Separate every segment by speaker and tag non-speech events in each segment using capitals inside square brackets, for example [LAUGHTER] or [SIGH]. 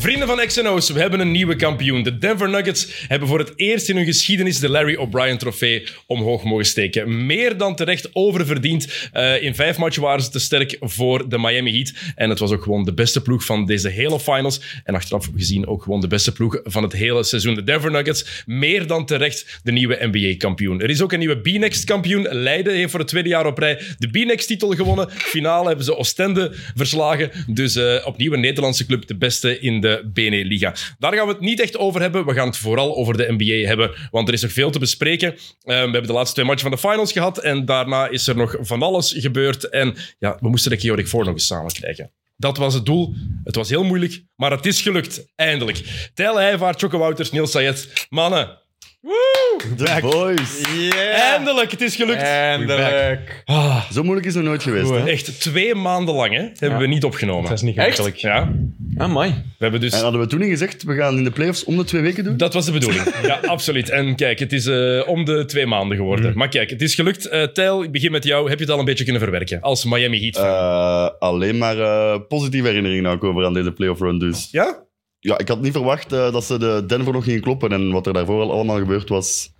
Speaker 1: Vrienden van XNO's, we hebben een nieuwe kampioen. De Denver Nuggets hebben voor het eerst in hun geschiedenis de Larry O'Brien-trofee omhoog mogen steken. Meer dan terecht oververdiend. Eh, in vijf matchen waren ze te sterk voor de Miami Heat. En het was ook gewoon de beste ploeg van deze hele finals. En achteraf gezien ook gewoon de beste ploeg van het hele seizoen. De Denver Nuggets, meer dan terecht de nieuwe NBA-kampioen. Er is ook een nieuwe B-Next-kampioen. Leiden heeft voor het tweede jaar op rij de B-Next-titel gewonnen. Finale hebben ze Oostende verslagen. Dus eh, opnieuw een Nederlandse club, de beste in de BNE-liga. Daar gaan we het niet echt over hebben. We gaan het vooral over de NBA hebben, want er is nog veel te bespreken. Eh, we hebben de laatste twee matchen van de finals gehad en daarna is er nog van alles gebeurd. En ja, we moesten de Keurig voor nog eens samen krijgen. Dat was het doel. Het was heel moeilijk, maar het is gelukt. Eindelijk. Tijl Heijvaart, Choco Wouters, Niels Sayet. Mannen. Woe!
Speaker 2: De boys.
Speaker 1: Eindelijk, het is gelukt.
Speaker 3: Eh. Eindelijk.
Speaker 1: Ah.
Speaker 2: Zo moeilijk is het nog nooit geweest. Hè?
Speaker 1: Echt twee maanden lang hè, hebben we niet opgenomen.
Speaker 3: Dat is niet gemakkelijk.
Speaker 1: Ja,
Speaker 3: Ah, mooi.
Speaker 1: we hebben dus...
Speaker 2: En hadden we toen niet gezegd, we gaan in de playoffs om de twee weken doen?
Speaker 1: Dat was de
Speaker 3: [LAUGHS]
Speaker 1: bedoeling. Ja, absoluut. En kijk, het is eh, om de twee maanden geworden.
Speaker 3: Mm.
Speaker 1: Maar kijk, het is gelukt. Eh Tijl, ik begin met jou. Heb je het al een beetje kunnen verwerken als Miami Heat?
Speaker 2: Eh, alleen maar eh, positieve herinneringen nou over aan deze playoff run. Dus
Speaker 1: ja?
Speaker 2: ja, ik had niet verwacht eh, dat ze de Denver nog gingen kloppen. En wat er daarvoor al allemaal gebeurd was,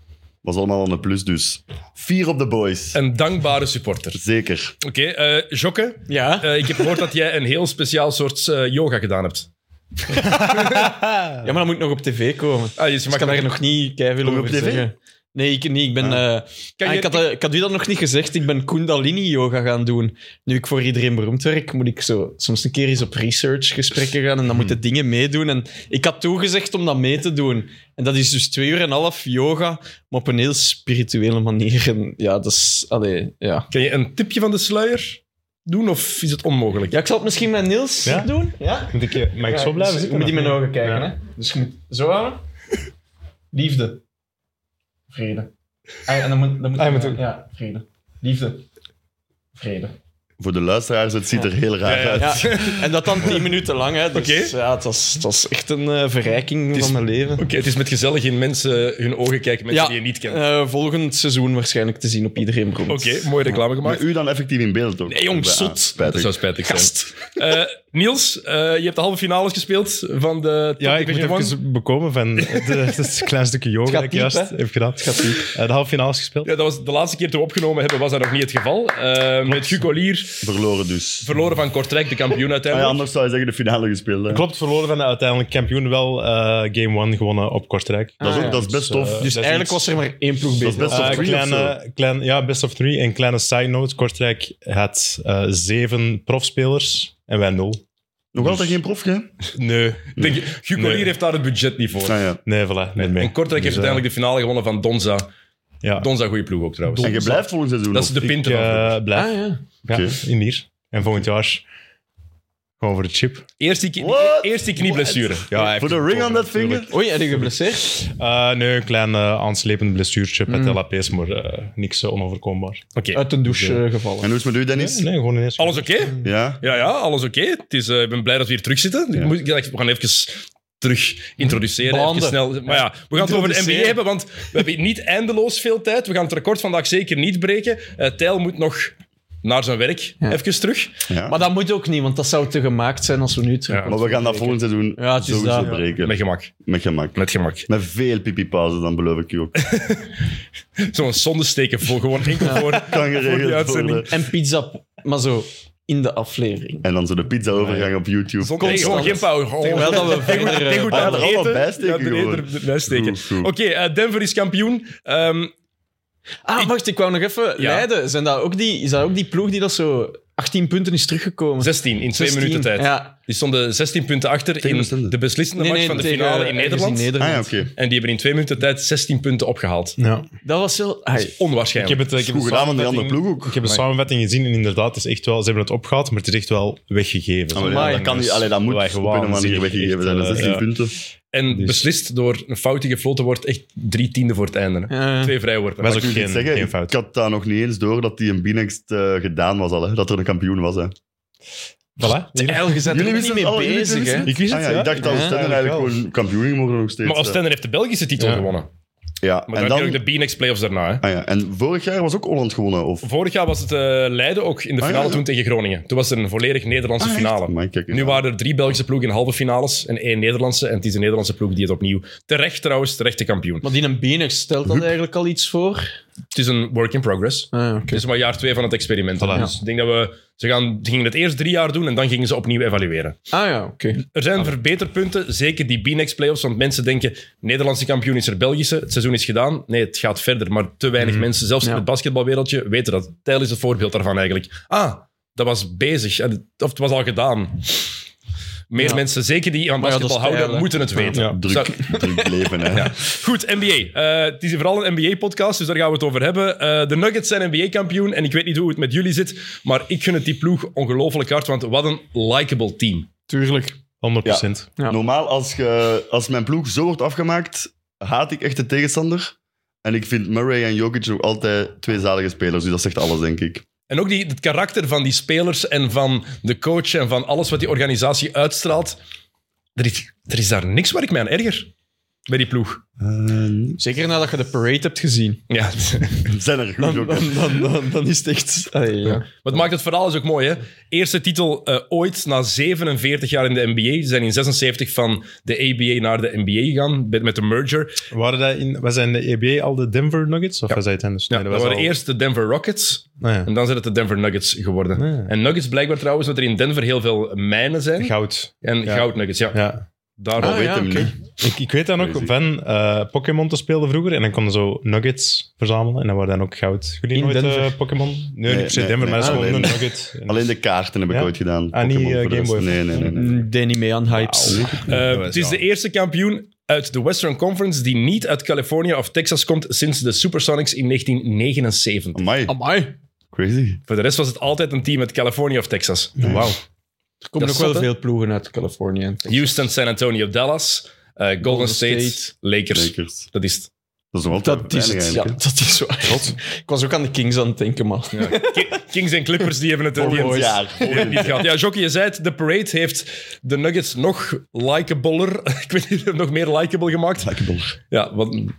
Speaker 2: was allemaal een plus. Dus vier op de boys.
Speaker 1: Een dankbare supporter.
Speaker 2: Zeker.
Speaker 1: Oké, eh, Jokke.
Speaker 3: Ja.
Speaker 1: eh, ik heb gehoord dat jij een heel speciaal soort eh, yoga gedaan hebt.
Speaker 3: ja, maar dat moet nog op tv komen.
Speaker 1: Ah, dus je
Speaker 3: Dus ik
Speaker 1: mag
Speaker 3: kan daar nog niet keihard
Speaker 2: Kom je
Speaker 3: over
Speaker 2: op tv?
Speaker 3: zeggen. Nee, ik, nee, ik ben... eh,
Speaker 1: Kan
Speaker 3: ah,
Speaker 1: je-
Speaker 3: ik, had, eh, ik had u dat nog niet gezegd. Ik ben Kundalini-yoga gaan doen. Nu ik voor iedereen beroemd werk, moet ik zo soms een keer eens op researchgesprekken gaan en dan moeten dingen meedoen. En ik had toegezegd om dat mee te doen. En dat is dus twee uur en een half yoga, maar op een heel spirituele manier. En ja, dat is... Allee, ja.
Speaker 1: Kan je een tipje van de sluier doen of is het onmogelijk?
Speaker 3: Ja, ik zal het misschien met Niels
Speaker 4: Ja?
Speaker 3: doen. Ja?
Speaker 4: Moet ik, eh, mag ik zo
Speaker 3: dus
Speaker 4: blijven
Speaker 3: je
Speaker 4: zitten?
Speaker 3: moet in mijn
Speaker 4: of
Speaker 3: ogen kijken,
Speaker 4: Ja.
Speaker 3: hè? Dus je moet zo houden. Liefde. Vrede. Ah, en dan moet, dan moet
Speaker 4: Ah, je moet ook-
Speaker 3: Ja, vrede. Liefde. Vrede.
Speaker 2: Voor de luisteraars, het ziet er heel raar uit.
Speaker 3: Ja, en dat dan tien minuten lang, hè? Dus
Speaker 1: Oké.
Speaker 3: ja, het was, het was echt een eh, verrijking
Speaker 1: is-
Speaker 3: van mijn leven.
Speaker 1: Oké, het is met gezellig in mensen eh, hun ogen kijken, mensen die je niet kent.
Speaker 3: eh, volgend seizoen waarschijnlijk te zien op iedereen beroemd.
Speaker 1: Oké, mooie reclame gemaakt.
Speaker 2: Maar u dan effectief in beeld ook?
Speaker 3: Nee, jong,
Speaker 2: Ja,
Speaker 3: zot.
Speaker 1: Dat
Speaker 2: Spijtig.
Speaker 1: zou spijtig zijn.
Speaker 3: Dus
Speaker 1: Eh, Niels, eh, je hebt de halve finales gespeeld van de Top
Speaker 4: Ja, ik moet
Speaker 1: Division One.
Speaker 4: even bekomen van de- het klein stukje yoga dat ik
Speaker 3: diep,
Speaker 4: juist
Speaker 3: hè?
Speaker 4: heb gedaan. Het gaat de halve finales gespeeld.
Speaker 1: Ja, dat was de laatste keer toen we opgenomen hebben, was dat nog niet het geval. Eh, met Hugo Lier,
Speaker 2: Verloren dus.
Speaker 1: verloren van Kortrijk, de kampioen
Speaker 2: Ah ja,
Speaker 1: uiteindelijk.
Speaker 2: anders zou je zeggen de finale gespeeld. hè.
Speaker 4: Klopt, verloren van de uiteindelijk kampioen. Wel eh, game 1 gewonnen op Kortrijk.
Speaker 2: Dat is,
Speaker 3: Ah,
Speaker 2: ook,
Speaker 3: ja.
Speaker 2: dat is best tof.
Speaker 4: eh,
Speaker 3: Dus
Speaker 4: dat is
Speaker 3: eigenlijk
Speaker 4: iets-
Speaker 3: was er maar één ploeg
Speaker 2: dat is
Speaker 3: beter.
Speaker 2: best
Speaker 4: Eh,
Speaker 2: of three of zo.
Speaker 4: kleine, klein, ja, best of three. En kleine side note: Kortrijk had eh, zeven profspelers en wij nul.
Speaker 2: Nog altijd geen prof, hè?
Speaker 4: Nee,
Speaker 1: Ik Denk, Hugo
Speaker 4: Nee.
Speaker 1: Lier heeft daar het budget niet voor.
Speaker 2: Ah, ja.
Speaker 4: nee, voilà, niet mee.
Speaker 1: En Kortrijk heeft
Speaker 4: Dus, eh,
Speaker 1: uiteindelijk de finale gewonnen van Donza.
Speaker 4: ja.
Speaker 1: Donza, goede ploeg ook trouwens.
Speaker 2: En je blijft volgend seizoen
Speaker 1: Dat is
Speaker 2: nog.
Speaker 1: de
Speaker 4: Ik
Speaker 1: pinter van vroeger.
Speaker 4: eh, blijf
Speaker 3: Ah, ja.
Speaker 4: ja,
Speaker 2: Oké.
Speaker 4: in hier. En volgend jaar gewoon voor de chip.
Speaker 1: Eerste, ki-
Speaker 2: What?
Speaker 1: eerste knieblessure.
Speaker 4: Ja,
Speaker 2: Voor de ring on that finger?
Speaker 3: Oei, heb je geblesseerd?
Speaker 4: Eh, nee, een klein eh, aanslepend blessuurtje met LAP's, maar eh, niks eh, onoverkombaar.
Speaker 1: Oké.
Speaker 3: Uit een douche eh,
Speaker 2: En
Speaker 3: gevallen.
Speaker 2: hoe is het met u, Dennis?
Speaker 4: Nee, gewoon ineens.
Speaker 1: Alles oké?
Speaker 2: Ja?
Speaker 1: Ja, ja, alles oké. Het is, eh, ik ben blij dat we hier terug zitten. Ik
Speaker 2: Ja.
Speaker 1: moet- ik dacht, we gaan even terug introduceren.
Speaker 3: Branden.
Speaker 1: Even snel, maar ja, we gaan het over de NBA
Speaker 3: Introduceren.
Speaker 1: hebben, want we hebben niet eindeloos veel tijd. We gaan het record vandaag zeker niet breken. Eh Tijl moet nog naar zijn werk. Even terug.
Speaker 2: ja.
Speaker 3: Maar dat moet ook niet, want dat zou te gemaakt zijn als we nu terug.
Speaker 2: Maar we gaan dat volgend seizoen
Speaker 3: Ja, het is
Speaker 2: sowieso
Speaker 3: dat.
Speaker 2: breken.
Speaker 1: Met
Speaker 2: Met,
Speaker 1: gemak.
Speaker 2: gemak. Met,
Speaker 1: Met gemak.
Speaker 2: veel pipipauzen, dan beloof ik je ook.
Speaker 1: Zo'n zondesteken voor gewoon enkel voor.
Speaker 2: Kan
Speaker 1: die
Speaker 2: geregeld
Speaker 1: uitzending.
Speaker 2: worden.
Speaker 3: En pizza, maar zo in de aflevering.
Speaker 2: En dan zo de pizza-overgang op YouTube.
Speaker 1: Zonder, nee, gewoon geen pauw. Gewoon
Speaker 3: Terwijl dat we
Speaker 1: Tegen goed-
Speaker 3: verder, eh,
Speaker 1: tegen goed
Speaker 2: ah,
Speaker 1: aan
Speaker 2: er
Speaker 1: het
Speaker 2: allemaal
Speaker 1: eten.
Speaker 2: bij steken
Speaker 1: Ja, er-
Speaker 2: gewoon.
Speaker 1: er- er- bij steken.
Speaker 2: Goed, goed.
Speaker 1: Oké, eh, Denver is kampioen. Ehm,
Speaker 3: Ah, wacht, ik wou nog even.
Speaker 1: Ja.
Speaker 3: Leiden, zijn dat ook die, is dat ook die ploeg die dat zo 18 punten is teruggekomen?
Speaker 1: 16 in twee
Speaker 3: 16,
Speaker 1: minuten tijd.
Speaker 3: Ja.
Speaker 1: Die stonden 16 punten achter
Speaker 2: Tegen
Speaker 1: in
Speaker 2: Oostende.
Speaker 1: de beslissende
Speaker 3: Nee,
Speaker 1: match
Speaker 3: nee,
Speaker 1: van de
Speaker 3: tegen,
Speaker 1: finale in
Speaker 4: eh,
Speaker 3: ergens
Speaker 1: Nederland.
Speaker 2: Ah ja, oké.
Speaker 1: En die hebben in twee minuten tijd 16 punten opgehaald.
Speaker 4: Ja.
Speaker 3: Dat was heel... ai,
Speaker 4: Ik
Speaker 1: Onwaarschijnlijk.
Speaker 4: heb het, eh, ik heb
Speaker 2: Goed
Speaker 4: de
Speaker 2: gedaan van die andere ploeg
Speaker 4: samenvatting-
Speaker 2: ook. Ah,
Speaker 4: Ik heb de samenvatting gezien en inderdaad, het is echt wel, ze hebben het opgehaald, maar het is echt wel weggegeven.
Speaker 2: Ah, maar ja, dat, kan niet, allee, dat moet op een of andere manier weggegeven zijn. Dat is 16 punten.
Speaker 1: En
Speaker 4: Dus-
Speaker 1: beslist door een foutje gefloten wordt, echt drie tiende voor het einde. hè.
Speaker 3: Ja.
Speaker 1: Twee vrijworpen.
Speaker 4: Maar
Speaker 2: Ik
Speaker 4: is ook
Speaker 2: moet
Speaker 4: geen,
Speaker 2: iets zeggen,
Speaker 4: geen
Speaker 2: Ik
Speaker 4: fout.
Speaker 2: had daar nog niet eens door dat die een Binext eh, gedaan was al. Hè. Dat er een kampioen was. Hè.
Speaker 4: Voilà.
Speaker 3: Eil, je bent er ook niet
Speaker 2: wisten
Speaker 3: mee
Speaker 2: het al, jullie
Speaker 3: bezig,
Speaker 2: wisten
Speaker 3: hè?
Speaker 2: het?
Speaker 4: Ik wist
Speaker 2: Ah
Speaker 4: het,
Speaker 2: ja,
Speaker 4: ja.
Speaker 2: Ik dacht dat
Speaker 3: Ja,
Speaker 2: Oostende
Speaker 4: eigenlijk
Speaker 2: eigenlijk gewoon
Speaker 4: wel.
Speaker 2: kampioen mogen nog steeds.
Speaker 1: Maar
Speaker 2: hè.
Speaker 1: Oostende heeft de Belgische titel
Speaker 4: Ja.
Speaker 1: gewonnen.
Speaker 2: Ja,
Speaker 1: Maar dan,
Speaker 2: en dan...
Speaker 1: heb je ook de B-Next Playoffs daarna. Hè.
Speaker 2: Ah ja, en vorig jaar was ook Holland gewonnen, of...
Speaker 1: Vorig jaar was het eh, Leiden ook in de
Speaker 2: Ah,
Speaker 1: finale
Speaker 2: ja.
Speaker 1: toen tegen Groningen. Toen was er een volledig Nederlandse
Speaker 2: Ah, echt?
Speaker 1: finale.
Speaker 2: Amai, kijk,
Speaker 1: Nu
Speaker 2: ja.
Speaker 1: waren er drie Belgische ploegen in halve finales en één Nederlandse. En het is de Nederlandse ploeg die het opnieuw terecht trouwens, terecht de kampioen.
Speaker 3: Maar die een Benig stelt dat eigenlijk al iets voor?
Speaker 1: Het is een work in progress.
Speaker 3: Ah, oké.
Speaker 1: Het is maar jaar twee van het experiment.
Speaker 4: Voilà.
Speaker 1: Dus ik denk dat we... Ze gaan, ze gingen het eerst drie jaar doen en dan gingen ze opnieuw evalueren.
Speaker 3: Ah ja, oké.
Speaker 1: Er zijn verbeterpunten, zeker die B-Next playoffs. Want mensen denken: Nederlandse kampioen is er Belgische, het seizoen is gedaan. Nee, het gaat verder. Maar te weinig mensen, zelfs in
Speaker 3: Ja.
Speaker 1: het basketbalwereldje, weten dat. Tijl is het voorbeeld daarvan eigenlijk. Ah, dat was bezig. En- Of het was al gedaan. Meer
Speaker 3: Ja.
Speaker 1: mensen, zeker die aan
Speaker 3: Maar ja, dat
Speaker 1: basketbal
Speaker 3: is
Speaker 1: houden,
Speaker 3: Tijl, hè.
Speaker 1: moeten het weten.
Speaker 4: Ja.
Speaker 2: Druk,
Speaker 1: Zou-
Speaker 2: druk leven, hè.
Speaker 1: Goed, NBA. Eh, het is vooral een NBA-podcast, dus daar gaan we het over hebben. Eh, de Nuggets zijn NBA-kampioen en ik weet niet hoe het met jullie zit, maar ik gun het die ploeg ongelooflijk hard, want wat een likable team.
Speaker 3: Tuurlijk.
Speaker 4: 100%.
Speaker 3: Ja.
Speaker 2: Normaal, als, je, als mijn ploeg zo wordt afgemaakt, haat ik echt de tegenstander. En ik vind Murray en Jokic nog altijd twee zalige spelers, dus dat zegt alles, denk ik.
Speaker 1: En ook die, het karakter van die spelers en van de coach en van alles wat die organisatie uitstraalt. Er is, er is daar niks waar ik mij aan erger bij die ploeg.
Speaker 3: Zeker nadat je de parade hebt gezien.
Speaker 1: Ja. [LAUGHS]
Speaker 2: Zijn er
Speaker 3: Dan,
Speaker 2: goed ook.
Speaker 3: dan, dan, dan, dan is het echt... Ah, ja.
Speaker 1: Wat maakt het verhaal is ook mooi, hè? Eerste titel eh, ooit na 47 jaar in de NBA. Ze zijn in 76 van de ABA naar de NBA gegaan met- met de merger.
Speaker 4: Waren dat in, was dat in de EBA al de Denver Nuggets? Of was dat iets anders?
Speaker 1: Ja,
Speaker 4: Nee,
Speaker 1: dat
Speaker 4: was
Speaker 1: waren
Speaker 4: al-
Speaker 1: eerst de Denver Rockets
Speaker 4: Ah ja.
Speaker 1: en dan zijn het de Denver Nuggets geworden.
Speaker 4: Ja.
Speaker 1: En Nuggets blijkbaar trouwens, dat er in Denver heel veel mijnen zijn.
Speaker 4: Goud.
Speaker 1: en
Speaker 4: ja.
Speaker 1: goud Nuggets, ja.
Speaker 4: Ja.
Speaker 1: Daar
Speaker 2: Dat
Speaker 3: Ah,
Speaker 2: weet
Speaker 3: ja,
Speaker 2: hem
Speaker 3: oké.
Speaker 2: niet.
Speaker 4: Ik, ik weet dan ook
Speaker 2: Crazy.
Speaker 4: van eh, Pokémon te spelen vroeger. En dan konden zo Nuggets verzamelen. En dan waren dan ook goud. Jullie
Speaker 3: In
Speaker 4: nooit
Speaker 3: Denver.
Speaker 4: eh, Pokémon? Nee, niet per se
Speaker 2: nee,
Speaker 4: Denver,
Speaker 2: nee.
Speaker 4: maar dat is
Speaker 2: Ah,
Speaker 4: gewoon een
Speaker 2: alleen-
Speaker 4: Nugget. En-
Speaker 2: Alleen de kaarten heb ik
Speaker 4: Ja?
Speaker 2: ooit gedaan.
Speaker 4: Ah, niet,
Speaker 2: Pokémon
Speaker 4: eh,
Speaker 2: voor de
Speaker 4: Game
Speaker 2: rest.
Speaker 4: Boy.
Speaker 2: Nee, nee, nee. nee.
Speaker 3: Ik deed niet mee aan hypes.
Speaker 1: Eh,
Speaker 4: dat is
Speaker 1: het is
Speaker 4: ja.
Speaker 1: de eerste kampioen uit de Western Conference die niet uit Californië of Texas komt sinds de Supersonics in 1979.
Speaker 2: Amai,
Speaker 3: Amai.
Speaker 2: crazy.
Speaker 1: Voor de rest was het altijd een team uit Californië of Texas.
Speaker 4: Wauw.
Speaker 3: Er komen
Speaker 1: Dat
Speaker 3: ook wel
Speaker 1: zat, hè?
Speaker 3: veel ploegen uit Californië. en Texas.
Speaker 1: Houston, San Antonio, Dallas, eh, Golden, State,
Speaker 3: State,
Speaker 1: Lakers.
Speaker 2: Lakers.
Speaker 1: Dat is het.
Speaker 2: Dat is nog altijd
Speaker 3: Dat is
Speaker 2: weinig
Speaker 3: het. Ja,
Speaker 2: eigenlijk,
Speaker 3: dat is waar. Ik was ook aan de Kings aan het denken, man.
Speaker 1: Ki- Kings en Clippers die hebben het,
Speaker 2: hè.
Speaker 1: die hebben
Speaker 2: Volgend
Speaker 1: het
Speaker 2: jaar. Volgend
Speaker 1: niet gehad. Ja, Jockey, je zei het, de parade heeft de Nuggets nog likeabeler, [LAUGHS] ik weet niet, nog meer likeable gemaakt.
Speaker 2: jaar.
Speaker 1: Ja, wat een,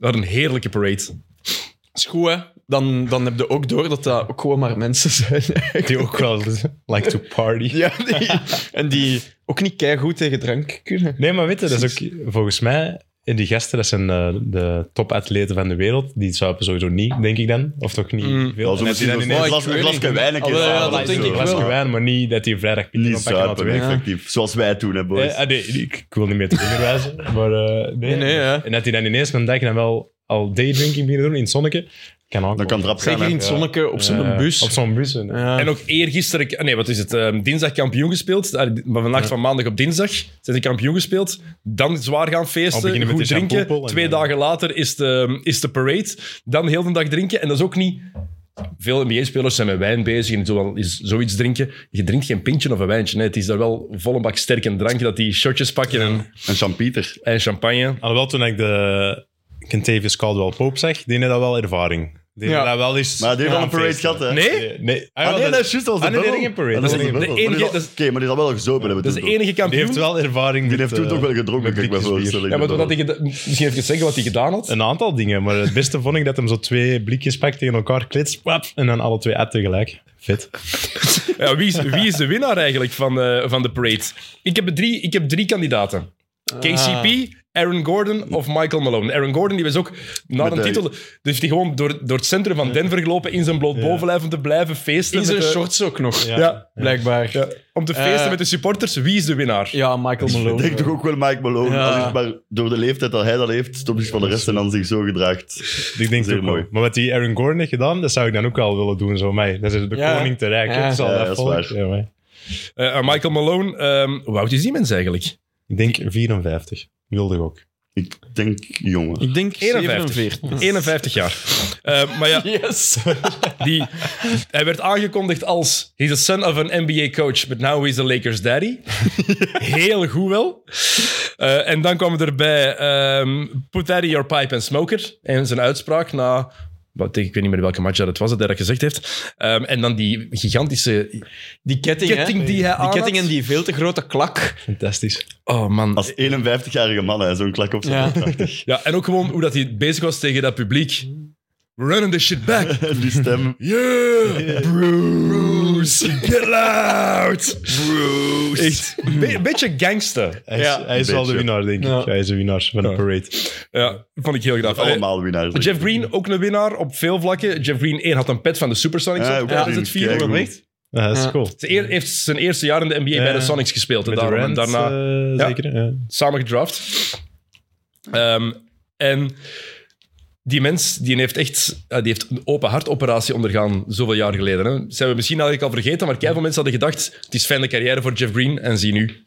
Speaker 1: wat een heerlijke parade.
Speaker 3: [LAUGHS] is goed, hè? Dan, dan heb je ook door dat dat ook gewoon maar mensen zijn. [LAUGHS]
Speaker 4: Die ook wel [LAUGHS] like to party.
Speaker 3: ja, die- en die ook niet goed tegen drank kunnen.
Speaker 4: Nee, maar weet je, dat is ook volgens mij. En die gasten, dat zijn eh, de topatleten van de wereld. Die zuipen sowieso niet, denk ik dan. Of toch niet veel.
Speaker 2: Mm. Ja, zo
Speaker 4: En
Speaker 2: misschien
Speaker 4: dat
Speaker 2: een
Speaker 4: die
Speaker 3: ineens-
Speaker 2: glas-
Speaker 3: Ik
Speaker 2: een
Speaker 3: weet
Speaker 2: glasje
Speaker 3: niet.
Speaker 2: wijn. een keer
Speaker 3: Ah, wel, ja,
Speaker 2: samen
Speaker 3: dat
Speaker 2: is
Speaker 3: denk
Speaker 2: zo.
Speaker 3: ik
Speaker 4: dan-
Speaker 3: wel.
Speaker 4: was wijn, maar niet dat die vrijdag pizza
Speaker 2: Niet
Speaker 4: gaan pakken aan het
Speaker 2: zuipen,
Speaker 4: werk.
Speaker 2: effectief. Zoals wij toen, hè, boys.
Speaker 4: Eh, ah, nee, ik, ik wil niet meer te vinger wijzen, maar eh, nee.
Speaker 3: Nee, nee, ja.
Speaker 4: En dat die dan ineens een dag dan wel al daydrinking beginnen doen in het zonnetje, kan ook.
Speaker 2: Dat kan erop gaan,
Speaker 3: Zeker in
Speaker 2: hè.
Speaker 3: het zonnetje op zo'n
Speaker 4: Eh,
Speaker 3: bus.
Speaker 4: Op zo'n bus. hè.
Speaker 3: Ja.
Speaker 1: En ook eergisteren, eh, nee, wat is het? eh, dinsdag kampioen gespeeld. Ah, Maar vannacht van maandag op dinsdag zijn ze kampioen gespeeld. Dan zwaar gaan
Speaker 4: Al
Speaker 1: feesten,
Speaker 4: beginnen met
Speaker 1: goed
Speaker 4: de
Speaker 1: drinken.
Speaker 4: shampoopel en- eh,
Speaker 1: Twee dagen later is de, is de parade. Dan heel de dag drinken. En dat is ook niet. Veel NBA-spelers zijn met wijn bezig en zo wel is zoiets drinken. Je drinkt geen pintje of een wijntje. Nee, het is daar wel vol een bak sterk en drankje dat die shotjes pakken en,
Speaker 2: En Jean-Pieter.
Speaker 1: en champagne.
Speaker 4: Alhoewel, toen ik de Kentavious Caldwell Pope zag, die had dat wel ervaring. Die
Speaker 3: Ja.
Speaker 4: had dat wel eens...
Speaker 2: Maar die heeft
Speaker 4: Ja,
Speaker 2: wel een parade
Speaker 4: feesten.
Speaker 2: gehad, hè?
Speaker 1: Nee?
Speaker 4: Nee,
Speaker 2: Ah,
Speaker 4: Ah, ja,
Speaker 2: nee,
Speaker 4: dat-
Speaker 2: dat is juist. Dat was
Speaker 4: Ah,
Speaker 2: de
Speaker 4: nee,
Speaker 2: bubbel.
Speaker 4: nee, geen parade.
Speaker 2: Dat was
Speaker 1: Dat is
Speaker 2: de
Speaker 1: de
Speaker 2: bubbel. Maar die
Speaker 1: enige-
Speaker 2: is al-
Speaker 1: dat is-
Speaker 2: Oké, maar die is al wel gezopen. hebben we
Speaker 1: Dat is
Speaker 2: toen
Speaker 1: de
Speaker 2: toch.
Speaker 1: enige
Speaker 4: Die
Speaker 1: kampioen.
Speaker 4: heeft wel ervaring
Speaker 2: Die
Speaker 4: met,
Speaker 2: heeft toen
Speaker 4: eh,
Speaker 2: toch wel gedronken,
Speaker 4: met
Speaker 2: kan ik me
Speaker 4: blikjes bier.
Speaker 2: voorstellen.
Speaker 1: Ja, maar dat ik, het- misschien even zeggen wat hij gedaan had.
Speaker 4: Een aantal dingen, maar het beste vond ik dat hem zo twee blikjes pakt tegen elkaar, klitst, wap, en dan alle twee uit tegelijk. Vet.
Speaker 1: Ja, wie, is, wie is de winnaar eigenlijk van, eh, van de parade? Ik heb drie, ik heb drie kandidaten. KCP, Aaron Gordon of Michael Malone. Aaron Gordon die was ook na
Speaker 2: Met
Speaker 1: een
Speaker 2: de-
Speaker 1: titel... Dus heeft hij gewoon door, door het centrum van Denver gelopen in zijn bloot bovenlijf om te blijven feesten.
Speaker 3: in zijn
Speaker 1: met de-
Speaker 3: shorts ook nog,
Speaker 1: Ja,
Speaker 3: blijkbaar. Ja,
Speaker 1: ja, om te feesten
Speaker 3: Eh.
Speaker 1: met de supporters. Wie is de winnaar?
Speaker 3: Michael
Speaker 2: Ik
Speaker 3: Malone.
Speaker 2: denk toch ook wel Mike Malone.
Speaker 3: Ja.
Speaker 2: Als ik maar door de leeftijd dat hij dat heeft, stopt zich van de rest en dan zich zo gedraagt.
Speaker 4: Ik denk
Speaker 2: Zeer
Speaker 4: het ook mooi.
Speaker 2: mooi.
Speaker 4: Maar wat die Aaron Gordon heeft gedaan, dat zou ik dan ook wel willen doen. Zo mij. Dat is de
Speaker 3: Ja.
Speaker 4: koning te rijk. hè.
Speaker 3: Ja.
Speaker 4: Het zal
Speaker 2: Ja, dat
Speaker 4: dat
Speaker 2: is
Speaker 4: volk-
Speaker 2: waar.
Speaker 4: Ja, maar
Speaker 1: Eh, eh, Michael Malone, ehm, hoe oud is die mens eigenlijk?
Speaker 4: Ik denk 54. Wilde ik ook.
Speaker 2: Ik denk, jongen.
Speaker 3: Ik denk
Speaker 1: 51.
Speaker 3: 47.
Speaker 1: 51 jaar. Eh, maar ja,
Speaker 3: Yes.
Speaker 1: die, hij werd aangekondigd als... He's the son of an NBA coach, but now he's the Lakers daddy. Heel goed wel. Eh, en dan kwam erbij ehm Put that in your pipe and smoke it. En zijn uitspraak na wat tegen- ik weet niet meer welke match dat het was dat hij dat gezegd heeft. Ehm, en dan die gigantische
Speaker 3: Die [LAUGHS] ketting, hè?
Speaker 1: ketting die hij aan
Speaker 3: Die
Speaker 1: had.
Speaker 3: ketting en die veel te grote klak.
Speaker 4: Fantastisch.
Speaker 1: Oh man.
Speaker 2: Als 51-jarige man, hè, zo'n klak op zijn
Speaker 3: Ja.
Speaker 2: hoofd, dacht ik.
Speaker 1: [LAUGHS] Ja, en ook gewoon hoe dat hij bezig was tegen dat publiek. We're running this shit back.
Speaker 2: En Die stem.
Speaker 1: Yeah, Bruce, get loud. Bruce. Echt, een be- een beetje gangster.
Speaker 4: Hij is,
Speaker 3: Ja,
Speaker 4: hij is wel de
Speaker 2: beetje.
Speaker 4: winnaar, denk ik.
Speaker 3: Ja.
Speaker 4: Hij is de winnaar van de
Speaker 1: Ja.
Speaker 4: parade.
Speaker 1: Ja, vond ik heel graag.
Speaker 2: Allemaal winnaars.
Speaker 1: Jeff Green, ook een winnaar op veel vlakken. Jeff Green 1 had een pet van de Supersonics.
Speaker 2: Ja,
Speaker 1: op.
Speaker 2: ook
Speaker 1: Hij had
Speaker 2: gezien.
Speaker 1: het vier
Speaker 2: Kijk,
Speaker 1: op.
Speaker 2: hoe-
Speaker 1: Echt?
Speaker 4: Ja, dat Eh, is
Speaker 3: Ja.
Speaker 4: cool.
Speaker 1: Ze eer- heeft zijn eerste jaar in de NBA bij de
Speaker 4: Ja.
Speaker 1: Sonics gespeeld. En
Speaker 4: Met de
Speaker 1: daarom, en
Speaker 4: Rand,
Speaker 1: daarna
Speaker 4: eh,
Speaker 1: Ja.
Speaker 4: zeker. Ja.
Speaker 1: samen gedraft. Ehm, en die mens die heeft echt eh, die heeft een open hartoperatie ondergaan zoveel jaar geleden. Hè. Zijn we misschien eigenlijk al vergeten, maar keihard mensen hadden gedacht: het is fijne carrière voor Jeff Green. En zie nu,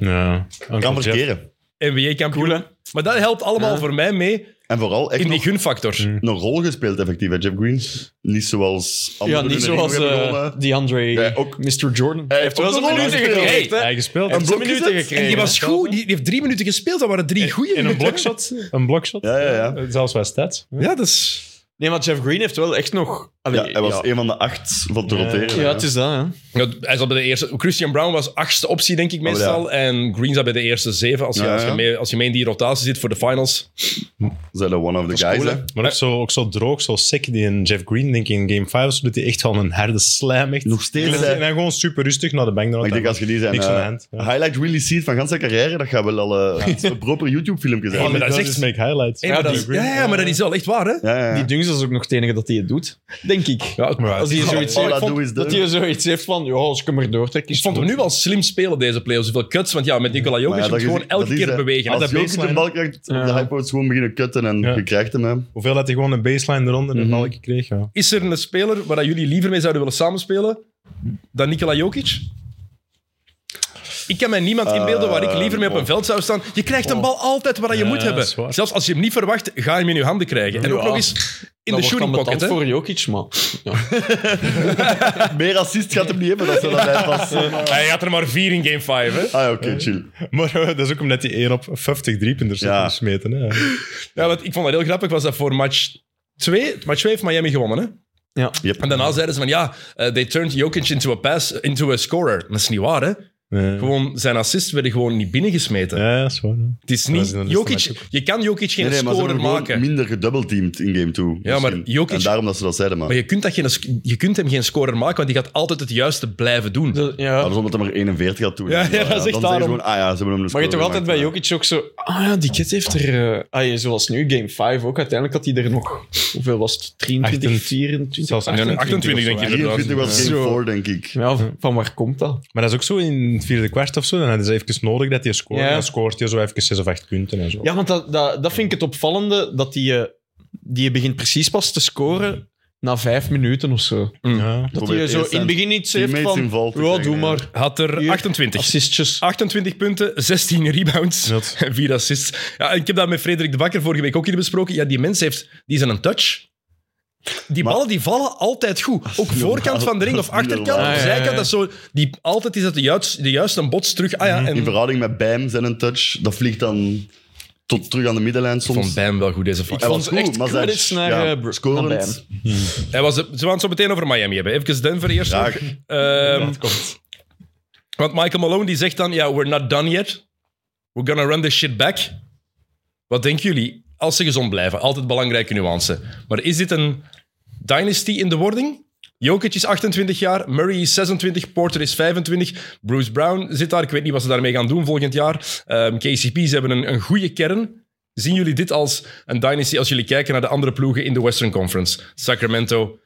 Speaker 4: Ja.
Speaker 2: Kan
Speaker 4: Uncle Jeff.
Speaker 2: verkeren.
Speaker 1: NBA-kampioen.
Speaker 3: Cool, hè?
Speaker 1: maar dat helpt allemaal
Speaker 3: Ja.
Speaker 1: voor mij mee
Speaker 2: En vooral echt
Speaker 1: in die
Speaker 2: nog,
Speaker 1: gunfactor.
Speaker 2: nog rol gespeeld, effectief, hè, Jeff Green. Niet zoals
Speaker 3: Ja,
Speaker 2: andere
Speaker 3: niet
Speaker 2: winneringen
Speaker 3: zoals
Speaker 2: hebben
Speaker 3: eh,
Speaker 2: gewonnen.
Speaker 3: die Andre,
Speaker 2: Ja, ook-
Speaker 3: Mr. Jordan. Hij heeft
Speaker 2: ook
Speaker 3: wel zijn
Speaker 2: nog
Speaker 3: minuten
Speaker 2: nooit
Speaker 3: gekregen.
Speaker 1: gespeeld.
Speaker 3: hè?
Speaker 4: Hij gespeeld.
Speaker 3: Hij heeft zijn
Speaker 2: blokje
Speaker 3: minuten
Speaker 2: gezet?
Speaker 3: gekregen.
Speaker 1: En die was goed, die die heeft drie minuten gespeeld, dat waren drie goede
Speaker 4: In een
Speaker 1: minuten.
Speaker 4: blokshot. Een blokshot.
Speaker 2: Ja, ja, ja.
Speaker 4: Eh, Zelfs bij stats.
Speaker 1: Ja, dat is.
Speaker 3: Nee, maar Jeff Green heeft wel echt nog... Allee,
Speaker 2: Ja, hij was een van de acht van te
Speaker 4: Ja.
Speaker 2: roteren.
Speaker 3: Ja, het is dat, hè.
Speaker 1: Ja, hij zat bij de eerste. Christian Brown was achtste optie, denk ik,
Speaker 2: Oh, ja.
Speaker 1: meestal. En Green zat bij de eerste zeven. Als je,
Speaker 2: Ja,
Speaker 1: als, je
Speaker 2: ja.
Speaker 1: mee, als je mee in die rotatie zit voor de finals.
Speaker 2: Zijn de one of the guys,
Speaker 1: cool,
Speaker 2: hè.
Speaker 1: hè.
Speaker 4: Maar ook zo, ook zo droog, zo sick. Die in Jeff Green, denk ik, in Game 5 doet hij echt gewoon een harde slam. Echt.
Speaker 2: Nog steeds,
Speaker 4: En,
Speaker 2: hè.
Speaker 4: en dan gewoon super rustig naar de bank.
Speaker 2: Maar ik denk, als je die zijn
Speaker 4: Niks aan de
Speaker 2: eh,
Speaker 4: hand, ja.
Speaker 2: highlight really ziet van gans zijn carrière, dat gaat wel al eh, een proper YouTube-filmpje zijn.
Speaker 1: Ja, maar dat is echt-
Speaker 4: make highlights.
Speaker 1: Hey, maar dat is-
Speaker 4: Jeff Green.
Speaker 1: ja, ja, maar dat is wel echt waar, hè?
Speaker 2: Ja, ja, ja.
Speaker 3: Die Dungs is ook nog het enige dat hij het doet, denk ik.
Speaker 1: Ja, ik-
Speaker 4: Maar
Speaker 3: Als hij
Speaker 4: het-
Speaker 3: zoiets
Speaker 2: All I
Speaker 3: heeft,
Speaker 2: do is
Speaker 3: dat hij zoiets heeft van, ja, als ik hem er doortrek,
Speaker 1: ik
Speaker 3: is
Speaker 1: vond hem nu wel slim spelen, deze play-offs. Zoveel cuts, want ja, met Nikola Jokic
Speaker 2: Maar ja,
Speaker 1: moet
Speaker 2: dat
Speaker 1: je
Speaker 2: is-
Speaker 1: gewoon elke
Speaker 2: dat is,
Speaker 1: keer
Speaker 2: hè.
Speaker 1: bewegen.
Speaker 4: Als-
Speaker 2: Als
Speaker 4: dat
Speaker 2: Jokic
Speaker 4: baseline-
Speaker 2: een bal krijgt, de
Speaker 3: Ja.
Speaker 2: hypo's gewoon beginnen kutten en
Speaker 4: Ja.
Speaker 2: je krijgt hem, hè.
Speaker 4: Hoeveel dat hij gewoon een baseline eronder en
Speaker 2: Mhm.
Speaker 4: al ik kreeg. Ja.
Speaker 1: Is er een speler waar dat jullie liever mee zouden willen samenspelen dan Nikola Jokic? Ik kan mij
Speaker 4: Eh,
Speaker 1: niemand inbeelden waar ik liever mee op een veld zou staan. Je krijgt een bal altijd waar dat je
Speaker 4: oh. Ja,
Speaker 1: moet hebben.
Speaker 4: dat is waar.
Speaker 1: Zelfs als je hem niet verwacht, ga je hem in je handen krijgen. En ook
Speaker 3: Ja.
Speaker 1: nog eens in de shooting pocket. Hè?
Speaker 3: voor Jokic, man.
Speaker 2: Meer assist gaat hem niet hebben, dat zou dat hij pas...
Speaker 1: Hij had er maar vier in game 5, hè?
Speaker 2: Ah, eh, ja, oké, chill.
Speaker 4: Maar eh, dat is ook omdat hij 1 op 50 driepunters
Speaker 2: Ja.
Speaker 4: ja. gesmeten. Hè.
Speaker 1: Ja, want ik vond dat heel grappig. Was dat voor match 2? Match 2 heeft Miami gewonnen, hè?
Speaker 3: Ja.
Speaker 2: Yep.
Speaker 1: En daarna zeiden ze van ja, eh, they turned Jokic into a pass, into a scorer. Maar dat is niet waar, hè?
Speaker 4: Ja.
Speaker 1: Gewoon zijn assists werden gewoon niet binnengesmeten.
Speaker 4: Ja, dat is waar. hè.
Speaker 1: Het is
Speaker 4: Dat is
Speaker 1: niet
Speaker 4: in de eerste match
Speaker 1: Jokic.
Speaker 4: ook.
Speaker 1: Je kan Jokic geen
Speaker 2: Nee, nee, maar ze
Speaker 1: scorer
Speaker 2: hebben gewoon
Speaker 1: maken.
Speaker 2: minder gedoubleteamd in game 2.
Speaker 1: Ja, maar Jokic-
Speaker 2: En daarom dat ze dat zeiden, maar...
Speaker 1: Maar je kunt, dat geen, je kunt hem geen scorer maken, want die gaat altijd het juiste blijven doen.
Speaker 3: Dat-
Speaker 2: Maar
Speaker 3: ja.
Speaker 2: dat is omdat hij maar 41 gaat toe.
Speaker 1: Ja, ja, dat is echt
Speaker 2: Dan zeggen ze
Speaker 1: daarom.
Speaker 2: gewoon, ah ja, ze hebben hem de
Speaker 3: Maar
Speaker 2: score
Speaker 3: je toch altijd bij
Speaker 2: gemaakt, ja.
Speaker 3: Jokic ook zo... Ah ja, die kid heeft er... eh, ah, ja, zoals nu, game 5 ook. Uiteindelijk had hij er nog... Hoeveel was het? 23,
Speaker 4: 28,
Speaker 3: 24?
Speaker 4: Zelfs
Speaker 1: 28, denk ik.
Speaker 2: 23 was game
Speaker 3: Zo.
Speaker 2: 4, denk ik.
Speaker 3: Ja, van- van waar komt dat?
Speaker 4: Maar dat is ook zo in het vierde kwart of zo. Dan hadden ze even nodig dat hij scoort.
Speaker 3: Ja.
Speaker 4: Dan scoort hij zo even 6 of 8 punten en zo.
Speaker 3: Ja, want dat, dat, dat vind ik het opvallende, dat die, eh, die begint precies pas te scoren na vijf minuten of zo.
Speaker 4: Ja.
Speaker 3: Dat
Speaker 2: Probeer
Speaker 3: hij zo
Speaker 2: eerst
Speaker 3: in het
Speaker 2: zijn
Speaker 3: begin iets heeft
Speaker 2: teammates
Speaker 3: van...
Speaker 2: in val te
Speaker 3: Ja,
Speaker 2: krijgen,
Speaker 3: doe
Speaker 2: ja.
Speaker 3: maar.
Speaker 1: Had er
Speaker 3: Hier.
Speaker 1: 28.
Speaker 3: Assistjes.
Speaker 1: 28 punten, 16 rebounds
Speaker 4: Zot.
Speaker 1: en 4 assists. Ja, en ik heb dat met Frederik de Bakker vorige week ook hier besproken. Ja, die mens heeft, die is aan een touch. Die
Speaker 2: Maar-
Speaker 1: ballen die vallen altijd
Speaker 2: [LAUGHS]
Speaker 1: goed. Ook
Speaker 2: normaal.
Speaker 1: voorkant van de ring
Speaker 2: Dat
Speaker 1: of
Speaker 2: is [LAUGHS] niet
Speaker 1: achterkant,
Speaker 2: normaal.
Speaker 1: of
Speaker 3: Ah, ja, ja,
Speaker 1: zijkant.
Speaker 3: ja.
Speaker 1: Dat is zo, die, altijd is dat de juiste, de juiste bots terug. Ah ja,
Speaker 2: In
Speaker 1: en
Speaker 2: verhouding met Bam zijn een touch, dat vliegt dan tot terug aan de middenlijn
Speaker 1: ik vond
Speaker 2: soms.
Speaker 1: Bam wel goed deze
Speaker 3: Ik
Speaker 1: vak.
Speaker 2: Hij
Speaker 3: vond
Speaker 2: was
Speaker 3: het
Speaker 2: goed,
Speaker 3: echt
Speaker 2: maar zijn-
Speaker 3: credits naar,
Speaker 2: ja,
Speaker 3: eh, Br-
Speaker 2: scorend.
Speaker 3: naar Bam.
Speaker 1: Hij was, ze gaan het zo meteen over Miami hebben. Even Denver eerst. nog.
Speaker 2: Ja,
Speaker 1: Ehm,
Speaker 4: Dat komt.
Speaker 1: Want Michael Malone die zegt dan, ja, we're not done yet. We're gonna run this shit back. Wat denken jullie? Als ze gezond blijven, altijd belangrijke nuance. Maar is dit een dynasty in de wording? Jokic is 28 jaar, Murray is 26, Porter is 25, Bruce Brown zit daar. Ik weet niet wat ze daarmee gaan doen volgend jaar. Ehm, KCP, ze hebben een, een goede kern. Zien jullie dit als een dynasty als jullie kijken naar de andere ploegen in de Western Conference? Sacramento,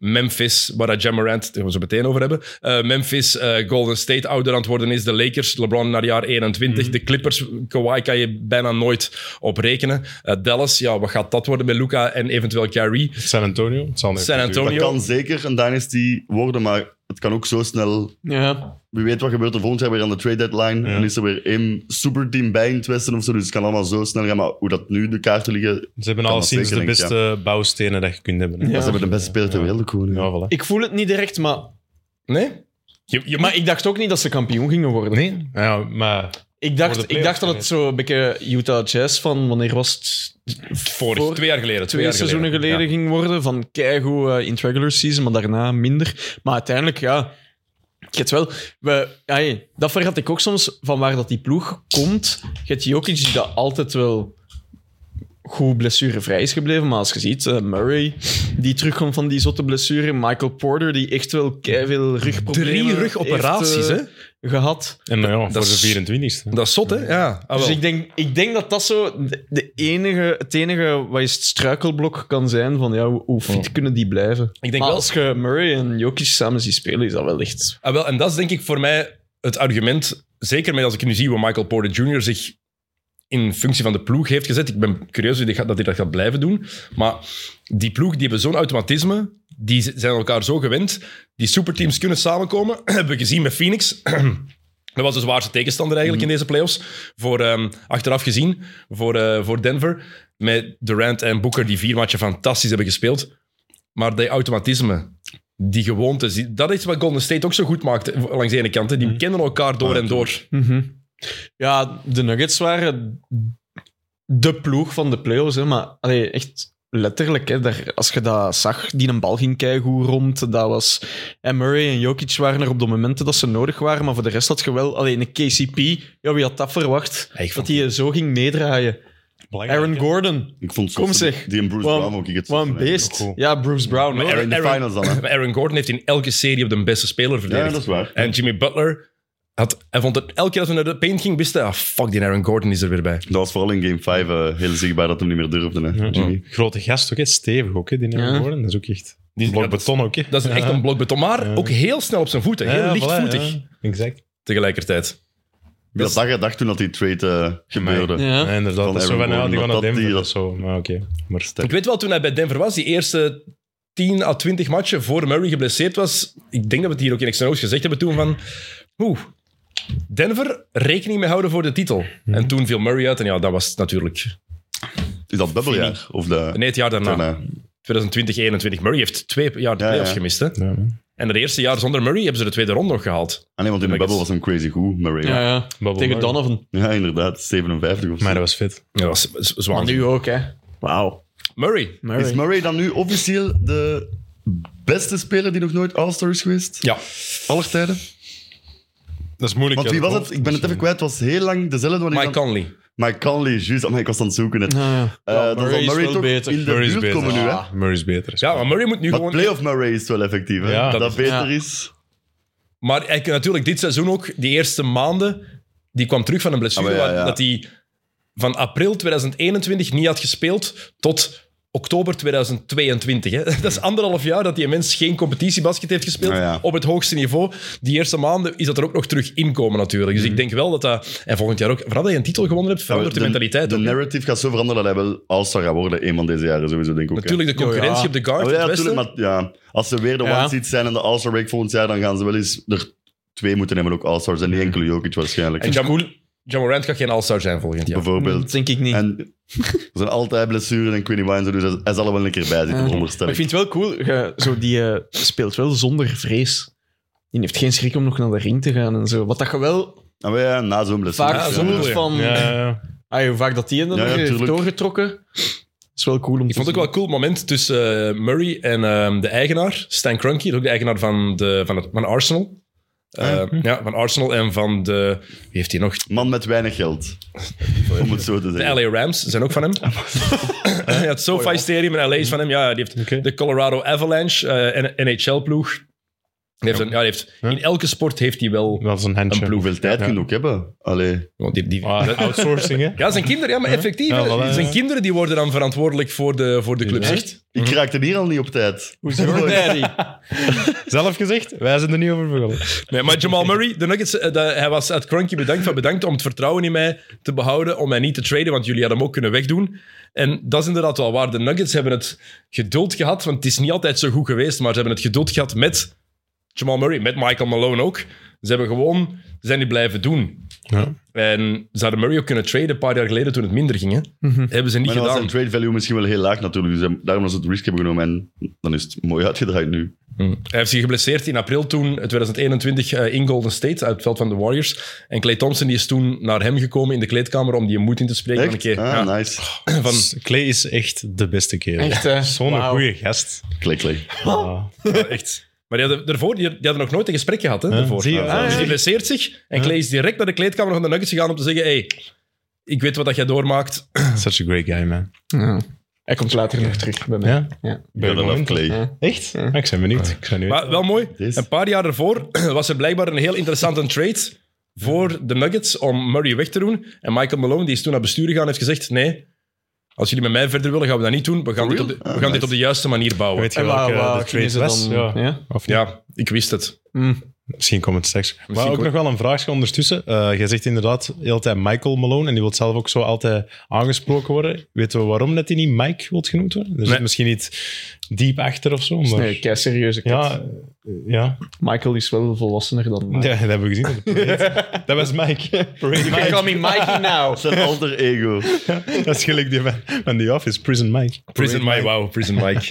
Speaker 1: Memphis, waar dat Jam Morant, daar gaan we zo meteen over hebben. Eh, Memphis, eh, Golden State ouder aan het worden is. De Lakers, LeBron naar jaar 21. De Clippers, Kawhi kan je bijna nooit op rekenen. Eh, Dallas, ja, wat gaat dat worden met Luca en eventueel Kyrie?
Speaker 4: San Antonio. Het zal niet
Speaker 1: San
Speaker 4: natuurlijk.
Speaker 1: Antonio.
Speaker 2: Dat kan zeker een dynasty worden, maar het kan ook zo snel...
Speaker 3: Ja.
Speaker 2: Wie weet wat gebeurt er volgend jaar weer aan de trade deadline.
Speaker 4: Ja.
Speaker 2: En is er weer één superteam bij in het Westen of zo. Dus het kan allemaal zo snel gaan. Maar hoe dat nu de kaarten liggen...
Speaker 4: Ze hebben
Speaker 2: Kan
Speaker 4: al
Speaker 2: dat
Speaker 4: sinds de
Speaker 2: zeker, denk ik,
Speaker 4: beste bouwstenen dat je kunt hebben. hè.
Speaker 3: Ja.
Speaker 2: Dat ze hebben de beste speler ter wereld gewoon.
Speaker 4: Ja,
Speaker 2: Ja.
Speaker 4: voilà.
Speaker 3: Ik voel het niet direct, maar,
Speaker 1: Nee? Je, je
Speaker 3: maar ik dacht ook niet dat ze kampioen gingen worden.
Speaker 4: Nee? Ja, maar
Speaker 3: Ik
Speaker 4: Voor de
Speaker 3: dacht, ik
Speaker 4: playoffs
Speaker 3: dacht dat het zo een beetje Utah Jazz van wanneer was het?
Speaker 1: Vorig,
Speaker 3: Voor-
Speaker 1: twee jaar geleden. Twee,
Speaker 3: twee
Speaker 1: jaar
Speaker 3: seizoenen geleden,
Speaker 1: Ja.
Speaker 3: ging worden. Van keigoed eh, in het regular season, maar daarna minder. Maar uiteindelijk, ja... Ik het wel. We, ai, dat vergat ik ook soms, van waar dat die ploeg komt. Je hebt Jokic, die dat altijd wel goed blessurevrij is gebleven. Maar als je ziet, eh, Murray, die terugkomt van die zotte blessure. Michael Porter, die echt wel veel rugproblemen
Speaker 1: Drie
Speaker 3: heeft,
Speaker 1: rugoperaties,
Speaker 3: eh,
Speaker 1: hè?
Speaker 3: gehad.
Speaker 4: En nou ja, voor
Speaker 1: Dat is-
Speaker 4: de 24ste.
Speaker 1: Dat is zot, hè? Ja. Ah, wel.
Speaker 3: Dus ik denk, ik denk dat dat zo de, de enige, het enige wat is het struikelblok kan zijn van ja, hoe- hoe fit kunnen die blijven.
Speaker 1: Ik denk
Speaker 3: maar
Speaker 1: wel-
Speaker 3: als je Murray en Jokic samen ziet spelen, is dat wel echt...
Speaker 1: Ah, wel, en dat is denk ik voor mij het argument, zeker met als ik nu zie hoe Michael Porter Jr. zich in functie van de ploeg heeft gezet. Ik ben curieus hoe die gaat- dat hij dat gaat blijven doen. Maar die ploeg, die hebben zo'n automatisme, die z- zijn elkaar zo gewend. Die superteams kunnen samenkomen. [CLEARS THROAT] hebben we gezien met Phoenix. [CLEARS THROAT] Dat was de zwaarste tegenstander eigenlijk in deze playoffs. Voor, ehm, achteraf gezien, voor, eh, voor Denver. Met Durant en Booker, die vier matchen fantastisch hebben gespeeld. Maar die automatisme, die gewoontes, die- dat is wat Golden State ook zo goed maakt eh, langs de ene kant. hè.
Speaker 2: Mhm.
Speaker 1: Die kennen elkaar door en door.
Speaker 3: Ja, de Nuggets waren de ploeg van de playoffs, hè, maar allee, echt letterlijk. Hè, daar, als je dat zag, die een bal ging keigoed rond, dat was... En Murray en Jokic waren er op de momenten dat ze nodig waren, maar voor de rest had je wel... Alleen een KCP, ja, wie had dat verwacht?
Speaker 1: Ja, ik
Speaker 3: dat
Speaker 1: vond-
Speaker 3: hij zo ging meedraaien.
Speaker 4: Belangrijk,
Speaker 3: Aaron
Speaker 4: hè?
Speaker 3: Gordon.
Speaker 2: Ik vond
Speaker 3: Kom
Speaker 2: soms
Speaker 3: zeg.
Speaker 2: Die en Bruce
Speaker 3: Wat-
Speaker 2: Brown ook. Ik het
Speaker 3: Wat een
Speaker 2: soms vind ik
Speaker 3: beest.
Speaker 4: ook goed.
Speaker 3: Ja, Bruce Brown.
Speaker 1: Maar
Speaker 3: hoor.
Speaker 2: Oh, in de finals dan, hè?
Speaker 1: Maar Aaron Gordon heeft in elke serie op de beste speler
Speaker 2: ook.
Speaker 1: verdedigd.
Speaker 2: Ja, dat is waar.
Speaker 1: En Jimmy Butler, had, hij vond het, elke keer als hij naar de paint ging, wist hij, ah, fuck, die Aaron Gordon is er weer bij.
Speaker 2: Dat was vooral in game 5 eh, heel zichtbaar dat hem niet meer durfde. Hè, Jimmy.
Speaker 4: Grote gast ook, hè? stevig ook, hè? die
Speaker 3: Ja.
Speaker 4: Aaron Gordon. Dat is ook echt...
Speaker 1: Die-
Speaker 4: Die blok
Speaker 1: dat-
Speaker 4: beton ook, hè?
Speaker 1: Dat is echt een blok beton, maar
Speaker 4: Ja.
Speaker 1: ook heel snel op zijn voeten. Heel
Speaker 4: Ja,
Speaker 1: lichtvoetig
Speaker 4: voilà, ja. Exact.
Speaker 1: tegelijkertijd.
Speaker 2: Wie
Speaker 3: Dus-
Speaker 2: had dat gedacht toen dat die trade eh, gebeurde?
Speaker 3: Ja.
Speaker 4: Ja, inderdaad.
Speaker 2: Van
Speaker 4: dat is zo
Speaker 2: Aaron
Speaker 4: van, ja,
Speaker 2: Gordon,
Speaker 4: die gaan
Speaker 2: dat
Speaker 4: naar
Speaker 2: dat
Speaker 4: Denver.
Speaker 2: die-
Speaker 4: dat is zo. Maar oké. Maar sterk.
Speaker 1: Ik weet wel, toen hij bij Denver was, die eerste 10 à 20 matchen voor Murray geblesseerd was, ik denk dat we het hier ook in Extra Notes gezegd hebben toen van, oeh, Denver rekening mee houden voor de titel.
Speaker 2: Mhm.
Speaker 1: En toen viel Murray uit en ja, dat was natuurlijk
Speaker 2: Is dat bubbeljaar? Of de...
Speaker 1: nee, het jaar daarna.
Speaker 2: daarna?
Speaker 1: 2020-21. Murray heeft twee jaar de
Speaker 2: Ja,
Speaker 1: playoffs
Speaker 2: ja.
Speaker 1: gemist. Hè?
Speaker 4: Ja, man.
Speaker 1: En het eerste jaar zonder Murray hebben ze de tweede ronde nog gehaald.
Speaker 2: Ah nee, want in de
Speaker 1: Nuggets.
Speaker 2: bubbel was hem crazy goed, Murray.
Speaker 3: Ja,
Speaker 2: Ja,
Speaker 3: ja.
Speaker 4: Bubble
Speaker 3: Tegen
Speaker 4: Murray.
Speaker 3: Donovan.
Speaker 2: inderdaad. 57 of zo.
Speaker 4: Maar dat was fit.
Speaker 1: Ja, Dat was z- zwaar.
Speaker 3: Maar nu ook, hè. Wauw.
Speaker 1: Murray.
Speaker 2: Is Murray dan nu officieel de beste speler die nog nooit All-Star is geweest?
Speaker 1: Ja,
Speaker 2: Aller tijden?
Speaker 4: Dat is moeilijk.
Speaker 2: Want wie was het? Ik ben het even kwijt. Het was heel lang dezelfde. wanneer
Speaker 1: Mike
Speaker 2: dan-
Speaker 1: Conley.
Speaker 2: Mike Conley, juist. Amai, Ik was aan het zoeken. net. Eh,
Speaker 3: Ja,
Speaker 2: dan zal
Speaker 3: Murray is
Speaker 2: Murray
Speaker 3: wel
Speaker 2: toch
Speaker 3: beter.
Speaker 2: in de
Speaker 4: Murray is
Speaker 2: buurt
Speaker 4: beter.
Speaker 2: komen nu, hè?
Speaker 3: Ah.
Speaker 4: Murray is beter.
Speaker 1: Ja, maar Murray moet nu
Speaker 2: Maar
Speaker 1: gewoon...
Speaker 2: playoff Murray is wel effectief, hè?
Speaker 4: Ja,
Speaker 2: dat,
Speaker 4: dat is-
Speaker 2: beter
Speaker 3: ja.
Speaker 2: is.
Speaker 1: Maar hij, natuurlijk, dit seizoen ook, die eerste maanden, die kwam terug van een blessure.
Speaker 2: Ah, maar ja,
Speaker 1: waar-
Speaker 2: ja.
Speaker 1: Dat hij van april 2021 niet had gespeeld tot oktober 2022. Hè. [LAUGHS] Dat is anderhalf jaar dat die mens geen competitiebasket heeft gespeeld.
Speaker 2: Nou ja.
Speaker 1: Op het hoogste niveau. Die eerste maanden is dat er ook nog terug inkomen natuurlijk. Dus ik denk wel dat dat... En volgend jaar ook. Vooral dat je een titel gewonnen hebt, verandert de, mentaliteit
Speaker 2: Mhm. De
Speaker 1: ook, hè.
Speaker 2: narrative gaat zo veranderen dat hij wel All-Star gaat worden. Een van deze jaren sowieso, denk ik ook. hè.
Speaker 1: Natuurlijk, de concurrentie
Speaker 3: Ja, ja.
Speaker 1: op de guard,
Speaker 2: Oh, ja,
Speaker 1: het westen.
Speaker 2: natuurlijk. Maar ja, als ze weer de
Speaker 3: Ja.
Speaker 2: one-seed zijn en de All-Star break volgend jaar, dan gaan ze wel eens er twee moeten hebben, ook All-Stars. En niet enkele Jokic waarschijnlijk.
Speaker 1: En Jam, Jam Morant gaat geen all-star zijn volgend jaar.
Speaker 2: [LAUGHS]
Speaker 3: Dat
Speaker 2: Bijvoorbeeld.
Speaker 3: denk ik niet.
Speaker 2: En er zijn altijd blessuren en Quinny Wine, dus hij- hij zal er wel een keer bij zitten,
Speaker 3: Ja.
Speaker 2: veronderstel
Speaker 3: Maar ik
Speaker 2: ik.
Speaker 3: vind het wel cool. je- zo, die eh, speelt wel zonder vrees. Die heeft geen schrik om nog naar de ring te gaan en zo. Wat dat je wel
Speaker 2: Ah, maar ja, na zo'n blessure.
Speaker 3: vaak
Speaker 1: Ja, zo bedoel
Speaker 3: voelt
Speaker 1: je.
Speaker 3: van...
Speaker 4: Ja, ja, ja.
Speaker 3: Ah, hoe vaak dat die dan
Speaker 2: Ja, ja,
Speaker 3: heeft
Speaker 2: tuurlijk.
Speaker 3: doorgetrokken. is wel cool om
Speaker 1: Ik vond ook wel een cool moment tussen eh, Murray en ehm, de eigenaar, Stan Kroenke, dat is ook de eigenaar van, de, van, het, van Arsenal.
Speaker 4: Ah,
Speaker 1: Eh, Ja, van Arsenal en van de... Wie heeft hij nog?
Speaker 2: Man met weinig geld. Om het zo te
Speaker 1: De
Speaker 2: zeggen.
Speaker 1: LA Rams zijn ook van hem.
Speaker 4: Ah,
Speaker 1: [LAUGHS] ja, het SoFi Stadium in LA is van hem. Ja, die heeft
Speaker 4: Oh, Oké.
Speaker 1: de Colorado Avalanche, eh, NHL-ploeg. Die heeft een, ja, die heeft,
Speaker 4: Ja.
Speaker 1: In elke sport heeft hij wel...
Speaker 4: Wel zijn handje.
Speaker 1: Een ploeg.
Speaker 2: Hoeveel tijd
Speaker 4: Ja.
Speaker 2: kun je ook hebben? Allee.
Speaker 1: want die- die-
Speaker 4: Ah,
Speaker 1: dat-
Speaker 4: outsourcing, hè?
Speaker 1: [LAUGHS] ja, zijn kinderen, ja, maar effectief.
Speaker 4: Ja,
Speaker 1: hè.
Speaker 4: wel, hè.
Speaker 1: zijn kinderen die worden dan verantwoordelijk voor de, voor de clubs.
Speaker 4: Ja.
Speaker 1: Echt?
Speaker 2: Ik raakte hier al niet op tijd.
Speaker 3: Hoezo? Daddy.
Speaker 4: Zelf gezegd, wij zijn er niet over begonnen.
Speaker 1: Nee, maar Jamal Murray, de Nuggets, eh, dat- hij was uit Cranky bedankt van bedankt om het vertrouwen in mij te behouden, om mij niet te traden, want jullie hadden hem ook kunnen wegdoen. En dat is inderdaad wel waar. De Nuggets hebben het geduld gehad, want het is niet altijd zo goed geweest, maar ze hebben het geduld gehad met Jamal Murray, met Michael Malone ook. Ze hebben gewoon, ze zijn die blijven doen.
Speaker 4: Ja.
Speaker 1: En ze hadden Murray ook kunnen traden een paar jaar geleden toen het minder ging. Hè? Hebben ze niet
Speaker 2: Maar dan was
Speaker 1: gedaan.
Speaker 2: zijn trade value misschien wel heel laag natuurlijk. Dus hij- daarom was het risk hebben genomen en dan is het mooi uitgedraaid nu.
Speaker 4: Mm.
Speaker 1: Hij heeft zich geblesseerd in april toen, eh, 2021, eh, in Golden State, uit het veld van de Warriors. En Clay Thompson die is toen naar hem gekomen in de kleedkamer om die moed in te spreken. Van,
Speaker 2: Echt?
Speaker 1: oké, ja,
Speaker 2: Ah, nice.
Speaker 1: van,
Speaker 4: Clay is echt de beste kerel.
Speaker 3: Echt, hè?
Speaker 4: [LAUGHS] Zo'n
Speaker 3: Wauw.
Speaker 4: goede gast.
Speaker 2: Klik, klik.
Speaker 4: Ah.
Speaker 1: ja, echt. Maar die hadden, daarvoor, die, die hadden nog nooit een gesprek gehad. Hè, daarvoor.
Speaker 4: zie je?
Speaker 1: Dus
Speaker 4: Ah, ja.
Speaker 1: die blesseert zich en Clay is direct naar de kleedkamer van de Nuggets gegaan om te zeggen hey, ik weet wat dat jij doormaakt.
Speaker 4: Such a great guy, man.
Speaker 3: Hij komt later nog terug bij mij.
Speaker 4: Ja?
Speaker 3: Ja.
Speaker 2: Ja,
Speaker 4: Bij
Speaker 2: dan af, Clay.
Speaker 4: Echt? Ah, ik ben benieuwd. Ik ben benieuwd.
Speaker 1: Maar wel mooi.
Speaker 2: Dit is-
Speaker 1: Een paar jaar daarvoor [CLEARS THROAT] was er blijkbaar een heel interessante trade voor de Nuggets om Murray weg te doen. En Michael Malone, die is toen naar bestuur gegaan, heeft gezegd: Nee, als jullie met mij verder willen, gaan we dat niet doen. We gaan, dit op
Speaker 2: real?
Speaker 1: de, we
Speaker 2: Ah,
Speaker 1: gaan dit
Speaker 2: nice.
Speaker 1: op de juiste manier bouwen.
Speaker 4: Weet je
Speaker 3: En
Speaker 4: welke
Speaker 3: waar,
Speaker 4: eh, de
Speaker 3: waar gingen
Speaker 4: trade
Speaker 3: ze
Speaker 4: was?
Speaker 3: dan?
Speaker 4: Ja.
Speaker 3: Ja?
Speaker 4: Of niet?
Speaker 1: Ja, ik wist het.
Speaker 3: Mm.
Speaker 4: Misschien komt het straks. maar ook
Speaker 1: komt-
Speaker 4: nog wel een vraagje ondertussen. Eh, jij zegt inderdaad de hele tijd Michael Malone en die wil zelf ook zo altijd aangesproken worden. Weten we waarom dat hij niet Mike wilt genoemd worden? Er zit
Speaker 1: Nee.
Speaker 4: misschien iets diep achter of zo. Maar...
Speaker 3: Nee, kei serieuze kat.
Speaker 4: ja, eh, ja.
Speaker 3: Michael is wel volwassener dan Mike.
Speaker 4: ja, dat hebben we gezien. op de parade. dat was Mike. Parade
Speaker 3: You can
Speaker 4: Mike.
Speaker 3: call me Mikey nou. [LAUGHS] now.
Speaker 2: Zijn alter ego.
Speaker 4: Dat is gelijk die van, van The Office, Prison Mike.
Speaker 1: Prison Mike, wauw, Prison Mike.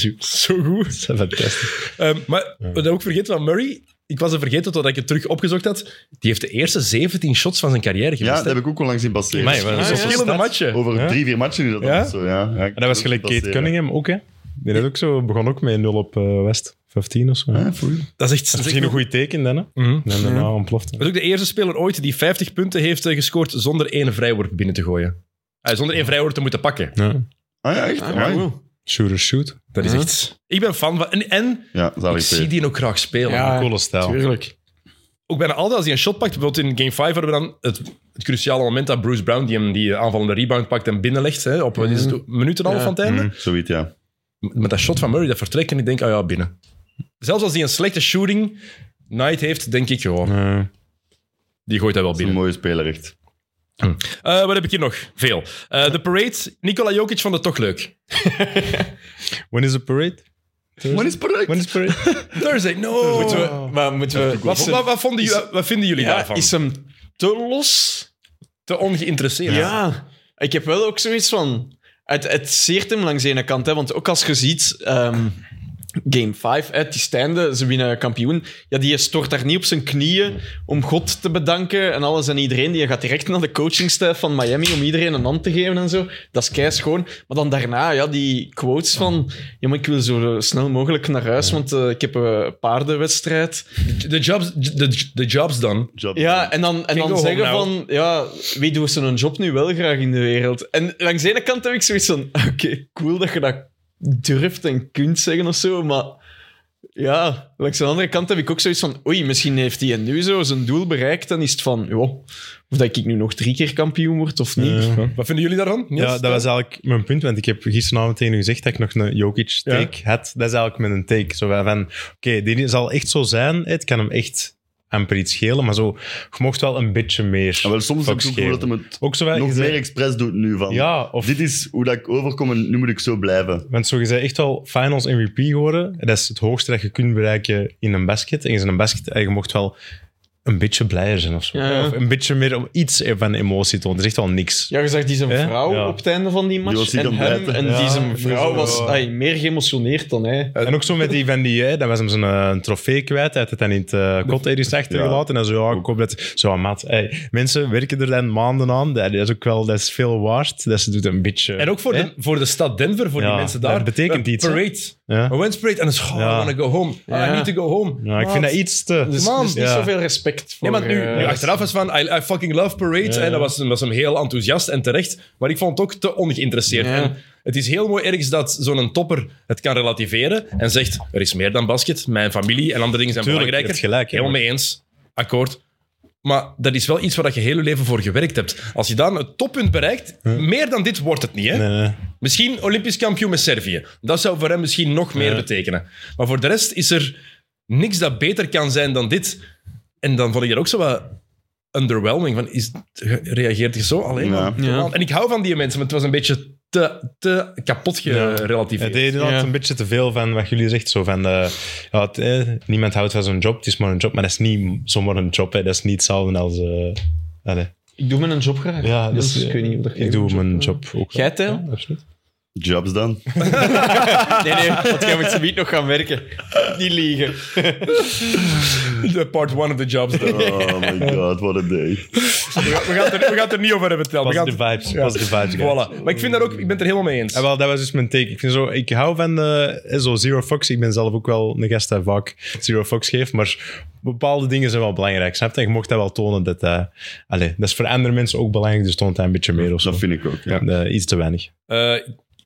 Speaker 1: [LAUGHS] Zo goed.
Speaker 4: Dat is fantastisch.
Speaker 1: Ehm, maar wat ik ook vergeten van Murray. Ik was er vergeten totdat ik het terug opgezocht had. Die heeft de eerste 17 shots van zijn carrière
Speaker 2: Ja,
Speaker 1: gemist.
Speaker 2: dat
Speaker 1: hè.
Speaker 2: heb ik ook onlangs zien passeren.
Speaker 4: Amai, wat een zotte
Speaker 1: Verschillende
Speaker 4: start.
Speaker 1: matchen.
Speaker 2: Over
Speaker 4: Ja?
Speaker 2: drie, vier matchen nu dat
Speaker 1: Ja?
Speaker 2: ja? zo, ja. ja ik
Speaker 4: Maar dat was gelijk Kate
Speaker 2: passeren.
Speaker 4: Cunningham ook, hè? Die had ook zo, begon ook met 0 op eh, West 15 of zo.
Speaker 2: Ah, Ja, voor u.
Speaker 1: Dat is echt...
Speaker 4: Dat is misschien een goed teken, dan, hè?
Speaker 1: Mhm.
Speaker 4: En daarna ontploft.
Speaker 1: Dat is ook de eerste speler ooit die 50 punten heeft eh, gescoord zonder één vrijworp binnen te gooien. Eh, zonder één vrijworp te moeten pakken.
Speaker 4: Ja.
Speaker 2: Ah ja, echt? Amai.
Speaker 4: Shooter shoot.
Speaker 1: Dat is
Speaker 3: Ja.
Speaker 1: echt... Ik ben fan van... En, en
Speaker 2: Ja,
Speaker 1: ik
Speaker 2: zalig
Speaker 1: zie
Speaker 2: twee.
Speaker 1: die ook graag spelen.
Speaker 3: Ja.
Speaker 4: Coole stijl.
Speaker 3: Tuurlijk.
Speaker 1: Ook bijna altijd als hij een shot pakt. Bijvoorbeeld in Game 5 hadden we dan het, het cruciale moment dat Bruce Brown die hem die eh, aanvallende rebound pakt en binnenlegt. Hè, op wat is het, een minuut en een half
Speaker 3: Ja.
Speaker 1: van het einde.
Speaker 2: Zoiets, Mhm. ja. Mhm.
Speaker 1: Met dat shot van Murray, dat vertrekt en ik denk, ah ja, binnen. Zelfs als hij een slechte shooting night heeft, denk ik gewoon,
Speaker 4: Eh,
Speaker 1: die gooit hij wel
Speaker 2: Dat is een
Speaker 1: binnen.
Speaker 2: mooie speler, echt.
Speaker 1: Eh, wat heb ik hier nog? Veel. Eh, de parade, Nikola Jokic vond het toch leuk.
Speaker 4: when is the parade?
Speaker 2: Wat is perfect?
Speaker 4: When is
Speaker 2: [LAUGHS]
Speaker 4: parade?
Speaker 1: Thursday, no.
Speaker 3: Moeten we, maar moeten we...
Speaker 1: Wat,
Speaker 3: Is
Speaker 1: wat,
Speaker 3: hem,
Speaker 1: wat, vonden, jullie- wat vinden jullie
Speaker 3: ja,
Speaker 1: daarvan?
Speaker 3: is hem te los?
Speaker 1: Te ongeïnteresseerd.
Speaker 3: Ja. Ik heb wel ook zoiets van... Het, het zeert hem langs de ene kant, hè, want ook als je ziet... ehm, Game 5, hè, die stijnde, ze winnen kampioen. Ja, die stort daar niet op zijn knieën om God te bedanken en alles en iedereen. Die gaat direct naar de coachingstaf van Miami om iedereen een hand te geven en zo. Dat is kei schoon. Maar dan daarna, ja, die quotes van... Ja, maar ik wil zo snel mogelijk naar huis, want eh, ik heb een paardenwedstrijd.
Speaker 1: De jobs, de, de jobs dan.
Speaker 2: Job.
Speaker 3: Ja, en dan, en
Speaker 1: Can
Speaker 3: dan
Speaker 1: go
Speaker 3: zeggen
Speaker 1: home
Speaker 3: van, ja, wie doet zijn job nu wel graag in de wereld? En langs de ene kant heb ik zoiets van, [LAUGHS] oké, cool dat je dat durft en kunt zeggen of zo, maar ja, langs de andere kant heb ik ook zoiets van, oei, misschien heeft hij nu zo zijn doel bereikt, dan is het van, joh, of dat ik nu nog drie keer kampioen word of niet.
Speaker 4: Eh,
Speaker 1: Wat vinden jullie daarvan? Niels?
Speaker 4: ja, dat was eigenlijk mijn punt, want ik heb gisteravond tegen u gezegd dat ik nog een Jokic-take had. Dat is eigenlijk mijn take. Zo van, oké, die zal echt zo zijn. Het kan hem echt amper iets schelen, maar zo, je mocht wel een beetje meer.
Speaker 2: En wel, soms heb
Speaker 4: fucks
Speaker 2: ik ook
Speaker 4: geven.
Speaker 2: gevoel dat hem het
Speaker 4: Ook zo van, je
Speaker 2: nog
Speaker 4: zei-
Speaker 2: meer expres doet nu. Van.
Speaker 4: Ja, of
Speaker 2: Dit is hoe dat ik overkom en nu moet ik zo blijven.
Speaker 4: Want zo, je bent echt wel finals MVP geworden. Dat is het hoogste dat je kunt bereiken in een basket. En je bent een basket en je mocht wel een beetje blijer zijn of zo.
Speaker 3: Ja, ja.
Speaker 4: Of een beetje meer om iets van emotie te tonen. Dat is echt wel niks.
Speaker 3: Ja, je zag die zijn
Speaker 4: Eh?
Speaker 3: vrouw
Speaker 4: Ja.
Speaker 3: op het einde van die
Speaker 2: Die
Speaker 3: match.
Speaker 2: was niet
Speaker 3: en
Speaker 2: aan
Speaker 3: hem
Speaker 2: blijven.
Speaker 3: en
Speaker 4: Ja,
Speaker 3: die zijn
Speaker 4: dus,
Speaker 3: vrouw was
Speaker 4: eh,
Speaker 3: ai, meer geëmotioneerd dan hij.
Speaker 4: En ook zo met die van die, hè, dat was hem zijn eh, trofee kwijt. Hij had het dan in het eh, kot ergens achtergelaten. En zo, ja, ik hoop dat... Zo, ah, maat. hey, mensen werken er dan maanden aan. Dat is ook wel, dat is veel waard. Dat ze doet een beetje...
Speaker 1: En ook voor,
Speaker 4: hè?
Speaker 1: de, voor de stad Denver, voor
Speaker 4: Ja,
Speaker 1: die mensen
Speaker 4: dat
Speaker 1: daar.
Speaker 4: betekent
Speaker 1: Een
Speaker 4: iets, hè?
Speaker 1: Parade.
Speaker 4: Ja.
Speaker 1: Een wins parade. En dan is gewoon, I
Speaker 4: Ja.
Speaker 1: wanna go home. I
Speaker 3: Ja.
Speaker 1: need to go home.
Speaker 4: Ja, ik vind dat iets te...
Speaker 3: Dus,
Speaker 1: Man,
Speaker 3: dus niet
Speaker 4: ja.
Speaker 3: zoveel respect voor...
Speaker 1: Nee, maar nu,
Speaker 3: eh,
Speaker 1: nu achteraf is van, I, I fucking love parades. En dat was, dat was hem heel enthousiast en terecht. Maar ik vond het ook te ongeïnteresseerd.
Speaker 3: Ja.
Speaker 1: En het is heel mooi ergens dat zo'n topper het kan relativeren. En zegt, er is meer dan basket. Mijn familie en andere dingen zijn
Speaker 4: Tuurlijk, je hebt
Speaker 1: belangrijker.
Speaker 4: gelijk, hè.
Speaker 1: Helemaal mee eens. Akkoord. Maar dat is wel iets waar je heel je leven voor gewerkt hebt. Als je dan het toppunt bereikt, meer dan dit wordt het niet. Hè?
Speaker 4: Nee, nee.
Speaker 1: Misschien Olympisch kampioen met Servië. Dat zou voor hem misschien nog meer betekenen. Maar voor de rest is er niks dat beter kan zijn dan dit. En dan vond ik dat ook zo wat underwhelming. Van, is, reageert je zo alleen
Speaker 2: Ja.
Speaker 1: maar?
Speaker 3: Ja.
Speaker 1: En ik hou van die mensen, maar het was een beetje te, te kapot
Speaker 4: Ja.
Speaker 1: gerelativeerd.
Speaker 4: Het deed inderdaad
Speaker 3: Ja.
Speaker 4: een beetje te veel van wat jullie zegt. Zo van, eh, ja, het, eh, niemand houdt van zo'n job, het is maar een job. Maar dat is niet zomaar een job, hè. dat is niet hetzelfde als... eh, allee.
Speaker 3: Ik doe mijn job graag.
Speaker 4: Ja,
Speaker 3: dus,
Speaker 4: dus,
Speaker 3: ik weet niet of dat jij
Speaker 4: Ik doe
Speaker 3: een
Speaker 4: mijn
Speaker 3: doet.
Speaker 4: job ook.
Speaker 3: Jij, Tijl? [LAUGHS]
Speaker 4: Ja, absoluut.
Speaker 2: Jobs
Speaker 4: [LAUGHS]
Speaker 2: dan.
Speaker 3: Nee, nee, Ah, want jij moet niet nog gaan werken. Niet liegen.
Speaker 1: [LAUGHS] De part one of the jobs. though.
Speaker 2: Oh my god, what a day.
Speaker 1: we, gaan, we, gaan er, we gaan er niet over hebben, Tel. We gaan-
Speaker 4: Positive vibes,
Speaker 1: Ja.
Speaker 4: positive vibes. guys.
Speaker 1: Voilà. Maar ik vind dat ook, ik ben het er helemaal mee eens.
Speaker 4: Ja, wel, dat was dus mijn take. Ik, vind zo, ik hou van eh, zo Zero Fox. Ik ben zelf ook wel een gast die vaak Zero Fox geeft. Maar bepaalde dingen zijn wel belangrijk. Snap je? Je mocht dat wel tonen. Dat, eh, allee, dat is voor andere mensen ook belangrijk. Dus toont dat een beetje meer of zo.
Speaker 2: Dat vind ik ook, ja.
Speaker 4: Eh, iets te weinig.
Speaker 1: Eh,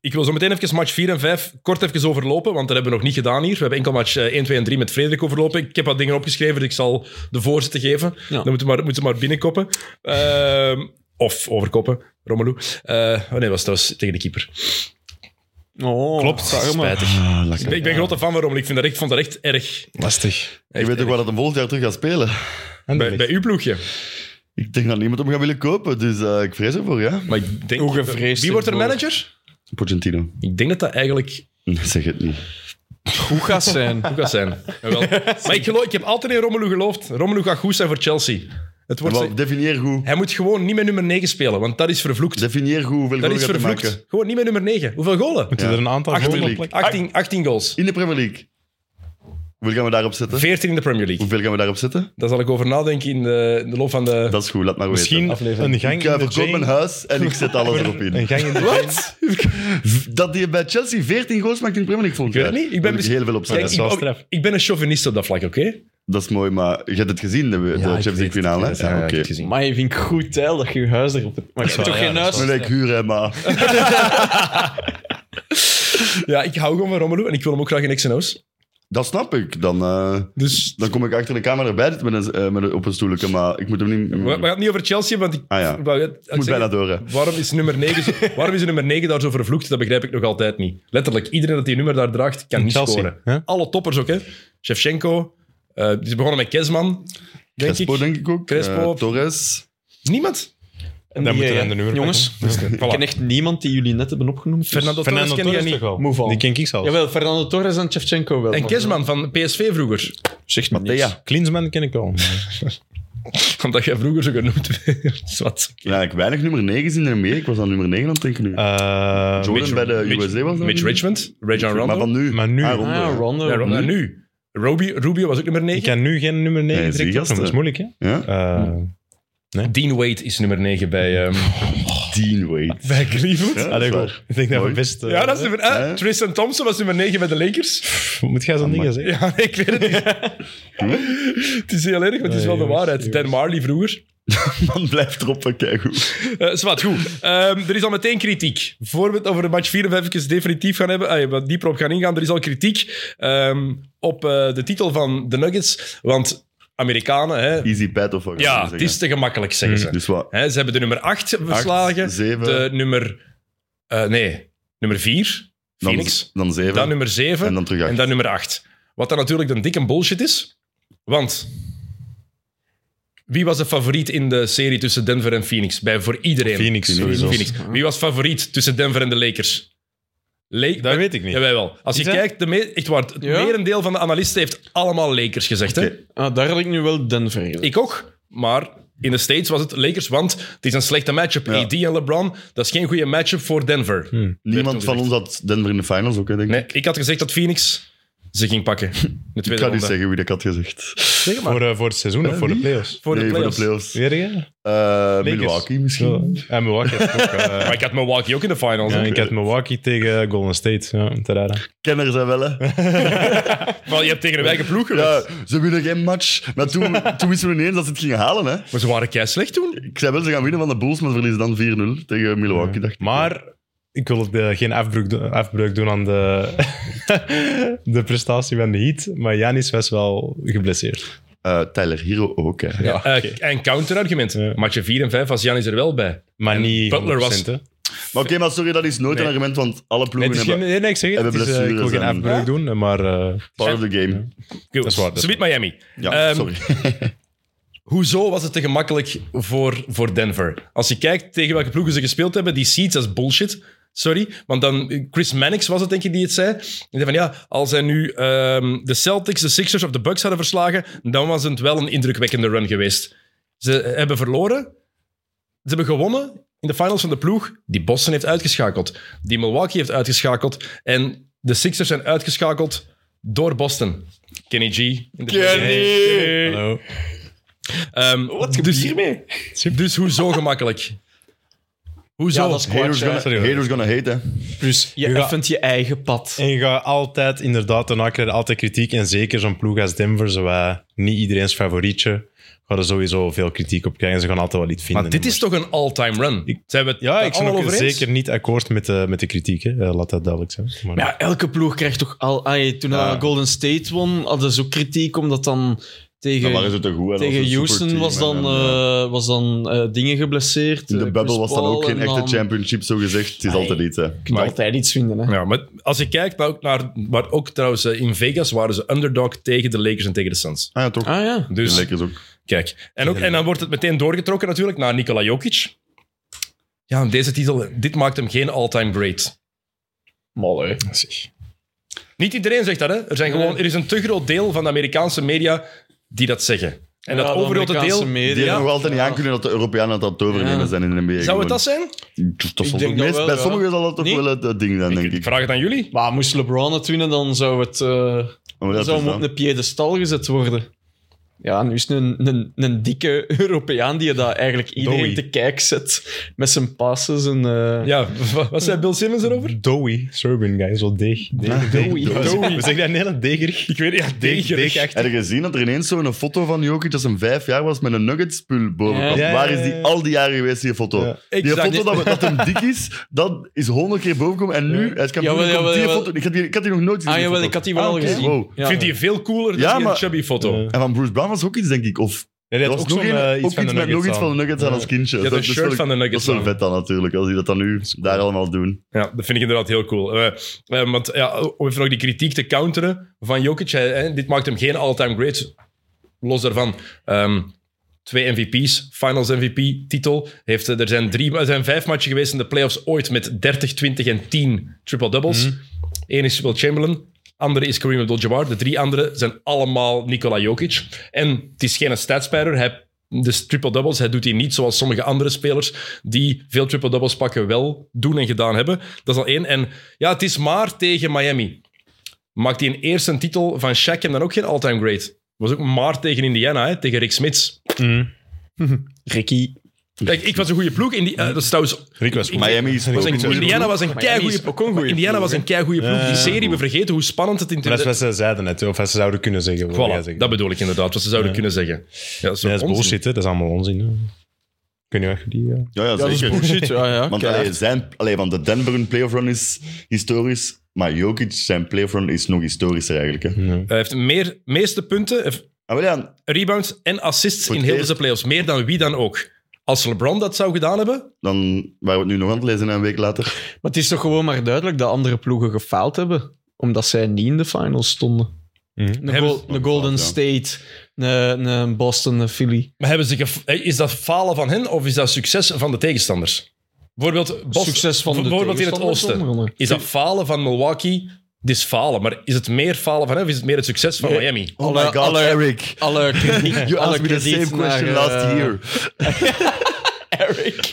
Speaker 1: ik wil zo meteen even match 4 en 5 kort even overlopen, want dat hebben we nog niet gedaan hier. We hebben enkel match eh, 1, 2 en 3 met Frederik overlopen. Ik heb wat dingen opgeschreven, dus ik zal de voorzitter geven. Dan moeten we maar, moeten we maar binnenkoppen. Ehm, of overkoppen, Romelu. Eh, oh nee, dat was, dat was tegen de keeper.
Speaker 3: Oh,
Speaker 4: Klopt,
Speaker 3: sorry, maar-
Speaker 4: spijtig.
Speaker 2: Ah,
Speaker 1: Ik
Speaker 2: lekker.
Speaker 1: ben, ik ben grote fan van Romelu. Ik vind dat echt, vond dat echt erg.
Speaker 4: Lastig.
Speaker 2: Ik weet ook wel dat hem volgend jaar terug gaat spelen.
Speaker 1: Bij, bij uw ploegje.
Speaker 2: Ik denk dat niemand hem gaat willen kopen, dus eh, ik vrees ervoor, ja.
Speaker 1: Maar ik denk,
Speaker 3: Hoe gevreesd
Speaker 1: wie wordt er
Speaker 3: ervoor.
Speaker 1: manager?
Speaker 2: Pochettino.
Speaker 1: Ik denk dat dat eigenlijk
Speaker 2: Nee, Zeg het niet.
Speaker 3: Hoe gaat zijn?
Speaker 1: goed gaat zijn.
Speaker 3: [LAUGHS]
Speaker 1: Jawel. maar ik, geloof, ik heb altijd in Romelu geloofd. Romelu gaat goed zijn voor Chelsea. Het wordt
Speaker 2: Maar definieer goed.
Speaker 1: Hij moet gewoon niet met nummer 9 spelen, want dat is vervloekt.
Speaker 2: Definieer goed hoeveel
Speaker 1: dat
Speaker 2: goals
Speaker 1: is
Speaker 2: gaat hij
Speaker 1: vervloekt.
Speaker 2: maken.
Speaker 1: Gewoon niet met nummer 9. Hoeveel golen?
Speaker 4: Moeten
Speaker 2: Ja.
Speaker 4: er een aantal
Speaker 2: Achter
Speaker 4: goals
Speaker 2: de
Speaker 4: op
Speaker 2: league.
Speaker 4: plakken?
Speaker 1: 18, 18 goals.
Speaker 2: In de Premier League. Hoeveel gaan we daarop zetten?
Speaker 1: 14 in de Premier League.
Speaker 2: Hoeveel gaan we daarop zetten?
Speaker 1: Daar zal ik over nadenken in de, in de loop van de...
Speaker 2: Dat is goed, laat maar
Speaker 4: Misschien
Speaker 2: weten.
Speaker 4: een gang
Speaker 2: Ik
Speaker 4: in
Speaker 2: eh,
Speaker 4: de
Speaker 2: verkoop mijn
Speaker 4: Jane.
Speaker 2: huis en ik zet
Speaker 1: [LAUGHS]
Speaker 2: alles erop
Speaker 4: Een
Speaker 2: in.
Speaker 4: gang in de
Speaker 1: Wat?
Speaker 2: Dat hij bij Chelsea 14 goals maakt in de Premier League volgend
Speaker 1: Ik
Speaker 2: jaar.
Speaker 1: weet het niet. Ik ben
Speaker 2: Daar heb
Speaker 1: mis-
Speaker 2: heel veel op
Speaker 1: Kijk,
Speaker 4: dat
Speaker 1: ik,
Speaker 4: is wel
Speaker 1: ook-
Speaker 4: straf.
Speaker 1: ik ben een chauvinist op dat vlak, oké?
Speaker 2: Dat is mooi, maar je hebt het gezien, de, de Champions League finale. hè? Ja, oké.
Speaker 3: Maar Ah, je vindt goed tijl dat je je huis erop hebt. Maar je hebt
Speaker 4: wel,
Speaker 3: toch
Speaker 4: ja,
Speaker 3: geen
Speaker 4: dat is
Speaker 3: huis?
Speaker 2: Maar ik huur hem [LAUGHS] maar.
Speaker 1: Ja, ik hou gewoon van Romelu en ik wil hem ook graag in X&O's.
Speaker 2: Dat snap ik. Dan, eh,
Speaker 1: Dus
Speaker 2: dan kom ik achter de camera erbij zitten met een, eh, met een, op een stoelje, maar ik moet hem niet...
Speaker 1: we, we gaan het niet over Chelsea, want ik...
Speaker 2: Ah ja,
Speaker 1: wou net-
Speaker 2: ik Mm. moet
Speaker 1: zeggen,
Speaker 2: bijna door. hè.
Speaker 1: Waarom is, nummer 9 zo, [LAUGHS] waarom is nummer 9 daar zo vervloekt? Dat begrijp ik nog altijd niet. Letterlijk, iedereen dat die nummer daar draagt, kan niet
Speaker 4: Chelsea,
Speaker 1: scoren.
Speaker 4: hè?
Speaker 1: Alle toppers ook, hè. Shevchenko. eh die is begonnen met Kesman, denk
Speaker 2: Crespo,
Speaker 1: ik.
Speaker 2: denk ik ook.
Speaker 1: Crespo.
Speaker 2: Eh, Torres.
Speaker 1: Niemand.
Speaker 3: En
Speaker 4: dus- Dan
Speaker 3: die,
Speaker 4: moeten we
Speaker 3: eh,
Speaker 4: aan de nummer
Speaker 3: Jongens, ik ken echt niemand die jullie net hebben opgenoemd. dus-
Speaker 1: Fernando Torres
Speaker 4: Fernando
Speaker 1: ken jij
Speaker 4: Torres
Speaker 1: niet.
Speaker 4: toch wel?
Speaker 3: Move on.
Speaker 4: Die ken ik zelfs.
Speaker 3: Jawel, Fernando Torres en Shevchenko wel.
Speaker 1: En
Speaker 3: maar-
Speaker 1: Kesman van PSV vroeger. [LAUGHS]
Speaker 3: Zegt me niks.
Speaker 2: Mattea.
Speaker 4: Klinsman ken ik al.
Speaker 1: Omdat jij vroeger zo genoemd werd. [LAUGHS] Zwat.
Speaker 2: Ja, ik heb weinig nummer 9 zien in meer. Ik was aan nummer 9 aan het denken nu.
Speaker 4: Eh,
Speaker 2: Jordan bij de
Speaker 1: Mitch-
Speaker 2: USA was dat?
Speaker 1: Mitch Richmond, Rajon Rondo.
Speaker 2: Maar van nu.
Speaker 4: Maar nu-
Speaker 2: Ah, Rondo,
Speaker 3: Ah,
Speaker 2: ja.
Speaker 3: Rondo.
Speaker 1: Ja, Rondo. En nu. Ruby, Rubio was ook nummer
Speaker 4: ik
Speaker 1: 9.
Speaker 4: kan nu geen nummer 9
Speaker 2: Nee, zie
Speaker 4: direct
Speaker 2: je,
Speaker 4: opnoemen. Dat is moeilijk, hè?
Speaker 2: Ja?
Speaker 4: Eh,
Speaker 1: Dean Wade is nummer 9 bij,
Speaker 2: [LAUGHS]
Speaker 1: ehm
Speaker 2: Dean
Speaker 1: [LAUGHS]
Speaker 2: Wade.
Speaker 1: bij Cleveland.
Speaker 2: Ja,
Speaker 4: Allee,
Speaker 2: dat
Speaker 4: goed.
Speaker 2: is waar.
Speaker 4: Ik denk dat we
Speaker 2: Mooi.
Speaker 4: best... eh,
Speaker 1: Ja, dat is nummer... eh,
Speaker 2: Eh?
Speaker 1: Tristan Thompson was nummer 9 bij de Lakers. [LAUGHS]
Speaker 4: Moet jij zo'n dingen zeggen?
Speaker 1: Ja, ik weet het
Speaker 2: [LAUGHS]
Speaker 1: niet. [LAUGHS] het is heel erg, maar het is wel de
Speaker 4: Nee, jongens,
Speaker 1: waarheid. Dan Marley vroeger.
Speaker 2: Man blijft erop van goed.
Speaker 1: Eh zwart, goed. Ehm, er is al meteen kritiek. Voor we het over de match 4 of even definitief gaan hebben, ah, wat dieper op gaan ingaan, er is al kritiek ehm, op eh, de titel van de Nuggets. Want Amerikanen, hè,
Speaker 2: Easy pat of wat gaan
Speaker 1: ja,
Speaker 2: we
Speaker 1: het
Speaker 2: zeggen.
Speaker 1: is te gemakkelijk, zeggen ze.
Speaker 2: Dus wat?
Speaker 1: Hè, ze hebben de nummer 8 verslagen,
Speaker 2: zeven.
Speaker 1: de nummer... eh, nee, nummer 4,
Speaker 2: Dan,
Speaker 1: Phoenix.
Speaker 2: dan 7.
Speaker 1: Dan nummer 7
Speaker 2: en dan terug acht.
Speaker 1: en dan nummer 8. Wat dan natuurlijk een dikke bullshit is. Want wie was de favoriet in de serie tussen Denver en Phoenix? Bij, voor iedereen.
Speaker 4: Phoenix, sowieso.
Speaker 1: Phoenix. Wie was favoriet tussen Denver en de Lakers? Lake,
Speaker 4: Dat weet ik niet.
Speaker 1: Ja, wij wel. Als je
Speaker 4: Is dat-
Speaker 1: kijkt, de me- echt waar, het
Speaker 3: Ja?
Speaker 1: merendeel van de analisten heeft allemaal Lakers gezegd. Hè?
Speaker 2: Oké.
Speaker 3: Ah, daar had ik nu wel Denver.
Speaker 1: Ik ook, maar in de States was het Lakers, want het is een slechte matchup.
Speaker 2: Ja.
Speaker 1: AD en LeBron, dat is geen goede matchup voor Denver.
Speaker 2: Niemand van ons had Denver in de finals ook, hè, denk ik.
Speaker 1: Nee, ik had gezegd dat Phoenix ze ging pakken. in De
Speaker 2: ik
Speaker 1: tweede
Speaker 2: ga niet
Speaker 1: ronde.
Speaker 2: zeggen wie dat ik had gezegd.
Speaker 1: Zeg maar.
Speaker 4: Voor, eh, voor het seizoen of voor de
Speaker 2: wie?
Speaker 4: playoffs?
Speaker 1: Voor
Speaker 2: nee,
Speaker 1: de
Speaker 2: voor
Speaker 1: playoffs.
Speaker 2: de playoffs.
Speaker 4: Weer je?
Speaker 2: Eh, Milwaukee misschien.
Speaker 4: En Oh. Milwaukee. had het ook, eh,
Speaker 1: [LAUGHS] Maar ik had Milwaukee ook in de finals.
Speaker 4: ja,
Speaker 1: hè?
Speaker 4: ik had Milwaukee tegen Golden State. Ja, te raar.
Speaker 2: Kenners zijn wel, hè.
Speaker 1: Maar je hebt tegen de wijke ploeg geweest.
Speaker 2: Ja, ze winnen geen match. Maar toen, toen wisten we ineens dat ze het gingen halen, hè.
Speaker 1: Maar ze waren kei slecht toen.
Speaker 2: Ik zei wel, ze gaan winnen van de Bulls, maar ze verliezen dan 4-0 tegen Milwaukee, dacht ik.
Speaker 4: Maar ik wil het, eh, geen afbreuk, do- afbreuk doen aan de, [LAUGHS] de prestatie van de Heat. Maar Janis was wel geblesseerd.
Speaker 2: Eh, Tyler Hero ook, hè.
Speaker 4: Ja,
Speaker 1: Eh, En counterargument.
Speaker 4: Ja.
Speaker 1: Matje 4 en 5 was Janis er wel bij.
Speaker 4: Maar
Speaker 1: En
Speaker 4: niet
Speaker 1: Butler was-
Speaker 4: 100%, hè.
Speaker 2: Maar oké, maar sorry, dat is nooit
Speaker 1: Nee.
Speaker 2: een argument, want alle
Speaker 4: Nee,
Speaker 2: ploegen
Speaker 4: het is geen,
Speaker 2: hebben
Speaker 4: nee, nee, ik zeg het.
Speaker 2: hebben
Speaker 4: het is, eh, ik wil geen
Speaker 2: blessures en-
Speaker 4: afbreuk
Speaker 1: Ja?
Speaker 4: doen, eh, maar... eh,
Speaker 2: part of the game.
Speaker 1: Goed.
Speaker 4: Dat is waar, dat is
Speaker 1: Ze wint Miami.
Speaker 2: Ja,
Speaker 1: Ehm,
Speaker 2: sorry.
Speaker 1: Hoezo was het te gemakkelijk voor, voor Denver? Als je kijkt tegen welke ploegen ze gespeeld hebben, die seeds, dat is bullshit. Sorry, want dan Chris Mannix was het, denk ik, die het zei. Die zei van ja, als hij nu ehm, de Celtics, de Sixers of de Bucks hadden verslagen, dan was het wel een indrukwekkende run geweest. Ze hebben verloren, ze hebben gewonnen in de finals van de ploeg die Boston heeft uitgeschakeld, die Milwaukee heeft uitgeschakeld en de Sixers zijn uitgeschakeld door Boston. Kenny G. in de Eh,
Speaker 2: Kenny!
Speaker 4: Hallo.
Speaker 1: Ehm,
Speaker 3: Wat gebeurt
Speaker 1: dus,
Speaker 3: hiermee?
Speaker 1: dus hoezo gemakkelijk? Hoezo?
Speaker 3: Ja, dat is
Speaker 2: Haters
Speaker 3: kwart.
Speaker 2: gonna,
Speaker 3: hè.
Speaker 4: Sorry, hoor.
Speaker 2: haters gonna hate, hè.
Speaker 3: Plus, je
Speaker 1: eh,
Speaker 4: Ja.
Speaker 3: effent je eigen pad.
Speaker 4: En je gaat altijd, inderdaad, daarna krijg je altijd kritiek. En zeker zo'n ploeg als Denver, zo, eh, niet iedereen's favorietje, gaat er sowieso veel kritiek op krijgen. Ze gaan altijd wel iets vinden.
Speaker 1: Maar dit is toch een all-time run? Zijn we het
Speaker 4: Ja,
Speaker 1: daar
Speaker 4: ik ben
Speaker 1: allemaal
Speaker 4: ook
Speaker 1: over eens?
Speaker 4: zeker niet akkoord met de, met de kritiek. Hè. Eh, Laat dat duidelijk zijn. Maar,
Speaker 3: Maar ja, elke ploeg krijgt toch al. ai, toen eh, Golden State won, hadden ze ook kritiek omdat dan
Speaker 2: Dan waren
Speaker 3: tegen.
Speaker 2: ze te goed. hè. Dat was
Speaker 3: Tegen
Speaker 2: een
Speaker 3: Houston
Speaker 2: superteam,
Speaker 3: was dan,
Speaker 2: en, eh,
Speaker 3: eh, was dan eh, dingen geblesseerd.
Speaker 2: In
Speaker 3: eh,
Speaker 2: de
Speaker 3: Chris
Speaker 2: bubble was dan
Speaker 3: Paul
Speaker 2: ook geen
Speaker 3: en
Speaker 2: echte
Speaker 3: dan- Ah,
Speaker 2: championship, zo gezegd. Het is
Speaker 3: Ai.
Speaker 2: altijd iets, hè.
Speaker 3: Je kunt
Speaker 1: Maar-
Speaker 3: altijd iets vinden. Hè.
Speaker 1: Ja, maar als je kijkt nou, ook naar... Maar ook trouwens, eh, in Vegas waren ze underdog tegen de Lakers en tegen de Suns.
Speaker 2: Ah ja, toch.
Speaker 3: Ah ja.
Speaker 2: Dus,
Speaker 1: Dus
Speaker 2: lekker ook.
Speaker 1: kijk. En, ook, en dan wordt het meteen doorgetrokken natuurlijk naar Nikola Jokic. Ja, en deze titel, dit maakt hem geen all-time great.
Speaker 3: Mal, hè.
Speaker 4: Zeg.
Speaker 1: Niet iedereen zegt dat, hè. Er, zijn
Speaker 3: Nee.
Speaker 1: gewoon, er is een te groot deel van de Amerikaanse media die dat zeggen. En
Speaker 3: Ja,
Speaker 1: dat
Speaker 3: de
Speaker 1: overgrote
Speaker 3: Amerikaanse
Speaker 1: deel...
Speaker 3: media.
Speaker 2: Die
Speaker 1: Ja.
Speaker 2: hebben nog altijd niet aan kunnen dat de Europeanen dat aan het overnemen
Speaker 3: Ja.
Speaker 2: zijn in de NBA.
Speaker 1: Zou
Speaker 2: gewoon.
Speaker 1: het dat zijn?
Speaker 2: Dat zal
Speaker 3: denk
Speaker 2: toch
Speaker 3: dat
Speaker 2: meest-
Speaker 3: wel,
Speaker 2: bij
Speaker 3: ja.
Speaker 2: sommigen zal dat toch
Speaker 3: Nee?
Speaker 2: wel het eh, ding zijn, denk
Speaker 1: Ik
Speaker 2: ik.
Speaker 1: vraag het aan jullie.
Speaker 3: Maar moest LeBron het winnen, dan zou het eh,
Speaker 2: Maar dat
Speaker 3: zou
Speaker 2: is
Speaker 3: hem op
Speaker 2: dan.
Speaker 3: een piedestal gezet worden. Ja, nu is het een, een, een dikke [LAUGHS] Europeaan die je dat eigenlijk iedereen
Speaker 4: Doei.
Speaker 3: te kijk zet met zijn passes en... eh,
Speaker 1: Ja, [LAUGHS] wa- wat zei Bill Simmons erover?
Speaker 4: Dowie, Serbian guy, zo
Speaker 3: [LAUGHS]
Speaker 4: deeg. Deeg,
Speaker 3: Dowie.
Speaker 4: Dowie. We zeggen dat in Nederland degerig. Ik weet ja, deeg,
Speaker 1: degerig.
Speaker 4: deeg echt.
Speaker 2: Heb je gezien dat er ineens zo'n foto van Jokic als een vijf jaar was met een Nuggets-spul bovenkant?
Speaker 4: Ja.
Speaker 2: Waar is
Speaker 4: Ja, ja,
Speaker 2: die
Speaker 4: ja.
Speaker 2: al die jaren geweest, die foto?
Speaker 4: Ja.
Speaker 1: Ik
Speaker 2: Die
Speaker 1: zag
Speaker 2: foto
Speaker 1: dit-
Speaker 2: dat, dat hem dik is, dat is honderd keer bovenkomen. En nu, hij is kampioen,
Speaker 3: Jawel,
Speaker 2: komt
Speaker 3: jawel,
Speaker 2: die
Speaker 3: jawel.
Speaker 2: foto. Ik had die, ik had die nog nooit gezien.
Speaker 3: Ah
Speaker 2: die
Speaker 3: jawel,
Speaker 2: foto.
Speaker 3: ik had die wel al
Speaker 2: oké.
Speaker 3: gezien.
Speaker 2: Wow.
Speaker 3: Ja.
Speaker 1: Ik vind die veel cooler dan
Speaker 2: Ja,
Speaker 1: die
Speaker 2: maar-
Speaker 1: chubby foto.
Speaker 4: Ja.
Speaker 2: En van Bruce Brown was ook iets, denk ik. Of
Speaker 4: Ja, die
Speaker 2: er
Speaker 4: had
Speaker 2: was
Speaker 4: ook
Speaker 2: nog,
Speaker 4: zo'n,
Speaker 2: een-
Speaker 4: eh,
Speaker 2: ook
Speaker 4: iets van
Speaker 2: iets
Speaker 4: de
Speaker 2: met nog
Speaker 4: Nuggets
Speaker 2: iets van de
Speaker 4: aan.
Speaker 2: Nuggets aan
Speaker 4: Ja.
Speaker 2: als kindje.
Speaker 1: Je had een
Speaker 2: is
Speaker 1: shirt
Speaker 2: wel-
Speaker 1: van de
Speaker 2: Dat
Speaker 1: Nuggets
Speaker 2: is wel
Speaker 1: aan.
Speaker 2: vet dan natuurlijk, als die dat dan nu daar allemaal doen.
Speaker 1: Ja, dat vind ik inderdaad heel cool. Eh, eh, want ja, om even nog die kritiek te counteren van Jokic, hij- hè, dit maakt hem geen all-time great. Los daarvan, ehm, twee MVP's, Finals MVP-titel. Heeft, eh, er zijn, drie, er zijn vijf matchen geweest in de playoffs ooit met 30, 20 en 10 triple-doubles. Eén is Will Chamberlain, andere is Kareem Abdul-Jabbar. De drie andere zijn allemaal Nikola Jokic. En het is geen statspeler. Hij dus triple-doubles, hij doet die niet zoals sommige andere spelers die veel triple-doubles pakken wel doen en gedaan hebben. Dat is al één. En ja, het is maar tegen Miami. Maakt hij een eerste titel van Shaq hem dan ook geen all-time great? Was ook maar tegen Indiana, hè? tegen Rick Smits.
Speaker 4: Mm.
Speaker 3: Ricky.
Speaker 1: Kijk, ik was een goede ploeg. In die, eh, dat is trouwens
Speaker 4: Rick was goed.
Speaker 2: Miami is ook
Speaker 1: was een-
Speaker 2: niet zo
Speaker 1: Indiana was een
Speaker 3: Miami is
Speaker 1: keigoede
Speaker 3: ook een goeie
Speaker 1: ploeg. Indiana
Speaker 3: ploeg,
Speaker 1: was een keigoede ploeg.
Speaker 4: Ja,
Speaker 1: Die
Speaker 4: ja,
Speaker 1: serie, we vergeten hoe spannend het in
Speaker 4: Dat is
Speaker 1: de-
Speaker 4: wat ze zeiden net, of wat ze zouden kunnen zeggen. wilde jij
Speaker 1: Voilà,
Speaker 4: zeggen.
Speaker 1: dat bedoel ik inderdaad, wat ze zouden kunnen zeggen. Ja, dat is,
Speaker 4: Ja, dat is
Speaker 1: onzin.
Speaker 4: bullshit, hè. dat is allemaal onzin. Hè. Kun je echt die... eh, Ja.
Speaker 2: Ja, ja,
Speaker 3: Ja, dat is
Speaker 2: zeker.
Speaker 3: bullshit. Ja,
Speaker 2: [LAUGHS]
Speaker 3: ja,
Speaker 2: Want,
Speaker 3: keihard.
Speaker 2: allee, zijn, allee, want de Denver hun playoff run is historisch, maar Jokic zijn playoff run is nog historischer eigenlijk. Hè.
Speaker 1: Hij heeft meer, meeste punten, eh,
Speaker 2: Ah, wel ja,
Speaker 1: rebounds en assists
Speaker 2: Voor
Speaker 1: in
Speaker 2: het
Speaker 1: heel
Speaker 2: eerst.
Speaker 1: deze playoffs. Meer dan wie dan ook. Als LeBron dat zou gedaan hebben,
Speaker 2: dan waren we het nu nog aan het lezen hè, een week later.
Speaker 3: Maar het is toch gewoon maar duidelijk dat andere ploegen gefaald hebben. Omdat zij niet in de finals stonden.
Speaker 4: Mhm.
Speaker 3: Een,
Speaker 1: Hebben
Speaker 3: Gol-
Speaker 1: ze-
Speaker 3: een Golden
Speaker 2: gefaald,
Speaker 3: State, een, een Boston, een Philly.
Speaker 1: maar hebben ze gef- eh, is dat falen van hen of is dat succes van de tegenstanders? Bijvoorbeeld, Bos-
Speaker 3: Succes van de
Speaker 1: bijvoorbeeld in het
Speaker 3: tegenstanders
Speaker 1: oosten.
Speaker 3: onder andere.
Speaker 1: Is dat falen van Milwaukee? Dit is falen, maar is het meer falen van hen of is het meer het succes van
Speaker 3: Nee.
Speaker 1: Miami?
Speaker 2: Oh
Speaker 3: Alle-
Speaker 2: my god,
Speaker 3: alle-
Speaker 2: Eric.
Speaker 3: Alle [LAUGHS] krediet,
Speaker 2: You
Speaker 3: alle
Speaker 2: asked me the
Speaker 3: krediet
Speaker 2: same question
Speaker 3: naar,
Speaker 2: last
Speaker 3: eh,
Speaker 2: year. [LAUGHS]
Speaker 3: Eric.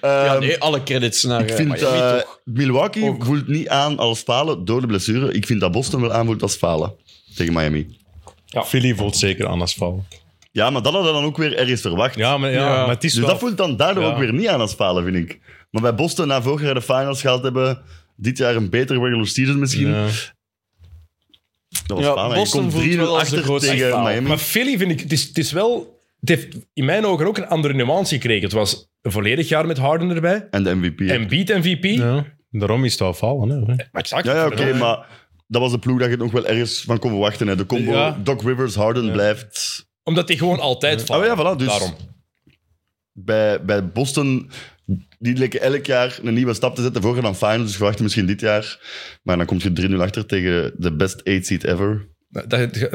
Speaker 2: Ehm,
Speaker 3: ja, nee, alle credits naar
Speaker 2: ik
Speaker 3: eh,
Speaker 2: vind
Speaker 3: Miami,
Speaker 2: eh,
Speaker 3: toch?
Speaker 2: Milwaukee
Speaker 3: Ook.
Speaker 2: voelt niet aan als falen door de blessure. Ik vind dat Boston wel aanvoelt als falen tegen Miami.
Speaker 4: Philly voelt zeker aan als val.
Speaker 2: Ja, maar dat hadden we dan ook weer ergens verwacht.
Speaker 4: Ja, maar, ja,
Speaker 3: Ja.
Speaker 4: maar het is
Speaker 2: Dus
Speaker 4: wel...
Speaker 2: dat voelt dan daardoor
Speaker 4: Ja.
Speaker 2: ook weer niet aan als falen, vind ik. Maar bij Boston, na vorig jaar de finals gehaald hebben, dit jaar een betere regular season misschien.
Speaker 4: Ja.
Speaker 2: Dat was
Speaker 3: Ja,
Speaker 2: falen.
Speaker 3: Boston
Speaker 2: je
Speaker 3: voelt
Speaker 2: komt 3-0
Speaker 3: wel als de
Speaker 2: achter
Speaker 3: grootste
Speaker 2: tegen
Speaker 3: faal.
Speaker 2: Miami.
Speaker 1: Maar Philly vind ik, het is, het is wel, het heeft in mijn ogen ook een andere nuance gekregen. Het was een volledig jaar met Harden erbij.
Speaker 2: En de MVP.
Speaker 1: En beat MVP.
Speaker 4: Ja. Daarom is het wel falen. Hè.
Speaker 1: Exact.
Speaker 2: Ja, ja oké, maar dat was de ploeg dat je nog wel ergens van kon verwachten. Hè. De combo
Speaker 4: Ja.
Speaker 2: Doc Rivers, Harden blijft...
Speaker 1: Omdat die gewoon altijd
Speaker 2: Ah,
Speaker 1: falen.
Speaker 2: ja, voilà, dus
Speaker 1: Daarom.
Speaker 2: Bij, bij Boston, die leken elk jaar een nieuwe stap te zetten. Vorig jaar dan finals, dus verwachten misschien dit jaar. Maar dan kom je 3-0 achter tegen de best 8 seed ever.
Speaker 1: Dat, dat, eh,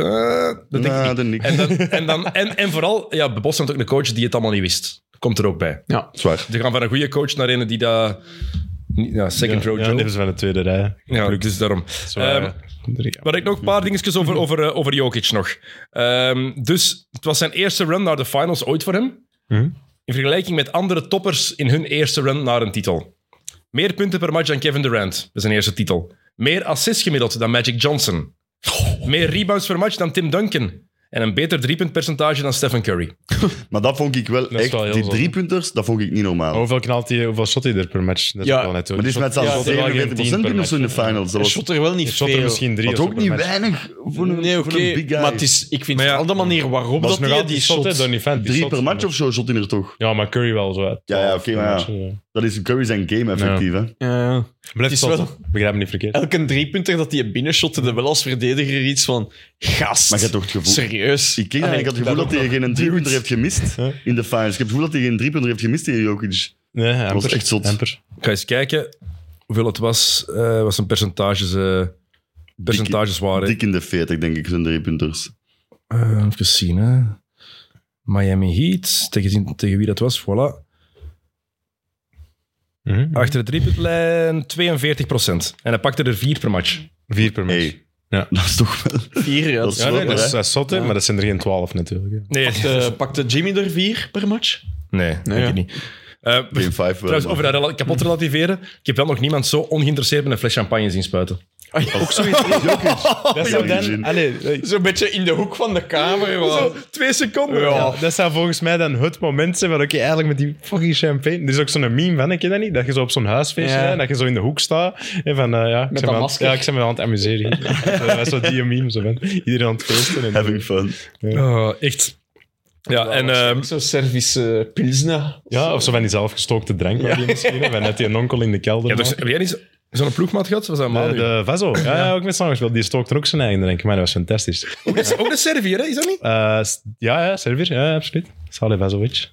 Speaker 1: dat denk ik
Speaker 2: Nou,
Speaker 1: niet.
Speaker 2: dat niet.
Speaker 1: En, dan, en, dan, en, en vooral, ja, Boston had ook een coach die het allemaal niet wist. Komt er ook bij.
Speaker 3: Ja.
Speaker 2: Zwaar.
Speaker 1: Ze gaan van een goede coach naar een die dat Niet- Ja, second row
Speaker 4: ja,
Speaker 1: Joe.
Speaker 4: dit is van de tweede rij.
Speaker 1: Ja, dus daarom.
Speaker 4: Zo,
Speaker 1: Ehm,
Speaker 4: eh, drie-
Speaker 1: Maar ik nog een paar dingetjes over, over, eh, over Jokic nog. Ehm, dus het was zijn eerste run naar de finals ooit voor hem.
Speaker 4: Mhm.
Speaker 1: In vergelijking met andere toppers in hun eerste run naar een titel. Meer punten per match dan Kevin Durant, dat is zijn eerste titel. Meer assists gemiddeld dan Magic Johnson. Meer rebounds per match dan Tim Duncan. En een beter driepuntpercentage dan Stephen Curry.
Speaker 2: Maar dat vond ik wel
Speaker 4: is
Speaker 2: echt...
Speaker 4: wel heel
Speaker 2: die
Speaker 4: zot.
Speaker 2: driepunters, dat vond ik niet normaal.
Speaker 4: Hoeveel knalt hij, hoeveel shot hij er per match? Dat
Speaker 3: Ja,
Speaker 4: is wel net
Speaker 2: maar dit is met
Speaker 4: Shot-
Speaker 2: zelfs
Speaker 3: Ja,
Speaker 4: shot er wel geen
Speaker 2: 47%
Speaker 4: tien per
Speaker 2: binnen of zo in de
Speaker 4: match.
Speaker 2: finals. Dat
Speaker 3: Hij
Speaker 2: was,
Speaker 3: shot er wel
Speaker 4: Hij
Speaker 3: niet
Speaker 4: shot er
Speaker 3: veel.
Speaker 4: misschien drie.
Speaker 2: wat
Speaker 4: of zo
Speaker 2: ook
Speaker 4: per
Speaker 2: niet
Speaker 4: match.
Speaker 2: weinig voor een,
Speaker 3: Nee,
Speaker 2: voor
Speaker 3: oké.
Speaker 2: een big guy.
Speaker 3: Maar het is, ik vind
Speaker 1: Maar ja,
Speaker 3: vooral de manier waarop
Speaker 4: Dat is
Speaker 3: dat
Speaker 4: nog
Speaker 3: hij
Speaker 4: altijd
Speaker 3: die
Speaker 4: die shot, hè,
Speaker 3: shot...
Speaker 4: Donny Fan. die
Speaker 2: Drie
Speaker 4: shot.
Speaker 2: per match of zo shot hij er toch.
Speaker 4: Ja, maar Curry wel zo. hè.
Speaker 2: Ja, ja, oké, maar ja.
Speaker 4: Per match, eh.
Speaker 2: Dat is Curry zijn game, effectief. Hè?
Speaker 3: Ja, ja. Het
Speaker 4: Blijf
Speaker 3: is
Speaker 4: shotten.
Speaker 3: wel-
Speaker 4: Begrijp me niet verkeerd.
Speaker 3: Elke driepunter dat die binnenshotte, er wel als verdediger iets van... Gast.
Speaker 2: Maar je hebt toch het gevoel-
Speaker 3: Serieus. Ah,
Speaker 2: Ik, keek en
Speaker 3: Allee,
Speaker 2: ik had het gevoel dat hij geen driepunter heeft gemist
Speaker 4: Huh?
Speaker 2: in de finals. Ik heb het gevoel dat hij geen driepunter heeft gemist in Jokic.
Speaker 4: Nee, Amper.
Speaker 2: was echt zot.
Speaker 4: Amper.
Speaker 1: Ik ga eens kijken hoeveel het was. eh wat zijn percentages, eh, percentages waren.
Speaker 2: Dik in de 40, denk ik, zijn driepunters.
Speaker 1: Eh, even zien, hè. Miami Heat, tegen, tegen wie dat was, voilà.
Speaker 4: Mhm.
Speaker 1: Achter de driepuntlijn 42%. En hij pakte er vier per match.
Speaker 4: Vier per match.
Speaker 2: Hey.
Speaker 4: Ja.
Speaker 2: Dat is toch wel... [LAUGHS]
Speaker 3: Vier, ja. dus, eh,
Speaker 2: Dat is
Speaker 4: Ja, nee,
Speaker 2: wel,
Speaker 4: dat is,
Speaker 2: hè?
Speaker 4: dat is zot, hè, maar dat zijn er geen twaalf natuurlijk. hè.
Speaker 1: Nee, eh,
Speaker 3: Pakte, eh, pakte Jimmy er vier per match?
Speaker 1: nee, denk
Speaker 3: ja.
Speaker 1: ik niet. Eh, we-
Speaker 2: Game 5 wel.
Speaker 1: trouwens,
Speaker 2: maar-
Speaker 1: over dat rela- kapot relativeren. Ik heb wel nog niemand zo ongeïnteresseerd met een fles champagne zien spuiten.
Speaker 3: Ook zoiets.
Speaker 4: Dat
Speaker 2: zou dan-
Speaker 3: Zo'n beetje in de hoek van de kamer. maar-
Speaker 1: twee seconden.
Speaker 3: Ja.
Speaker 4: dat zou volgens mij dan het moment zijn van oké, eigenlijk met die fucking champagne. Er is ook zo'n meme van, ik ken dat niet, dat je zo op zo'n huisfeest
Speaker 3: Ja.
Speaker 4: bent en dat je zo in de hoek staat. En van, eh, ja, ik ben
Speaker 3: dat
Speaker 4: me aan-
Speaker 3: masker.
Speaker 4: Ja, ik ben me aan het amuseren. hier. dat is zo die meme, zo van, iedereen aan het feesten. En
Speaker 2: Having fun.
Speaker 1: Oh, echt. Ja, en ehm,
Speaker 3: Zo'n Servische pilsner.
Speaker 4: ja, of zo van die zelfgestookte drank, waar die misschien, hè, van net die een onkel in de kelder.
Speaker 1: ja, dus,
Speaker 4: maakt.
Speaker 1: heb jij niet zo- zo'n ploegmaat gehad? Was dat Manu?
Speaker 4: de, Eh, de Vazo, ja, ja, ook met samengespeeld. Die stookte ook zijn eigen drank, maar dat was fantastisch.
Speaker 1: Ook een- Ook een Servier, hè? Is dat niet?
Speaker 4: Eh, s- ja, ja, Servier, ja, absoluut. Saleh Vazovic.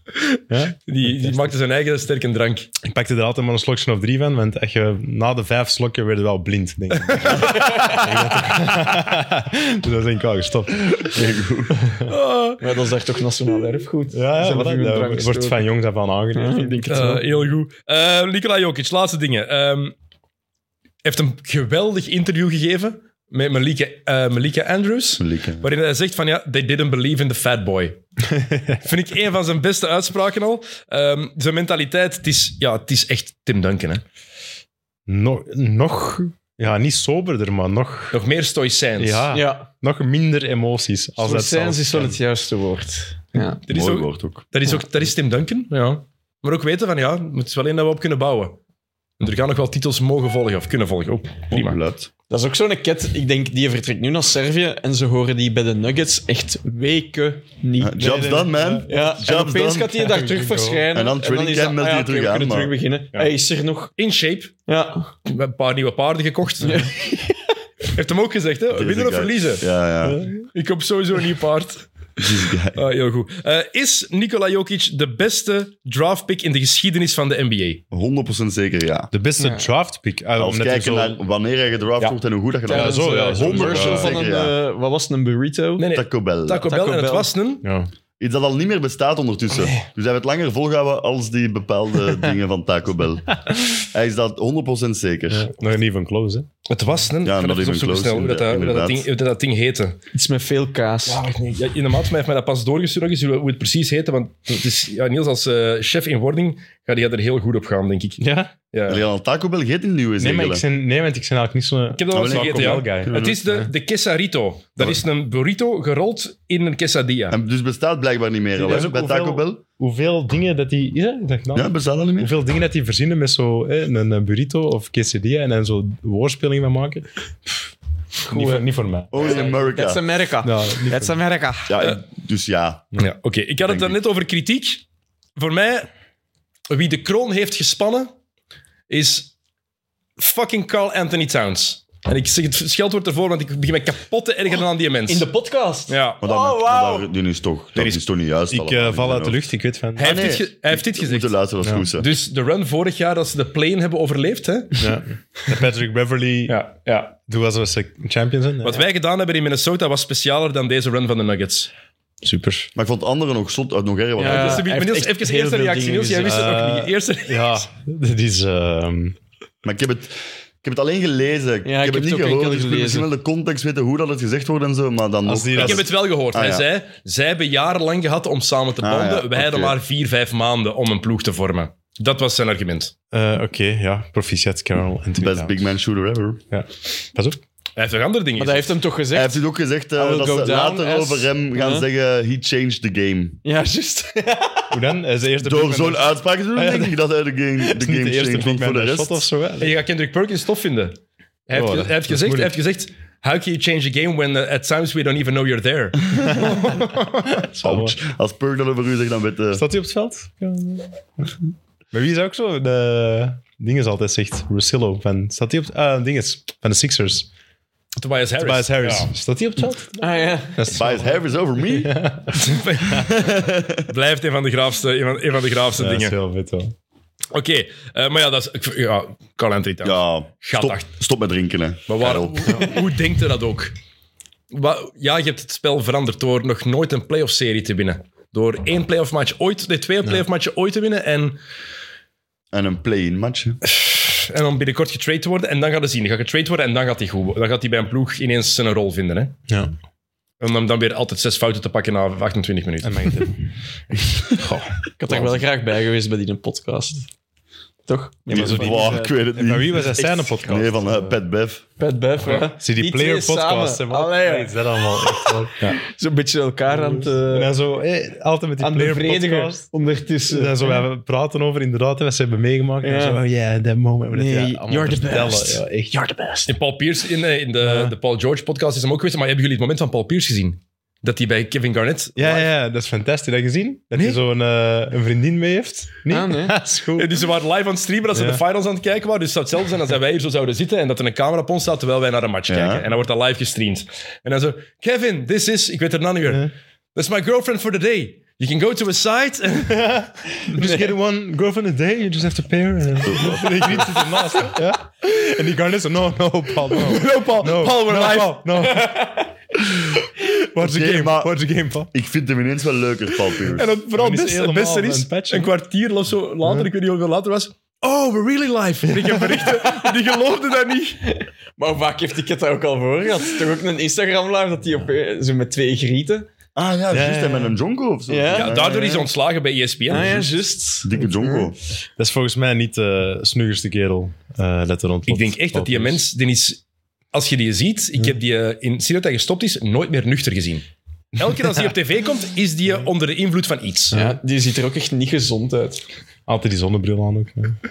Speaker 4: Ja.
Speaker 1: Die, die maakte zijn eigen sterke drank.
Speaker 4: Ik pakte er altijd maar een slokje of drie van, want echt, je- na de vijf slokken werd je wel blind, denk ik. [LAUGHS] dus dat denk ik al gestopt.
Speaker 1: Oh.
Speaker 3: Maar dat is echt toch nationaal erfgoed.
Speaker 4: Ja, ja
Speaker 3: Zelf
Speaker 4: voilà,
Speaker 3: uw
Speaker 4: dat
Speaker 3: drank
Speaker 4: wordt
Speaker 3: stoken.
Speaker 4: van jongs af aan aangeleerd.
Speaker 3: ik denk het
Speaker 1: Eh,
Speaker 3: wel.
Speaker 1: heel goed. Eh Nikola Jokic, laatste dingen. Ehm heeft een geweldig interview gegeven met Malika, eh, Malika Andrews.
Speaker 2: Likken.
Speaker 1: Waarin hij zegt van ja, they didn't believe in the fat boy.
Speaker 2: [LAUGHS]
Speaker 1: Vind ik een van zijn beste uitspraken al. Ehm, zijn mentaliteit, het is, ja, het is echt Tim Duncan. Hè?
Speaker 4: Nog, nog, ja, niet soberder, maar nog,
Speaker 1: Nog meer stoïcijns.
Speaker 4: ja,
Speaker 3: Ja,
Speaker 4: nog minder emoties. Als dat
Speaker 3: Stoïcijns
Speaker 4: zelfs
Speaker 3: is wel
Speaker 4: kan.
Speaker 3: het juiste woord. Ja.
Speaker 1: Dat is,
Speaker 2: Mooi
Speaker 1: ook,
Speaker 2: woord ook.
Speaker 1: dat, is ook, dat is Tim Duncan. Ja. Maar ook weten van ja, het is wel één dat we op kunnen bouwen. En er gaan nog wel titels mogen volgen of kunnen volgen. Oh, prima.
Speaker 2: Geluid.
Speaker 3: Dat is ook zo'n ket. Ik denk, die vertrekt nu naar Servië en ze horen die bij de Nuggets echt weken niet.
Speaker 2: Ja, [LAUGHS] Jobs
Speaker 4: nee,
Speaker 2: done,
Speaker 4: nee.
Speaker 2: man.
Speaker 3: Ja, en
Speaker 2: jobs
Speaker 3: opeens
Speaker 2: done.
Speaker 3: gaat
Speaker 2: [LAUGHS]
Speaker 3: hij daar terug verschijnen.
Speaker 2: En dan training
Speaker 3: is dat,
Speaker 2: camp meldt
Speaker 3: ah ja,
Speaker 2: hij terug
Speaker 3: oké,
Speaker 2: aan,
Speaker 3: We kunnen
Speaker 2: maar-
Speaker 3: terug beginnen. Hij is er nog.
Speaker 1: In shape.
Speaker 3: Ja.
Speaker 1: We hebben een paar nieuwe paarden gekocht. [LAUGHS] Heeft hem ook gezegd, hè?
Speaker 2: Deze
Speaker 1: Winnen of
Speaker 2: guy.
Speaker 1: verliezen.
Speaker 2: Ja, ja.
Speaker 1: Ik koop sowieso een nieuw paard.
Speaker 2: Deze guy.
Speaker 1: Ah, heel goed. Eh, is Nikola Jokic de beste draftpick in de geschiedenis van de NBA?
Speaker 2: 100% zeker ja.
Speaker 4: De beste draft pick. Ah,
Speaker 2: Als
Speaker 4: omdat
Speaker 2: kijken
Speaker 4: hij zo-
Speaker 2: naar wanneer hij gedraft
Speaker 4: Ja.
Speaker 2: wordt en hoe goed dat gedaan
Speaker 4: Ja,
Speaker 2: wordt.
Speaker 4: zo, ja, zo.
Speaker 3: dus, eh, commercial
Speaker 4: Ja,
Speaker 3: van een,
Speaker 2: zeker, ja.
Speaker 3: eh, wat was het, een burrito?
Speaker 1: Nee, nee. Taco,
Speaker 2: Taco Bell.
Speaker 1: Bell.
Speaker 3: Taco
Speaker 1: En het
Speaker 3: Bell.
Speaker 1: was een...
Speaker 4: Ja.
Speaker 2: Iets dat al niet meer bestaat ondertussen. Dus hij heeft het langer volgehouden als die
Speaker 4: [LAUGHS]
Speaker 2: bepaalde dingen van Taco Bell. Hij is dat 100% zeker.
Speaker 4: [LAUGHS] Nog niet van close, hè.
Speaker 1: Het was een...
Speaker 2: Ja,
Speaker 1: Ik ga
Speaker 2: not
Speaker 1: even
Speaker 2: even
Speaker 1: opzoeken
Speaker 2: close,
Speaker 1: snel hoe dat, hoe dat
Speaker 2: inderdaad.
Speaker 1: ding, hoe dat, dat ding heette.
Speaker 3: Iets met veel kaas.
Speaker 1: Ja, wacht, nee. Ja, in de maat heeft mij dat pas doorgestuurd, dus hoe hoe het precies heette. Want het is, ja, Niels, als eh, chef in wording, gaat hij er heel goed op gaan, denk ik.
Speaker 4: Ja?
Speaker 1: Ja.
Speaker 2: Alleen al Taco Bell geeft een nieuwe
Speaker 4: Nee, maar ik
Speaker 2: zegelen.
Speaker 4: ben, nee, want ik ben eigenlijk niet zo'n...
Speaker 1: Ik heb dat al eens
Speaker 2: Oh, nee,
Speaker 1: gegeten,
Speaker 4: Taco
Speaker 1: ja.
Speaker 4: Bell guy.
Speaker 1: Het is de, de quesarito. Dat is een burrito gerold in een quesadilla.
Speaker 2: En dus bestaat blijkbaar niet meer al,
Speaker 4: Dat is
Speaker 2: hè,
Speaker 4: ook
Speaker 2: bij
Speaker 4: hoeveel-
Speaker 2: Taco Bell.
Speaker 4: hoeveel dingen dat die... Is dat? Ik dacht, nou,
Speaker 2: Ja, bestaat dat niet meer.
Speaker 4: Hoeveel dingen dat die verzinnen met zo hè, een eh, burrito of quesadilla en dan zo woordspeling van maken. Pff, niet, voor, niet voor mij.
Speaker 2: Only
Speaker 3: That's
Speaker 2: Oh, America.
Speaker 3: America.
Speaker 4: Ja, niet voor
Speaker 3: That's America.
Speaker 2: Ja, ik- dus ja.
Speaker 1: Ja, oké. Ik had het
Speaker 2: Denk ik.
Speaker 1: daarnet over kritiek. Voor mij, wie de kroon heeft gespannen, is fucking Carl Anthony Towns. En ik zeg het scheldwoord ervoor, want ik begin me kapot te ergeren aan die mens.
Speaker 3: In de podcast.
Speaker 1: Ja.
Speaker 2: Maar dat,
Speaker 3: Oh, wauw.
Speaker 2: maar dat- die is toch, dat is toch niet juist
Speaker 4: Ik
Speaker 2: allemaal.
Speaker 4: eh, val uit de lucht, ik weet van...
Speaker 1: Hij, heeft
Speaker 3: Ah,
Speaker 2: nee.
Speaker 1: dit ge- hij heeft dit
Speaker 2: We moeten
Speaker 1: gezegd.
Speaker 2: luisteren, dat is goed. hè.
Speaker 1: Dus de run vorig jaar, dat ze de plane hebben overleefd. Hè?
Speaker 4: Ja. Dat Patrick Beverly,
Speaker 1: Ja, ja.
Speaker 4: doe alsof ze champions zijn.
Speaker 1: Wat wij gedaan hebben in Minnesota was specialer dan deze run van de Nuggets.
Speaker 4: Super.
Speaker 2: Maar ik vond anderen nog zot, nog erger. want
Speaker 3: Ja.
Speaker 2: hij-
Speaker 1: Dus
Speaker 3: hij heeft
Speaker 1: Niels,
Speaker 3: echt
Speaker 1: even
Speaker 3: heel
Speaker 1: eerste
Speaker 3: veel Ah.
Speaker 1: reactie.
Speaker 3: dingen
Speaker 1: Niels, jij wist het
Speaker 4: gezien.
Speaker 1: nog niet. Eerste
Speaker 4: Ja, dat is... ehm,
Speaker 2: Maar ik heb het, ik heb het alleen gelezen. ik heb
Speaker 3: ik heb
Speaker 2: het
Speaker 3: het
Speaker 2: niet
Speaker 3: ook enkel
Speaker 2: gehoord. Dus ik wil
Speaker 3: gelezen.
Speaker 2: misschien wel de context weten hoe dat het gezegd wordt en zo. Maar dan nog.
Speaker 4: Als die
Speaker 1: Ik
Speaker 4: dat-
Speaker 1: heb het wel gehoord.
Speaker 2: Ah,
Speaker 1: Hij
Speaker 2: ja.
Speaker 1: zei, zij hebben jarenlang gehad om samen te
Speaker 2: Ah,
Speaker 1: banden.
Speaker 2: ja,
Speaker 1: Wij hadden
Speaker 2: oké.
Speaker 1: maar vier, vijf maanden om een ploeg te vormen. Dat was zijn argument.
Speaker 4: Eh, Oké, ja. Proficiat, Carol. Anthony
Speaker 2: Best
Speaker 4: Towns.
Speaker 2: big man shooter ever.
Speaker 4: Ja. Pas op.
Speaker 1: Hij heeft nog andere dingen
Speaker 3: Maar dat heeft hem toch
Speaker 2: Hij
Speaker 3: gezegd?
Speaker 2: heeft het ook gezegd eh,
Speaker 3: I will
Speaker 2: dat
Speaker 3: go
Speaker 2: ze
Speaker 3: down
Speaker 2: later
Speaker 3: as-
Speaker 2: over hem gaan
Speaker 3: Huh?
Speaker 2: zeggen: he changed the game.
Speaker 3: Ja, juist. [LAUGHS]
Speaker 4: Hoe dan? Hij is de eerste
Speaker 2: Door
Speaker 4: big man- Ah,
Speaker 2: zo'n uitspraak te doen,
Speaker 4: ja,
Speaker 2: denk ik dat hij de game,
Speaker 4: is
Speaker 2: de
Speaker 4: niet
Speaker 2: game
Speaker 4: de eerste
Speaker 2: changed.
Speaker 4: big
Speaker 2: Want voor
Speaker 4: man
Speaker 2: de
Speaker 4: bij
Speaker 2: rest.
Speaker 4: shot of zo. hè?
Speaker 1: En je gaat Kendrick Perkins tof vinden. Hij heeft,
Speaker 4: Oh, dat-
Speaker 1: hij heeft
Speaker 4: dat is
Speaker 1: gezegd, hij heeft gezegd... How can you change the game when uh, at times we don't even know you're there? [LAUGHS]
Speaker 2: Ouch. Als Perk dat over u zegt, dan weet eh,
Speaker 4: Staat hij op het veld? Ja. Maar wie is ook zo? De dinges altijd zegt. Russillo. Van, staat hij op het... eh, dinges. Van de Sixers.
Speaker 1: Tobias Harris.
Speaker 4: Bias Harris.
Speaker 1: Ja.
Speaker 4: Staat hij op het veld?
Speaker 3: Ah ja.
Speaker 2: Bias Harris over me.
Speaker 4: [LAUGHS]
Speaker 1: Blijft een van de graafste, een van, een van de graafste
Speaker 4: Ja, Dat
Speaker 1: dingen.
Speaker 4: is heel vet wel.
Speaker 1: Oké, eh, maar ja, dat is... ik- Ja, Carl Anthony Towns.
Speaker 2: Ja,
Speaker 1: Gaat
Speaker 2: stop,
Speaker 1: achter.
Speaker 2: stop met drinken. Hè.
Speaker 1: Maar waar,
Speaker 2: Karel.
Speaker 1: hoe, hoe denkt hij dat ook? Wa- ja, je hebt het spel veranderd door nog nooit een playoff-serie te winnen. Door één playoff match ooit, de twee playoff matchen ooit te winnen en,
Speaker 2: En een play-in match. hè.
Speaker 1: en dan binnenkort getrade te worden. En dan gaat hij zien. Dan gaat getrade worden en dan gaat hij goed. worden. Dan gaat hij bij een ploeg ineens zijn rol vinden. Hè?
Speaker 4: Ja.
Speaker 1: En dan, dan weer altijd zes fouten te pakken na 28 minuten.
Speaker 4: En mijn tip.
Speaker 3: Ik had er wel graag bij geweest bij die podcast. Toch? Ja,
Speaker 4: maar zo die-
Speaker 2: Wow, ik weet het niet.
Speaker 4: Maar wie was dat zijn
Speaker 2: Echt?
Speaker 4: podcast?
Speaker 2: Nee, van eh, Pat Bev.
Speaker 3: Pat Bev, hè?
Speaker 4: Zie
Speaker 3: twee
Speaker 4: die, player podcast. hè,
Speaker 3: samen.
Speaker 4: man.
Speaker 3: Allee,
Speaker 4: Wat is dat allemaal? Echt, hoor. ja.
Speaker 3: Zo'n beetje elkaar aan het... eh,
Speaker 4: En dan zo, eh, altijd met die
Speaker 3: aan de
Speaker 4: player
Speaker 3: vredigen
Speaker 4: podcast. Dus, eh,
Speaker 3: ondertussen.
Speaker 4: Dan zo, we praten over inderdaad wat ze hebben meegemaakt. En
Speaker 3: Ja.
Speaker 4: zo, oh yeah, that moment. Maar dat,
Speaker 3: Nee,
Speaker 4: ja, allemaal
Speaker 3: you're the
Speaker 4: vertellen,
Speaker 3: best.
Speaker 4: dus Ja, echt.
Speaker 3: You're the best.
Speaker 1: In Paul Pierce, in, eh, in de, de Paul George podcast is hem ook geweest. Maar hebben jullie het moment van Paul Pierce gezien? Dat hij bij Kevin Garnett...
Speaker 4: Ja, ja, ja, dat is fantastisch. Heb je dat gezien? Dat
Speaker 1: Nee.
Speaker 4: hij zo'n eh, een vriendin mee heeft? Nee?
Speaker 3: Ah, nee.
Speaker 4: [LAUGHS] dat is goed.
Speaker 1: Ja, Dus ze waren live aan het streamen als ze
Speaker 4: Ja.
Speaker 1: de finals aan het kijken waren. Dus het zou hetzelfde zijn als dat wij hier zo zouden zitten en dat er een camera op ons staat terwijl wij naar een match
Speaker 2: Ja.
Speaker 1: kijken. En dan wordt dat live gestreamd. En dan zo, Kevin, this is, ik weet het nou niet meer. That's my girlfriend for the day. You can go to a site. En
Speaker 4: Just get one girlfriend a day, you just have to pay her. [LAUGHS] En die vriend zit ernaast. hè. Ja? En die Garnet zo, no, no, Paul, no. [LAUGHS] No, Paul, no,
Speaker 1: Paul, we're
Speaker 4: no,
Speaker 1: live.
Speaker 4: Paul, [LAUGHS] no. What's the
Speaker 2: Oké,
Speaker 4: game,
Speaker 2: maar-
Speaker 4: what's the game, Paul?
Speaker 2: Ik vind hem ineens wel leuker, Paul Pierce.
Speaker 1: dat vooral
Speaker 4: Dan is
Speaker 1: best-
Speaker 4: het
Speaker 1: het beste
Speaker 4: helemaal
Speaker 1: is,
Speaker 4: een patch,
Speaker 1: een
Speaker 4: hè?
Speaker 1: kwartier of zo later, ik weet niet hoeveel later was... Oh, we're really live. En ik heb berichten, [LAUGHS] die geloofden dat niet.
Speaker 3: Maar hoe vaak heeft die ket dat ook al voor gehad? Toch ook een Instagram-live dat hij op eh, zo met twee grieten.
Speaker 2: Ah ja, juist.
Speaker 4: ja,
Speaker 2: En
Speaker 4: ja.
Speaker 2: met een jonko of zo.
Speaker 3: Ja.
Speaker 1: Ja, daardoor is hij ontslagen bij E ESPN.
Speaker 3: Ah ja, juist.
Speaker 2: Dikke jonko.
Speaker 4: Dat is volgens mij niet de snuggerste kerel. eh let er rond.
Speaker 1: Ik denk echt dat die mens, die is, als je die ziet, ik heb die eh, in, sinds dat hij gestopt is, nooit meer nuchter gezien. Elke keer als hij op tv komt, is die eh, onder de invloed van iets.
Speaker 3: Ja, die ziet er ook echt niet gezond uit.
Speaker 4: Altijd die zonnebril aan ook. Ja.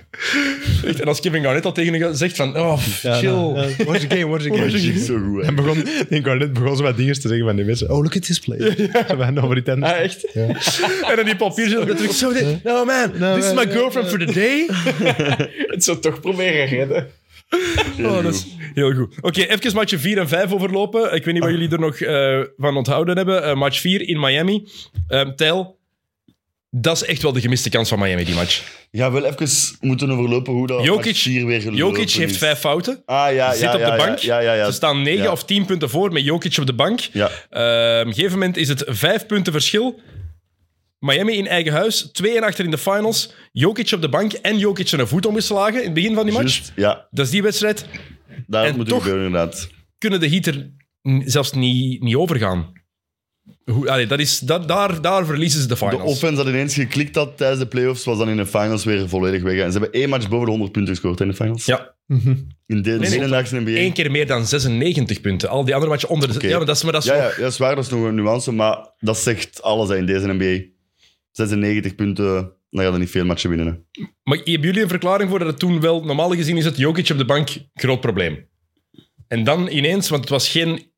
Speaker 1: Echt, En als Kevin Garnett al tegen hem zegt van, oh, pff, chill.
Speaker 2: nou,
Speaker 4: what's the game, what's nou,
Speaker 2: Dat
Speaker 4: the
Speaker 2: is echt
Speaker 4: game?
Speaker 2: zo goed. hè.
Speaker 4: En begon, denk Garnet begon zo wat dingen te zeggen van die mensen. Oh, look at this play. Ze waren over die tent.
Speaker 3: Ah,
Speaker 1: [LAUGHS]
Speaker 3: echt?
Speaker 1: En dan die papier zit terug. Zo, dit- no man,
Speaker 2: Nou,
Speaker 1: this is my girlfriend for the day.
Speaker 3: Het zou toch proberen redden.
Speaker 1: Oh, dat is heel goed. Oké, even match 4 en 5 overlopen. Ik weet niet
Speaker 2: Ah.
Speaker 1: wat jullie er nog eh, van onthouden hebben. Eh, match 4 in Miami. Ehm Tel, dat is echt wel de gemiste kans van Miami, die match.
Speaker 2: Ja, wel even moeten overlopen hoe dat
Speaker 1: Jokic-
Speaker 2: Oh, match hier weer gelopen
Speaker 1: Jokic heeft
Speaker 2: is.
Speaker 1: vijf fouten.
Speaker 2: Ah, ja, ja,
Speaker 1: Zit
Speaker 2: ja,
Speaker 1: op de
Speaker 2: ja,
Speaker 1: bank.
Speaker 2: Ja, ja, ja.
Speaker 1: Ze staan 9
Speaker 2: Ja.
Speaker 1: of 10 punten voor met Jokic op de bank.
Speaker 2: Ja.
Speaker 1: Eh, op een gegeven moment is het 5 punten verschil. Miami in eigen huis, 2 en achter in de finals. Jokic op de bank en Jokic zijn voet omgeslagen in het begin van die match.
Speaker 2: Juist, ja,
Speaker 1: Dat is die wedstrijd.
Speaker 2: daar
Speaker 1: En
Speaker 2: moet
Speaker 1: toch-
Speaker 2: het gebeuren inderdaad.
Speaker 1: Kunnen de Heat er n- zelfs niet, niet overgaan? Hoe, allee, dat is, dat, daar, daar verliezen ze de
Speaker 2: De
Speaker 1: finals.
Speaker 2: offense dat ineens geklikt had tijdens de playoffs, was dan in de finals weer volledig weg. En ze hebben één match boven de 100 punten gescoord in de finals.
Speaker 1: ja,
Speaker 2: In de
Speaker 1: nee.
Speaker 2: hedendaagse NBA.
Speaker 1: één keer meer dan 96 punten. Al die andere matchen onder de...
Speaker 2: Oké.
Speaker 1: Ja, maar dat is, maar dat is
Speaker 2: Ja,
Speaker 1: nog-
Speaker 2: ja, ja, dat is waar, dat is nog een nuance, maar dat zegt alles hè, in deze NBA. 96 punten, dan gaat er niet veel matchen winnen. Hè.
Speaker 1: Maar hebben jullie een verklaring voor dat het toen wel... Normaal gezien is het Jokic op de bank groot probleem. En dan ineens, want het was geen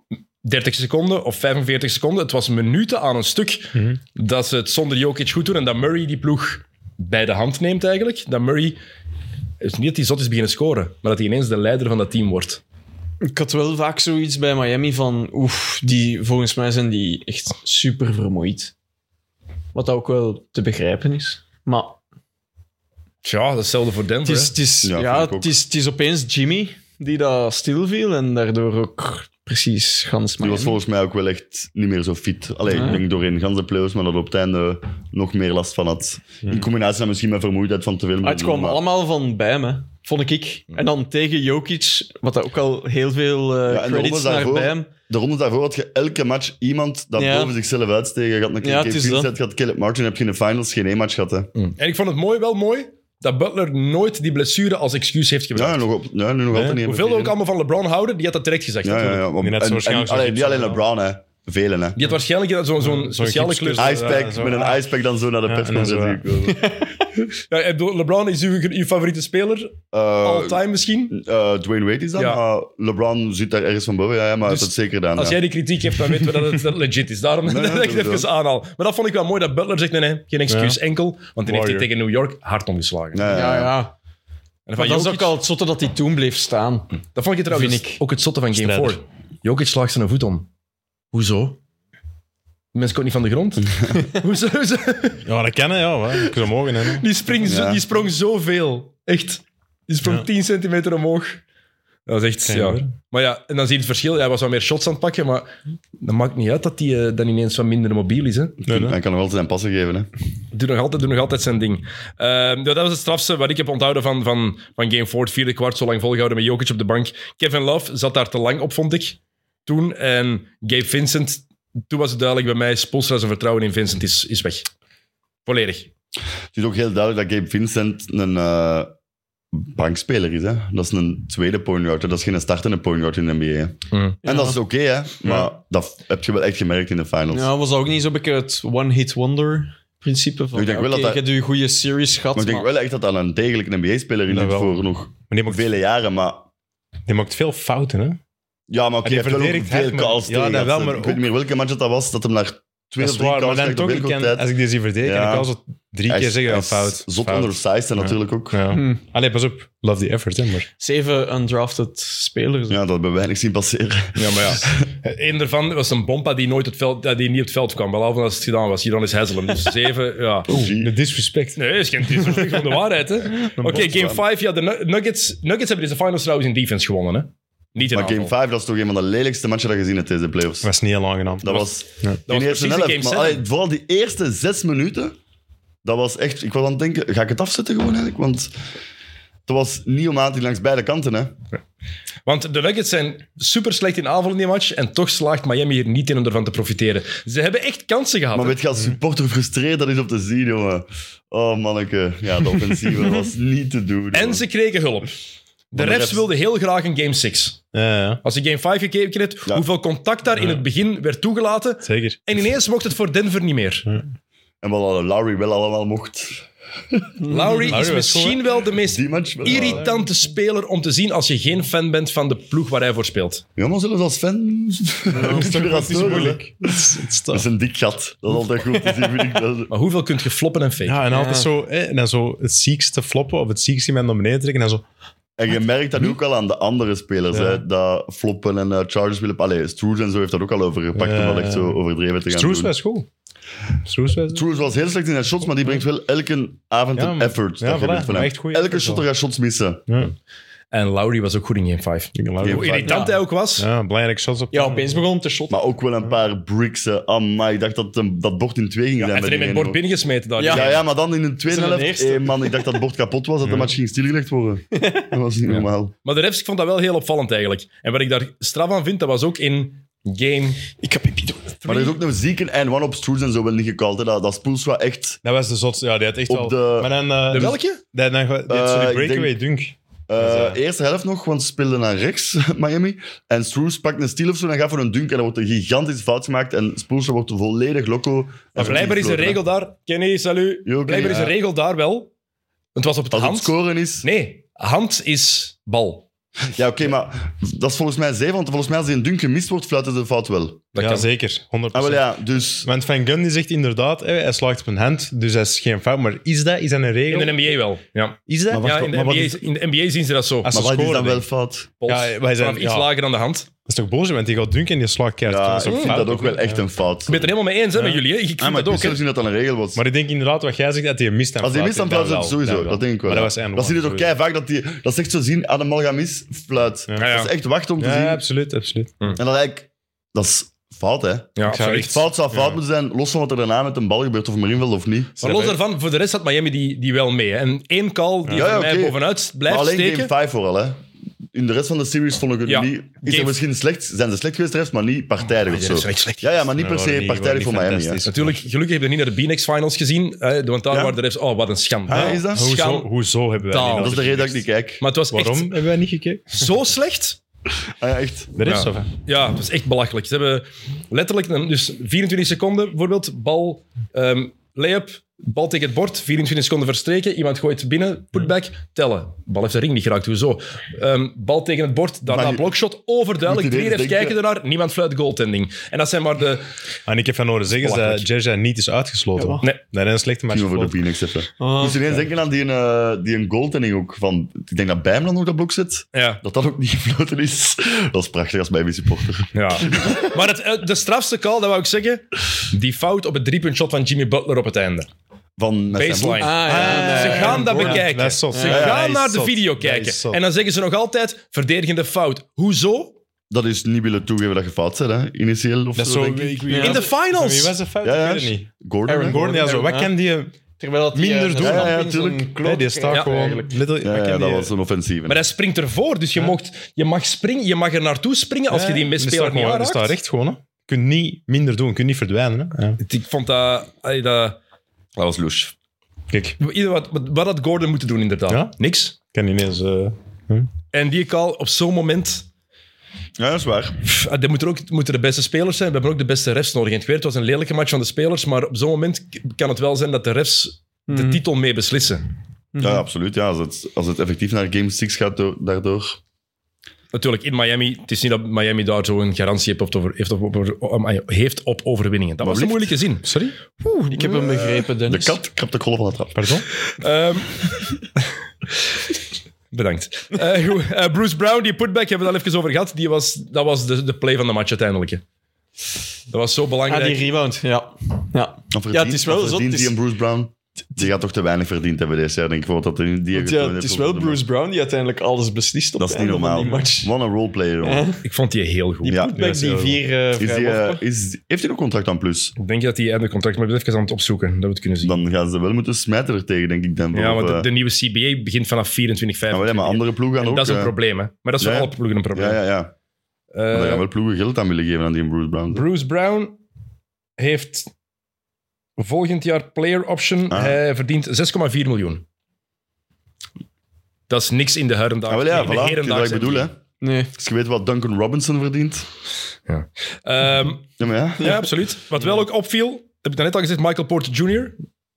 Speaker 1: 30 seconden of 45 seconden, het was minuten aan een stuk
Speaker 3: Mhm.
Speaker 1: dat ze het zonder Jokic goed doen en dat Murray die ploeg bij de hand neemt eigenlijk. Dat Murray... Het is niet dat hij zot is beginnen scoren, maar dat hij ineens de leider van dat team wordt.
Speaker 3: Ik had wel vaak zoiets bij Miami van... Oef, die, volgens mij zijn die echt super vermoeid. Wat ook wel te begrijpen is. Maar
Speaker 1: Tja, dat is hetzelfde voor Denver.
Speaker 3: het is, het is,
Speaker 2: Ja,
Speaker 3: ja,
Speaker 2: vind ik ook.
Speaker 3: het is, het is opeens Jimmy die daar stilviel en daardoor ook precies gans
Speaker 2: Die was
Speaker 3: Miami.
Speaker 2: volgens mij ook wel echt niet meer zo fit. Allee,
Speaker 3: Ah.
Speaker 2: ik denk doorheen ganse playoffs, maar dat op het einde nog meer last van had. In combinatie dan misschien met vermoeidheid van te veel.
Speaker 3: Ah, het kwam
Speaker 2: Mm, maar- Mm.
Speaker 3: allemaal van bij me. Vond ik. En dan tegen Jokic, wat dat ook al heel veel eh,
Speaker 2: Ja, en de
Speaker 3: credits
Speaker 2: ronde
Speaker 3: naar
Speaker 2: daarvoor-
Speaker 3: bij hem.
Speaker 2: De ronde daarvoor had je elke match iemand dat
Speaker 3: Ja.
Speaker 2: boven zichzelf uitsteeg. Je had een keer
Speaker 3: Ja,
Speaker 2: ja,
Speaker 3: het is dat.
Speaker 2: Vincent, je had Caleb Martin, heb je in de finals geen één match gehad. Hè.
Speaker 1: En ik vond het mooi, wel mooi, dat Butler nooit die blessure als excuus heeft gebruikt.
Speaker 2: Ja, en nog, op, ja, nu nog altijd niet.
Speaker 1: Hoeveel we ook allemaal van LeBron houden, die had dat terecht gezegd.
Speaker 2: Ja, ja,
Speaker 1: natuurlijk.
Speaker 2: ja. want-
Speaker 4: Die net zo
Speaker 2: en-
Speaker 4: waarschijnlijk
Speaker 2: en-
Speaker 4: zo'n
Speaker 2: allee, niet alleen
Speaker 4: gipsarm,
Speaker 2: LeBron, hè. Velen, hè.
Speaker 1: Die had waarschijnlijk zo'n zo'n
Speaker 4: zo'n
Speaker 1: speciale
Speaker 4: gipsklus.
Speaker 1: kleur.
Speaker 2: Icepack,
Speaker 4: zo-
Speaker 2: met een
Speaker 4: ah.
Speaker 2: icepack dan zo naar de
Speaker 4: Ja, en dan
Speaker 2: persconferentie.
Speaker 1: Ja, ik bedoel, LeBron is uw, uw favoriete speler, all
Speaker 2: Eh,
Speaker 1: time misschien.
Speaker 2: eh, Dwayne Wade is dat,
Speaker 1: Ja.
Speaker 2: maar LeBron zit daar ergens van boven. Ja, ja, maar
Speaker 1: Dus
Speaker 2: dat is zeker gedaan.
Speaker 1: Als
Speaker 2: ja.
Speaker 1: jij die kritiek hebt, dan weten we dat het dat legit is. Daarom [LAUGHS]
Speaker 2: Nee,
Speaker 1: dat ik het
Speaker 2: sowieso.
Speaker 1: even aanhaal. Maar dat vond ik wel mooi, dat Butler zegt, nee, nee geen excuus,
Speaker 4: Ja.
Speaker 1: enkel. Want die heeft hij
Speaker 4: Warrior.
Speaker 1: tegen New York hard omgeslagen.
Speaker 2: Ja, ja,
Speaker 3: Ja,
Speaker 2: ja.
Speaker 3: ja.
Speaker 1: En
Speaker 3: Maar
Speaker 1: van
Speaker 3: dat is
Speaker 1: Jokic-
Speaker 3: ook al het zotte dat hij toen bleef staan.
Speaker 2: Mm.
Speaker 1: Dat vond je trouwens
Speaker 3: Vind ik.
Speaker 1: ook het zotte van Game
Speaker 4: Strijder.
Speaker 1: 4. Jokic slaagt zijn voet om. Hoezo? Die mens komt niet van de
Speaker 2: [LAUGHS]
Speaker 1: grond. Hoezo? Hoezo?
Speaker 4: Ja, dat kennen, ja. Wat. Ik zou mogen, hè.
Speaker 1: Die, springt zo-
Speaker 2: Ja.
Speaker 1: die sprong zoveel. Echt. Die sprong
Speaker 4: Ja.
Speaker 1: 10 centimeter omhoog. Dat is echt...
Speaker 4: Kan
Speaker 1: Ja.
Speaker 4: gebeuren.
Speaker 1: Maar ja, en dan zie je het verschil. Hij was wat meer shots aan het pakken, maar dat maakt niet uit dat hij eh, dan ineens wat minder mobiel is. Hè.
Speaker 4: Nee, nee.
Speaker 2: Hij kan nog altijd zijn passen geven. Hè.
Speaker 1: Doe nog altijd, doe nog altijd zijn ding. Ehm, ja, dat was het strafste wat ik heb onthouden van, van, van Game 4. Het vierde kwart, zo lang volgehouden met Jokic op de bank. Kevin Love zat daar te lang op, vond ik. Toen. En Gabe Vincent, toen was het duidelijk bij mij, Spolstra zijn vertrouwen in Vincent is, is weg. Volledig.
Speaker 2: Het is ook heel duidelijk dat Gabe Vincent een eh, bankspeler is. Hè. Dat is een tweede point guard. hè. Dat is geen startende point guard in de NBA. hè.
Speaker 4: Mm.
Speaker 2: En dat is oké, hè. maar dat heb je wel echt gemerkt in de finals.
Speaker 3: Ja, was dat ook niet zo'n beetje het one-hit wonder-principe? Van,
Speaker 2: Ik denk wel
Speaker 3: oké,
Speaker 2: dat
Speaker 3: Je
Speaker 2: hij-
Speaker 3: hebt je goede series gehad,
Speaker 2: Maar ik denk
Speaker 3: maar-
Speaker 2: wel echt dat dat een degelijke NBA-speler is
Speaker 4: Ja, wel.
Speaker 2: voor nog
Speaker 4: Maar die maakt,
Speaker 2: vele jaren. Maar
Speaker 4: die maakt veel fouten, hè.
Speaker 2: Ja, maar oké,
Speaker 4: En die
Speaker 2: hij heeft wel ook
Speaker 4: verdedigt hard,
Speaker 2: veel
Speaker 4: maar-
Speaker 2: calls
Speaker 4: ja,
Speaker 2: tegen
Speaker 4: dat
Speaker 2: gehad.
Speaker 4: wel, maar
Speaker 2: Ik
Speaker 4: ook-
Speaker 2: weet niet meer welke match dat was, dat hem naar twee of
Speaker 4: Dat is
Speaker 2: drie
Speaker 4: waar, maar
Speaker 2: calls
Speaker 4: dan
Speaker 2: krijgt op
Speaker 4: toch, ik
Speaker 2: heel
Speaker 4: kan,
Speaker 2: korte tijd.
Speaker 4: als ik die zie verdedigen,
Speaker 2: Ja.
Speaker 4: kan ik al zo drie
Speaker 2: Hij
Speaker 4: keer
Speaker 2: is-
Speaker 4: zeggen, ja,
Speaker 2: hij is
Speaker 4: fout.
Speaker 2: Zot
Speaker 4: fout.
Speaker 2: undersized en
Speaker 4: Ja.
Speaker 2: natuurlijk ook. Ja.
Speaker 4: Ja.
Speaker 3: Hmm.
Speaker 4: Allee, pas op. Love the effort, hè, maar...
Speaker 3: Zeven undrafted spelers.
Speaker 2: dat hebben we weinig zien passeren.
Speaker 1: Ja, maar ja. [LAUGHS] Eén daarvan was een bompa die, nooit het veld, eh, die niet op het veld kwam, behalve als het gedaan was. Hier dan is Hazelem. Dus zeven, ja.
Speaker 2: Oh,
Speaker 4: De disrespect.
Speaker 1: Nee, is geen het is echt van de waarheid, hè. Oké, game 5. Ja, de Nu- Nuggets, Nuggets hebben deze finals trouwens in defense gewonnen, hè. Niet in
Speaker 2: Maar
Speaker 1: aanval.
Speaker 2: game 5, dat is toch een van de lelijkste matchen dat je gezien hebt deze playoffs.
Speaker 4: Dat was niet heel aangenaam.
Speaker 2: Dat was
Speaker 1: was
Speaker 2: in de
Speaker 1: precies
Speaker 2: eerste helft.
Speaker 1: de game
Speaker 2: Maar
Speaker 1: seven.
Speaker 2: allee, vooral die eerste zes minuten, dat was echt... Ik was aan het denken, ga ik het afzetten gewoon eigenlijk? Want het was niet om aan te langs beide kanten, hè.
Speaker 1: Want de Nuggets zijn super slecht in aanval in die match. En toch slaagt Miami hier niet in om ervan te profiteren. Ze hebben echt kansen gehad.
Speaker 2: Maar
Speaker 1: hè.
Speaker 2: weet je, als supporter hoe gefrustreerd dat is op te zien, jongen. Oh, manneke. Ja, de offensieve was niet te doen.
Speaker 1: En
Speaker 2: jongen.
Speaker 1: ze kregen hulp. De refs,
Speaker 2: refs-
Speaker 1: wilden heel graag een game 6.
Speaker 4: Ja, ja.
Speaker 1: Als je game 5 gekeken hebt,
Speaker 2: Ja.
Speaker 1: hoeveel contact daar in het begin werd toegelaten.
Speaker 4: Zeker.
Speaker 1: En ineens mocht het voor Denver niet meer.
Speaker 2: En wat hadden Lowry wel allemaal mocht.
Speaker 1: Lowry is
Speaker 4: was
Speaker 1: misschien wel de meest
Speaker 2: Die match wel.
Speaker 1: irritante speler om te zien als je geen fan bent van de ploeg waar hij voor speelt.
Speaker 2: Ja, maar zelfs als fan... dat [LAUGHS]
Speaker 4: [LAUGHS]
Speaker 2: is Dat is een dik gat. Dat is altijd goed te zien, vind ik. Dat-
Speaker 1: Maar hoeveel kunt je floppen en faken?
Speaker 4: Ja, en altijd
Speaker 3: Ja.
Speaker 4: zo, eh, en dan zo het ziekste floppen of het ziekste iemand naar beneden trekken. En dan zo,
Speaker 2: En je merkt dat nu ook al aan de andere spelers.
Speaker 4: Ja.
Speaker 2: Hè, dat floppen en eh, Chargers willen... Allee, Stroes en zo heeft dat ook al over gepakt om
Speaker 4: Ja.
Speaker 2: dat echt zo overdreven te gaan
Speaker 4: Stroes
Speaker 2: doen.
Speaker 4: was goed. Stroes was
Speaker 2: Stroes was heel slecht in zijn shots, maar die brengt wel elke avond
Speaker 4: Ja,
Speaker 2: een
Speaker 4: maar-
Speaker 2: effort.
Speaker 4: ja,
Speaker 2: dat je
Speaker 4: voilà,
Speaker 2: bent van hem.
Speaker 4: echt goeie
Speaker 2: elke
Speaker 4: effort
Speaker 2: shotter gaat shots missen.
Speaker 4: Ja,
Speaker 1: En Lowry was ook goed in game 5.
Speaker 4: ik geloof
Speaker 2: Game
Speaker 4: het.
Speaker 1: Hoe irritant
Speaker 3: Ja.
Speaker 1: hij ook was.
Speaker 4: ja, belangrijk shots op.
Speaker 3: Ja, opeens begon het te shotten.
Speaker 2: Maar ook wel een paar bricks. hè. Amai, ik dacht dat hem- dat bord in twee ging
Speaker 1: Ja,
Speaker 2: zijn.
Speaker 1: hij
Speaker 2: bij
Speaker 1: heeft hem in
Speaker 2: die
Speaker 1: het bord
Speaker 2: ene.
Speaker 1: binnengesmeten daar.
Speaker 3: Ja.
Speaker 2: Ja, ja, maar dan in de tweede
Speaker 3: Zijn
Speaker 2: helft.
Speaker 3: eerste.
Speaker 2: eh, man, ik dacht dat het bord kapot was, dat de match ging stilgelegd
Speaker 4: [LAUGHS]
Speaker 2: worden. Dat was niet normaal.
Speaker 1: Maar de refs, ik vond dat wel heel opvallend eigenlijk. En wat ik daar straf aan vind, dat was ook in game...
Speaker 3: Ik heb pipi doen.
Speaker 2: Maar er is ook een zieke en one op Stroes en zo wel niet gekald. Hè. Dat, dat Spoelstra echt...
Speaker 4: Dat was de zotste. Ja, die had echt
Speaker 2: Op
Speaker 4: wel...
Speaker 2: de-
Speaker 4: maar dan, eh,
Speaker 1: De welke?
Speaker 4: Die had, dan, ge- die had zo
Speaker 2: Eh,
Speaker 4: die
Speaker 2: ik denk-
Speaker 4: breakaway dunk.
Speaker 2: eh,
Speaker 4: Dat is,
Speaker 2: Eerste helft nog, want ze speelden naar rechts, [LAUGHS] Miami. En Stroes pakt een steal of zo en gaat voor een dunk. En er wordt een gigantische fout gemaakt. En Spoelstra wordt volledig loco. En
Speaker 1: Maar
Speaker 2: wordt
Speaker 1: blijkbaar is de regel
Speaker 2: ingefloten,
Speaker 1: daar... Kenny, salut.
Speaker 2: Yo,
Speaker 1: Blijkbaar is de
Speaker 2: Kenny.
Speaker 1: regel daar wel... Het was op het
Speaker 2: hè. Als het
Speaker 1: hand.
Speaker 2: scoren is...
Speaker 1: Nee, hand is bal.
Speaker 2: Ja, oké, maar dat is volgens mij zeven. Want volgens mij als die een dunk gemist wordt, fluiten ze de fout wel.
Speaker 1: Dat
Speaker 4: ja,
Speaker 1: kan.
Speaker 4: zeker. 100%.
Speaker 2: Ah, wel ja, dus...
Speaker 4: Want Van Gundy zegt inderdaad, eh, hij slaagt op een hand, dus dat is geen fout. Maar is dat, is dat een regel?
Speaker 1: In de NBA wel. Ja,
Speaker 4: Is dat?
Speaker 1: ja in, de NBA, in de NBA zien ze dat zo.
Speaker 4: Als ze
Speaker 2: Maar wat is
Speaker 4: scoren,
Speaker 2: dan
Speaker 4: denk
Speaker 2: wel
Speaker 4: ik.
Speaker 2: fout?
Speaker 1: Pols.
Speaker 4: ja, wij zijn-
Speaker 1: Vanaf iets
Speaker 4: ja.
Speaker 1: lager aan de hand.
Speaker 4: Dat is toch boos, want die gaat dunken en die slaagt keihard.
Speaker 2: Ja, ik
Speaker 4: is ook
Speaker 2: vind
Speaker 4: fout,
Speaker 2: dat ook wel
Speaker 4: hè?
Speaker 2: echt
Speaker 4: Ja.
Speaker 2: een fout.
Speaker 1: Ik ben het helemaal mee eens hè, met jullie. hè. Ik vind
Speaker 2: Ah, maar ik
Speaker 1: dat ook.
Speaker 2: wist
Speaker 1: hè.
Speaker 2: zelfs niet dat dat een regel was.
Speaker 4: Maar ik denk inderdaad wat jij zegt, dat hij mist en
Speaker 2: als die mist, dan fluit
Speaker 4: dat
Speaker 2: ze het
Speaker 4: wel,
Speaker 2: sowieso.
Speaker 4: wel.
Speaker 2: Dat denk ik wel.
Speaker 4: Maar dat
Speaker 2: ja.
Speaker 4: was en
Speaker 2: zie je toch kei vaak dat die... Dat is echt zo zien, aan de mal gaat mis, fluit.
Speaker 4: Ja.
Speaker 2: Dat is echt wachten om te
Speaker 4: Ja,
Speaker 2: zien.
Speaker 4: absoluut, absoluut.
Speaker 2: En dat eigenlijk... Dat is fout, hè?
Speaker 1: Ja,
Speaker 4: zou
Speaker 1: verlicht.
Speaker 4: echt
Speaker 2: Fout zou fout moeten zijn, los van wat er daarna met een bal gebeurt, of hem erin wil of niet.
Speaker 1: Maar los daarvan, voor de rest had Miami die, die wel mee. hè. En één call die
Speaker 2: Ja,
Speaker 1: voor
Speaker 2: ja,
Speaker 1: mij
Speaker 2: oké.
Speaker 1: bovenuit
Speaker 2: Maar
Speaker 1: blijft
Speaker 2: alleen
Speaker 1: steken.
Speaker 2: game 5 vooral, hè? In de rest van de series vond ik het
Speaker 1: Ja,
Speaker 2: niet... Is
Speaker 1: game-
Speaker 2: er misschien slecht, zijn ze slecht geweest, refs, maar niet partijdig
Speaker 1: Ah,
Speaker 2: of
Speaker 1: de
Speaker 2: zo.
Speaker 1: refs zijn echt slecht
Speaker 2: ja, ja, maar niet per
Speaker 4: Ja, waren
Speaker 2: se
Speaker 4: niet-
Speaker 2: partijdig voor
Speaker 4: waren niet
Speaker 2: Miami. hè.
Speaker 4: fantastisch.
Speaker 1: Natuurlijk, gelukkig hebben we niet naar de B-Nex Finals gezien. eh, want daar
Speaker 2: Ja.
Speaker 1: waren de refs... Oh, wat een schandaal.
Speaker 2: Ah, is dat?
Speaker 4: Hoezo,
Speaker 1: Schandaal.
Speaker 4: hoezo hebben wij
Speaker 1: Taal.
Speaker 4: niet naar
Speaker 2: Dat is de reden dat ik
Speaker 4: Phoenix?
Speaker 2: niet kijk.
Speaker 1: Maar het was
Speaker 4: Waarom
Speaker 1: echt
Speaker 4: hebben wij niet gekeken?
Speaker 1: zo slecht.
Speaker 2: Ah, ja, echt.
Speaker 4: De rest
Speaker 1: Ja.
Speaker 4: of?
Speaker 1: Ja, het was echt belachelijk. Ze hebben letterlijk een- dus 24 seconden bijvoorbeeld, bal, ehm layup, bal tegen het bord, 24 seconden verstreken, iemand gooit binnen, putback, tellen. Bal heeft de ring niet geraakt, hoezo? Ehm, bal tegen het bord, daarna
Speaker 2: Maar je-
Speaker 1: blokshot, overduidelijk.
Speaker 2: moet je
Speaker 1: Drie refs
Speaker 2: ineens denken-
Speaker 1: kijken ernaar, niemand fluit goaltending. En dat zijn maar de...
Speaker 4: En ik heb van horen zeggen dat
Speaker 1: Belachelijk.
Speaker 4: Jerja niet is uitgesloten.
Speaker 3: Ja, wat?
Speaker 4: Nee,
Speaker 1: Nee.
Speaker 4: dat is een slechte match.
Speaker 2: Misschien over de
Speaker 4: gespeeld.
Speaker 2: Phoenix even.
Speaker 3: Ah.
Speaker 2: Moest je ineens denken aan die, eh die een goaltending ook. Van, ik denk dat Bijmland ook dat blok zit.
Speaker 1: Ja,
Speaker 2: Dat dat ook niet [LAUGHS] gefloten is. Dat is prachtig als Miami supporter.
Speaker 1: ja. [LAUGHS] maar het, eh, de strafste call, dat wou ik zeggen, die fout op het driepuntshot van Jimmy Butler op het einde.
Speaker 2: Van met zijn
Speaker 1: Baseline.
Speaker 2: broek.
Speaker 3: ja,
Speaker 1: Ze
Speaker 3: nee.
Speaker 1: gaan dat
Speaker 4: Gordon.
Speaker 1: bekijken.
Speaker 4: Dat is zot.
Speaker 1: Ze
Speaker 4: Ja, ja, dat
Speaker 1: gaan
Speaker 4: is
Speaker 1: naar de
Speaker 4: zot.
Speaker 1: video
Speaker 4: Dat
Speaker 1: kijken.
Speaker 4: is zot.
Speaker 1: En dan zeggen ze nog altijd, verdedigende fout. Hoezo?
Speaker 2: Dat is niet willen toegeven dat je fout zit, hè? Initieel of
Speaker 4: Dat is
Speaker 2: zo.
Speaker 4: zo...
Speaker 2: denk ik.
Speaker 4: ik- wie
Speaker 3: In
Speaker 1: In
Speaker 4: was
Speaker 1: de
Speaker 4: het? Van Wie was
Speaker 1: finals.
Speaker 4: de fout?
Speaker 2: Ja, ja.
Speaker 4: Ik weet het niet.
Speaker 2: Gordon.
Speaker 3: Aaron
Speaker 2: hè?
Speaker 4: Gordon, ja, zo. Wat
Speaker 3: Ja.
Speaker 4: kan die...
Speaker 3: Terwijl dat die,
Speaker 4: Minder
Speaker 3: eh,
Speaker 4: doen.
Speaker 3: dat
Speaker 2: Ja, ja,
Speaker 3: Hopkins
Speaker 2: tuurlijk.
Speaker 3: een kloot
Speaker 4: Nee, die staat
Speaker 3: krijgt
Speaker 4: gewoon...
Speaker 3: eigenlijk.
Speaker 4: middel- wat
Speaker 2: Ja,
Speaker 4: kan
Speaker 2: ja, dat
Speaker 4: die-
Speaker 2: was een offensieve.
Speaker 1: Maar hij springt ervoor, dus je, mocht, je, mag springen, je mag er naartoe springen als je die
Speaker 4: Die staat
Speaker 1: misspeler niet
Speaker 4: gewoon- die staat
Speaker 1: aanraakt.
Speaker 4: recht gewoon, hè. Je kunt niet minder doen, je kunt niet verdwijnen. Hè. Ja.
Speaker 1: Ik vond dat... allee, dat
Speaker 2: Dat was loes.
Speaker 4: Kijk,
Speaker 1: ieder wat, wat- wat had Gordon moeten doen, inderdaad?
Speaker 4: Ja?
Speaker 1: Niks.
Speaker 4: ik kan ineens... eh,
Speaker 1: En die call op zo'n moment...
Speaker 2: Ja, dat is waar.
Speaker 1: Pff, ah, er moeten ook moeten de beste spelers zijn. We hebben ook de beste refs nodig. En het, weer, het was een lelijke match van de spelers, maar op zo'n moment k- kan het wel zijn dat de refs
Speaker 4: Hmm.
Speaker 1: de titel mee beslissen.
Speaker 2: Ja, absoluut. Ja, als, het, als het effectief naar Game 6 gaat door- daardoor.
Speaker 1: Natuurlijk, in Miami, het is niet dat Miami daar zo'n garantie heeft op, over, heeft, op, over- om- eh, heeft op overwinningen. Dat was een
Speaker 2: liefst.
Speaker 1: moeilijke zin.
Speaker 4: Sorry?
Speaker 3: Ik heb hem begrepen,
Speaker 2: De
Speaker 3: Dennis.
Speaker 2: kat krapt de kolf aan de trap.
Speaker 4: Pardon?
Speaker 1: Ehm, [LAUGHS] bedankt. Eh, goed, eh, Bruce Brown, die putback, hebben we het al even over gehad. Die was, dat was de, de play van de match uiteindelijk. hè. Dat was zo
Speaker 3: Ah,
Speaker 1: belangrijk.
Speaker 3: die rebound, ja. ja.
Speaker 2: Dan verdient-
Speaker 3: Ja, het is wel
Speaker 2: dan
Speaker 3: zot,
Speaker 2: verdient
Speaker 3: het
Speaker 2: die
Speaker 3: is-
Speaker 2: en Bruce Brown. Die gaat toch te weinig verdiend hebben deze jaar, denk ik. want Dat die, die
Speaker 3: Want ja, het is wel Bruce Brown die uiteindelijk alles beslist op
Speaker 2: Dat is
Speaker 3: het
Speaker 2: niet
Speaker 3: einde van
Speaker 2: normaal.
Speaker 3: die match.
Speaker 2: Wat een roleplayer. man.
Speaker 3: Ja.
Speaker 1: Ik vond Eh, die heel goed.
Speaker 3: Die [LAUGHS]
Speaker 2: Ja,
Speaker 3: putback,
Speaker 4: dat is
Speaker 3: die
Speaker 4: heel
Speaker 3: vier eh
Speaker 2: Is die, eh,
Speaker 3: vrijworpen.
Speaker 2: is, heeft hij nog contract aan plus?
Speaker 1: Ik denk dat die einde contract... Maar ik ben even aan het opzoeken, dat we het kunnen zien.
Speaker 2: Dan gaan ze wel moeten smijten er tegen, denk ik. Dan
Speaker 1: ja,
Speaker 2: Of,
Speaker 1: want de,
Speaker 2: eh,
Speaker 1: de nieuwe CBA begint vanaf 24,
Speaker 2: ja,
Speaker 1: 25.
Speaker 2: maar Ah, ja, maar andere ploegen gaan
Speaker 1: En
Speaker 2: ook...
Speaker 1: dat is een
Speaker 2: eh,
Speaker 1: probleem, hè. Maar dat is voor
Speaker 2: ja, ja.
Speaker 1: alle ploegen een probleem.
Speaker 2: Ja, ja, ja. Maar daar
Speaker 1: Eh,
Speaker 2: gaan wel ploegen geld aan willen geven aan die Bruce Brown.
Speaker 1: Bruce Brown heeft volgend jaar player option.
Speaker 2: Ah.
Speaker 1: Hij verdient 6,4 miljoen. Dat is niks in de
Speaker 2: Ah,
Speaker 1: herendaagse.
Speaker 2: wel ja,
Speaker 1: in de
Speaker 2: voilà. Dat is wat ik
Speaker 1: herendaagse
Speaker 2: bedoel, hè.
Speaker 3: Nee.
Speaker 2: Als je weet wat Duncan Robinson verdient.
Speaker 1: Ehm,
Speaker 2: Ja, maar ja.
Speaker 1: ja, absoluut. Wat wel ook opviel, heb ik daarnet al gezegd, Michael Porter Jr.,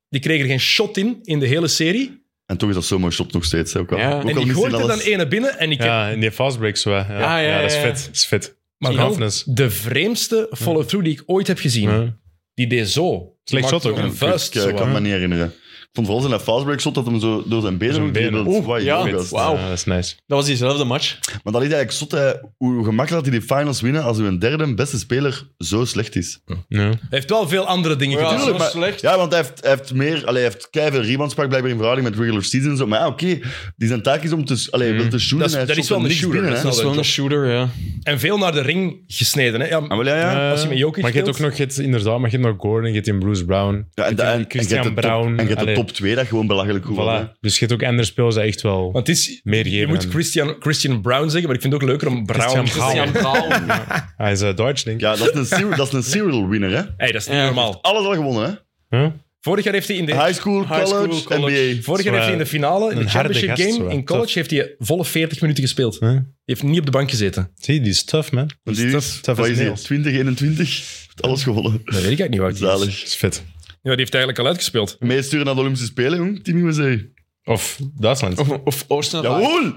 Speaker 1: die kreeg er geen shot in, in de hele serie.
Speaker 2: En toch is dat zo'n mooi shot nog steeds. Hè, ook al,
Speaker 3: Ja.
Speaker 2: ook al
Speaker 3: En
Speaker 1: En die
Speaker 2: mist hij
Speaker 1: gooit er
Speaker 2: alles.
Speaker 1: dan ene binnen en ik heb
Speaker 4: Ja, in die fastbreaks wel. Ja,
Speaker 3: ja,
Speaker 4: ja, dat is
Speaker 3: ja, ja.
Speaker 4: vet. Dat is vet.
Speaker 1: maar
Speaker 4: Zo'n
Speaker 1: wel
Speaker 4: confidence.
Speaker 1: de vreemdste follow-through die ik ooit heb gezien.
Speaker 4: Ja.
Speaker 1: Die deed zo.
Speaker 4: Slecht
Speaker 1: Maakt
Speaker 4: shot ook,
Speaker 1: nog
Speaker 4: hè.
Speaker 1: Een vuist.
Speaker 2: Ik eh,
Speaker 1: zo.
Speaker 2: kan me niet herinneren. Ik vond vooral zijn fastbreak shot dat hem zo door zijn benen...
Speaker 4: Door zijn
Speaker 2: ook
Speaker 4: benen.
Speaker 2: dribbelt.
Speaker 4: Oeh,
Speaker 2: Wauw,
Speaker 3: ja.
Speaker 2: joh, gast.
Speaker 3: Wauw.
Speaker 4: Ja, dat is nice.
Speaker 3: Dat was diezelfde match.
Speaker 2: Maar dat is eigenlijk zot, hè. hoe gemakkelijk dat hij die finals winnen als uw derde en beste speler zo slecht is.
Speaker 4: Ja.
Speaker 1: Hij heeft wel veel andere dingen
Speaker 3: Ja,
Speaker 1: gedaan.
Speaker 3: zo
Speaker 2: Tuurlijk, maar-
Speaker 3: slecht.
Speaker 2: Ja, want hij heeft, hij heeft meer... Allee, hij heeft keiveel rebounds pak blijkbaar in verhouding met regular season. en Zo. Maar ja, oké, die zijn taak is om te... Allee, wil te shooten.
Speaker 1: Dat is-
Speaker 2: hij
Speaker 1: dat
Speaker 2: shot
Speaker 1: is wel
Speaker 2: er
Speaker 1: een
Speaker 2: niks
Speaker 1: shooter,
Speaker 2: binnen,
Speaker 1: dat
Speaker 2: hè.
Speaker 3: Dat is wel
Speaker 1: top.
Speaker 3: een shooter, ja.
Speaker 1: En veel naar de ring gesneden. Hè? Ja,
Speaker 2: Ah, wel, ja, ja.
Speaker 4: Eh,
Speaker 1: als je met Jokic
Speaker 4: maar je hebt ook
Speaker 1: speelt.
Speaker 4: nog, je hebt, inderdaad, maar je hebt nog Gordon, je hebt in Bruce Brown.
Speaker 2: Ja, en, de- en, en je hebt de
Speaker 4: Christian
Speaker 2: top-
Speaker 4: Brown,
Speaker 2: En je hebt de
Speaker 4: allee.
Speaker 2: top 2, dat gewoon belachelijk goed was, hè.
Speaker 4: Voilà. Dus je hebt ook andere spelers dat echt wel...
Speaker 1: Want het is,
Speaker 4: Meer
Speaker 1: je
Speaker 4: geven
Speaker 1: moet
Speaker 4: aan-
Speaker 1: Christian, Christian Brown zeggen, maar ik vind het ook leuker om Brown
Speaker 4: Christian
Speaker 1: te
Speaker 4: Brown.
Speaker 1: zeggen.
Speaker 3: Jan [LAUGHS] Braun.
Speaker 4: Hij is eh, Duits, denk ik.
Speaker 2: Ja, dat is, een serial, dat is een serial winner, hè.
Speaker 1: Hey, dat is niet
Speaker 3: Ja.
Speaker 1: normaal.
Speaker 2: Alles al gewonnen, hè.
Speaker 4: Huh?
Speaker 1: Vorig jaar heeft hij in de,
Speaker 2: High school,
Speaker 3: High school,
Speaker 2: college,
Speaker 3: college.
Speaker 2: NBA.
Speaker 1: vorig jaar
Speaker 4: Zwaar.
Speaker 1: heeft hij in de finale, in de
Speaker 4: Een harde
Speaker 1: championship
Speaker 4: gast,
Speaker 1: game,
Speaker 4: zwaar.
Speaker 1: in college,
Speaker 4: Tof.
Speaker 1: heeft hij volle 40 minuten gespeeld. Hij
Speaker 4: Huh?
Speaker 1: heeft niet op de bank gezeten.
Speaker 4: Zie, die is tough, man.
Speaker 2: Want die is,
Speaker 4: Tough- tough
Speaker 2: wat
Speaker 4: as
Speaker 2: is die?
Speaker 4: nails.
Speaker 2: 2021. Heeft Alles gewonnen.
Speaker 1: Dat weet ik eigenlijk niet waar hij is.
Speaker 2: Zalig.
Speaker 4: Dat is vet.
Speaker 1: Ja, die heeft eigenlijk al uitgespeeld.
Speaker 4: [LAUGHS]
Speaker 2: Meesturen naar de Olympische Spelen, jong. Team USA.
Speaker 4: Of Duitsland.
Speaker 3: Of, of Oosten.
Speaker 2: Jawohl!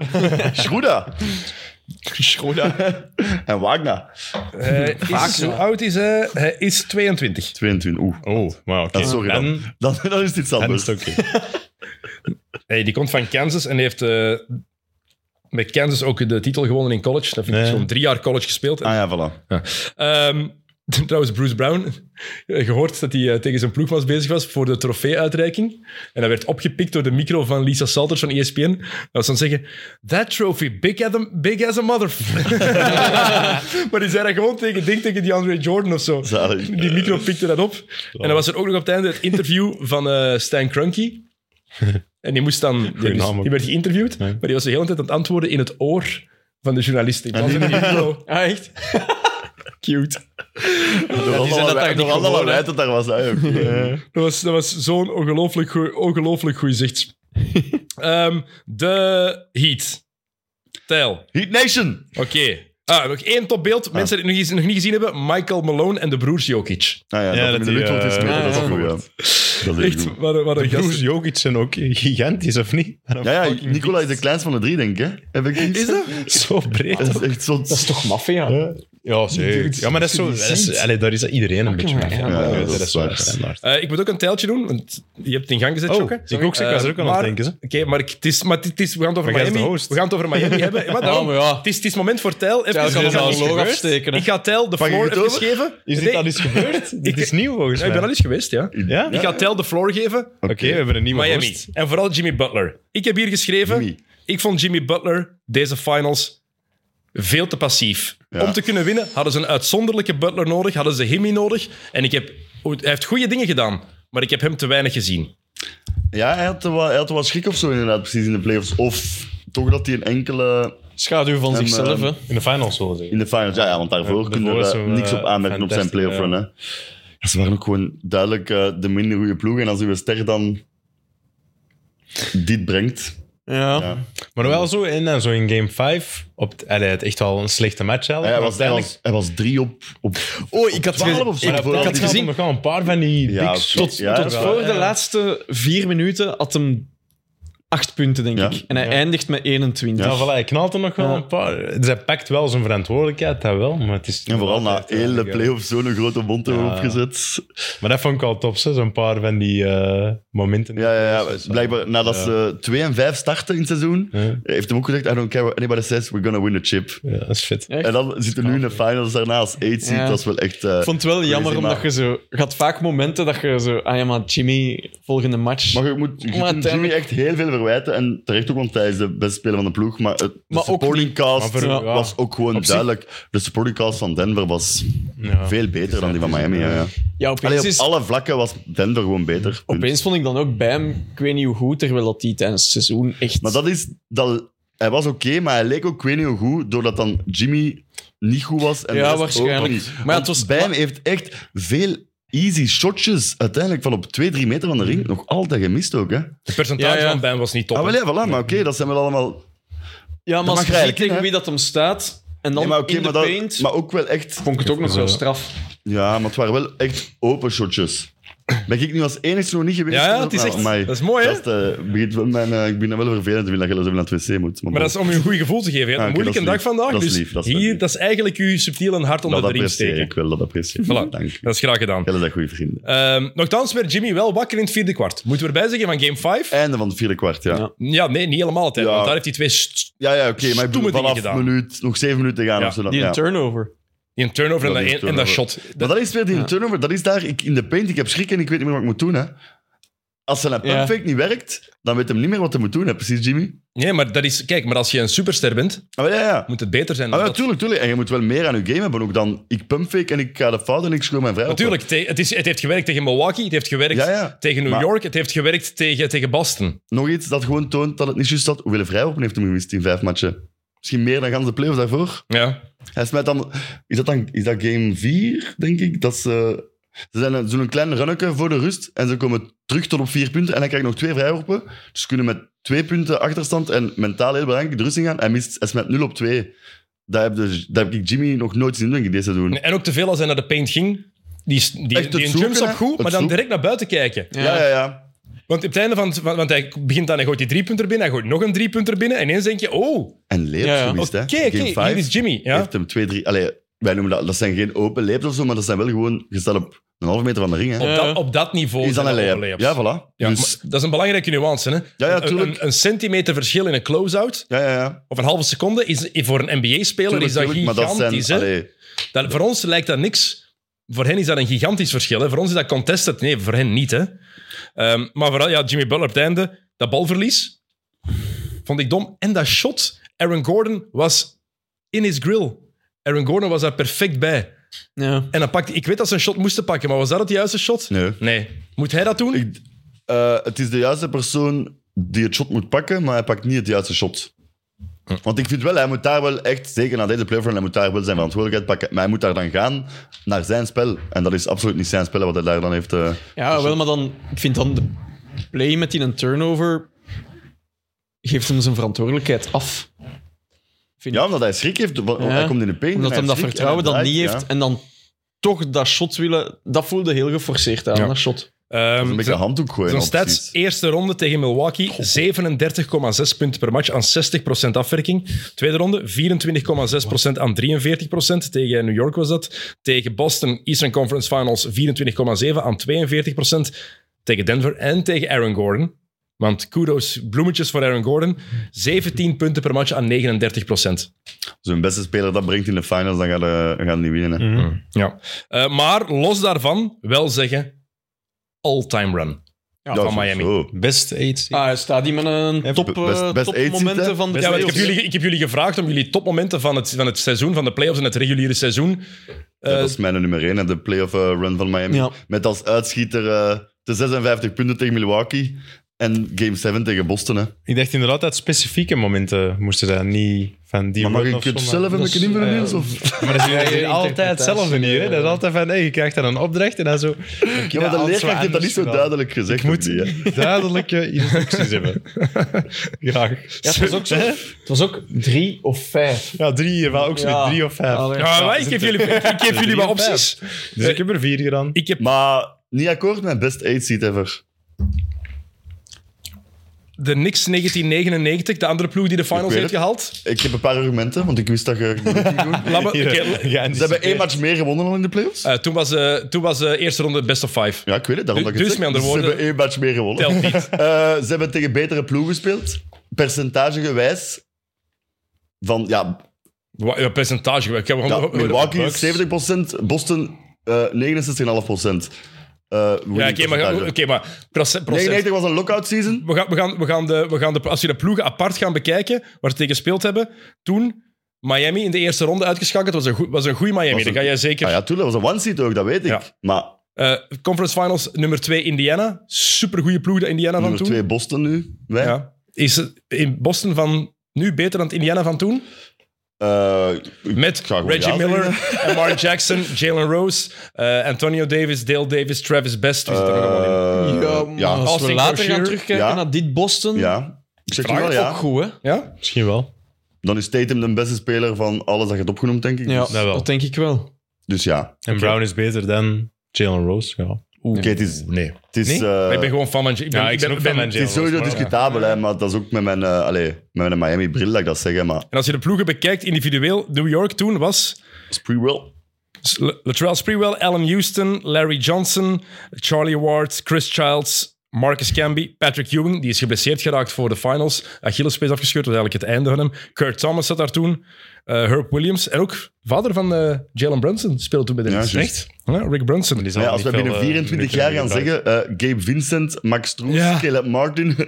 Speaker 2: Schroeder. Schroeder. En Wagner.
Speaker 1: Eh, is- hoe oud is hij? Hij is 22.
Speaker 2: 22. Oeh.
Speaker 4: Oh, maar oké.
Speaker 2: Ah, sorry dan.
Speaker 4: Dan,
Speaker 2: Dan, dan is dit
Speaker 4: dan
Speaker 2: anders.
Speaker 4: is het oké.
Speaker 1: Hey, die komt van Kansas en heeft eh, met Kansas ook de titel gewonnen in college. Dat vind ik
Speaker 4: Nee.
Speaker 1: zo'n drie jaar college gespeeld.
Speaker 2: Ah ja, voilà.
Speaker 1: Ehm, [LAUGHS] Trouwens, Bruce Brown, eh, gehoord dat hij eh, tegen zijn ploegmaats bezig was voor de trofee-uitreiking. En dat werd opgepikt door de micro van Lisa Salters van E ESPN. Dat was dan zeggen, that trophy, big as a, big as a motherfucker. [LAUGHS] maar die zei dat gewoon tegen, ik denk tegen die Andre Jordan of zo.
Speaker 2: Zalig.
Speaker 1: Die micro pikte dat op. En dan was er ook nog op het einde het interview van eh Stijn Krunky. En die moest dan... Die,
Speaker 4: naam ook.
Speaker 1: die werd geïnterviewd, maar die was de hele tijd aan het antwoorden in het oor van de journalist. Ik was in de micro.
Speaker 3: Ah, echt? [LAUGHS] Cute.
Speaker 2: Door
Speaker 3: zijn dat
Speaker 2: alle-
Speaker 3: eigenlijk
Speaker 2: door
Speaker 3: niet
Speaker 2: alle
Speaker 3: gewoon, hè?
Speaker 2: luid dat daar was. hè, oké.
Speaker 1: Dat was, dat was zo'n ongelooflijk goeie, ongelooflijk goeie
Speaker 4: [LAUGHS]
Speaker 1: zicht. Ehm, de Heat. Tijl. Oké.
Speaker 2: Heat Nation!
Speaker 1: Ah, nog één topbeeld. Mensen die het nog, eens- nog niet gezien hebben. Michael Malone en de broers Jokic.
Speaker 2: Ah ja,
Speaker 4: Ja,
Speaker 2: dat,
Speaker 4: dat
Speaker 2: dat in de
Speaker 4: die,
Speaker 2: lucht wordt
Speaker 4: eh,
Speaker 2: gesmeten,
Speaker 3: ja,
Speaker 2: dat is
Speaker 3: ja.
Speaker 2: ook goed, ja. Dat is echt
Speaker 1: Echt,
Speaker 2: goed.
Speaker 1: wat een, wat een
Speaker 4: Broers
Speaker 1: gast.
Speaker 4: Jokic zijn ook gigantisch, of niet? [LAUGHS]
Speaker 2: Ja, ja, Nicola is de kleinste van de drie, denk ik. hè. Heb ik is dat?
Speaker 4: Zo
Speaker 2: [LAUGHS]
Speaker 4: breed.
Speaker 2: Dat is echt zo...
Speaker 3: Dat is toch maffia? Ja.
Speaker 4: Ja, zeker. Ja, maar dat is zo... Dat is, allee, daar is iedereen een beetje
Speaker 3: maar,
Speaker 4: mee.
Speaker 3: ja,
Speaker 2: maar dat
Speaker 4: dat
Speaker 2: is
Speaker 4: is
Speaker 2: waar.
Speaker 4: waar. standaard.
Speaker 1: Eh, ik moet ook een tijltje doen, want je hebt het in gang gezet,
Speaker 4: Oh,
Speaker 1: Jokke.
Speaker 4: ik
Speaker 1: Sorry.
Speaker 4: ook, ik was er ook
Speaker 1: Eh,
Speaker 4: aan het
Speaker 1: maar-
Speaker 4: denken, zo.
Speaker 1: Oké, maar, het is, maar het is, we gaan het over
Speaker 4: Maar jij is de
Speaker 1: Miami,
Speaker 4: host.
Speaker 1: we gaan het over
Speaker 4: [LAUGHS]
Speaker 1: Miami hebben. Maar daarom,
Speaker 3: maar ja.
Speaker 1: het, is, het is moment voor Tijl. Even-
Speaker 3: Tijl kan
Speaker 1: ik
Speaker 3: ons
Speaker 1: ga-
Speaker 3: al loog afsteken, hè.
Speaker 1: Ik ga Tijl de
Speaker 2: Pak ik
Speaker 1: floor
Speaker 2: het
Speaker 1: even
Speaker 2: over?
Speaker 1: geven.
Speaker 4: Is dit
Speaker 1: Nee,
Speaker 4: al eens [LAUGHS] gebeurd? Dit is nieuw volgens
Speaker 1: ja, ik
Speaker 4: mij.
Speaker 1: ben al eens geweest, ja.
Speaker 4: Ja?
Speaker 1: Ik ga Tel de floor geven.
Speaker 4: Oké, we hebben een nieuwe
Speaker 1: Miami.
Speaker 4: host.
Speaker 1: En vooral Jimmy Butler. Ik heb hier geschreven.
Speaker 2: Jimmy.
Speaker 1: Ik vond Jimmy Butler deze finals veel te passief.
Speaker 2: Ja.
Speaker 1: Om te kunnen winnen hadden ze een uitzonderlijke Butler nodig. Hadden ze Jimmy nodig. En ik heb, hij heeft goede dingen gedaan. Maar ik heb hem te weinig gezien.
Speaker 2: Ja, hij had, er wel, hij had er wel schrik of zo inderdaad, precies in de playoffs. Of toch dat hij een enkele
Speaker 3: Schaduw van
Speaker 2: En,
Speaker 3: zichzelf,
Speaker 2: ehm,
Speaker 3: hè.
Speaker 4: In de finals, zullen we zeggen.
Speaker 2: in de finals... Ja, ja want daarvoor
Speaker 4: Ja,
Speaker 2: kunnen
Speaker 4: daarvoor
Speaker 2: we
Speaker 4: is
Speaker 2: daar
Speaker 4: hem,
Speaker 2: niks op
Speaker 4: eh,
Speaker 2: aanmerken op zijn
Speaker 4: fantastisch,
Speaker 2: playoff run. Hè. Ja, ze waren ook gewoon duidelijk eh, de minder goede ploeg. En als uw ster dan dit brengt...
Speaker 3: Ja.
Speaker 4: Maar wel zo in, eh, zo in game 5. Op het, allee, het echt wel een slechte match.
Speaker 2: Ja,
Speaker 4: eigenlijk.
Speaker 2: hij,
Speaker 4: Maar
Speaker 2: was, hij,
Speaker 4: uiteindelijk-
Speaker 2: was, hij was drie op... op
Speaker 3: Oh, ik had,
Speaker 2: twaalf
Speaker 3: ge-
Speaker 2: of zo.
Speaker 3: ik,
Speaker 2: Maar
Speaker 3: ik
Speaker 2: vooral
Speaker 3: had
Speaker 2: die-
Speaker 4: Het gaat om
Speaker 3: gezien,
Speaker 4: nog wel een paar van die
Speaker 2: Ja,
Speaker 4: bigs.
Speaker 2: oké.
Speaker 4: Tot,
Speaker 2: Ja,
Speaker 3: tot
Speaker 2: ja.
Speaker 3: voor de laatste vier minuten had hem acht punten, denk
Speaker 2: Ja.
Speaker 3: ik. En hij eindigt met 21.
Speaker 4: Ja, voilà, hij knalt er nog wel
Speaker 3: Dus- Ja.
Speaker 4: een paar. Dus hij pakt wel zijn verantwoordelijkheid, dat wel. Maar, het is
Speaker 2: en vooral na
Speaker 4: Ja, eh,
Speaker 2: hele
Speaker 4: ja.
Speaker 2: playoffs zo'n grote mond erop gezet.
Speaker 4: Maar dat vond ik al top, zo, zo'n paar van die eh, momenten.
Speaker 2: Ja, ja, ja. Dus Blijkbaar nadat ze 2 en 5 starten in het seizoen,
Speaker 4: Ja.
Speaker 2: heeft hem ook gezegd: I don't care what anybody says, we're gonna win the chip.
Speaker 4: Ja, dat is vet.
Speaker 3: Echt?
Speaker 2: En dan zitten we nu in de finals daarna als 8 seed.
Speaker 3: Ja.
Speaker 2: Dat is wel echt. eh,
Speaker 3: Ik vond het wel jammer,
Speaker 2: maar-
Speaker 3: omdat je zo... Je had vaak momenten dat je zo... Ah ja, maar Jimmy, volgende match.
Speaker 2: maar je moet je
Speaker 3: Maar
Speaker 2: kunt Jimmy
Speaker 3: uiteindelijk-
Speaker 2: echt heel veel verwijten. En terecht ook, want hij is de beste speler van de ploeg. Maar het, de
Speaker 3: Maar ook
Speaker 2: supporting
Speaker 4: Maar
Speaker 2: cast
Speaker 4: voor-
Speaker 3: Ja.
Speaker 4: ja.
Speaker 2: was ook gewoon
Speaker 3: Op zich-
Speaker 2: duidelijk. De supporting cast van Denver was
Speaker 4: Ja.
Speaker 2: veel beter dan die van Miami. Ja, ja.
Speaker 3: ja, opeens,
Speaker 2: Allee, op
Speaker 3: is-
Speaker 2: alle vlakken was Denver gewoon beter. Punt.
Speaker 3: opeens vond ik dan ook bij hem, ik weet niet hoe goed, terwijl dat hij tijdens het seizoen echt...
Speaker 2: Maar dat is. Dat, hij was oké, maar hij leek ook, ik weet niet hoe goed, doordat dan Jimmy niet goed was. En
Speaker 3: Ja,
Speaker 2: de rest
Speaker 3: waarschijnlijk.
Speaker 2: ook niet.
Speaker 3: Maar
Speaker 2: Want
Speaker 3: het was-
Speaker 2: Bij hem heeft echt veel easy shotjes uiteindelijk van op 2, 3 meter van de ring nog altijd gemist ook. Hè?
Speaker 1: Het percentage
Speaker 3: Ja, ja.
Speaker 1: van Bam was niet top.
Speaker 2: Ah, wel
Speaker 1: hè.
Speaker 2: ja, voilà, maar oké, dat zijn wel allemaal...
Speaker 3: ja, maar
Speaker 2: mag
Speaker 3: als je ziet
Speaker 2: eigenlijk niet,
Speaker 3: tegen wie dat hem staat, en dan
Speaker 2: Nee, maar oké,
Speaker 3: in de
Speaker 2: maar, dat-
Speaker 3: paint,
Speaker 2: maar ook wel echt...
Speaker 3: vond ik het ook nog
Speaker 4: Even
Speaker 3: wel
Speaker 4: zo.
Speaker 3: straf.
Speaker 2: Ja, maar het waren wel echt open shotjes. Ben ik nu als enigste nog niet geweest? Ah,
Speaker 1: Ja, ja, het is echt-
Speaker 2: Amai.
Speaker 1: dat is mooi, hè?
Speaker 2: Dat is, eh, begint wel mijn, eh, ik ben dan wel vervelend te vinden dat je zelfs even naar het wc moet.
Speaker 1: Maar dat is om je een goed gevoel te geven. Je hebt
Speaker 2: Ah,
Speaker 1: een
Speaker 2: oké,
Speaker 1: moeilijke
Speaker 2: dat
Speaker 1: dag
Speaker 2: is lief.
Speaker 1: vandaag.
Speaker 2: Dat is
Speaker 1: dus
Speaker 2: lief, dat is
Speaker 1: hier,
Speaker 2: lief. Nou,
Speaker 1: dat is eigenlijk je subtiel en hard onder
Speaker 2: dat
Speaker 1: de riem
Speaker 2: apprecieer
Speaker 1: steken.
Speaker 2: ik wel, dat apprecieer ik.
Speaker 1: Voilà.
Speaker 2: Dank je.
Speaker 1: Dat is graag gedaan.
Speaker 2: Jullie zijn goede vrienden.
Speaker 1: Ehm Nochtans werd Jimmy wel wakker in het vierde kwart. Moeten we erbij zeggen van game 5?
Speaker 2: Einde van het vierde kwart, ja.
Speaker 3: Ja.
Speaker 1: Ja, nee, niet helemaal het einde,
Speaker 2: Eh.
Speaker 1: Want
Speaker 2: Ja.
Speaker 1: daar heeft hij twee st-
Speaker 2: Ja, ja, oké, maar ik bedoel,
Speaker 1: Stomme dingen
Speaker 2: vanaf
Speaker 1: gedaan.
Speaker 2: minuut, nog zeven minuten gaan
Speaker 1: Ja,
Speaker 2: of zo. Dan,
Speaker 3: Die
Speaker 2: ja.
Speaker 3: een turnover.
Speaker 1: die een turnover en
Speaker 2: Ja,
Speaker 1: dat,
Speaker 2: die
Speaker 1: en, en dat shot.
Speaker 2: Maar dat is weer die turnover, dat is daar, ik, in de paint, ik heb schrik en ik weet niet meer wat ik moet doen. Hè. Als zijn
Speaker 3: Ja.
Speaker 2: perfect niet werkt, dan weet hem niet meer wat hij moet doen, hè. precies, Jimmy?
Speaker 1: Nee, maar dat is... Kijk, maar als je een superster bent,
Speaker 2: Ah, ja, ja.
Speaker 1: moet het beter zijn dan
Speaker 2: Ah, ja,
Speaker 1: dat.
Speaker 2: tuurlijk, tuurlijk. En je moet wel meer aan je game hebben ook dan. Ik pumpfake en ik ga de fout en ik schreeuw mijn vrij. op.
Speaker 1: Natuurlijk, te- het, is, het heeft gewerkt tegen Milwaukee, het heeft gewerkt
Speaker 2: Ja, ja.
Speaker 1: tegen New
Speaker 2: Maar-
Speaker 1: York, het heeft gewerkt tegen, tegen Boston.
Speaker 2: Nog iets dat gewoon toont dat het niet juist dat. Hoeveel vrijworpen heeft hem gemist in vijf matchen? Misschien meer dan gans de playoffs daarvoor.
Speaker 1: Ja.
Speaker 2: Hij smijt dan... Is dat dan is dat game 4, denk ik? Dat ze... Ze zijn een- zo'n klein runnetje voor de rust en ze komen terug tot op vier punten en hij krijgt nog twee vrijworpen. Dus ze kunnen met twee punten achterstand en mentaal heel belangrijk de rust in gaan. Hij, mist, hij smijt 0 op 2. Dat heb, de, dat heb ik Jimmy nog nooit zien doen, deze doen.
Speaker 1: En ook te veel als hij naar de paint ging. Die, s- die,
Speaker 2: Echt het
Speaker 1: die een
Speaker 2: zoeken,
Speaker 1: jumpstop
Speaker 2: hè?
Speaker 1: goed,
Speaker 2: Het
Speaker 1: maar dan
Speaker 2: zoeken.
Speaker 1: direct naar buiten kijken.
Speaker 2: Ja, ja, ja.
Speaker 1: Want op het einde van... van- Want hij begint dan, hij gooit die driepunter binnen, hij gooit nog een driepunter binnen. En ineens denk je, oh,
Speaker 2: En leert
Speaker 3: Ja, ja.
Speaker 2: gemist,
Speaker 1: oké,
Speaker 2: hè.
Speaker 1: oké,
Speaker 2: Game
Speaker 1: hier
Speaker 2: five.
Speaker 1: is Jimmy. Ja.
Speaker 2: heeft hem twee, drie... Allee, wij noemen dat... Dat zijn geen open layups of zo, maar dat zijn wel gewoon... Je staat op een halve meter van de ring, hè.
Speaker 1: Op,
Speaker 3: Ja.
Speaker 1: dat, op dat niveau
Speaker 2: is dan
Speaker 1: zijn
Speaker 2: een
Speaker 1: dat
Speaker 2: layup.
Speaker 1: overlayups.
Speaker 2: Ja, voilà.
Speaker 1: Ja,
Speaker 2: dus...
Speaker 1: maar dat is een belangrijke nuance. Hè?
Speaker 2: Ja, ja,
Speaker 1: een,
Speaker 2: tuurlijk.
Speaker 1: een, een centimeter verschil in een close-out
Speaker 2: Ja, ja, ja.
Speaker 1: of een halve seconde is voor een NBA-speler
Speaker 2: Tuurlijk,
Speaker 1: is dat
Speaker 2: tuurlijk, maar dat
Speaker 1: gigantisch.
Speaker 2: zijn...
Speaker 1: hè?
Speaker 2: allee,
Speaker 1: dat, voor ons lijkt dat niks, voor hen is dat een gigantisch verschil. Hè. Voor ons is dat contested. Nee, voor hen niet. Hè. Ehm, maar vooral ja, Jimmy Butler op het einde, dat balverlies, vond ik dom. En dat shot, Aaron Gordon was in his grill. Aaron Gordon was daar perfect bij.
Speaker 3: Ja.
Speaker 1: En dan pakte, ik weet dat ze een shot moesten pakken, maar was dat het juiste shot?
Speaker 2: Nee.
Speaker 1: Moet hij dat doen?
Speaker 2: Ik- eh, het is de juiste persoon die het shot moet pakken, maar hij pakt niet het juiste shot.
Speaker 1: Hm.
Speaker 2: Want ik vind wel, hij moet daar wel echt, zeker na deze playoff, run, hij moet daar wel zijn verantwoordelijkheid pakken. Maar hij moet daar dan gaan naar zijn spel. En dat is absoluut niet zijn spel wat hij daar dan heeft. eh,
Speaker 3: Ja, wel, maar dan, ik vind dan de play met die een turnover geeft hem zijn verantwoordelijkheid af. Vind
Speaker 2: Ja,
Speaker 3: ik.
Speaker 2: omdat hij schrik heeft. wa-
Speaker 3: Ja.
Speaker 2: Hij komt in de paint. en
Speaker 3: Omdat
Speaker 2: hij
Speaker 3: hem dat
Speaker 2: heeft schrik
Speaker 3: vertrouwen
Speaker 2: en
Speaker 3: dan
Speaker 2: hij
Speaker 3: niet
Speaker 2: draait,
Speaker 3: heeft
Speaker 2: ja.
Speaker 3: en dan toch dat shot willen. Dat voelde heel geforceerd aan,
Speaker 1: Ja.
Speaker 3: dat shot.
Speaker 1: Ehm,
Speaker 2: Een beetje
Speaker 1: zo-
Speaker 2: een handdoek gooien.
Speaker 1: Zo'n
Speaker 2: op
Speaker 1: stats,
Speaker 2: precies.
Speaker 1: eerste ronde tegen Milwaukee, 37,6 punten per match aan 60% afwerking. Tweede ronde, 24,6% aan 43%. Tegen New York was dat. Tegen Boston, Eastern Conference Finals, 24,7 aan 42%. Tegen Denver en tegen Aaron Gordon. Want kudos, bloemetjes voor Aaron Gordon. 17 punten per match aan 39%.
Speaker 2: Zo'n beste speler dat brengt in de finals, dan gaat hij gaat hij niet winnen. hè.
Speaker 1: Ja. Eh, maar los daarvan, wel zeggen, all-time run.
Speaker 2: Ja,
Speaker 3: Ja,
Speaker 1: van
Speaker 2: zo-
Speaker 1: Miami.
Speaker 2: zo.
Speaker 4: Best 8.
Speaker 3: Ah, staat die met een
Speaker 4: Even
Speaker 3: top, eh,
Speaker 2: best- best eight seed, hè?
Speaker 3: topmomenten van de
Speaker 1: Ja, maar ik, heb
Speaker 3: playoffs.
Speaker 1: jullie, ik heb jullie gevraagd om jullie topmomenten van het, van het seizoen, van de playoffs en het reguliere seizoen.
Speaker 2: Ja, dat is mijn nummer 1, de playoff eh, run van Miami.
Speaker 3: Ja.
Speaker 2: Met als uitschieter eh, de 56 punten tegen Milwaukee en Game 7 tegen Boston. Hè.
Speaker 4: Ik dacht inderdaad dat specifieke momenten moesten zijn. Niet van die
Speaker 2: Maar mag
Speaker 4: run
Speaker 2: ik
Speaker 4: of
Speaker 2: het
Speaker 4: zo,
Speaker 2: zelf een
Speaker 4: [LAUGHS] maar-
Speaker 2: beetje invullen,
Speaker 4: Ja.
Speaker 2: Niels? Of...
Speaker 4: Maar dat is
Speaker 3: Ja, je
Speaker 4: altijd hetzelfde
Speaker 3: interpretatie,
Speaker 4: niet. Hè?
Speaker 3: ja.
Speaker 4: Dat is altijd van, hey, je krijgt dan een opdracht en dan zo...
Speaker 2: Ja, maar de
Speaker 4: Hans
Speaker 2: leerkracht heeft dat niet zo
Speaker 4: Zwaarders
Speaker 2: duidelijk gezegd.
Speaker 4: Ik moet
Speaker 2: ook niet, hè.
Speaker 4: [LAUGHS] duidelijke instructies
Speaker 3: [LAUGHS]
Speaker 4: hebben. Graag.
Speaker 3: Ja, het was ook zo. Het was ook drie of vijf.
Speaker 4: Ja, drie, maar ook zo
Speaker 3: Ja.
Speaker 4: met drie of vijf.
Speaker 3: Allee.
Speaker 1: Ja, maar ik geef jullie, ik geef jullie wat opties. Eh,
Speaker 4: Dus ik heb er vier gedaan.
Speaker 1: Ik heb
Speaker 2: Maar niet akkoord met best 8 seed ever.
Speaker 1: de Knicks 1999, de andere ploeg die de finals
Speaker 2: weet
Speaker 1: heeft
Speaker 2: het.
Speaker 1: gehaald.
Speaker 2: Ik heb een paar argumenten, want ik wist
Speaker 1: [LAUGHS]
Speaker 2: dat je.
Speaker 1: Laat me-
Speaker 2: [LAUGHS]
Speaker 4: Hier,
Speaker 1: oké,
Speaker 4: [LAUGHS] geanticipeerd.
Speaker 2: Ze hebben één match meer gewonnen dan in de playoffs.
Speaker 1: eh, toen was de toen was, eh, eerste ronde best of five.
Speaker 2: Ja, ik weet het, daarom
Speaker 1: Dus-
Speaker 2: dat ik
Speaker 1: dus met
Speaker 2: het zeg.
Speaker 1: andere
Speaker 2: Ze
Speaker 1: woorden-
Speaker 2: hebben één match meer gewonnen.
Speaker 1: Telt niet.
Speaker 2: [LAUGHS] Eh, ze hebben tegen betere ploegen gespeeld. Percentagegewijs van ja,
Speaker 1: Wa- ja, percentage. Ik heb
Speaker 2: ja,
Speaker 1: [LAUGHS] gewoon-
Speaker 2: Milwaukee
Speaker 1: Bucks.
Speaker 2: is 70%, Boston eh 69,5%. Eh, winning
Speaker 1: Ja, oké, maar, ga-
Speaker 2: percentage.
Speaker 1: oké, maar procent- procent-
Speaker 2: 99 was een lockout season.
Speaker 1: we gaan, we gaan, we gaan de, we gaan de, als je de ploegen apart gaan bekijken waar ze tegen gespeeld hebben, toen Miami in de eerste ronde uitgeschakeld was een, goe- was een goede Miami.
Speaker 2: Was
Speaker 1: Dat
Speaker 2: een-
Speaker 1: ga jij zeker.
Speaker 2: Ah ja, toen dat was een one seed ook, dat weet ik.
Speaker 1: Ja.
Speaker 2: Maar
Speaker 1: Eh, conference Finals nummer 2 Indiana. Supergoeie ploeg de Indiana van
Speaker 2: nummer
Speaker 1: toen.
Speaker 2: 2 Boston nu. Wij.
Speaker 1: Ja. Is het in Boston van nu beter dan het Indiana van toen?
Speaker 2: Eh, ik
Speaker 1: Met
Speaker 2: ga gewoon
Speaker 1: Reggie
Speaker 2: ja
Speaker 1: Miller,
Speaker 2: zeggen.
Speaker 1: [LAUGHS] Mark Jackson, Jalen Rose, eh, Antonio Davis, Dale Davis, Travis Best. Wie zit er nog allemaal in?
Speaker 2: Eh,
Speaker 3: Ja, maar
Speaker 2: ja.
Speaker 3: als we
Speaker 1: Austin
Speaker 3: later
Speaker 1: Crozier.
Speaker 3: gaan terugkijken
Speaker 2: Ja.
Speaker 3: naar dit Boston,
Speaker 2: ja. Ik zeg je wel,
Speaker 3: ook
Speaker 2: ja.
Speaker 3: goed, hè?
Speaker 1: Ja?
Speaker 4: Misschien wel.
Speaker 2: Dan is Tatum de beste speler van alles dat je hebt opgenoemd, denk ik.
Speaker 3: Ja,
Speaker 2: Dus,
Speaker 4: dat wel.
Speaker 3: dat denk ik wel.
Speaker 2: dus ja.
Speaker 4: En Brown is beter dan Jalen Rose. Ja.
Speaker 2: Oké, het is...
Speaker 1: Nee.
Speaker 2: Het is
Speaker 1: Nee?
Speaker 2: eh,
Speaker 1: ik ben gewoon fan van... Ik ben,
Speaker 4: Ja, ik
Speaker 1: ik
Speaker 4: ben
Speaker 1: ben,
Speaker 4: ook fan van
Speaker 1: ben-
Speaker 4: Jalen.
Speaker 2: Het is sowieso
Speaker 4: maar-
Speaker 2: discutabel, hè, maar dat is ook met mijn, eh, allee, met mijn Miami-bril dat ik dat zeg. hè, Maar
Speaker 1: En als je de ploegen bekijkt individueel, New York toen was...
Speaker 2: Sprewell,
Speaker 1: L- Latrell Sprewell, Alan Houston, Larry Johnson, Charlie Ward, Chris Childs, Marcus Camby, Patrick Ewing, die is geblesseerd geraakt voor de finals. Achillespees afgescheurd, was eigenlijk het einde van hem. Kurt Thomas zat daar toen. eh, Herb Williams en ook vader van eh, Jalen Brunson speelde toen bij de
Speaker 2: Ja,
Speaker 1: Nets.
Speaker 2: juist.
Speaker 1: Ja, Rick Brunson.
Speaker 2: Ja, als we binnen 24 jaar gaan zeggen eh, Gabe Vincent, Max Stroes,
Speaker 1: Ja.
Speaker 2: Caleb Martin. [LAUGHS]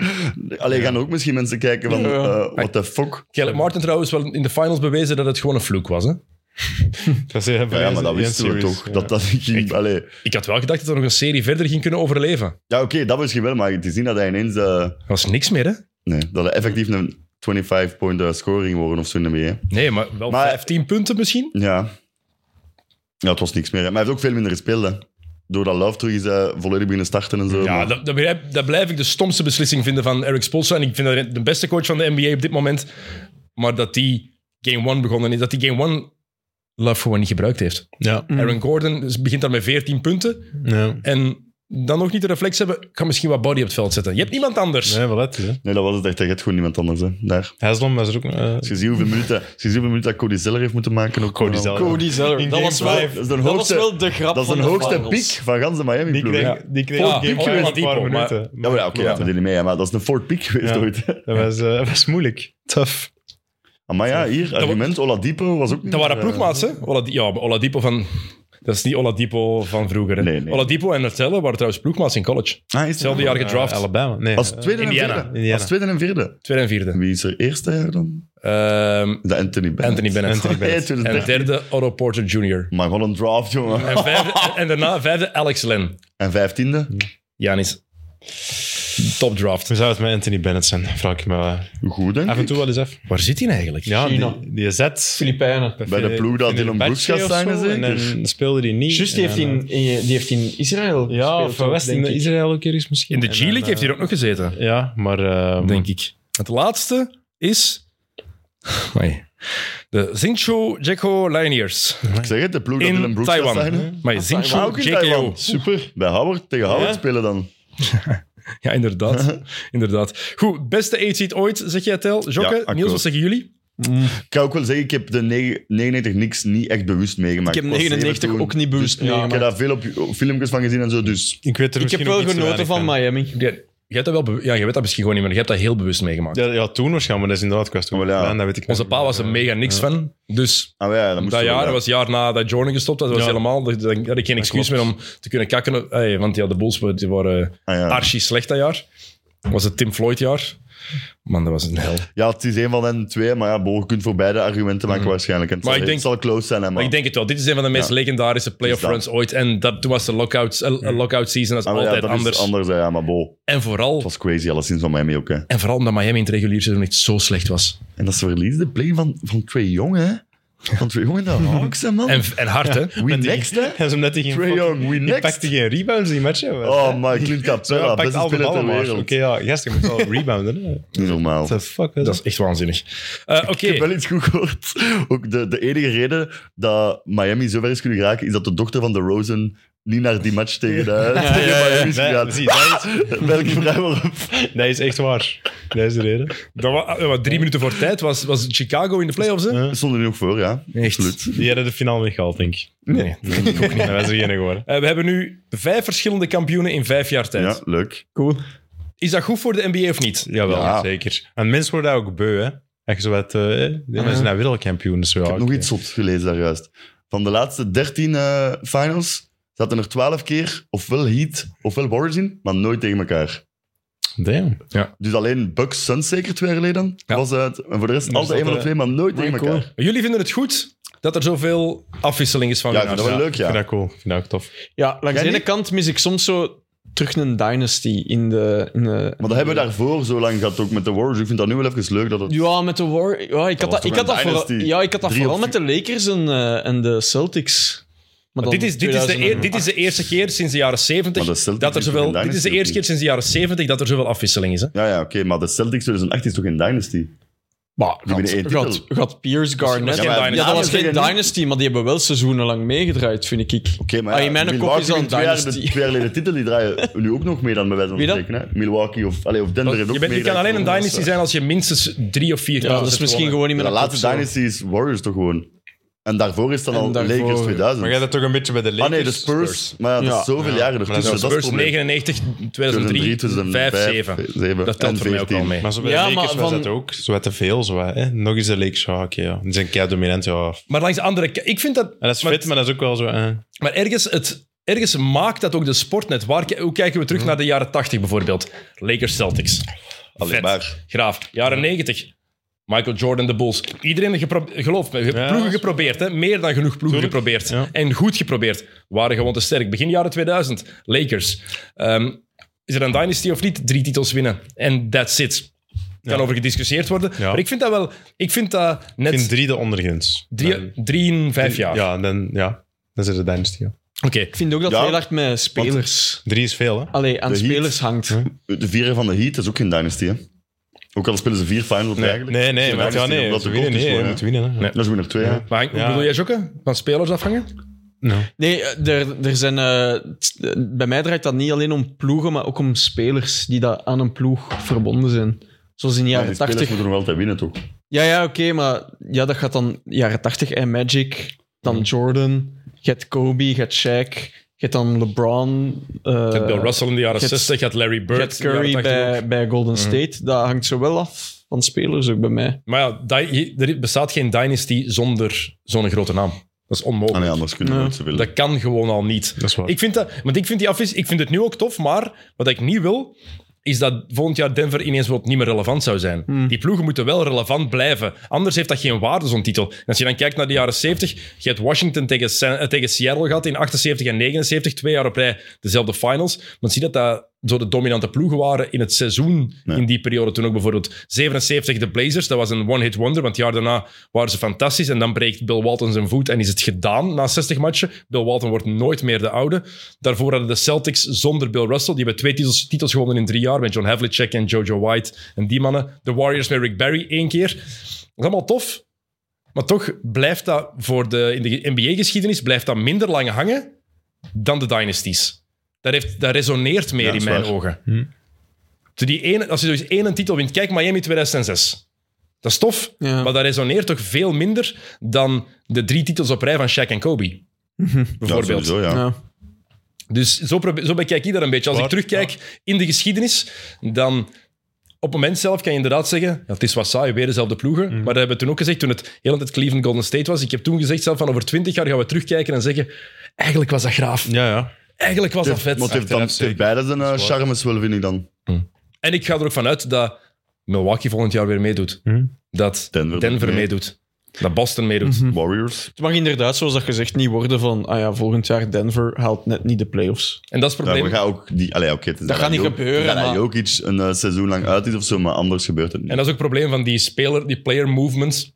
Speaker 2: Allee, gaan er ook misschien mensen kijken van,
Speaker 3: Ja.
Speaker 2: eh what the fuck?
Speaker 1: Caleb Martin trouwens wel in de finals bewezen dat het gewoon een vloek was. Hè?
Speaker 4: Dat is
Speaker 2: Ja, ja, maar dat wisten we toch. Dat, dat ging, allee.
Speaker 1: Ik had wel gedacht dat er nog een serie verder ging kunnen overleven.
Speaker 2: Ja, oké, dat misschien wel, maar te zien dat hij ineens... eh,
Speaker 1: Er was niks meer, hè?
Speaker 2: nee, dat hij effectief een 25-point eh, score ging worden of zo in de NBA.
Speaker 1: Nee, maar wel
Speaker 2: Maar-
Speaker 1: 15 punten misschien?
Speaker 2: Ja. Ja, het was niks meer. hè. Maar hij heeft ook veel minder gespeeld, hè. Doordat Love terug is eh, volledig beginnen starten en zo.
Speaker 1: Ja,
Speaker 2: maar-
Speaker 1: dat, dat, begrijp- dat blijf ik de stomste beslissing vinden van Eric Spoelstra. En ik vind dat de beste coach van de NBA op dit moment. Maar dat die Game 1 begonnen is. Dat die Game 1 Love gewoon niet gebruikt heeft.
Speaker 4: Ja.
Speaker 1: Aaron Gordon is- begint dan met 14 punten.
Speaker 4: ja.
Speaker 1: En dan nog niet de reflex hebben. Ik ga misschien wat body op het veld zetten. Je hebt niemand anders.
Speaker 4: Nee, wel het is, hè.
Speaker 2: Nee, dat was het echt. Hij had gewoon niemand anders, hè. Daar.
Speaker 4: Haslam was er ook... eh,
Speaker 2: Als je ziet hoeveel minuten, als je ziet hoeveel minuten dat Cody Zeller heeft moeten maken. Ook eh,
Speaker 4: Cody
Speaker 2: wel.
Speaker 4: Zeller.
Speaker 3: Cody Zeller.
Speaker 4: In
Speaker 3: Dat
Speaker 4: game
Speaker 3: was, wel,
Speaker 4: five.
Speaker 2: Dat is de
Speaker 3: dat was
Speaker 2: hoogste,
Speaker 3: wel de grap
Speaker 2: dat is
Speaker 3: van
Speaker 2: een
Speaker 3: de
Speaker 2: hoogste piek
Speaker 3: finals.
Speaker 2: van ganse Miami
Speaker 4: die
Speaker 2: ploeg.
Speaker 4: kreeg,
Speaker 2: Ja.
Speaker 4: die kreeg
Speaker 1: Ja,
Speaker 4: ook
Speaker 1: die
Speaker 4: een
Speaker 1: kreeg
Speaker 4: paar
Speaker 1: die bal, maar-
Speaker 4: minuten.
Speaker 2: Ja, maar ja, oké, dat deed niet mee, hè, maar dat is een Fort Peak geweest
Speaker 4: Ja.
Speaker 2: ooit.
Speaker 4: Dat was, eh, dat was moeilijk. Tof.
Speaker 2: Maar ja, hier, argument, Oladipo was ook niet
Speaker 1: Dat waren
Speaker 2: meer, eh,
Speaker 1: ploegmaats, hè? Oladi ja, Oladipo van... Dat is niet Oladipo van vroeger. Hè?
Speaker 2: Nee, nee.
Speaker 1: Oladipo en Nutella waren trouwens ploegmaats in college.
Speaker 2: Ah, is
Speaker 1: Hetzelfde jaar gedraft.
Speaker 4: Eh, Alabama. Nee.
Speaker 2: Als
Speaker 4: eh,
Speaker 2: tweede en
Speaker 1: Indiana.
Speaker 2: vierde.
Speaker 4: Indiana.
Speaker 2: Als tweede en vierde.
Speaker 1: Tweede en vierde.
Speaker 2: Wie is er eerste jaar dan?
Speaker 1: Ehm,
Speaker 2: De Anthony Bennett.
Speaker 1: Anthony Bennett.
Speaker 4: Anthony Bennett.
Speaker 2: Hey, tweede,
Speaker 1: [LAUGHS] en
Speaker 2: derde.
Speaker 1: derde Otto Porter Jr.
Speaker 2: Maar gewoon een draft, jongen.
Speaker 1: En, vijfde, en daarna vijfde Alex Len.
Speaker 2: En vijftiende?
Speaker 1: Janis. Top draft.
Speaker 4: Hoe zou het met Anthony Bennett zijn? Vraag ik me wel.
Speaker 2: Goed, denk
Speaker 4: af en
Speaker 2: ik.
Speaker 4: toe wel eens af.
Speaker 1: Waar zit hij eigenlijk?
Speaker 4: Ja,
Speaker 3: China.
Speaker 4: die, die zet...
Speaker 3: Filipijnen.
Speaker 2: Bij de ploeg dat Dylan Brooks gaat zijn,
Speaker 4: zijn En
Speaker 2: zeker?
Speaker 4: dan speelde die niet.
Speaker 3: Juist, die,
Speaker 4: En
Speaker 3: heeft
Speaker 4: dan-
Speaker 3: in- in- die heeft in Israël
Speaker 4: Ja,
Speaker 3: gespeeld
Speaker 4: of van
Speaker 3: ook,
Speaker 4: West in
Speaker 3: denk ik.
Speaker 4: Israël ook eens misschien.
Speaker 1: In de
Speaker 4: En
Speaker 1: G-League
Speaker 4: dan,
Speaker 1: heeft hij
Speaker 4: eh,
Speaker 1: er ook nog gezeten,
Speaker 4: Ja, maar... eh,
Speaker 1: denk ik. Het laatste is... [LAUGHS] Amai. De Zincho Jekko Lioneers.
Speaker 2: Ik zeg het, de ploeg dat Dylan
Speaker 1: In
Speaker 2: Brooks gaat zijn. hè?
Speaker 1: Taiwan. Maar
Speaker 2: Maar
Speaker 1: Zincho
Speaker 2: ook in
Speaker 1: JKO.
Speaker 2: Taiwan. Super. Bij Howard, tegen Howard spelen dan.
Speaker 1: Ja,
Speaker 2: [LAUGHS]
Speaker 1: inderdaad. inderdaad. Goed, beste 8 seed ooit, zeg jij Tel. Jokke,
Speaker 2: akkoord.
Speaker 1: Niels, wat zeggen jullie?
Speaker 2: Ik kan ook wel zeggen, ik heb de negen- 99 niks niet echt bewust meegemaakt.
Speaker 3: Ik heb
Speaker 2: was zeven
Speaker 3: 99
Speaker 2: toen,
Speaker 3: ook niet bewust
Speaker 2: dus Ik heb
Speaker 3: meegemaakt.
Speaker 2: daar veel op, op filmpjes van gezien en zo, dus...
Speaker 4: Ik weet er
Speaker 3: Ik heb
Speaker 4: misschien
Speaker 3: wel
Speaker 4: ook iets te
Speaker 3: genoten
Speaker 4: weinig
Speaker 3: van Miami.
Speaker 1: Jij, jij hebt dat wel be- ja, jij weet dat misschien gewoon niet meer. Je hebt dat heel bewust meegemaakt.
Speaker 4: Ja, ja, toen waarschijnlijk, maar dat is inderdaad kwestie.
Speaker 2: Oh, wel, ja.
Speaker 4: gedaan, dat weet ik
Speaker 1: Onze
Speaker 4: nog
Speaker 1: pa
Speaker 4: niet.
Speaker 1: was er mega niks van. Dus
Speaker 2: Ah, maar ja, dat moest
Speaker 1: dat
Speaker 2: wel,
Speaker 1: jaar,
Speaker 2: ja.
Speaker 1: dat was het jaar na dat Jordan gestopt was, dat was
Speaker 4: Ja.
Speaker 1: helemaal... Dat, dat, dat had ik geen excuus meer
Speaker 4: klopt.
Speaker 1: om te kunnen kakken. Hey, want ja, de Bulls die waren
Speaker 2: Ah, ja.
Speaker 1: archi slecht dat jaar. Dat was het Tim Floyd jaar. Man, dat was een hel.
Speaker 2: Ja, het is een van hen twee, maar ja, Bo, je kunt voor beide argumenten maken waarschijnlijk. En het,
Speaker 1: Maar
Speaker 2: zal,
Speaker 1: ik denk-
Speaker 2: het zal close zijn, hè, maar...
Speaker 1: Maar ik denk het wel. Dit is een van de meest legendarische playoff
Speaker 2: Is dat.
Speaker 1: runs ooit. En dat, toen was de lockout, lockout season, dat is
Speaker 2: Ah, maar ja,
Speaker 1: altijd
Speaker 2: dat
Speaker 1: anders.
Speaker 2: is anders, hè, ja, maar Bo, het
Speaker 1: En vooral,
Speaker 2: was crazy alleszins van Miami ook, hè.
Speaker 1: en vooral omdat Miami in het regulier seizoen echt zo slecht was.
Speaker 2: En dat ze verliezen de play van, van Trae Young, hè. Van Trae Young en de Hawks, hè, man.
Speaker 1: En, en hard, hè?
Speaker 2: we
Speaker 4: En die- [LAUGHS]
Speaker 2: next, hè.
Speaker 4: En ze net die geen
Speaker 2: Trae
Speaker 4: fucking-
Speaker 2: Young, we
Speaker 4: Die
Speaker 2: next.
Speaker 4: pakte geen rebounds in die match. hè.
Speaker 2: Oh, maar Clint
Speaker 4: Ja,
Speaker 2: Capella,
Speaker 4: pakt
Speaker 2: beste
Speaker 4: al de
Speaker 2: speler ter
Speaker 4: ballen maar.
Speaker 2: wereld.
Speaker 4: Oké, ja, gast, je moet wel rebounden. hè.
Speaker 2: Niet normaal.
Speaker 4: What the fuck is
Speaker 1: Dat
Speaker 4: dat?
Speaker 1: is echt waanzinnig. Eh, Oké.
Speaker 2: Ik heb wel iets goed gehoord. Ook de, de enige reden dat Miami zo ver is kunnen geraken, is dat de dochter van de Rosen niet naar die match tegen, de,
Speaker 4: [LAUGHS]
Speaker 2: tegen Miami is
Speaker 4: Nee,
Speaker 2: gegaan.
Speaker 4: zie, dat, is,
Speaker 2: [LAUGHS] Welke vraag waarop?
Speaker 4: dat is echt waar. Dat is de reden.
Speaker 1: Dat wa- eh, wat drie minuten voor tijd was, was Chicago in de playoffs, hè?
Speaker 4: Ja.
Speaker 2: Stonden er nog voor, ja.
Speaker 1: Echt.
Speaker 4: Die hadden de finale niet gehaald, denk ik.
Speaker 1: Nee.
Speaker 4: Dat was er geen geworden.
Speaker 1: Eh, we hebben nu vijf verschillende kampioenen in vijf jaar tijd.
Speaker 2: Ja, leuk.
Speaker 3: Cool.
Speaker 1: Is dat goed voor de NBA of niet?
Speaker 4: Jawel,
Speaker 2: Ja.
Speaker 4: zeker. En mensen worden daar ook beu, hè. Echt zo wat... eh, die mensen zijn wereldkampioen, dus ja,
Speaker 2: Ik heb nog
Speaker 4: oké.
Speaker 2: iets zots gelezen daar juist. Van de laatste 13 eh, finals zaten er 12 keer ofwel Heat ofwel Warriors in, maar nooit tegen elkaar.
Speaker 4: Damn.
Speaker 2: Dus alleen Bucks Suns zeker twee jaar geleden
Speaker 1: Ja.
Speaker 2: was het. En voor de rest
Speaker 4: Dus
Speaker 2: altijd een
Speaker 4: dat,
Speaker 2: van de twee, maar nooit tegen
Speaker 3: cool.
Speaker 2: elkaar.
Speaker 1: Jullie vinden het goed dat er zoveel afwisseling is van
Speaker 2: Oh, Ja, ik vind
Speaker 1: winnaars?
Speaker 2: dat wel leuk,
Speaker 4: Ik vind
Speaker 2: ja.
Speaker 4: dat cool. Ik vind dat ook tof.
Speaker 3: Ja, langs de
Speaker 2: Jij
Speaker 3: ene
Speaker 2: niet?
Speaker 3: kant mis ik soms zo terug een dynasty in de... In de
Speaker 2: Maar dat hebben we daarvoor zo lang gehad, ook met de Warriors. Ik vind dat nu wel even leuk dat het...
Speaker 3: Ja, met de War... Ja,
Speaker 2: was
Speaker 3: ik had dat,
Speaker 2: toch
Speaker 3: ik had
Speaker 2: een
Speaker 3: dat vooral,
Speaker 2: dynasty.
Speaker 3: ja, ik had dat
Speaker 2: Drie
Speaker 3: vooral
Speaker 2: of
Speaker 3: met de Lakers en, eh, en de Celtics. Maar
Speaker 1: Dit
Speaker 3: dan
Speaker 1: is, dit, is de, eer-
Speaker 3: 2008.
Speaker 1: dit is de eerste keer sinds de jaren
Speaker 2: Maar
Speaker 1: 70
Speaker 2: dat stelt
Speaker 1: dat er
Speaker 2: niet
Speaker 1: zoveel...
Speaker 2: voor een
Speaker 1: Dit is de
Speaker 2: dynasty
Speaker 1: eerste keer
Speaker 2: ook
Speaker 1: sinds de jaren 70 dat er zoveel afwisseling is, hè?
Speaker 2: Ja, ja, oké, maar de Celtics 2008 is toch geen dynasty?
Speaker 3: Maar
Speaker 2: Die winnen één titel.
Speaker 3: gaat, gaat Pierce Garnett...
Speaker 1: Ja,
Speaker 3: Ja,
Speaker 1: maar-
Speaker 3: dat was geen
Speaker 2: Zeggen,
Speaker 3: dynasty, maar die hebben wel seizoenenlang meegedraaid, vind ik.
Speaker 2: Oké, maar
Speaker 3: Ah,
Speaker 2: ja,
Speaker 3: in mijn
Speaker 2: Milwaukee
Speaker 3: kop is dat een
Speaker 2: wint twee jaar de-
Speaker 3: dynasty.
Speaker 2: Twee jaar geleden titel, die draaien nu ook nog meer dan bij wijze van
Speaker 3: Wie dat?
Speaker 2: spreken. hè. Milwaukee of, allee, of Denver heeft ook
Speaker 1: Oh, Je, bent, je
Speaker 2: meer
Speaker 1: kan
Speaker 2: dan-
Speaker 1: alleen een dynasty zijn als je minstens drie of vier
Speaker 3: Ja,
Speaker 1: klassen
Speaker 3: dat is
Speaker 1: hebt
Speaker 3: misschien
Speaker 1: gewonnen.
Speaker 3: gewoon
Speaker 2: Ja,
Speaker 3: niet meer
Speaker 2: de
Speaker 3: een
Speaker 2: laatste
Speaker 3: kop zo.
Speaker 2: dynasty is Warriors toch gewoon. En daarvoor is dan
Speaker 3: En
Speaker 2: al
Speaker 3: daarvoor-
Speaker 2: Lakers 2000.
Speaker 4: Maar jij dat toch een beetje bij de Lakers? Dus-
Speaker 2: ah nee, de Spurs. Maar ja, dat is
Speaker 3: Ja.
Speaker 2: zoveel jaren ertussen.
Speaker 4: dat
Speaker 2: dat
Speaker 4: is
Speaker 2: is het
Speaker 1: Spurs
Speaker 2: probleem.
Speaker 1: 99, 2003,
Speaker 2: 2005,
Speaker 1: 5, 7.
Speaker 2: zeven.
Speaker 1: Dat telt
Speaker 2: En
Speaker 1: voor mij ook wel
Speaker 2: 14.
Speaker 1: mee.
Speaker 4: Maar zo bij
Speaker 3: Ja,
Speaker 4: de Lakers
Speaker 3: maar
Speaker 4: was
Speaker 3: van-
Speaker 4: dat ook. Zo wat te veel. Zo wat, hè? Nog eens de Lakers. Ja, oké. ja. Die zijn kei dominant. Ja.
Speaker 1: Maar langs de andere kant, ik vind dat.
Speaker 4: En dat is
Speaker 1: maar,
Speaker 4: fit, maar dat is ook wel zo... eh.
Speaker 1: maar ergens, het, ergens maakt dat ook de sport net. Waar, hoe kijken we terug
Speaker 4: Mhm.
Speaker 1: naar de jaren 80 bijvoorbeeld? Lakers Celtics.
Speaker 2: Alleen
Speaker 1: Vet.
Speaker 2: maar.
Speaker 1: Graaf. Jaren 90. Michael Jordan, de Bulls. Iedereen heeft gepro- geloof me, ge-
Speaker 4: Ja.
Speaker 1: ploegen geprobeerd. Hè? Meer dan genoeg ploegen
Speaker 4: Tuurlijk.
Speaker 1: geprobeerd.
Speaker 4: Ja.
Speaker 1: En goed geprobeerd. Waren gewoon te sterk. Begin jaren 2000. Lakers. Ehm, is er een dynasty of niet? Drie titels winnen. En that's it. Kan over gediscussieerd worden.
Speaker 4: Ja.
Speaker 1: Maar ik vind dat wel... Ik vind dat net...
Speaker 4: Ik vind drie de ondergrens.
Speaker 1: Drie, drie in vijf jaar.
Speaker 4: Ja, dan, ja. dan zit de dynasty. ja.
Speaker 1: Oké.
Speaker 3: Ik vind ook dat
Speaker 2: Ja.
Speaker 3: het heel hard met spelers...
Speaker 4: Drie is veel, hè?
Speaker 3: Allee, aan
Speaker 2: De Heat.
Speaker 3: spelers hangt.
Speaker 2: De vieren van de Heat is ook geen dynasty, hè? Ook al spelen ze vier finals op
Speaker 4: Nee,
Speaker 2: eigenlijk.
Speaker 4: nee, nee.
Speaker 2: Geen
Speaker 4: Want, ja,
Speaker 2: dynasty,
Speaker 4: nee.
Speaker 2: omdat
Speaker 4: Ze
Speaker 2: de
Speaker 4: winnen,
Speaker 2: coach is
Speaker 4: nee. Je
Speaker 2: gewoon,
Speaker 4: moet winnen, hè.
Speaker 2: hè. Dat is winnen er twee, hè.
Speaker 1: Maar Henk, hoe
Speaker 4: Ja.
Speaker 1: bedoel jij Jokke? Van spelers afhangen?
Speaker 4: No.
Speaker 3: Nee, er, er zijn, eh, t- eh, bij mij draait dat niet alleen om ploegen, maar ook om spelers die dat aan een ploeg verbonden zijn. Zoals in de
Speaker 2: Maar
Speaker 3: jaren
Speaker 2: die spelers
Speaker 3: 80.
Speaker 2: moeten nog altijd winnen, toch?
Speaker 3: Ja, ja, oké, maar ja, dat gaat dan jaren 80 en Magic, dan
Speaker 1: Mhm.
Speaker 3: Jordan, je hebt Kobe, je hebt Shaq, je hebt dan LeBron, eh,
Speaker 1: Gaat Bill Russell in de jaren
Speaker 3: Gaat-
Speaker 1: 60, gaat Larry
Speaker 3: je
Speaker 1: Bird.
Speaker 3: hebt
Speaker 1: in de jaren
Speaker 3: Curry
Speaker 1: 80 ook. Mhm.
Speaker 3: bij, bij Golden State. Dat hangt zo wel af van spelers ook bij mij.
Speaker 1: Maar ja, di- er bestaat geen dynasty zonder zo'n grote naam. Dat is onmogelijk.
Speaker 2: Ah, nee, anders kunnen we
Speaker 3: Ja.
Speaker 2: nooit zoveel.
Speaker 1: Dat kan gewoon al niet.
Speaker 4: Dat is waar.
Speaker 1: Ik vind, dat, want ik, vind die afwis, ik vind het nu ook tof, maar wat ik niet wil, is dat volgend jaar Denver ineens wat niet meer relevant zou zijn. Die ploegen moeten wel relevant blijven. Anders heeft dat geen waarde, zo'n titel. En als je dan kijkt naar de jaren 70, je hebt Washington tegen, San- eh, tegen Seattle gehad in 78 en 79, twee jaar op rij dezelfde finals. Maar dan zie je dat dat zo de dominante ploegen waren in het seizoen
Speaker 2: Nee.
Speaker 1: in die periode. Toen ook bijvoorbeeld 77 de Blazers, dat was een one-hit wonder, want het jaar daarna waren ze fantastisch. En dan breekt Bill Walton zijn voet en is het gedaan na 60 matchen. Bill Walton wordt nooit meer de oude. Daarvoor hadden de Celtics zonder Bill Russell, die hebben twee titels, titels gewonnen in drie jaar, met John Havlicek en Jojo White en die mannen. De Warriors met Rick Barry één keer. Dat is allemaal tof. Maar toch blijft dat voor de, in de NBA-geschiedenis blijft dat minder lang hangen dan de Dynasties. Dat, heeft, dat resoneert meer
Speaker 2: Ja,
Speaker 1: in
Speaker 2: is
Speaker 1: mijn
Speaker 2: waar. Hm.
Speaker 1: ogen. Zo die ene, als je dus één titel wint, kijk Miami 2006. Dat is tof,
Speaker 3: Ja.
Speaker 1: maar dat resoneert toch veel minder dan de drie titels op rij van Shaq en Kobe. Bijvoorbeeld.
Speaker 2: Ja, sowieso, ja.
Speaker 3: Ja.
Speaker 1: Dus zo, probe- zo bekijk ik dat een beetje. Als
Speaker 4: Waar?
Speaker 1: ik terugkijk in de geschiedenis, dan op het moment zelf kan je inderdaad zeggen, ja, het is wat saai, weer dezelfde ploegen.
Speaker 4: Mhm.
Speaker 1: Maar dat hebben we toen ook gezegd, toen het heel tijd Cleveland Golden State was. Ik heb toen gezegd zelf van over twintig jaar gaan we terugkijken en zeggen, eigenlijk was dat graaf.
Speaker 4: Ja, ja.
Speaker 1: Eigenlijk was dat
Speaker 2: Want
Speaker 1: vet.
Speaker 2: het heeft, dan, het
Speaker 4: Achteraf
Speaker 2: heeft
Speaker 4: zeker.
Speaker 2: beide zijn eh, charmes wel, vind ik dan.
Speaker 1: En ik ga er ook vanuit dat Milwaukee volgend jaar weer meedoet.
Speaker 4: Hm.
Speaker 1: Dat Denver,
Speaker 2: Denver doet mee.
Speaker 1: meedoet. Dat Boston meedoet.
Speaker 4: Mhm.
Speaker 2: Warriors.
Speaker 3: Het mag inderdaad, zoals dat gezegd, niet worden van ah ja, volgend jaar Denver haalt net niet de playoffs.
Speaker 1: En dat is het
Speaker 2: Ja,
Speaker 1: probleem.
Speaker 2: maar ga ook die... Allee, oké, het is
Speaker 3: Dat gaat niet
Speaker 2: Jo-
Speaker 3: gebeuren,
Speaker 2: Dat
Speaker 3: maar-
Speaker 2: ook iets een eh, seizoen lang uit is of zo, maar anders gebeurt het niet.
Speaker 1: En dat is ook het probleem van die, speler, die player movements.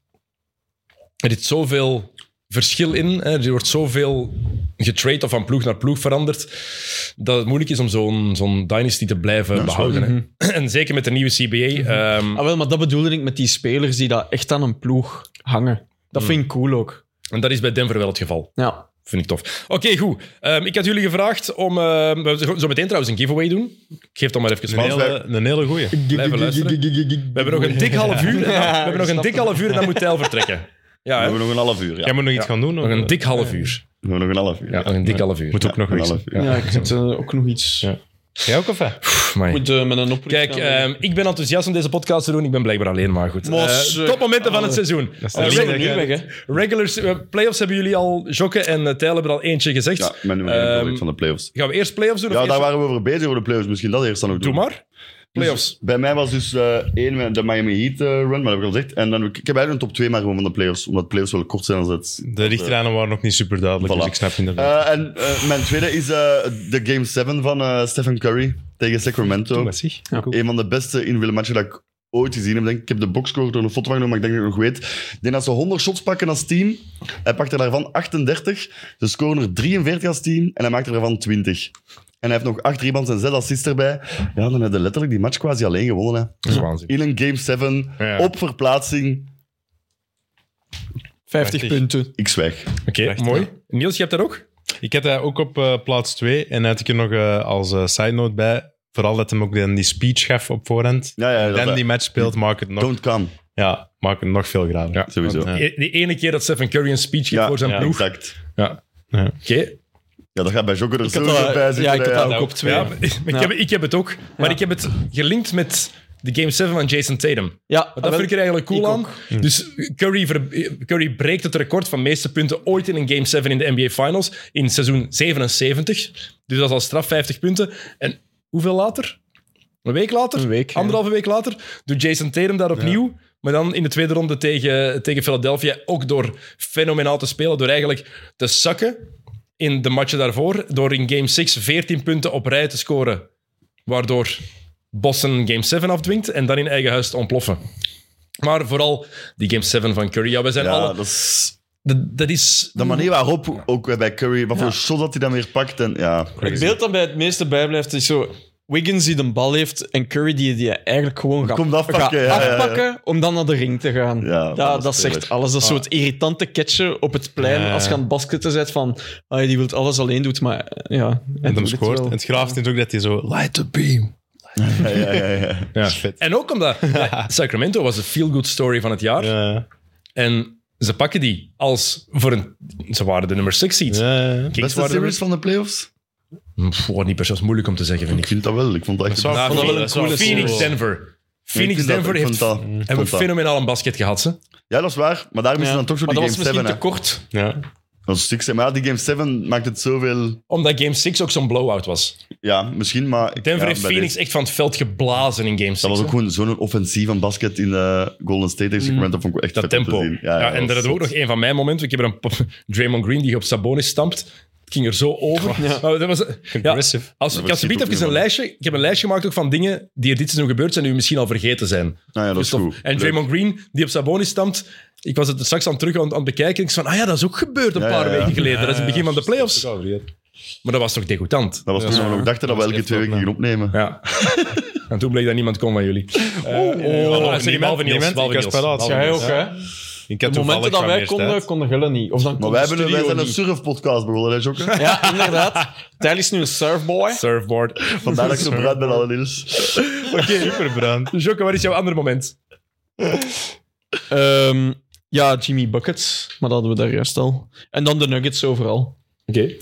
Speaker 1: Er zit zoveel verschil in. Hè. Er wordt zoveel getrade of van ploeg naar ploeg veranderd. Dat het moeilijk is om zo'n zo'n dynasty te blijven behouden. hè. [CLEARS THROAT] En zeker met de nieuwe CBA. ehm,
Speaker 3: Ah wel, maar dat bedoelde ik met die spelers die dat echt aan een ploeg hangen. Dat
Speaker 1: Hmm.
Speaker 3: vind ik cool ook.
Speaker 1: en dat is bij Denver wel het geval.
Speaker 3: Ja.
Speaker 1: Vind ik tof. Oké, goed. Ehm, ik had jullie gevraagd om... ehm, we gaan zo meteen trouwens een giveaway doen. Ik geef dat maar even
Speaker 4: Een
Speaker 1: mee.
Speaker 4: hele, een hele goeie.
Speaker 1: Blijven luisteren. We hebben nog een dik half uur. en dan- we hebben nog een dik half uur en dan moet Tijl vertrekken. Ja,
Speaker 2: We
Speaker 1: hè?
Speaker 2: [LAUGHS] hebben nog een half uur, ja.
Speaker 4: Jij moet nog iets
Speaker 1: Ja.
Speaker 4: gaan doen?
Speaker 1: nog een dik half uur.
Speaker 2: We hebben nog een half uur.
Speaker 1: Ja, nog een dik half uur.
Speaker 4: Moet ook nog
Speaker 2: een
Speaker 4: iets.
Speaker 2: half uur.
Speaker 3: Ja, ik zit eh, ook nog iets.
Speaker 4: Ja. Jij ook of hè?
Speaker 1: Pff, mij.
Speaker 3: Moet eh, met een oproep.
Speaker 1: Kijk,
Speaker 3: gaan.
Speaker 1: ehm, ik ben enthousiast om deze podcast te doen. Ik ben blijkbaar alleen, maar goed.
Speaker 3: Mos,
Speaker 1: Eh,
Speaker 3: eh,
Speaker 1: topmomenten van het
Speaker 3: ah,
Speaker 1: seizoen.
Speaker 4: is
Speaker 1: Eh,
Speaker 4: de
Speaker 3: Zijn we
Speaker 1: reg-
Speaker 3: nu
Speaker 4: Lekker.
Speaker 3: weg, hè?
Speaker 1: regulars, eh, playoffs hebben jullie al. Jokke en eh, Tijl hebben er al eentje gezegd.
Speaker 2: Ja, mijn nummer één
Speaker 1: Ehm,
Speaker 2: favoriet van de playoffs.
Speaker 1: Gaan we eerst playoffs doen? of
Speaker 2: Ja, daar
Speaker 1: eerst-
Speaker 2: waren we over bezig, over de playoffs. Misschien dat eerst dan ook
Speaker 1: Doe
Speaker 2: doen.
Speaker 1: maar.
Speaker 2: Dus
Speaker 1: Playoffs.
Speaker 2: bij mij was dus eh, één met de Miami Heat eh, run, maar dat heb ik al gezegd. En dan, ik ik heb eigenlijk een top 2 maar gewoon van de playoffs, omdat playoffs wel kort zijn als het.
Speaker 4: De richtlijnen waren nog niet super duidelijk,
Speaker 2: Voilà.
Speaker 4: dus ik snap inderdaad.
Speaker 2: Eh, en eh, mijn tweede is eh, de Game 7 van eh, Stephen Curry tegen Sacramento.
Speaker 4: Oh, maar zeg.
Speaker 2: Een van de beste individuele matchen dat ik ooit gezien heb. Denk, ik. ik heb de boxscore door een foto genomen, maar ik denk dat ik het nog weet. Ik denk dat ze 100 shots pakken als team. Hij pakte daarvan 38. Ze scoren er 43 als team en hij maakte daarvan 20. En hij heeft nog 8 rebounds en 6 assists erbij. Ja, dan hebben ze letterlijk die match quasi alleen gewonnen. Hè.
Speaker 1: Dat is waanzin.
Speaker 2: In een Game 7,
Speaker 1: Ja.
Speaker 2: op verplaatsing.
Speaker 3: 50
Speaker 4: Prachtig.
Speaker 3: punten.
Speaker 2: Ik zwijg.
Speaker 1: Oké,
Speaker 4: Echt,
Speaker 1: Eh, mooi. Niels, je hebt dat ook?
Speaker 4: Ik had hij ook op eh, plaats 2 en had ik er nog eh, als eh, side note bij. Vooral dat hem ook dan die speech gaf op voorhand.
Speaker 2: Ja, ja, dat, Mm.
Speaker 4: Dan die match speelt, maakt het nog,
Speaker 2: Don't come,
Speaker 4: ja, maakt het nog veel graver. Ja,
Speaker 2: sowieso.
Speaker 4: Want, eh,
Speaker 1: E- Die ene keer dat Stephen Curry een speech geeft
Speaker 2: Ja,
Speaker 1: voor zijn
Speaker 4: ja,
Speaker 1: ploeg.
Speaker 2: exact.
Speaker 1: Ja.
Speaker 4: Ja.
Speaker 1: Oké.
Speaker 2: Ja, dat gaat bij Jokker er
Speaker 3: had
Speaker 2: sowieso
Speaker 3: dat-
Speaker 2: bij zitten.
Speaker 3: ja, ik had
Speaker 2: hè,
Speaker 3: dat ook op twee.
Speaker 1: eh, Ja, [LAUGHS] maar ik,
Speaker 3: Ja.
Speaker 1: Heb, ik heb het ook. Maar
Speaker 3: Ja.
Speaker 1: ik heb het gelinkt met de Game 7 van Jason Tatum.
Speaker 3: Ja,
Speaker 1: Want dat
Speaker 3: Ah, wel,
Speaker 1: vind ik er eigenlijk cool
Speaker 3: ik
Speaker 1: aan. Dus Curry, ver- Curry breekt het record van meeste punten ooit in een Game 7 in de NBA Finals in seizoen 77. Dus dat is al straf 50 punten. En hoeveel later? Een week later?
Speaker 3: Een week, ja.
Speaker 1: Anderhalve week later doet Jason Tatum daar opnieuw. Maar dan in de tweede ronde tegen, tegen Philadelphia ook door fenomenaal te spelen. Door eigenlijk te zakken in de matchen daarvoor. Door in Game 6 14 punten op rij te scoren. Waardoor Boston Game 7 afdwingt en dan in eigen huis te ontploffen. Maar vooral die Game 7 van Curry. Ja, wij zijn
Speaker 3: nou-
Speaker 2: Ja,
Speaker 1: alle...
Speaker 2: dat is...
Speaker 1: Dat, dat is...
Speaker 2: De manier waarop, ook bij Curry, wat voor shot dat hij dan weer pakt. En, ja.
Speaker 3: Het beeld dat bij het meeste bijblijft is zo... Wiggins die de bal heeft en Curry die die eigenlijk gewoon gaat,
Speaker 2: Komt afpakken,
Speaker 3: gaat
Speaker 2: ja, ja, ja.
Speaker 3: afpakken om dan naar de ring te gaan.
Speaker 2: Ja,
Speaker 3: dat,
Speaker 2: dat
Speaker 3: dat,
Speaker 2: is
Speaker 3: zegt
Speaker 2: eerlijk.
Speaker 3: alles. Dat is soort
Speaker 4: Ah.
Speaker 3: irritante catchen op het plein
Speaker 4: Ja.
Speaker 3: als je aan het basketten bent van ah, die wilt alles alleen doen, maar eh, ja. hij
Speaker 4: En hem
Speaker 3: doet het
Speaker 4: scoort.
Speaker 3: wel.
Speaker 4: En het graafst is ook dat hij zo... Light the beam.
Speaker 2: Ja, ja, ja, ja.
Speaker 4: Ja, vet.
Speaker 1: En ook
Speaker 2: [LAUGHS]
Speaker 1: omdat ja, Sacramento was de feel-good story van het jaar.
Speaker 4: Ja,
Speaker 1: En ze pakken die als... Voor een, ze waren de nummer 6 seed.
Speaker 4: ja, ja.
Speaker 1: Kings
Speaker 2: Beste
Speaker 1: waren de
Speaker 2: series van de playoffs?
Speaker 1: nummer- Pff, wordt niet per se dat is moeilijk om te zeggen, vind
Speaker 2: Ik
Speaker 1: ik.
Speaker 2: vind dat wel. Ik vond dat echt...
Speaker 4: zou-
Speaker 2: Ja,
Speaker 1: Nou,
Speaker 4: vond dat wel een coole
Speaker 1: Phoenix,
Speaker 4: serie.
Speaker 1: Denver.
Speaker 2: ik
Speaker 1: Phoenix,
Speaker 2: vind dat-
Speaker 1: Denver
Speaker 2: ik vond
Speaker 1: heeft, Mm.
Speaker 2: dat- ik
Speaker 1: hebben
Speaker 2: vond dat.
Speaker 1: fenomenaal een basket gehad, ze.
Speaker 2: Ja, dat is waar. Maar daarom is
Speaker 3: Ja.
Speaker 2: het dan toch zo
Speaker 3: maar
Speaker 2: die
Speaker 3: dat
Speaker 2: Game
Speaker 3: was misschien
Speaker 2: 7.
Speaker 3: te kort.
Speaker 4: ja.
Speaker 2: Dat is stuk. Maar ja, die game 7 maakt het zoveel...
Speaker 1: Omdat Game 6 ook zo'n blowout was.
Speaker 2: Ja, misschien, maar... ik-
Speaker 1: Denver
Speaker 2: ja,
Speaker 1: heeft
Speaker 2: bij
Speaker 1: Phoenix
Speaker 2: deze-
Speaker 1: echt van het veld geblazen in Game 6.
Speaker 2: Dat was ook gewoon zo'n offensief van basket in de Golden State tegen Sacramento. Vond ik echt
Speaker 1: Mm. Dat
Speaker 2: vet om te
Speaker 1: tempo.
Speaker 2: zien.
Speaker 1: Ja, en dat
Speaker 2: was
Speaker 1: is ook nog
Speaker 2: zot.
Speaker 1: een van mijn momenten. Ik heb er een pop- Draymond Green die op Sabonis stampt. Het ging er zo over. Maar dat was, ja,
Speaker 4: Aggressive.
Speaker 1: als,
Speaker 2: Dat
Speaker 1: ik had
Speaker 2: verschiet
Speaker 1: zometeen
Speaker 2: ook
Speaker 1: even een
Speaker 2: niet, man.
Speaker 1: lijstje. Ik heb een lijstje gemaakt ook van dingen die er dit seizoen gebeurd zijn, die we misschien al vergeten zijn.
Speaker 2: Ah ja, dat is
Speaker 1: Dus tof.
Speaker 2: goed.
Speaker 1: En
Speaker 2: Leuk.
Speaker 1: Draymond Green die op Sabonis stamt. Ik was het er straks aan terug aan, aan het bekijken. Ik zei van, ah ja, dat is ook gebeurd een
Speaker 2: Ja,
Speaker 1: paar
Speaker 2: ja, ja.
Speaker 1: weken geleden. dat is het begin van de playoffs.
Speaker 4: Dat is ook al vergeten.
Speaker 1: Maar dat was toch degoutant.
Speaker 2: Dat was toen we nog dachten dat we
Speaker 4: Dat
Speaker 2: elke
Speaker 4: is echt
Speaker 2: twee
Speaker 4: wel
Speaker 2: weken gingen opnemen.
Speaker 1: Ja. [LAUGHS] en toen bleek dat niemand kon van jullie.
Speaker 3: Oh,
Speaker 4: niemand, niemand. Ik was paraat.
Speaker 1: Ja,
Speaker 3: Jij ook,
Speaker 4: dus, Ja.
Speaker 3: hè?
Speaker 4: Ik
Speaker 3: De
Speaker 4: had
Speaker 3: momenten
Speaker 4: toevallig
Speaker 3: dat
Speaker 4: van
Speaker 3: wij
Speaker 4: meer
Speaker 3: konden,
Speaker 4: tijd.
Speaker 3: konden Gullen niet. Of dan
Speaker 2: Maar
Speaker 3: kon
Speaker 2: wij,
Speaker 3: de
Speaker 2: hebben, wij
Speaker 3: studio
Speaker 2: zijn een
Speaker 3: niet.
Speaker 2: surfpodcast begonnen, hè, Jokke?
Speaker 3: Ja, inderdaad. Tijl is nu een surfboy.
Speaker 1: Surfboard. [LAUGHS]
Speaker 2: Vandaar dat ik zo bruid ben, alle nieuws.
Speaker 4: Superbrand.
Speaker 1: Jocke, wat is jouw andere moment?
Speaker 3: Ehm, ja, Jimmy Buckets. Maar dat hadden we daar juist al. En dan de Nuggets overal.
Speaker 1: Oké.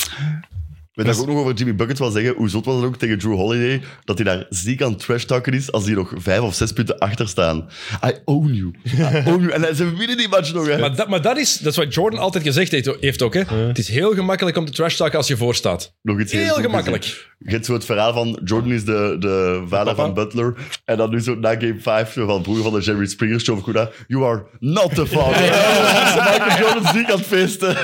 Speaker 2: Weet
Speaker 1: Dus-
Speaker 2: dat ik ook nog over Jimmy Bucket wil zeggen, hoe zot was het ook tegen Drew Holiday, dat hij daar ziek aan trash-talken is als die nog vijf of zes punten achter staan. I own you. I own you. En ze winnen die match nog, hè.
Speaker 1: Maar, dat, maar dat, is, dat is wat Jordan altijd gezegd heeft, heeft ook. Hè? Het is heel gemakkelijk om te trash talken als je voor staat.
Speaker 2: nog iets
Speaker 1: Heel
Speaker 2: goed
Speaker 1: gemakkelijk.
Speaker 2: gezien. Je hebt zo het verhaal van Jordan is de, de vader van Butler, en dan nu zo na game 5 van broer van de Jerry Springer show, goed aan, you are not the father.
Speaker 1: [LAUGHS]
Speaker 2: ze maken Jordan ziek aan het feesten.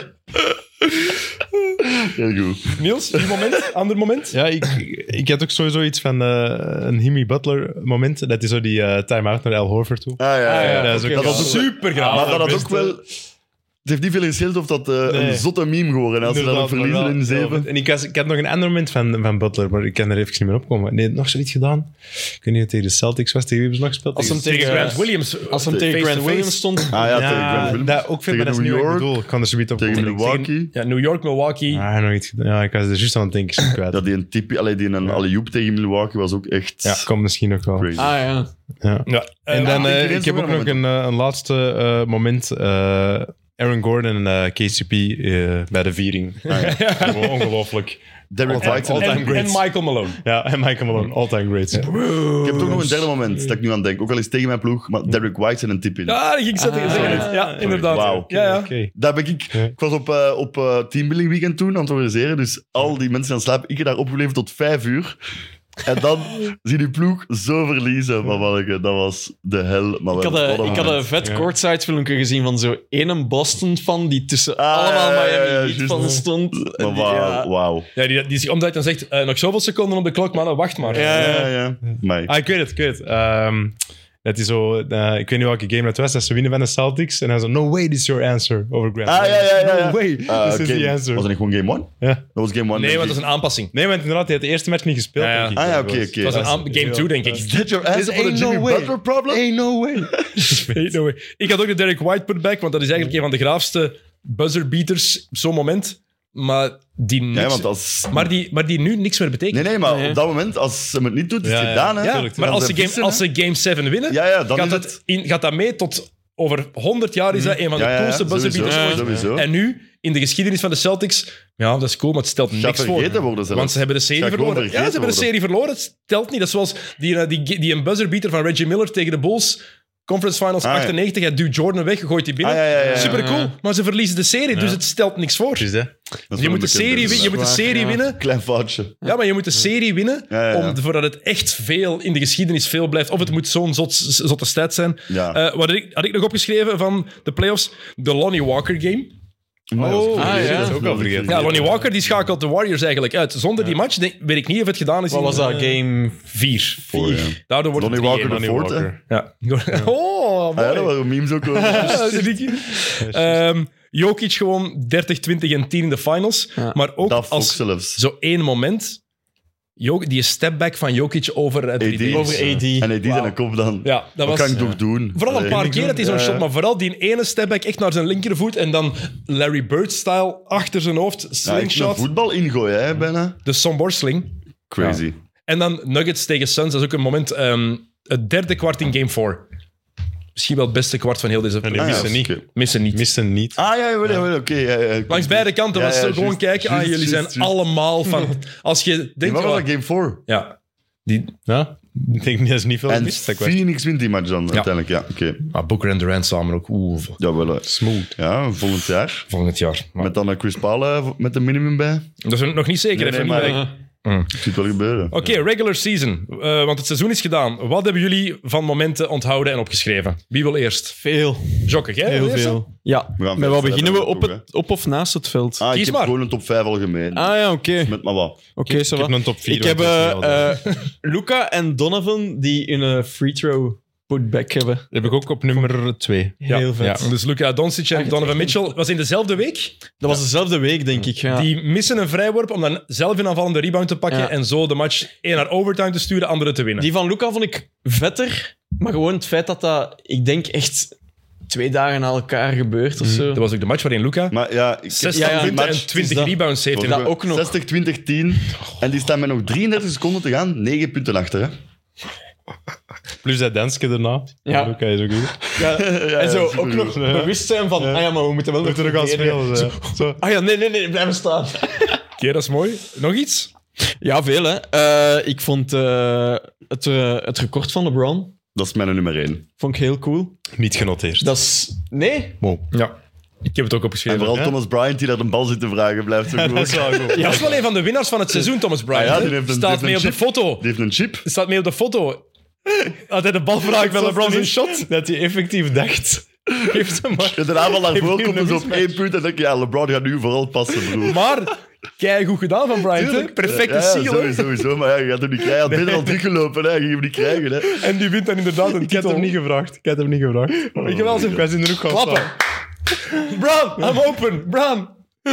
Speaker 2: Heel goed.
Speaker 1: Niels, uw moment? [LAUGHS] Ander moment?
Speaker 4: Ja, ik, ik had ook sowieso iets van eh, een Jimmy Butler moment. Dat is zo die eh time-out naar Al Horford toe.
Speaker 2: Ah, ja, ja, ja.
Speaker 4: dat is ook
Speaker 2: Dat was
Speaker 4: wel-
Speaker 2: ook
Speaker 1: Super
Speaker 2: maar dat had
Speaker 4: beste.
Speaker 2: ook wel... Het heeft niet veel gescheeld of dat eh,
Speaker 4: Nee.
Speaker 2: een zotte meme geworden. Als ze dan ook
Speaker 4: Inderdaad,
Speaker 2: verliezen in
Speaker 4: inderdaad.
Speaker 2: zeven.
Speaker 4: En ik, was, ik had nog een ander moment van, van Butler, maar ik kan er even niet meer opkomen. Nee, nog zoiets gedaan. Ik weet niet of het tegen de Celtics was, tegen wie hebben ze nog gespeeld?
Speaker 3: Als hem
Speaker 4: Tegen-
Speaker 1: Tegen
Speaker 3: tegen,
Speaker 1: Grant Williams.
Speaker 3: Als hem tegen
Speaker 1: Face-to-face.
Speaker 3: Grant Williams stond.
Speaker 2: Ah ja, tegen Grant Williams.
Speaker 4: dat ook veel, maar
Speaker 2: tegen
Speaker 4: dat is niet
Speaker 2: New
Speaker 4: wat ik
Speaker 2: York,
Speaker 4: bedoel. Ik kan er zoiets op
Speaker 2: tegen
Speaker 4: komen.
Speaker 2: Milwaukee.
Speaker 1: Ja, New York, Milwaukee.
Speaker 4: Ah, nog iets gedaan. Ja, ik was er juist aan het denken. ik ben kwijt.
Speaker 2: Dat die een typie, allee, die een alley-oop tegen Milwaukee was ook echt
Speaker 4: Ja, komt misschien nog wel.
Speaker 2: crazy.
Speaker 3: Ah ja.
Speaker 4: Ja.
Speaker 1: Ja, eh,
Speaker 4: En dan,
Speaker 2: ah,
Speaker 4: eh,
Speaker 2: ik weet
Speaker 4: ik heb
Speaker 2: nog
Speaker 4: ook
Speaker 2: een
Speaker 4: nog een, eh, een laatste eh, moment. eh, Aaron Gordon en eh, KCP eh, bij de viering.
Speaker 2: Ah,
Speaker 4: [LAUGHS] Gewoon Ongelooflijk.
Speaker 2: Derrick White zijn
Speaker 1: en,
Speaker 2: all-time
Speaker 1: en
Speaker 2: greats.
Speaker 1: Michael Malone. Ah,
Speaker 4: Ja, en Michael Malone, all-time great.
Speaker 2: Ik heb toch nog een derde moment dat ik nu aan denk. Ook al is het tegen mijn ploeg, maar Derrick White zijn een tip in.
Speaker 1: Ja, dat ging ik zetten. zeggen. Ja, inderdaad.
Speaker 2: Wauw.
Speaker 1: Ja, ja.
Speaker 4: Oké.
Speaker 2: Daar ben ik, ik was op, eh, op eh, teambuilding weekend toen aan het organiseren, dus al die mensen aan het slapen. Ik heb daar opgebleven tot vijf uur. En dan zie je die ploeg zo verliezen. Maar manneke, dat was de hel. Maar
Speaker 3: Ik had,
Speaker 2: wel,
Speaker 3: een,
Speaker 2: wat een
Speaker 3: ik had een
Speaker 2: moment.
Speaker 3: vet courtside filmpje gezien van zo'n ene Boston fan die tussen
Speaker 2: Ah,
Speaker 3: allemaal
Speaker 2: ja, ja, ja,
Speaker 3: Miami
Speaker 2: ja,
Speaker 3: Heat
Speaker 2: juist.
Speaker 3: van stond. En
Speaker 2: Maar
Speaker 3: die-
Speaker 2: wauw, wauw.
Speaker 1: Ja, die, die, omdat hij dan zegt, eh, nog zoveel seconden op de klok, mannen, wacht maar.
Speaker 3: Ja, ja.
Speaker 2: Ja, ja. Amai.
Speaker 4: Ah, ik weet het, ik weet het. Ehm, dat hij zo, eh, ik weet niet welke game dat was, dat ze winnen van de Celtics. En hij zo, no way, this is your answer over Grant.
Speaker 2: Ah, ja, ja, ja. ja.
Speaker 4: No way,
Speaker 2: Ah,
Speaker 4: this is
Speaker 2: game-
Speaker 4: the answer.
Speaker 2: Was dat niet gewoon game one?
Speaker 4: Ja.
Speaker 2: Dat was game one.
Speaker 1: Nee,
Speaker 2: denk
Speaker 1: want
Speaker 2: ik.
Speaker 1: dat is een aanpassing.
Speaker 4: Nee, want inderdaad, hij had de eerste match niet gespeeld.
Speaker 1: Ja, ja.
Speaker 4: denk ik.
Speaker 2: Ah, ja, oké,
Speaker 4: Dat
Speaker 2: oké.
Speaker 1: Dat
Speaker 4: was-
Speaker 1: was een aan- game 2, denk
Speaker 4: Ja.
Speaker 1: ik.
Speaker 2: Is that your answer for the
Speaker 4: Ain't
Speaker 2: Jimmy
Speaker 4: no way.
Speaker 2: Butler problem?
Speaker 4: Ain't no way.
Speaker 1: [LAUGHS] Ain't no way. Ik had ook de Derek White putback, want dat is eigenlijk een van de graafste buzzerbeaters, zo'n moment. Maar die, niks,
Speaker 2: Ja, want als...
Speaker 1: maar, die, maar die nu niks meer betekent.
Speaker 2: Nee, nee, maar
Speaker 3: Nee.
Speaker 2: op dat moment, als ze het niet doet, is het
Speaker 4: Ja, ja,
Speaker 2: gedaan, hè.
Speaker 1: ja,
Speaker 4: tuurlijk,
Speaker 1: maar
Speaker 4: ja,
Speaker 1: als
Speaker 2: ze
Speaker 1: ze, game,
Speaker 2: verliezen,
Speaker 1: als ze Game 7 winnen,
Speaker 2: Ja, ja, dan
Speaker 1: gaat,
Speaker 2: is
Speaker 1: dat
Speaker 2: het... Mm.
Speaker 1: in, gaat dat mee tot over 100 jaar is dat een van de
Speaker 2: Ja, ja,
Speaker 1: coolste
Speaker 2: sowieso,
Speaker 1: buzzerbeaters ooit.
Speaker 2: sowieso.
Speaker 1: En nu, in de geschiedenis van de Celtics, ja, dat is cool, maar het stelt
Speaker 2: Gaat
Speaker 1: niks voor.
Speaker 2: vergeten worden zelfs.
Speaker 1: Want ze hebben de serie
Speaker 2: Gaat gewoon
Speaker 1: verloren. Ja, ze hebben
Speaker 2: vergeten
Speaker 1: de serie verloren. Het telt niet. Dat is zoals die, eh, die, die een buzzerbeater van Reggie Miller tegen de Bulls. Conference Finals
Speaker 2: Ah, ja.
Speaker 1: 98. Hij duwt Jordan weg, gooit die binnen.
Speaker 2: Ah, ja, ja, ja, ja.
Speaker 1: Super cool. Maar ze verliezen de serie, dus het stelt niks voor.
Speaker 4: Precies, hè.
Speaker 2: Dat is
Speaker 1: Je
Speaker 2: wel
Speaker 1: moet,
Speaker 2: dus.
Speaker 1: de
Speaker 2: een bekende,
Speaker 1: serie, win- je moet de
Speaker 3: Zwaar,
Speaker 1: serie
Speaker 3: ja.
Speaker 1: winnen.
Speaker 2: [LAUGHS] Klein foutje.
Speaker 3: Oh,
Speaker 1: Ja, maar je moet de serie winnen.
Speaker 2: Ja, ja, ja.
Speaker 1: Om, voordat het echt veel in de geschiedenis veel blijft. Of het moet zo'n zot, zotte stat zijn.
Speaker 2: Ja.
Speaker 1: Eh, wat had ik, had ik nog opgeschreven van de playoffs? De Lonnie Walker game.
Speaker 2: Oh,
Speaker 3: ah, ja.
Speaker 4: Dat is ook al vergeten.
Speaker 1: Ja, Lonnie Walker die schakelt de Warriors eigenlijk uit. Zonder die match denk- weet ik niet of het gedaan is.
Speaker 3: Wat
Speaker 1: in,
Speaker 3: was dat?
Speaker 1: eh,
Speaker 3: Game
Speaker 1: Vier.
Speaker 2: Voor, ja.
Speaker 1: Daardoor wordt
Speaker 2: Lonnie
Speaker 1: het 3-1.
Speaker 2: Walker de
Speaker 4: Lonnie
Speaker 2: Fort, hè.
Speaker 4: Walker.
Speaker 1: Ja. [LAUGHS] Oh,
Speaker 2: Ah,
Speaker 1: mooi.
Speaker 2: ja, dat waren memes ook. over.
Speaker 1: Dat is niet- Ehm, Jokic gewoon 30, 20 en 10 in de finals.
Speaker 3: Ja.
Speaker 1: Maar [LAUGHS] ook
Speaker 2: Dat ook
Speaker 1: als
Speaker 2: zelfs.
Speaker 1: zo één moment. Jok- die stepback van Jokic over het 3D.
Speaker 2: AD.
Speaker 3: over AD.
Speaker 2: En hij die zijn kop dan.
Speaker 1: Ja, dat was...
Speaker 2: Wat kan ik toch doen? Eh,
Speaker 1: Vooral een
Speaker 2: Allee.
Speaker 1: paar keer dat hij zo'n
Speaker 2: Ja,
Speaker 1: shot,
Speaker 2: ja.
Speaker 1: maar vooral die ene stepback echt naar zijn linkervoet en dan Larry Bird-style achter zijn hoofd,
Speaker 2: Ja, ik vind
Speaker 1: slingshot,
Speaker 2: voetbal ingooien, hè, bijna.
Speaker 1: de somborsling.
Speaker 2: Crazy.
Speaker 1: En dan Nuggets tegen Suns, dat is ook een moment, ehm, het derde kwart in game 4. Misschien wel het beste kwart van heel deze...
Speaker 4: En die
Speaker 2: Ah, ja,
Speaker 4: missen niet.
Speaker 2: oké.
Speaker 1: Missen niet.
Speaker 4: Missen niet.
Speaker 2: Ah ja, jawel, jawel, oké. ja, ja, ik-
Speaker 1: Langs beide kanten
Speaker 2: Ja,
Speaker 1: was
Speaker 2: ja,
Speaker 1: het gewoon
Speaker 2: juist,
Speaker 1: kijken. ah,
Speaker 2: juist,
Speaker 1: jullie
Speaker 2: juist,
Speaker 1: zijn
Speaker 2: [LAUGHS] juist.
Speaker 1: allemaal van. Als je
Speaker 2: Nee,
Speaker 1: denkt.
Speaker 2: maar
Speaker 1: oh,
Speaker 2: wat was dat game 4?
Speaker 1: ja. Die,
Speaker 4: Ja? Ik denk niet, dat is niet veel
Speaker 2: En
Speaker 4: mist. dat ik was-
Speaker 2: Phoenix wint die match dan uiteindelijk. Ja, oké.
Speaker 1: ah, Booker en Durant samen ook. Oeh,
Speaker 2: Ja, wel, eh,
Speaker 4: Smooth.
Speaker 2: ja, volgend jaar.
Speaker 1: volgend jaar. Maar
Speaker 2: Met dan eh, Chris Paul eh, met de minimum bij.
Speaker 1: dat is nog niet zeker.
Speaker 2: Nee,
Speaker 1: even
Speaker 2: nee,
Speaker 1: niet
Speaker 2: maar-
Speaker 1: bij-
Speaker 2: Ik zie het wel gebeuren.
Speaker 1: Oké, regular season. Eh, want het seizoen is gedaan. Wat hebben jullie van momenten onthouden en opgeschreven? Wie wil eerst?
Speaker 3: Veel.
Speaker 1: Jokke, jij? wil
Speaker 3: Heel
Speaker 1: eerst, hè?
Speaker 3: veel. Ja.
Speaker 2: We gaan
Speaker 3: Met wat
Speaker 2: verder
Speaker 3: beginnen we?
Speaker 2: hebben we
Speaker 3: Op,
Speaker 2: Ah, ook,
Speaker 3: het, op of naast het veld? Ah,
Speaker 2: Ah,
Speaker 1: Kies
Speaker 2: ik heb
Speaker 1: maar. Ah.
Speaker 2: gewoon een top 5 algemeen.
Speaker 3: ja, oké.
Speaker 2: Met maar wat.
Speaker 3: Oké,
Speaker 4: Ik-
Speaker 3: ça
Speaker 4: ik heb
Speaker 3: va.
Speaker 4: een top vier,
Speaker 3: Ik
Speaker 4: want
Speaker 3: heb
Speaker 4: dat is niet
Speaker 3: eh, eh, Luca en Donovan die in een free throw putback hebben.
Speaker 4: Dat heb ik ook op nummer 2.
Speaker 1: Ja,
Speaker 3: Heel vet.
Speaker 1: ja. Dus Luca Doncic en Donovan Mitchell was in dezelfde week.
Speaker 3: Dat was dezelfde week, denk ik. Ja.
Speaker 1: Die missen een vrijworp om dan zelf een aanvallende rebound te pakken
Speaker 3: Ja.
Speaker 1: en zo de match één naar overtime te sturen, andere te winnen.
Speaker 3: Die van Luca vond ik vetter. Maar gewoon het feit dat dat, ik denk, echt twee dagen na elkaar gebeurt of zo.
Speaker 1: Dat was ook de match waarin Luca
Speaker 2: Maar ja, ik
Speaker 1: 60
Speaker 3: ja,
Speaker 1: punten
Speaker 2: match
Speaker 1: en
Speaker 2: is
Speaker 1: 20
Speaker 3: dat.
Speaker 1: rebounds heeft. in-
Speaker 3: Dat ook nog.
Speaker 2: 60, 20, 10. En die staan met nog 33 seconden te gaan. 9 punten achter. Hè.
Speaker 4: Plus dat dansje daarna.
Speaker 3: Ja.
Speaker 4: Luca is ook goed.
Speaker 3: [LAUGHS] Ja, en zo
Speaker 2: super
Speaker 3: ook nog
Speaker 2: goed.
Speaker 3: bewust zijn van, ah ja, maar we moeten wel nog verdedigen.
Speaker 4: Zo.
Speaker 3: Ah ja, nee, nee, nee, blijven staan.
Speaker 1: Oké, dat is mooi. Nog iets?
Speaker 3: [LAUGHS] Ja, veel hè. Eh, ik vond eh, het, eh, het record van LeBron
Speaker 2: Dat is mijn nummer 1.
Speaker 3: vond ik heel cool.
Speaker 4: Niet genoteerd.
Speaker 3: Dat is... Nee?
Speaker 4: Wow.
Speaker 1: Ja. Ik heb het ook
Speaker 2: En
Speaker 1: opgeschreven.
Speaker 2: vooral
Speaker 4: hè?
Speaker 2: Thomas Bryant die daar een bal zit te vragen blijft. Zo goed.
Speaker 1: [LAUGHS] Ja, dat is wel een van de winnaars van het seizoen, Thomas Bryant.
Speaker 2: Ah ja,
Speaker 1: hè?
Speaker 2: die heeft een-
Speaker 1: Staat
Speaker 2: die
Speaker 1: mee op
Speaker 2: heeft
Speaker 1: de
Speaker 2: een
Speaker 1: foto.
Speaker 2: Die heeft een chip.
Speaker 1: Staat mee op de foto. Had hij de bal vraagt bij LeBron zijn shot?
Speaker 4: Dat hij
Speaker 3: [LAUGHS]
Speaker 4: effectief dacht. Heeft hem maar.
Speaker 1: [LAUGHS]
Speaker 2: En de aanval daarvoor
Speaker 4: Heeft
Speaker 2: komt
Speaker 4: een
Speaker 2: dus op één punt. En denk ik, ja, LeBron gaat nu vooral passen, broer.
Speaker 1: Maar, kijk goed gedaan van Bryant. hè? Perfecte
Speaker 2: ja,
Speaker 1: seal. hè?
Speaker 2: sowieso, sowieso, maar ja, je gaat hem niet krijgen. Hij had beter al teruggelopen, hè. je ging hem niet krijgen. Hè.
Speaker 1: En die wint dan inderdaad een
Speaker 4: Ik heb
Speaker 1: titel.
Speaker 4: hem niet gevraagd. Ik heb hem niet gevraagd.
Speaker 2: Oh.
Speaker 1: Weet je wel, ze-
Speaker 4: Ik was in de hoek gaan
Speaker 1: Klappen.
Speaker 4: staan.
Speaker 1: Bran, I'm open. Bran. [LAUGHS]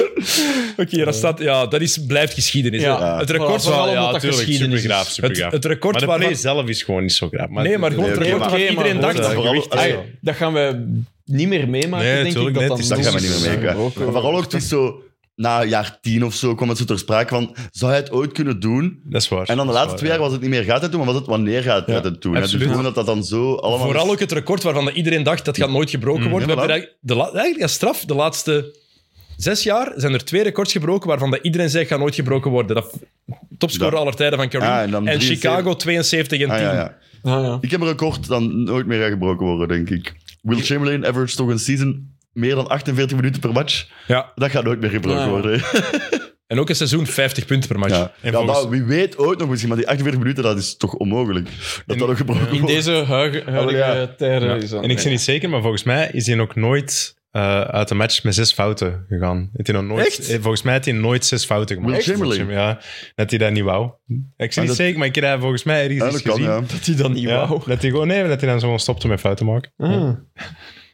Speaker 1: Oké, dat, staat, ja, dat is, blijft geschiedenis.
Speaker 3: Ja.
Speaker 1: hè.
Speaker 3: Ja.
Speaker 1: Het record
Speaker 3: Voilà,
Speaker 1: van...
Speaker 3: vooral
Speaker 4: Ja,
Speaker 3: omdat
Speaker 4: ja,
Speaker 3: dat
Speaker 4: tuurlijk.
Speaker 3: geschiedenis is.
Speaker 4: Supergraaf,
Speaker 1: Het,
Speaker 4: supergraaf.
Speaker 1: het record
Speaker 4: Maar de play
Speaker 1: waarvan...
Speaker 4: zelf is gewoon niet zo graaf. Maar
Speaker 1: Nee, maar gewoon
Speaker 2: Nee,
Speaker 1: het
Speaker 2: oké,
Speaker 1: record
Speaker 2: maar
Speaker 1: waarvan
Speaker 3: goed,
Speaker 1: iedereen
Speaker 3: hè.
Speaker 1: dacht...
Speaker 2: Ja, vooral,
Speaker 3: Ah,
Speaker 2: allee,
Speaker 3: ja, dat gaan we niet meer meemaken,
Speaker 4: Nee,
Speaker 3: denk ik.
Speaker 4: tuurlijk
Speaker 3: Dat,
Speaker 4: net.
Speaker 3: dan
Speaker 4: Het is-
Speaker 2: dat gaan we niet
Speaker 3: is
Speaker 2: meer meekrijgen. Maar vooral ook, het is zo... Na een jaar tien of zo kwam het zo ter sprake van... Zou hij het ooit kunnen doen?
Speaker 4: Dat is waar.
Speaker 2: En dan de
Speaker 4: Dat is
Speaker 2: laatste twee
Speaker 4: waar,
Speaker 2: jaar was het niet meer gaat het doen, maar was het wanneer gaat het doen? hè. Dus
Speaker 4: absoluut.
Speaker 2: gewoon dat dat dan zo allemaal...
Speaker 1: Vooral ook het record waarvan iedereen dacht dat gaat nooit gebroken worden.
Speaker 2: Mm, ja,
Speaker 1: We hebben
Speaker 2: voilà.
Speaker 1: eigenlijk, de la- eigenlijk als straf, de laatste zes jaar zijn er twee records gebroken waarvan dat iedereen zei gaat nooit gebroken worden. Dat topscorer
Speaker 2: Dat-
Speaker 1: aller tijden van Kareem.
Speaker 2: Ah, en
Speaker 1: en
Speaker 2: dan 73.
Speaker 1: Chicago 72 en 10.
Speaker 2: Ah, ja, ja.
Speaker 3: Ah, ja.
Speaker 2: Ik heb een record dat nooit meer gaat gebroken worden, denk ik. Will Chamberlain average toch een season meer dan 48 minuten per match?
Speaker 1: Ja.
Speaker 2: Dat gaat nooit meer gebroken
Speaker 3: Ah, ja.
Speaker 2: worden.
Speaker 1: En ook een seizoen 50 punten per match.
Speaker 2: Ja, ja
Speaker 4: volgens-
Speaker 2: maar wie weet ooit nog misschien, maar die 48 minuten, dat is toch onmogelijk. Dat dat ook gebroken
Speaker 3: In
Speaker 2: wordt.
Speaker 3: deze huige- huidige
Speaker 2: Oh, ja.
Speaker 3: tijden
Speaker 4: Ja.
Speaker 3: is dat.
Speaker 4: En ik zie niet zeker, maar volgens mij is hij nog nooit eh, uit de match met zes fouten gegaan. Heeft hij nog nooit,
Speaker 1: Echt?
Speaker 4: eh, Volgens mij heeft hij nooit zes fouten gemaakt.
Speaker 2: Will Chamberlain?
Speaker 4: Ja, dat hij dat niet wou. Ik zie
Speaker 2: Ah,
Speaker 4: niet
Speaker 2: dat-
Speaker 4: zeker, maar ik heb dat volgens mij ergens
Speaker 2: Ja,
Speaker 4: eens
Speaker 2: dat kan,
Speaker 4: gezien.
Speaker 2: ja.
Speaker 3: dat hij dan niet
Speaker 4: Ja,
Speaker 3: wou.
Speaker 4: dat hij gewoon nee, dat hij dan zo gewoon stopte met fouten maken.
Speaker 3: Ah.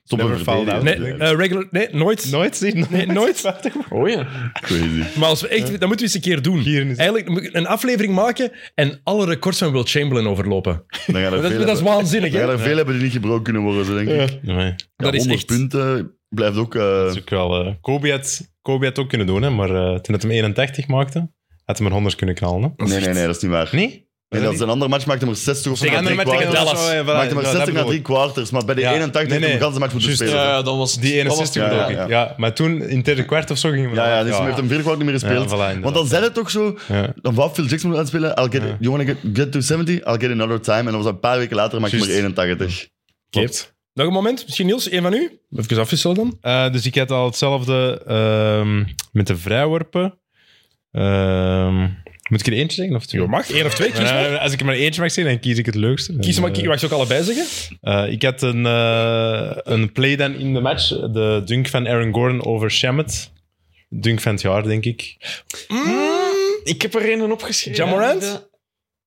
Speaker 2: Stop
Speaker 4: Never
Speaker 2: een
Speaker 4: fouled
Speaker 2: verdediger.
Speaker 1: Nee,
Speaker 4: out.
Speaker 1: eh, regular, nee, nooit.
Speaker 4: Nooit zien.
Speaker 1: Nee, nooit.
Speaker 3: Oh ja.
Speaker 2: Crazy.
Speaker 1: Maar als we echt, dat moeten we eens een keer doen.
Speaker 4: Hier
Speaker 3: Eh.
Speaker 4: is-
Speaker 1: Eigenlijk moet ik een aflevering maken en alle records van Will Chamberlain overlopen.
Speaker 2: Dan gaan er
Speaker 1: Dat, dat
Speaker 2: veel
Speaker 1: is
Speaker 2: hebben.
Speaker 1: waanzinnig,
Speaker 2: Dan
Speaker 1: hè?
Speaker 2: gaan er veel hebben die niet gebroken kunnen worden, zo denk ik. Ja,
Speaker 4: Nee,
Speaker 1: dat is
Speaker 2: 100
Speaker 1: echt-
Speaker 2: punten blijft ook... eh,
Speaker 4: dat is ook wel... eh, Kobe, had, Kobe had ook kunnen doen, hè, maar eh, toen het hem 81 maakte, had hij maar 100 kunnen knallen. Hè.
Speaker 2: nee, nee, nee, dat is niet waar.
Speaker 4: Nee?
Speaker 2: Nee, dat is een ander match, maakte maar 60 of zo.
Speaker 4: Tegen
Speaker 2: na drie
Speaker 4: andere match tegen
Speaker 2: kwartiers.
Speaker 4: Dallas. Oh, ja, voilà,
Speaker 2: Maakte maar
Speaker 4: ja,
Speaker 2: 60
Speaker 4: dat
Speaker 2: na
Speaker 4: bedoel
Speaker 2: drie
Speaker 4: ik.
Speaker 2: kwarters, maar bij de
Speaker 4: Ja.
Speaker 2: 81
Speaker 4: Nee,
Speaker 2: heeft hij
Speaker 4: nee.
Speaker 2: hem de match moeten
Speaker 4: Juist,
Speaker 2: spelen.
Speaker 3: Ja,
Speaker 2: Ja,
Speaker 3: ja, dan was het-
Speaker 4: Die
Speaker 3: Eh, dat was
Speaker 4: 61
Speaker 3: het,
Speaker 4: bedoel
Speaker 2: ja,
Speaker 4: ik.
Speaker 2: ja.
Speaker 4: Ja. maar toen, in het derde kwart of zo, gingen we...
Speaker 2: ja, dus hij heeft
Speaker 4: ja.
Speaker 2: hem vier kwart niet meer gespeeld.
Speaker 4: Ja, voilà, inderdaad.
Speaker 2: Want dan zei het ook zo,
Speaker 4: Ja.
Speaker 2: dan wou Phil Jackson moeten uitspelen. I'll get, You wanna get, get to 70? I'll get another time. En dan was dat een paar weken later, maakte hij maar
Speaker 4: Juist.
Speaker 2: 81.
Speaker 1: Klopt. Nog een moment. Misschien Niels, één van u. Even afwisselen dan.
Speaker 4: Eh, dus ik had al hetzelfde ehm, met de vrijworpen. Ehm, moet ik er eentje zeggen of twee?
Speaker 1: Je mag. Eén of twee, kies maar.
Speaker 4: Eh, als ik er maar eentje mag zeggen, dan kies ik het leukste.
Speaker 1: Kies maar,
Speaker 4: En,
Speaker 1: je
Speaker 4: eh,
Speaker 1: mag ze ook allebei zeggen.
Speaker 4: eh, ik had een, eh, een play dan in de match. De dunk van Aaron Gordon over Shamet. Dunk van het jaar, denk ik. Mm.
Speaker 3: Mm, Ik heb er een opgeschreven.
Speaker 1: Jamorant?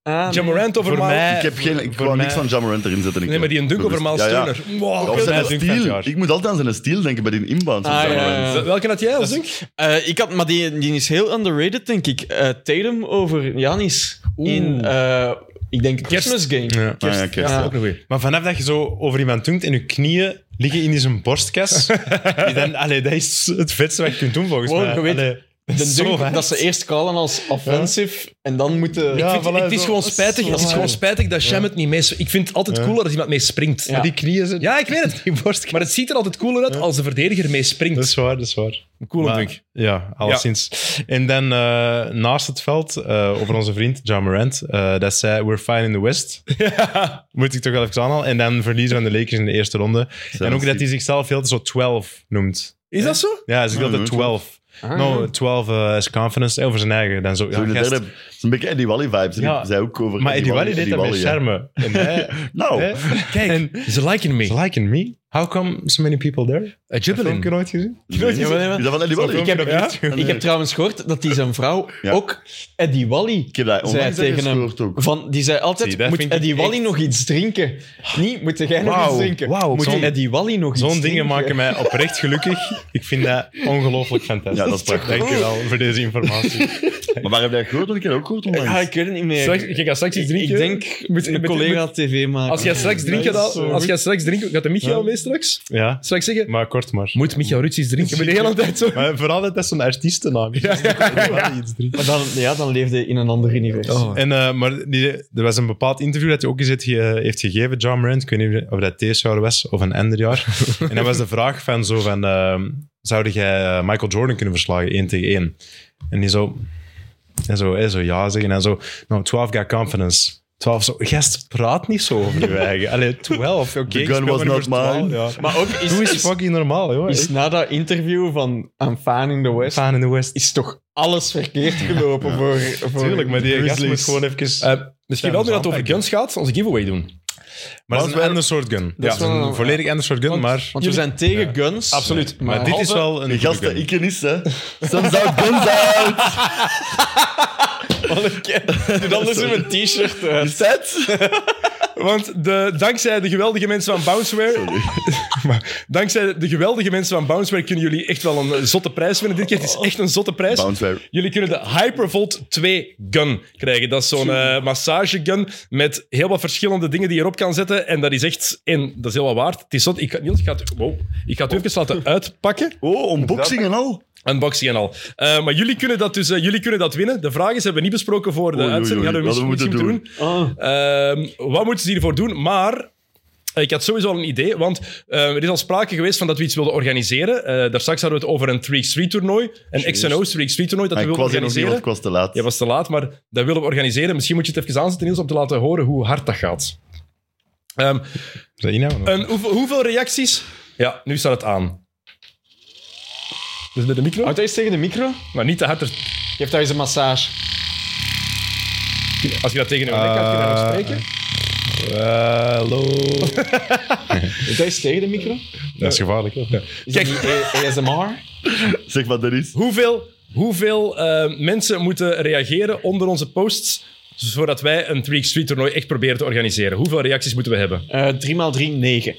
Speaker 3: Ah, nee.
Speaker 1: Jamorant over
Speaker 4: voor
Speaker 1: Maal.
Speaker 4: mij-
Speaker 2: Ik heb geen, ik
Speaker 4: Eh, Voor
Speaker 2: wou
Speaker 4: mij-
Speaker 2: niks van Jammerant erin zetten. ik
Speaker 1: Nee, maar die een dunk over Maal
Speaker 2: bewust. Ja, ja.
Speaker 1: Steuner. Wow.
Speaker 2: Of zijn
Speaker 4: Ja,
Speaker 2: een
Speaker 4: dunk van het
Speaker 2: steal.
Speaker 4: jaar.
Speaker 2: Ik moet altijd aan zijn steal denken bij die inbound. van
Speaker 3: Ah, ja,
Speaker 2: Jammerant.
Speaker 3: ja, ja.
Speaker 1: Welke had jij als dunk?
Speaker 3: Eh, ik had, maar die, die is heel underrated, denk ik. Eh, Tatum over Janis.
Speaker 1: Oeh.
Speaker 3: In, eh, ik denk,
Speaker 1: Kerst.
Speaker 3: Christmas Game.
Speaker 4: Ja.
Speaker 2: Ah, ja, kerst,
Speaker 3: Ja.
Speaker 2: ja.
Speaker 1: Ook een goeie.
Speaker 4: Maar vanaf dat je zo over iemand dunkt en je knieën liggen in zijn borstkas, die dan, allee, dat is het vetste wat je kunt doen volgens
Speaker 3: Gewoon,
Speaker 4: mij.
Speaker 3: je weet-
Speaker 4: Allee,
Speaker 3: de
Speaker 4: Zo
Speaker 3: dunk
Speaker 4: hard.
Speaker 3: dat ze eerst callen als offensive en dan moeten...
Speaker 4: Ja,
Speaker 3: Ik
Speaker 1: Ik vind-
Speaker 4: voilà,
Speaker 1: het is
Speaker 4: zo.
Speaker 1: gewoon spijtig, het is gewoon spijtig dat Sham het niet mee... Ik vind het altijd cooler als iemand mee springt.
Speaker 3: Ja.
Speaker 4: Die knieën zijn...
Speaker 1: Ja, ik weet het.
Speaker 4: Die borst...
Speaker 1: Maar het ziet er altijd cooler uit als de verdediger mee
Speaker 4: Dat
Speaker 1: springt.
Speaker 4: is waar, dat is waar.
Speaker 1: Cool,
Speaker 4: Maar-
Speaker 1: denk ik.
Speaker 4: Ja, alleszins. En dan eh, naast het veld, eh, over onze vriend John Morant, eh, dat zei We're fine in the West. Moet ik toch wel even aanhalen. En dan verliezen we aan de Lakers in de eerste ronde. en ook dat hij zichzelf heel zo 12 noemt.
Speaker 1: Is dat zo?
Speaker 4: Ja, hij
Speaker 2: Ah,
Speaker 4: zegt altijd
Speaker 2: nooit
Speaker 4: 12. No, 12 eh, is confidence. Over zijn eigen. Dan zo,
Speaker 2: Zo
Speaker 4: ja,
Speaker 2: de
Speaker 4: gast.
Speaker 2: derde, het is een beetje Eddie Wally vibes. En
Speaker 4: Ja.
Speaker 2: Ik zei ook over
Speaker 4: Maar
Speaker 2: Eddie
Speaker 4: Eddie Wally deed dat met
Speaker 2: Eddie Wally,
Speaker 4: schermen. En hij- [LAUGHS]
Speaker 2: ja. Nou,
Speaker 4: hè?
Speaker 1: Kijk,
Speaker 4: En-
Speaker 1: ze liken me.
Speaker 4: It's liking me. How come so many people there?
Speaker 1: Eh,
Speaker 4: Heb je
Speaker 1: Jubbelin.
Speaker 4: ook nooit gezien?
Speaker 2: nee.
Speaker 3: Ja, maar-
Speaker 2: is dat van Eddie Wally?
Speaker 4: Ik heb-
Speaker 1: Ja?
Speaker 3: Ik heb trouwens gehoord dat die zijn vrouw
Speaker 2: Ja.
Speaker 3: ook Eddie Wally
Speaker 2: Ik heb dat
Speaker 3: zei
Speaker 2: onlangs
Speaker 3: tegen hem.
Speaker 2: gehoord ook.
Speaker 3: Van, die zei altijd,
Speaker 4: Zie, dat
Speaker 3: moet
Speaker 4: vind ik
Speaker 3: Eddie Wally
Speaker 4: echt-
Speaker 3: nog iets drinken? Niet, moet jij nog
Speaker 4: Wauw,
Speaker 3: iets drinken?
Speaker 4: wauw,
Speaker 3: moet
Speaker 4: zo'n-
Speaker 3: Eddie Wally nog iets
Speaker 4: Zo'n
Speaker 3: drinken?
Speaker 4: dingen maken mij oprecht gelukkig. Ik vind dat [LAUGHS] ongelooflijk fantastisch.
Speaker 2: Ja, dat is prachtig.
Speaker 4: Dank je wel voor deze informatie.
Speaker 2: Maar waar heb je dat gehoord? Want ik heb dat ook gehoord onlangs.
Speaker 3: Ja, ik weet het niet meer.
Speaker 1: Straks- Je gaat straks iets
Speaker 3: Ik-
Speaker 1: drinken.
Speaker 3: Ik denk, moet een
Speaker 1: met-
Speaker 3: collega tv maken.
Speaker 1: Als jij straks drinken,
Speaker 4: Dat is zo
Speaker 1: dan- als
Speaker 4: goed.
Speaker 1: jij straks drinken, gaat de Michael
Speaker 4: Ja.
Speaker 1: mee straks?
Speaker 4: [LAUGHS] Ja,
Speaker 1: Straks zeggen,
Speaker 4: maar kort maar.
Speaker 1: moet Michael Ruts iets drinken? Maar de hele tijd zo.
Speaker 4: Maar vooral dat dat zo'n artiestennaam is. Dus dat komt er wel iets drie.
Speaker 3: Maar dan, ja, dan leefde hij in een ander universum.
Speaker 1: Oh.
Speaker 4: En, eh, maar die, er was een bepaald interview dat hij ook eens heeft, ge- heeft gegeven, John Morant. Ik weet niet of dat deze jaar was of een ander jaar. en dat was de vraag van zo van... ehm, zou jij eh, Michael Jordan kunnen verslagen, één tegen één? En die zo... En zo, hè, zo ja zeggen en zo... Nou, 12 got confidence. 12 zo... Gast, praat niet zo over je eigen. Allee, 12, oké.
Speaker 2: The
Speaker 4: ik
Speaker 2: gun
Speaker 4: speel
Speaker 2: was
Speaker 4: maar
Speaker 2: not
Speaker 4: nummer 12,
Speaker 2: mine.
Speaker 4: ja.
Speaker 3: Maar ook is,
Speaker 4: Doe eens
Speaker 3: is,
Speaker 4: fucking normaal, joh.
Speaker 3: is na dat interview van I'm Fan in the West,
Speaker 4: Staan in de West.
Speaker 3: is toch alles verkeerd gelopen voor, voor
Speaker 4: Tuurlijk, maar die gast
Speaker 3: Grizzlies.
Speaker 4: moet gewoon even...
Speaker 1: Eh, misschien
Speaker 4: Ja,
Speaker 1: wel nu dat
Speaker 4: dat
Speaker 1: het
Speaker 4: is
Speaker 1: over
Speaker 4: aanpakken.
Speaker 1: guns gaat, onze giveaway doen.
Speaker 4: Maar dat is
Speaker 2: Maar het
Speaker 4: een ander soort gun.
Speaker 3: Dat
Speaker 4: Ja,
Speaker 3: is
Speaker 4: het is
Speaker 3: wel-
Speaker 4: een volledig ander soort gun, maar...
Speaker 3: Want we zijn tegen guns.
Speaker 1: Absoluut.
Speaker 4: Maar dit is
Speaker 3: halve-
Speaker 4: wel een
Speaker 2: Die
Speaker 4: goede
Speaker 2: gasten,
Speaker 4: gun.
Speaker 2: ik en is, hè. [LAUGHS] Soms out, guns out.
Speaker 3: Dan is er een t-shirt uit.
Speaker 2: Is dat?
Speaker 1: Want de, dankzij de geweldige mensen van Bounceware... [LAUGHS] maar, dankzij de geweldige mensen van Bounceware kunnen jullie echt wel een eh, zotte prijs winnen. Dit keer het is echt een zotte prijs.
Speaker 2: Bounceware.
Speaker 1: Jullie kunnen de Hypervolt 2 gun krijgen. Dat is zo'n eh, massagegun met heel wat verschillende dingen die je erop kan zetten. En dat is echt... En dat is heel wat waard. Het is zot. Ik, ga- Niels, ik ga het, wow. ik ga het even laten uitpakken.
Speaker 2: Oh, unboxing en al.
Speaker 1: Unboxing en al. Eh, maar jullie kunnen, dat dus, eh, jullie kunnen dat winnen. De vraag is, hebben we niet besproken voor de
Speaker 2: Oei, oei,
Speaker 1: uitzending.
Speaker 2: oei.
Speaker 1: Hadden we
Speaker 2: Wat
Speaker 1: misschien,
Speaker 2: we
Speaker 1: misschien
Speaker 2: moeten Ah.
Speaker 1: moeten doen. Ehm, wat moeten ze hiervoor doen? Maar... eh, Ik had sowieso al een idee, want eh, er is al sprake geweest van dat we iets wilden organiseren. Eh daar straks hadden we het over een 3x3-toernooi, een XNO's 3x3-toernooi dat
Speaker 2: Maar
Speaker 1: we
Speaker 2: Ah, ik
Speaker 1: wilden
Speaker 2: was hier nog niet,
Speaker 1: organiseren.
Speaker 2: want ik was te laat.
Speaker 1: Ja, was te laat, maar dat willen we organiseren. Misschien moet je het even aanzetten, Niels, om te laten horen hoe hard dat gaat. Ehm,
Speaker 4: Is dat inhouden?
Speaker 1: en hoeveel, hoeveel reacties? Ja, nu staat het aan. Dus bij de micro?
Speaker 3: Houdt dat eens tegen de micro?
Speaker 1: Maar niet te hard. er-
Speaker 3: Geef daar eens een massage.
Speaker 1: Als je dat tegen een nek had, kun je daarop
Speaker 4: Eh,
Speaker 1: spreken. [LAUGHS]
Speaker 4: Eh, Hallo.
Speaker 3: Geef dat eens tegen de micro?
Speaker 4: dat is gevaarlijk. hoor.
Speaker 3: Is
Speaker 1: Kijk.
Speaker 3: dat niet A- ASMR?
Speaker 2: Zeg wat dat is.
Speaker 1: Hoeveel, hoeveel eh, mensen moeten reageren onder onze posts, zodat wij een 3x3 toernooi echt proberen te organiseren? Hoeveel reacties moeten we hebben?
Speaker 3: Eh 3x3, 9.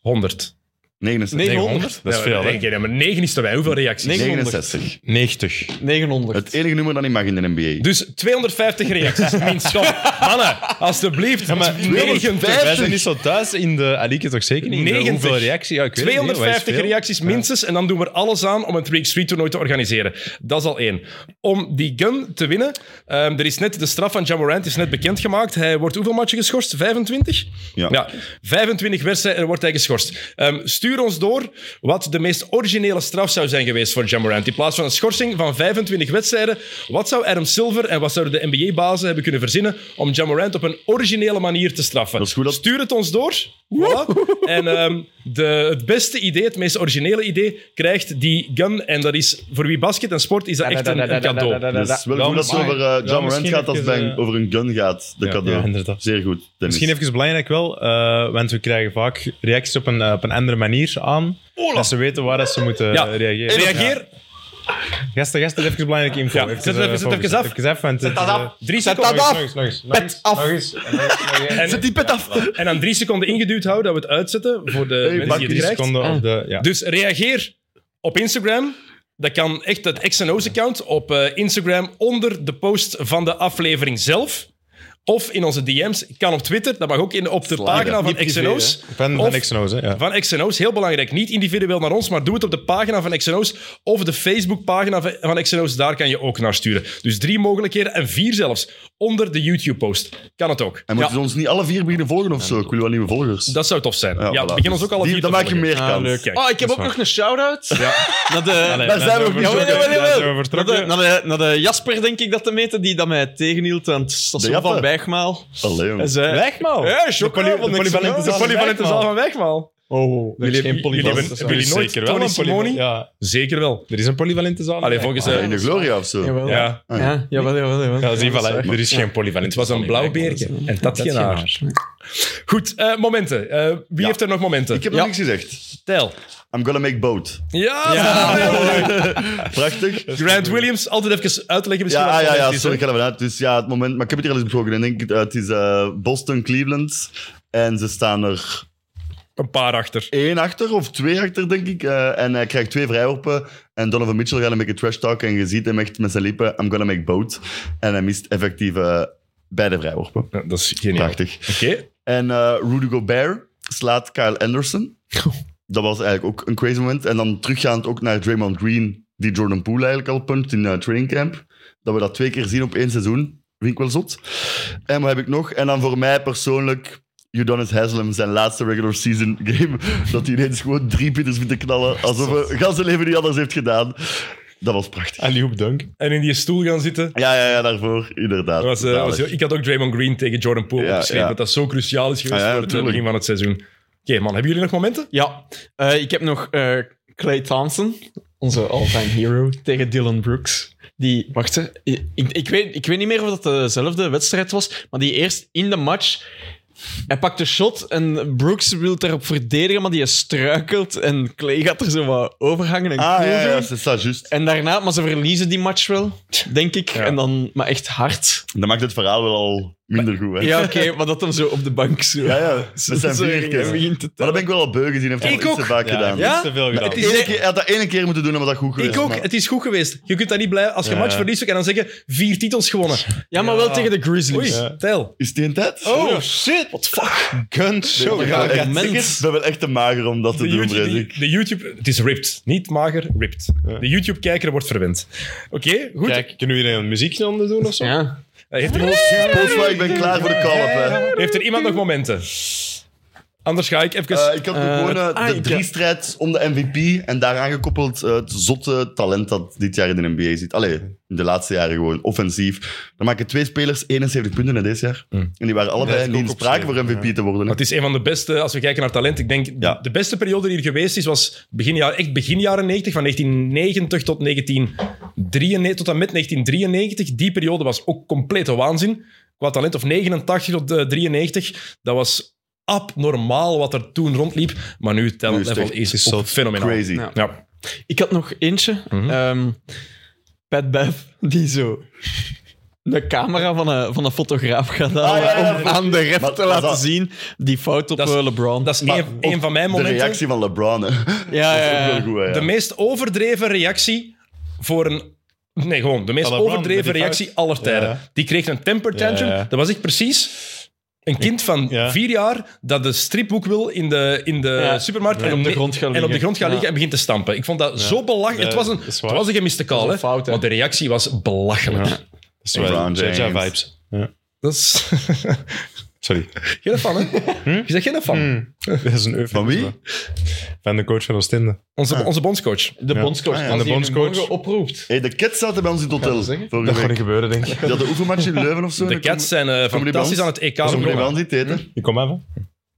Speaker 1: 100.
Speaker 2: 69.
Speaker 3: 900?
Speaker 4: Dat is
Speaker 1: Ja,
Speaker 4: veel,
Speaker 1: nee,
Speaker 4: hè?
Speaker 1: nee, maar 9 is te weinig. Hoeveel reacties?
Speaker 2: 69.
Speaker 4: 90.
Speaker 3: 900.
Speaker 2: Het enige nummer dat niet mag in de NBA.
Speaker 1: Dus 250 reacties, minstens. Mannen, alsjeblieft.
Speaker 4: maar
Speaker 1: 90.
Speaker 4: Wij zijn niet zo thuis in de... Ah, Ali, ik toch zeker niet? in de
Speaker 1: 90.
Speaker 4: Hoeveel reactie? Ja, ik weet het niet, wat is
Speaker 1: 250
Speaker 4: veel?
Speaker 1: reacties minstens. En dan doen we er alles aan om een 3x3 toernooi te organiseren. Dat is al één. Om die gun te winnen, ehm, er is net de straf van Jamorant is net bekendgemaakt. Hij wordt hoeveel matchen geschorst? 25?
Speaker 2: Ja.
Speaker 1: 25 wedstrijden en wordt hij geschorst. Ehm, stuur ons door wat de meest originele straf zou zijn geweest voor Jamorant. In plaats van een schorsing van 25 wedstrijden, wat zou Adam Silver en wat zouden de NBA-bazen hebben kunnen verzinnen om Jamorant op een originele manier te straffen?
Speaker 2: Dat is goed dat-
Speaker 1: Stuur het ons door. Voilà. En ehm, de, het beste idee, het meest originele idee, krijgt die gun. En dat is, voor wie basket en sport, is dat echt een, een cadeau.
Speaker 2: Dus het is wel goed dat het over eh, John Morant gaat als het bij- over een gun gaat. De
Speaker 4: ja,
Speaker 2: cadeau.
Speaker 4: ja, inderdaad.
Speaker 2: Zeer goed. Dennis.
Speaker 4: Misschien even belangrijk wel, eh, want we krijgen vaak reacties op een, eh, op een andere manier aan. Dat ze weten waar dat ze moeten
Speaker 1: Ja.
Speaker 4: reageren.
Speaker 1: Reageer.
Speaker 4: Ja. Gasten, gasten, even belangrijke info.
Speaker 1: Ja, zet het even- zet het even af.
Speaker 4: Even af, want het is, eh,
Speaker 1: Drie
Speaker 4: nog
Speaker 1: seconden.
Speaker 4: eens, nog eens, nog eens, nog eens,
Speaker 3: af.
Speaker 4: nog eens, nog eens,
Speaker 1: [LAUGHS]
Speaker 4: nog eens.
Speaker 1: En,
Speaker 2: die pet af.
Speaker 1: en dan drie seconden ingeduwd houden dat we het uitzetten voor de mensen
Speaker 4: Pak
Speaker 1: die
Speaker 4: drie
Speaker 1: het krijgt.
Speaker 4: seconden op de... Ja.
Speaker 1: Dus reageer op Instagram. Dat kan echt het X&O's account op eh, Instagram onder de post van de aflevering zelf. Of in onze DM's. Kan op Twitter. Dat mag ook in, op de
Speaker 2: Slide,
Speaker 1: pagina van
Speaker 3: Niet privé,
Speaker 1: XNO's.
Speaker 4: Van,
Speaker 1: Of-
Speaker 4: van Xeno's, hè? Ja.
Speaker 1: Van XNO's, heel belangrijk. Niet individueel naar ons, maar doe het op de pagina van XNO's of de Facebookpagina van- van XNO's. Daar kan je ook naar sturen. Dus drie mogelijkheden en vier zelfs. Onder de YouTube-post. Kan het ook.
Speaker 2: En
Speaker 1: Ja,
Speaker 2: moeten ze ons niet alle vier beginnen volgen of zo? Ik wil wel nieuwe volgers.
Speaker 1: dat zou tof zijn. Ja,
Speaker 2: voilà.
Speaker 1: begin ons
Speaker 2: Dus
Speaker 1: ook alle
Speaker 2: die-
Speaker 1: vier
Speaker 2: Dan
Speaker 1: te
Speaker 2: maak je
Speaker 1: volgen.
Speaker 2: meer
Speaker 3: Ah,
Speaker 2: kans.
Speaker 1: leuk, ja. Kijk,
Speaker 3: oh, ik heb
Speaker 1: dat
Speaker 3: ook
Speaker 1: is
Speaker 3: nog een shout-out.
Speaker 1: Ja.
Speaker 3: [LAUGHS] Naar de...
Speaker 2: Daar zijn we ook niet
Speaker 3: Ja,
Speaker 2: zo
Speaker 3: wel,
Speaker 2: kijk.
Speaker 3: wel,
Speaker 4: Daar zijn
Speaker 3: wel.
Speaker 4: we
Speaker 3: Naar
Speaker 4: vertrokken.
Speaker 3: de, naar, de, naar de Jasper, denk ik, dat te meten, die dat mij tegenhield aan het station
Speaker 2: Japper?
Speaker 3: van Bijgmaal.
Speaker 2: Allee,
Speaker 3: Hij
Speaker 2: jongen.
Speaker 3: zei...
Speaker 4: Wegmaal.
Speaker 1: eh,
Speaker 3: Ja, chocola
Speaker 4: De poly-
Speaker 3: van
Speaker 4: de polyvalente
Speaker 3: Xeno's.
Speaker 1: De polyvalente zaal van Wegmaal.
Speaker 3: Oh, dat is
Speaker 1: Jullie-
Speaker 3: geen
Speaker 1: jullie
Speaker 3: polyvalent.
Speaker 1: hebben-
Speaker 3: dat is
Speaker 1: jullie
Speaker 4: Er is
Speaker 1: nooit
Speaker 4: zeker
Speaker 1: Tony
Speaker 4: wel een polyval-
Speaker 1: Simoni?
Speaker 4: Ja,
Speaker 1: Zeker wel.
Speaker 4: er is een polyvalente zaal.
Speaker 1: Allee, volgens...
Speaker 2: Ah,
Speaker 1: eh,
Speaker 2: in de Gloria of zo.
Speaker 3: Jawel. Ja.
Speaker 1: ja,
Speaker 3: Ja, jawel, jawel, jawel.
Speaker 4: Ja, zie je wel, hè.
Speaker 3: Dat is
Speaker 4: er is
Speaker 3: waar.
Speaker 4: geen polyvalente
Speaker 1: het was een blauwbeertje. En dat geen haar. Goed, eh, momenten. Eh, wie heeft er nog momenten?
Speaker 2: Ik heb
Speaker 3: Ja.
Speaker 2: nog niks gezegd.
Speaker 1: Tel.
Speaker 2: I'm gonna make boat.
Speaker 1: Ja, [LAUGHS]
Speaker 2: Prachtig.
Speaker 1: Grant Williams. Altijd even uitleggen misschien.
Speaker 2: Ja,
Speaker 1: wat
Speaker 2: ah, ja,
Speaker 1: het
Speaker 2: ja,
Speaker 1: is, hè.
Speaker 2: sorry, ik ga er vanuit. Dus ja, het moment, maar ik heb het hier al eens besproken. Ik denk, het, eh, het is eh, Boston, Cleveland. En ze staan er
Speaker 1: Een paar achter.
Speaker 2: één achter of twee achter, denk ik. Eh, en hij krijgt twee vrijworpen. En Donovan Mitchell gaat een beetje trash talk. En je ziet hem echt met zijn lippen, I'm gonna make boat. En hij mist effectief eh, beide vrijworpen.
Speaker 1: Ja, dat is geniaal.
Speaker 2: Prachtig.
Speaker 1: Oké.
Speaker 2: En eh, Rudy Gobert slaat Kyle
Speaker 1: [LAUGHS]
Speaker 2: Anderson. Dat was eigenlijk ook een crazy moment. En dan teruggaand ook naar Draymond Green, die Jordan Poole eigenlijk al punt in eh, training camp. Dat we dat twee keer zien op één seizoen. Vind ik wel zot. En wat heb ik nog? En dan voor mij persoonlijk, Udonis Haslem, zijn laatste regular season [LAUGHS] game. Dat hij ineens gewoon drie pieters moet knallen. Alsof hij gans zijn leven niet anders heeft gedaan. Dat was prachtig.
Speaker 4: Alioub Dunk.
Speaker 1: En in die stoel gaan zitten.
Speaker 2: Ja, ja, ja, daarvoor. Inderdaad.
Speaker 1: Dat was, eh,
Speaker 2: Zalig.
Speaker 1: was heel- ik had ook Draymond Green tegen Jordan Poole
Speaker 2: Ja,
Speaker 1: opgeschreven.
Speaker 2: ja.
Speaker 1: Dat dat zo cruciaal is geweest
Speaker 2: Ah, ja,
Speaker 1: voor het eh,
Speaker 2: tuurlijk.
Speaker 1: begin van het seizoen. Oké, man. Hebben jullie nog momenten?
Speaker 3: Ja, eh, ik heb nog eh Clay Thompson, onze all-time hero, [LAUGHS] tegen Dylan Brooks. Die, wacht, hè, ik, ik, weet, ik weet niet meer of dat dezelfde wedstrijd was, maar die eerst in de match. Hij pakt de shot en Brooks wil daarop verdedigen, maar die struikelt en Clay gaat er zo wat overhangen en
Speaker 2: Ah,
Speaker 3: cool
Speaker 2: ja, ja,
Speaker 3: doen.
Speaker 2: c'est ça, juist.
Speaker 3: En daarna, maar ze verliezen die match wel, denk ik. En dan, maar echt hard.
Speaker 2: Dat maakt het verhaal wel al minder goed. Hè?
Speaker 3: Ja, oké, [LAUGHS] maar dat hem zo op de bank zo.
Speaker 2: Ja,
Speaker 4: [LAUGHS]
Speaker 2: ja. Dat zijn
Speaker 3: [LAUGHS] zo
Speaker 2: vier keer.
Speaker 3: en begint te
Speaker 2: Maar dat
Speaker 3: tellen.
Speaker 2: ben ik wel al beu gezien. Heeft hij
Speaker 1: Ik
Speaker 2: wel iets
Speaker 1: ook.
Speaker 2: te vaak gedaan.
Speaker 4: Ja,
Speaker 3: Ja?
Speaker 4: dat is te veel gedaan.
Speaker 2: Het is één keer, hij had dat ene keer moeten doen, maar dat goed geweest.
Speaker 1: Ik ook.
Speaker 2: maar-
Speaker 1: Het is goed geweest. Je kunt dat niet blij Als je
Speaker 4: Ja.
Speaker 1: match verliest, je kan dan zeggen vier titels
Speaker 2: [LAUGHS]
Speaker 1: gewonnen.
Speaker 3: Ja, maar wel tegen de
Speaker 1: Oei,
Speaker 3: Grizzlies.
Speaker 4: Ja.
Speaker 1: tel.
Speaker 2: Is die een tijd?
Speaker 4: Oh shit! What fuck? Gun show.
Speaker 2: ik
Speaker 4: Ja,
Speaker 2: ben echt-
Speaker 3: moment.
Speaker 2: ik ben wel echt te mager om dat te
Speaker 1: De
Speaker 2: doen,
Speaker 1: YouTube,
Speaker 2: vrees
Speaker 1: de,
Speaker 2: ik.
Speaker 1: de YouTube... Het is ripped. Niet mager, ripped. De YouTube-kijker wordt verwend. Oké, goed.
Speaker 4: Kijk, kunnen we hier een muziekje onder doen of zo?
Speaker 3: ja.
Speaker 1: Heeft, er,
Speaker 2: Post maar, ik ben klaar voor de call-up. hè.
Speaker 1: heeft er iemand nog momenten? Anders ga ik even...
Speaker 2: Eh, ik had nog gewoon eh, de
Speaker 3: ah, ik-
Speaker 2: driestrijd om de MVP en daaraan gekoppeld eh, het zotte talent dat dit jaar in de NBA zit. Allee, in de laatste jaren gewoon offensief. Dan maken twee spelers 71 punten in dit jaar. En die waren allebei
Speaker 4: heb ik
Speaker 2: niet in
Speaker 4: ook
Speaker 2: sprake voor MVP te worden. hè.
Speaker 1: Maar het is een van de beste, als we kijken naar talent. Ik denk,
Speaker 2: Ja.
Speaker 1: de beste periode die er geweest is, was begin, jaar- echt begin jaren 90, van 1990 tot, 1993, tot en met 1993. Die periode was ook complete waanzin. Qua talent, of 89 tot eh, 93, dat was abnormaal wat er toen rondliep. Maar nu, het
Speaker 2: Nu is het
Speaker 1: talentlevel
Speaker 2: echt-
Speaker 1: is,
Speaker 4: is
Speaker 1: ook
Speaker 4: zo
Speaker 1: fenomenaal.
Speaker 2: Crazy.
Speaker 3: Ja.
Speaker 1: Ja.
Speaker 3: Ik had nog eentje.
Speaker 1: Mhm.
Speaker 3: Ehm, Pat Bev, die zo de camera van een, van een fotograaf gaat halen
Speaker 2: Ah, ja, ja,
Speaker 3: om
Speaker 2: ja.
Speaker 3: aan de ref
Speaker 2: Maar
Speaker 3: te
Speaker 2: dat-
Speaker 3: laten
Speaker 2: dat-
Speaker 3: zien die fout op
Speaker 1: Dat is-
Speaker 3: eh, LeBron.
Speaker 1: Dat is
Speaker 2: Maar
Speaker 1: een, een van mijn
Speaker 2: De
Speaker 1: momenten.
Speaker 2: reactie van LeBron. hè.
Speaker 3: ja,
Speaker 2: [LAUGHS] Dat is
Speaker 3: ja,
Speaker 2: ook wel
Speaker 3: ja.
Speaker 2: goed, hè, ja.
Speaker 1: De meest overdreven reactie voor een. Nee, gewoon de meest
Speaker 4: Van LeBron,
Speaker 1: overdreven
Speaker 4: met die
Speaker 1: reactie
Speaker 4: fout.
Speaker 1: aller tijden.
Speaker 4: Ja.
Speaker 1: Die kreeg een temper tantrum.
Speaker 4: Ja, ja.
Speaker 1: Dat was ik precies. Een kind van
Speaker 4: Ja.
Speaker 1: vier jaar dat de stripboek wil in de, in de
Speaker 3: Ja.
Speaker 1: supermarkt
Speaker 3: En op de
Speaker 1: ne-
Speaker 3: grond gaat
Speaker 1: en op de
Speaker 3: liggen.
Speaker 1: grond gaat
Speaker 3: Ja.
Speaker 1: liggen en begint te stampen. Ik vond dat zo belachelijk.
Speaker 4: Ja,
Speaker 1: het, was een,
Speaker 4: dat is
Speaker 1: het
Speaker 4: waar.
Speaker 1: was een gemiste
Speaker 3: Dat
Speaker 1: call,
Speaker 3: is
Speaker 1: hè?
Speaker 3: een fout, hè.
Speaker 1: want de reactie was belachelijk.
Speaker 4: Dat is wel
Speaker 2: LeBron
Speaker 4: Jaja
Speaker 2: James.
Speaker 4: vibes. Ja.
Speaker 1: Dat is... [LAUGHS]
Speaker 4: Sorry. [LAUGHS]
Speaker 1: geen fan, hè? Je zegt geen fan.
Speaker 4: Dat is een eufemisme.
Speaker 2: Van wie?
Speaker 4: Van de coach van Oostende.
Speaker 1: Onze, onze bondscoach.
Speaker 3: De bondscoach.
Speaker 2: Ah, ja.
Speaker 3: Als
Speaker 4: De
Speaker 3: die nu
Speaker 4: bondscoach.
Speaker 3: morgen oproept.
Speaker 2: Hey, de Cats zaten bij ons in het hotel.
Speaker 3: zeggen?
Speaker 2: Vorige
Speaker 4: Dat gaat
Speaker 2: week.
Speaker 4: niet gebeuren, denk
Speaker 2: [LAUGHS] Die
Speaker 4: ik.
Speaker 2: hadden een oefenmatch in Leuven of zo.
Speaker 1: De
Speaker 2: En dan
Speaker 1: Cats zijn eh,
Speaker 2: bij
Speaker 1: fantastisch
Speaker 2: ons?
Speaker 1: aan het EK
Speaker 2: Kom kom
Speaker 1: begonnen.
Speaker 2: er wel niet eten.
Speaker 4: Ik kom even.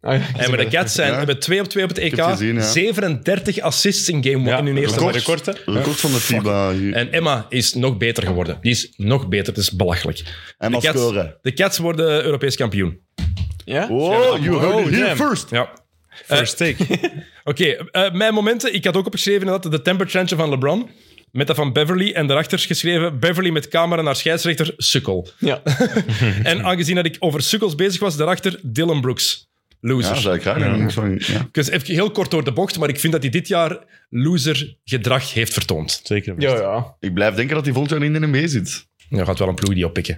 Speaker 3: Ah, ja.
Speaker 1: En maar de Cats zijn,
Speaker 2: Ja.
Speaker 1: hebben 2 op 2 op het EK.
Speaker 2: heb het gezien, ja.
Speaker 1: 37 assists in game 1 in hun eerste
Speaker 4: record.
Speaker 1: match.
Speaker 2: record.
Speaker 4: record, hè?
Speaker 2: Record van de FIBA. hier.
Speaker 1: En Emma is nog beter geworden. Die is nog beter. Het is belachelijk.
Speaker 2: En maar
Speaker 1: de Cats-
Speaker 2: scoren.
Speaker 1: De Cats worden Europees kampioen.
Speaker 3: Ja?
Speaker 2: Oh, you heard
Speaker 4: Oh,
Speaker 2: it here
Speaker 4: damn.
Speaker 2: first.
Speaker 1: Ja.
Speaker 4: First take.
Speaker 1: Oké, eh, mijn momenten. Ik had ook opgeschreven dat de temper tantrum van LeBron. Met dat van Beverly en daarachter geschreven: Beverly met camera naar scheidsrechter, sukkel.
Speaker 3: [LAUGHS] Ja.
Speaker 1: en aangezien dat ik over sukkels bezig was, daarachter Dylan Brooks.
Speaker 2: Ja,
Speaker 1: Loser.
Speaker 2: dat zou ik graag doen. Ik zou- ja.
Speaker 1: ik was even heel kort door de bocht, maar ik vind dat hij dit jaar loser gedrag heeft vertoond.
Speaker 4: [LAUGHS] Zeker.
Speaker 3: Ja, ja.
Speaker 2: Ik blijf denken dat hij volgend jaar niet in de NBA zit.
Speaker 1: Ja, gaat wel een ploeg die oppikken.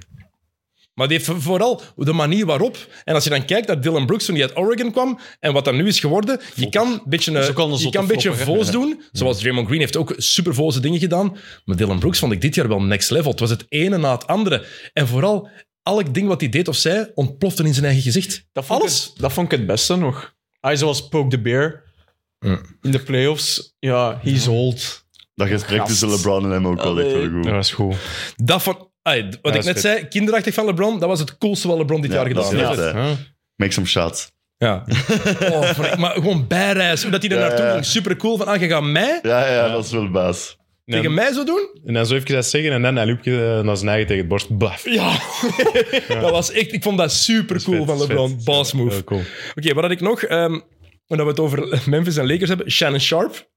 Speaker 1: Maar die heeft vooral de manier waarop. En als je dan kijkt naar Dylan Brooks toen hij uit Oregon kwam en wat dat nu is geworden. Je kan een beetje, eh,
Speaker 3: is ook al een
Speaker 1: je
Speaker 3: zotte
Speaker 1: kan een beetje
Speaker 3: flopper, hè?
Speaker 1: voos doen. Zoals Draymond Green heeft ook supervoze dingen gedaan. Maar Dylan Brooks vond ik dit jaar wel next level. Het was het ene na het andere. En vooral, elk ding wat hij deed of zei, ontplofte in zijn eigen gezicht.
Speaker 3: Dat vond, ik
Speaker 1: Alles?
Speaker 3: het- dat vond ik het beste nog. Ah, Hij zoals Poke the Bear.
Speaker 1: Mm.
Speaker 3: In de playoffs, ja, he's old.
Speaker 2: Dat gesprek
Speaker 3: Gast.
Speaker 2: tussen LeBron en hem ook wel echt wel goed.
Speaker 4: Dat was goed.
Speaker 1: Dat van... ai, wat
Speaker 4: is
Speaker 1: ik net
Speaker 4: fit.
Speaker 1: zei, kinderachtig van LeBron, dat was het coolste wat LeBron dit
Speaker 2: Ja,
Speaker 1: jaar
Speaker 2: dat
Speaker 1: gedaan
Speaker 2: is
Speaker 1: heeft.
Speaker 2: echt, hè.
Speaker 4: Huh?
Speaker 2: Make some shots.
Speaker 1: Ja. Oh, Frank, maar gewoon bijreis. Hoe dat hij er
Speaker 2: Ja,
Speaker 1: naartoe
Speaker 2: ja.
Speaker 1: ging. Super cool. Van, ah, je gaat mij
Speaker 2: Ja, ja, dat is wel baas.
Speaker 4: Ja.
Speaker 1: tegen mij zo doen?
Speaker 4: En dan zo even dat zeggen en dan een loopje naar zijn eigen tegen het borst. Blaf.
Speaker 1: Ja. dat was echt, ik vond dat super cool
Speaker 4: vet,
Speaker 1: van
Speaker 4: dat is
Speaker 1: LeBron.
Speaker 4: vet.
Speaker 1: Boss move.
Speaker 4: Heel
Speaker 1: Oké,
Speaker 4: cool.
Speaker 1: wat had ik nog? Ehm omdat we het over Memphis en Lakers hebben. Shannon Sharp.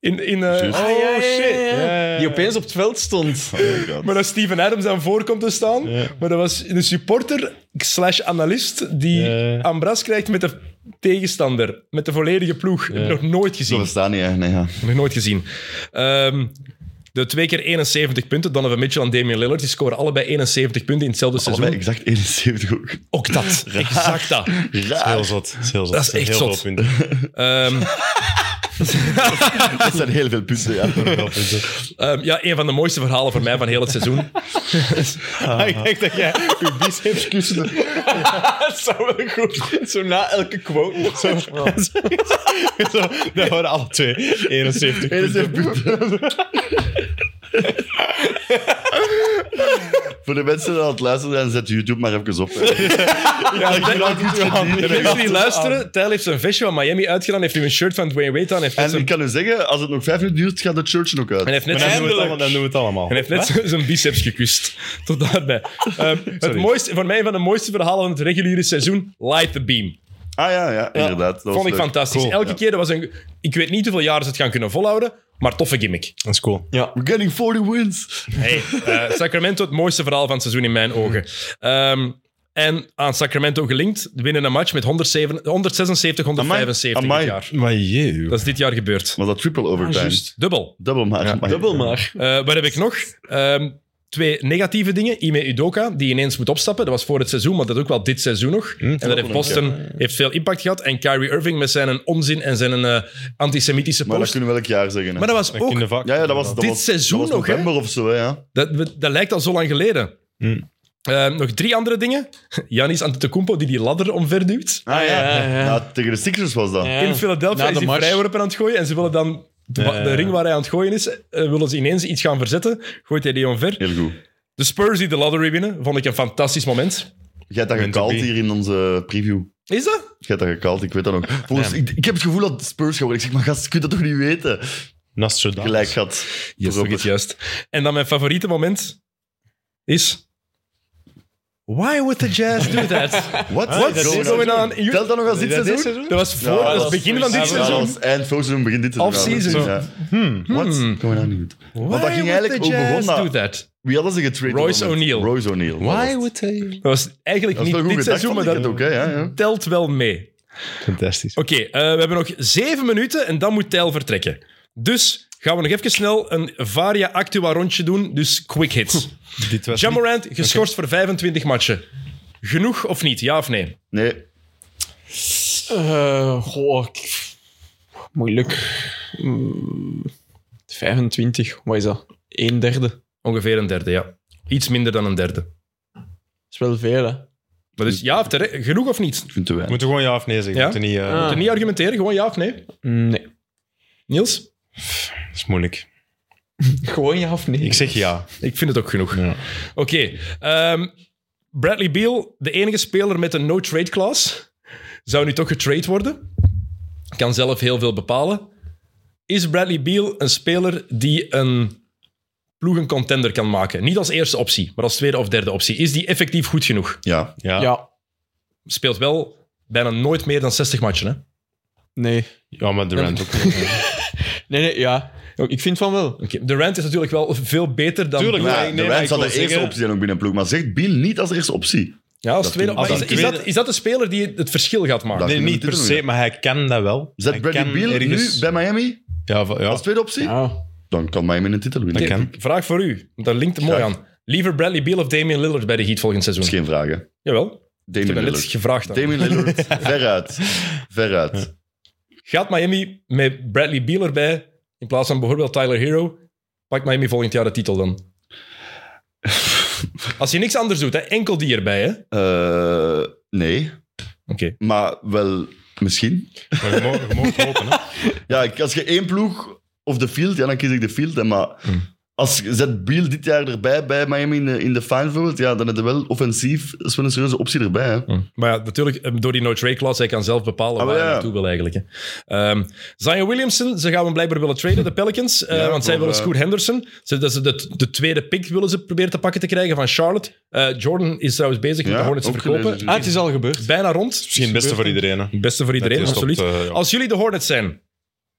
Speaker 1: In, in, eh,
Speaker 2: Juist.
Speaker 3: Oh, shit.
Speaker 4: ja, ja.
Speaker 3: Die opeens op het veld [LAUGHS] stond.
Speaker 2: Oh my god.
Speaker 1: Maar dat Steven Adams aan voor komt te staan. Maar dat was een supporter slash analist die
Speaker 4: Ja.
Speaker 1: Ambras krijgt met de tegenstander. Met de volledige ploeg. Heb ik nog nooit
Speaker 2: Dat
Speaker 1: gezien.
Speaker 2: bestaat niet, hè. Nee, ja.
Speaker 1: Nog nooit gezien. Ehm, de twee keer 71 punten, Donovan Mitchell en Damian Lillard, die scoren allebei 71 punten in hetzelfde seizoen.
Speaker 2: Allebei exact 71 ook.
Speaker 1: Ook dat.
Speaker 4: [LAUGHS]
Speaker 1: Exact dat.
Speaker 4: Heel
Speaker 2: Raar.
Speaker 4: zot. Dat is heel zot.
Speaker 1: Dat is
Speaker 4: zijn
Speaker 1: echt
Speaker 4: heel
Speaker 1: zot.
Speaker 4: veel punten.
Speaker 1: Ehm,
Speaker 2: Dat zijn heel veel punten, [LAUGHS] ja.
Speaker 4: Heel veel punten.
Speaker 1: ehm, ja, een van de mooiste verhalen voor mij van heel het seizoen.
Speaker 4: Ik denk dat jij je biceps
Speaker 2: [LAUGHS]
Speaker 4: kussen.
Speaker 3: Dat zou wel goed. Zo na elke quote. nog Zo.
Speaker 4: [LAUGHS] Zo, dat waren alle twee. 71 punten.
Speaker 2: 71 punten. [LAUGHS] Voor de mensen die aan het luisteren zijn, zet YouTube maar even [LAUGHS] op. hè.
Speaker 1: Ja, ik denk-
Speaker 4: Ja,
Speaker 1: de mensen die luisteren, Tijl heeft zijn vestje van Miami uitgedaan, heeft nu een shirt van Dwayne Wade aan, heeft net
Speaker 2: En
Speaker 1: zijn-
Speaker 2: ik kan u zeggen, als het nog vijf minuten duurt, gaat de church nog
Speaker 1: en
Speaker 2: uit.
Speaker 1: heeft net
Speaker 4: Dan
Speaker 1: zijn-
Speaker 4: doen, we het allemaal, dan doen we het allemaal.
Speaker 1: en heeft net zijn- zijn biceps gekust. Tot daarbij. Ehm, het
Speaker 4: Sorry.
Speaker 1: mooiste, voor mij een van de mooiste verhalen van het reguliere seizoen, Light the Beam.
Speaker 2: Ah ja, ja, inderdaad. Dat
Speaker 1: Vond ik
Speaker 2: was leuk.
Speaker 1: fantastisch. Elke
Speaker 2: Ja.
Speaker 1: keer, dat was een, ik weet niet hoeveel jaren ze het gaan kunnen volhouden, maar toffe gimmick.
Speaker 4: Dat is cool.
Speaker 2: We're getting 40 wins.
Speaker 1: Hey, eh, Sacramento, het mooiste verhaal van het seizoen in mijn ogen. Ehm, en aan Sacramento gelinkt, winnen een match met 107, 176, 175
Speaker 2: Amai.
Speaker 1: dit jaar.
Speaker 4: Maar jee.
Speaker 1: Dat is dit jaar gebeurd. Dus,
Speaker 2: Was dat triple overtime?
Speaker 1: Ah, Dubbel.
Speaker 2: Dubbel maar. maar-
Speaker 3: Dubbel maar.
Speaker 1: Eh, wat heb ik nog? Ehm, twee negatieve dingen. Ime Udoka, die ineens moet opstappen. Dat was voor het seizoen, maar dat ook wel dit seizoen nog. en dat heeft Boston heeft veel impact gehad. En Kyrie Irving met zijn onzin en zijn eh, antisemitische
Speaker 2: Maar dat
Speaker 1: post.
Speaker 2: kunnen we elk jaar zeggen. hè.
Speaker 1: Maar dat was ook...
Speaker 2: ja, ja, dat was, dat
Speaker 1: Dit
Speaker 2: was,
Speaker 1: seizoen
Speaker 2: dat was
Speaker 1: nog, hè?
Speaker 2: november of zo, hè, ja.
Speaker 1: Dat, dat lijkt al zo lang geleden. Eh, nog drie andere dingen. [LAUGHS] Janis Antetokounmpo die die ladder omverduwt.
Speaker 2: Ah ja.
Speaker 3: ja, ja.
Speaker 2: Ja, tegen de Sixers was dat.
Speaker 3: Ja.
Speaker 1: In Philadelphia
Speaker 3: Ah, Na
Speaker 1: is
Speaker 3: de
Speaker 1: hij
Speaker 3: match.
Speaker 1: vrijworpen aan het gooien en ze willen dan de,
Speaker 4: Ja, ja, ja.
Speaker 1: de ring waar hij aan het gooien is, eh, willen ze ineens iets gaan verzetten. Gooit hij die omver.
Speaker 2: Heel goed.
Speaker 1: De Spurs die de lottery winnen, vond ik een fantastisch moment.
Speaker 2: Jij hebt dat
Speaker 4: Meant to
Speaker 2: gekald
Speaker 4: be.
Speaker 2: hier in onze preview.
Speaker 1: Is dat?
Speaker 2: Jij hebt dat gekald, ik weet dat nog. Volgens, ik, ik heb het gevoel dat Spurs geworden. Ik zeg, maar gast, je kunt dat toch niet weten?
Speaker 4: Nostradamus.
Speaker 2: Gelijk gehad.
Speaker 1: Yes,
Speaker 2: Proper.
Speaker 1: het juist. En dan mijn favoriete moment is... Why would the Jazz do [LAUGHS] that?
Speaker 2: Wat?
Speaker 4: Ah, dat
Speaker 1: What's
Speaker 4: is
Speaker 1: going on? in your-
Speaker 2: Telt dat nog als dit
Speaker 4: dat dit
Speaker 2: seizoen?
Speaker 4: seizoen?
Speaker 1: Dat was voor, dat was het
Speaker 2: dat
Speaker 1: begin van dit
Speaker 2: Ja, dat
Speaker 1: seizoen.
Speaker 2: was eind vorig seizoen, begin dit seizoen.
Speaker 1: Off-season.
Speaker 2: Ja. What's going on? Niet. Want
Speaker 1: Why
Speaker 2: dat ging
Speaker 1: would
Speaker 2: eigenlijk
Speaker 1: the
Speaker 2: ook
Speaker 1: Jazz
Speaker 2: begonnen.
Speaker 1: do that?
Speaker 2: Wie hadden ze getraind?
Speaker 1: Royce O'Neal.
Speaker 2: Royce O'Neal.
Speaker 4: Why
Speaker 2: Dat was-
Speaker 4: would they?
Speaker 1: Dat was eigenlijk
Speaker 2: Dat is
Speaker 1: niet
Speaker 2: wel
Speaker 1: dit
Speaker 2: goed gedacht,
Speaker 1: seizoen,
Speaker 2: vond
Speaker 1: maar
Speaker 2: ik
Speaker 1: dat
Speaker 2: het ook, hè? Ja, ja.
Speaker 1: telt wel mee.
Speaker 4: Fantastisch.
Speaker 1: Oké, eh, we hebben nog zeven minuten en dan moet Tijl vertrekken. Dus gaan we nog even snel een Varia Actua rondje doen, dus quick hits.
Speaker 4: Dit was niet-
Speaker 1: Jamorant, geschorst voor 25 matchen. Genoeg of niet? Ja of nee?
Speaker 2: Nee,
Speaker 3: Eh, goh, ik- moeilijk. Mm, 25, wat is dat? Een derde. Dat
Speaker 1: Ongeveer een derde, ja. Iets minder dan een derde.
Speaker 3: is wel veel, hè?
Speaker 1: Maar dus ja of tere- genoeg of niet?
Speaker 2: ik vind te weinig.
Speaker 4: Moeten we gewoon ja of nee zeggen?
Speaker 1: Ja?
Speaker 4: Moeten niet, eh,
Speaker 3: Ah.
Speaker 1: Niet argumenteren, gewoon ja of nee.
Speaker 3: Nee.
Speaker 1: Niels?
Speaker 4: Dat is moeilijk.
Speaker 3: Gewoon ja of nee?
Speaker 4: Ik zeg ja.
Speaker 1: Ik vind het ook genoeg.
Speaker 4: Ja.
Speaker 1: Oké. ehm, Bradley Beal, de enige speler met een no-trade clause, zou nu toch getrade worden. Kan zelf heel veel bepalen. Is Bradley Beal een speler die een ploeg een contender kan maken? Niet als eerste optie, maar als tweede of derde optie. Is die effectief goed genoeg?
Speaker 2: Ja.
Speaker 4: Ja. ja.
Speaker 3: Ja.
Speaker 1: Speelt wel bijna nooit meer dan 60 matchen. Hè?
Speaker 3: Nee.
Speaker 4: maar Durant ook.
Speaker 2: [LAUGHS]
Speaker 3: Nee, nee, ja. Ik vind van wel.
Speaker 1: Oké, Durant is natuurlijk wel veel beter dan...
Speaker 4: Tuurlijk.
Speaker 2: Ja,
Speaker 4: Nee, nee,
Speaker 2: de
Speaker 4: maar
Speaker 2: Rams
Speaker 4: ik
Speaker 2: had de
Speaker 4: wil
Speaker 2: eerste
Speaker 4: zeggen-
Speaker 2: optie dan ook binnen een ploeg, maar zegt Biel niet als eerste optie.
Speaker 1: Ja, als tweede,
Speaker 2: als
Speaker 1: maar is,
Speaker 2: een
Speaker 1: is dat,
Speaker 3: tweede-
Speaker 1: is dat de speler die het verschil gaat maken?
Speaker 2: Dat-
Speaker 4: Nee, niet per se, maar hij kan dat wel.
Speaker 2: Zet
Speaker 4: Hij
Speaker 2: Bradley
Speaker 4: kan
Speaker 2: Beal
Speaker 4: ergens-
Speaker 2: nu bij Miami
Speaker 4: Ja, va- ja.
Speaker 2: als tweede optie?
Speaker 3: Ja.
Speaker 2: Dan kan Miami een titel winnen.
Speaker 1: Oké,
Speaker 4: kan.
Speaker 1: Vraag voor u, want dat linkt er mooi
Speaker 2: Graag.
Speaker 1: aan. Liever Bradley Beal of Damian Lillard bij de Heat volgend seizoen?
Speaker 2: is geen vraag, hè.
Speaker 1: Jawel. Ik heb
Speaker 2: Damian
Speaker 1: dat net
Speaker 2: Lillard.
Speaker 1: gevraagd. aan.
Speaker 2: Damian Lillard, veruit. Veruit.
Speaker 1: Gaat Miami met Bradley Beal erbij in plaats van bijvoorbeeld Tyler Hero? Pakt Miami volgend jaar de titel dan? Als je niks anders doet, hè? enkel die erbij. Hè? Oké.
Speaker 2: Eh, nee, maar wel misschien.
Speaker 4: Maar je mag, je mag hopen,
Speaker 2: [LAUGHS]
Speaker 4: hè.
Speaker 2: Ja, ik- als je één ploeg of de field, ja, dan kies ik de field. hè, maar als je zet Beal dit jaar erbij bij Miami in de, in de finals bijvoorbeeld, ja, dan heb je wel offensief dat is wel een serieuze optie erbij. Hè.
Speaker 1: Maar ja, natuurlijk, eh, door die no-trade-clause, hij kan zelf bepalen waar
Speaker 2: Ah, maar
Speaker 1: hij
Speaker 2: ja.
Speaker 1: naartoe wil eigenlijk. Hè. Ehm, Zion Williamson, ze gaan hem blijkbaar willen traden, de Pelicans. eh, want zij
Speaker 2: voor,
Speaker 1: willen
Speaker 2: eh,
Speaker 1: Scoot Henderson. Ze, dat ze de, de tweede pick willen ze proberen te pakken te krijgen van Charlotte. Eh, Jordan is trouwens bezig met
Speaker 2: Ja,
Speaker 1: de Hornets te
Speaker 2: ook
Speaker 1: verkopen.
Speaker 2: gelezen.
Speaker 3: Ah, het is al gebeurd.
Speaker 1: Bijna rond.
Speaker 4: Misschien het beste voor iedereen. Hè.
Speaker 1: Het beste voor iedereen,
Speaker 4: Dat is
Speaker 1: absoluut.
Speaker 4: op, eh, ja.
Speaker 1: Als jullie de Hornets zijn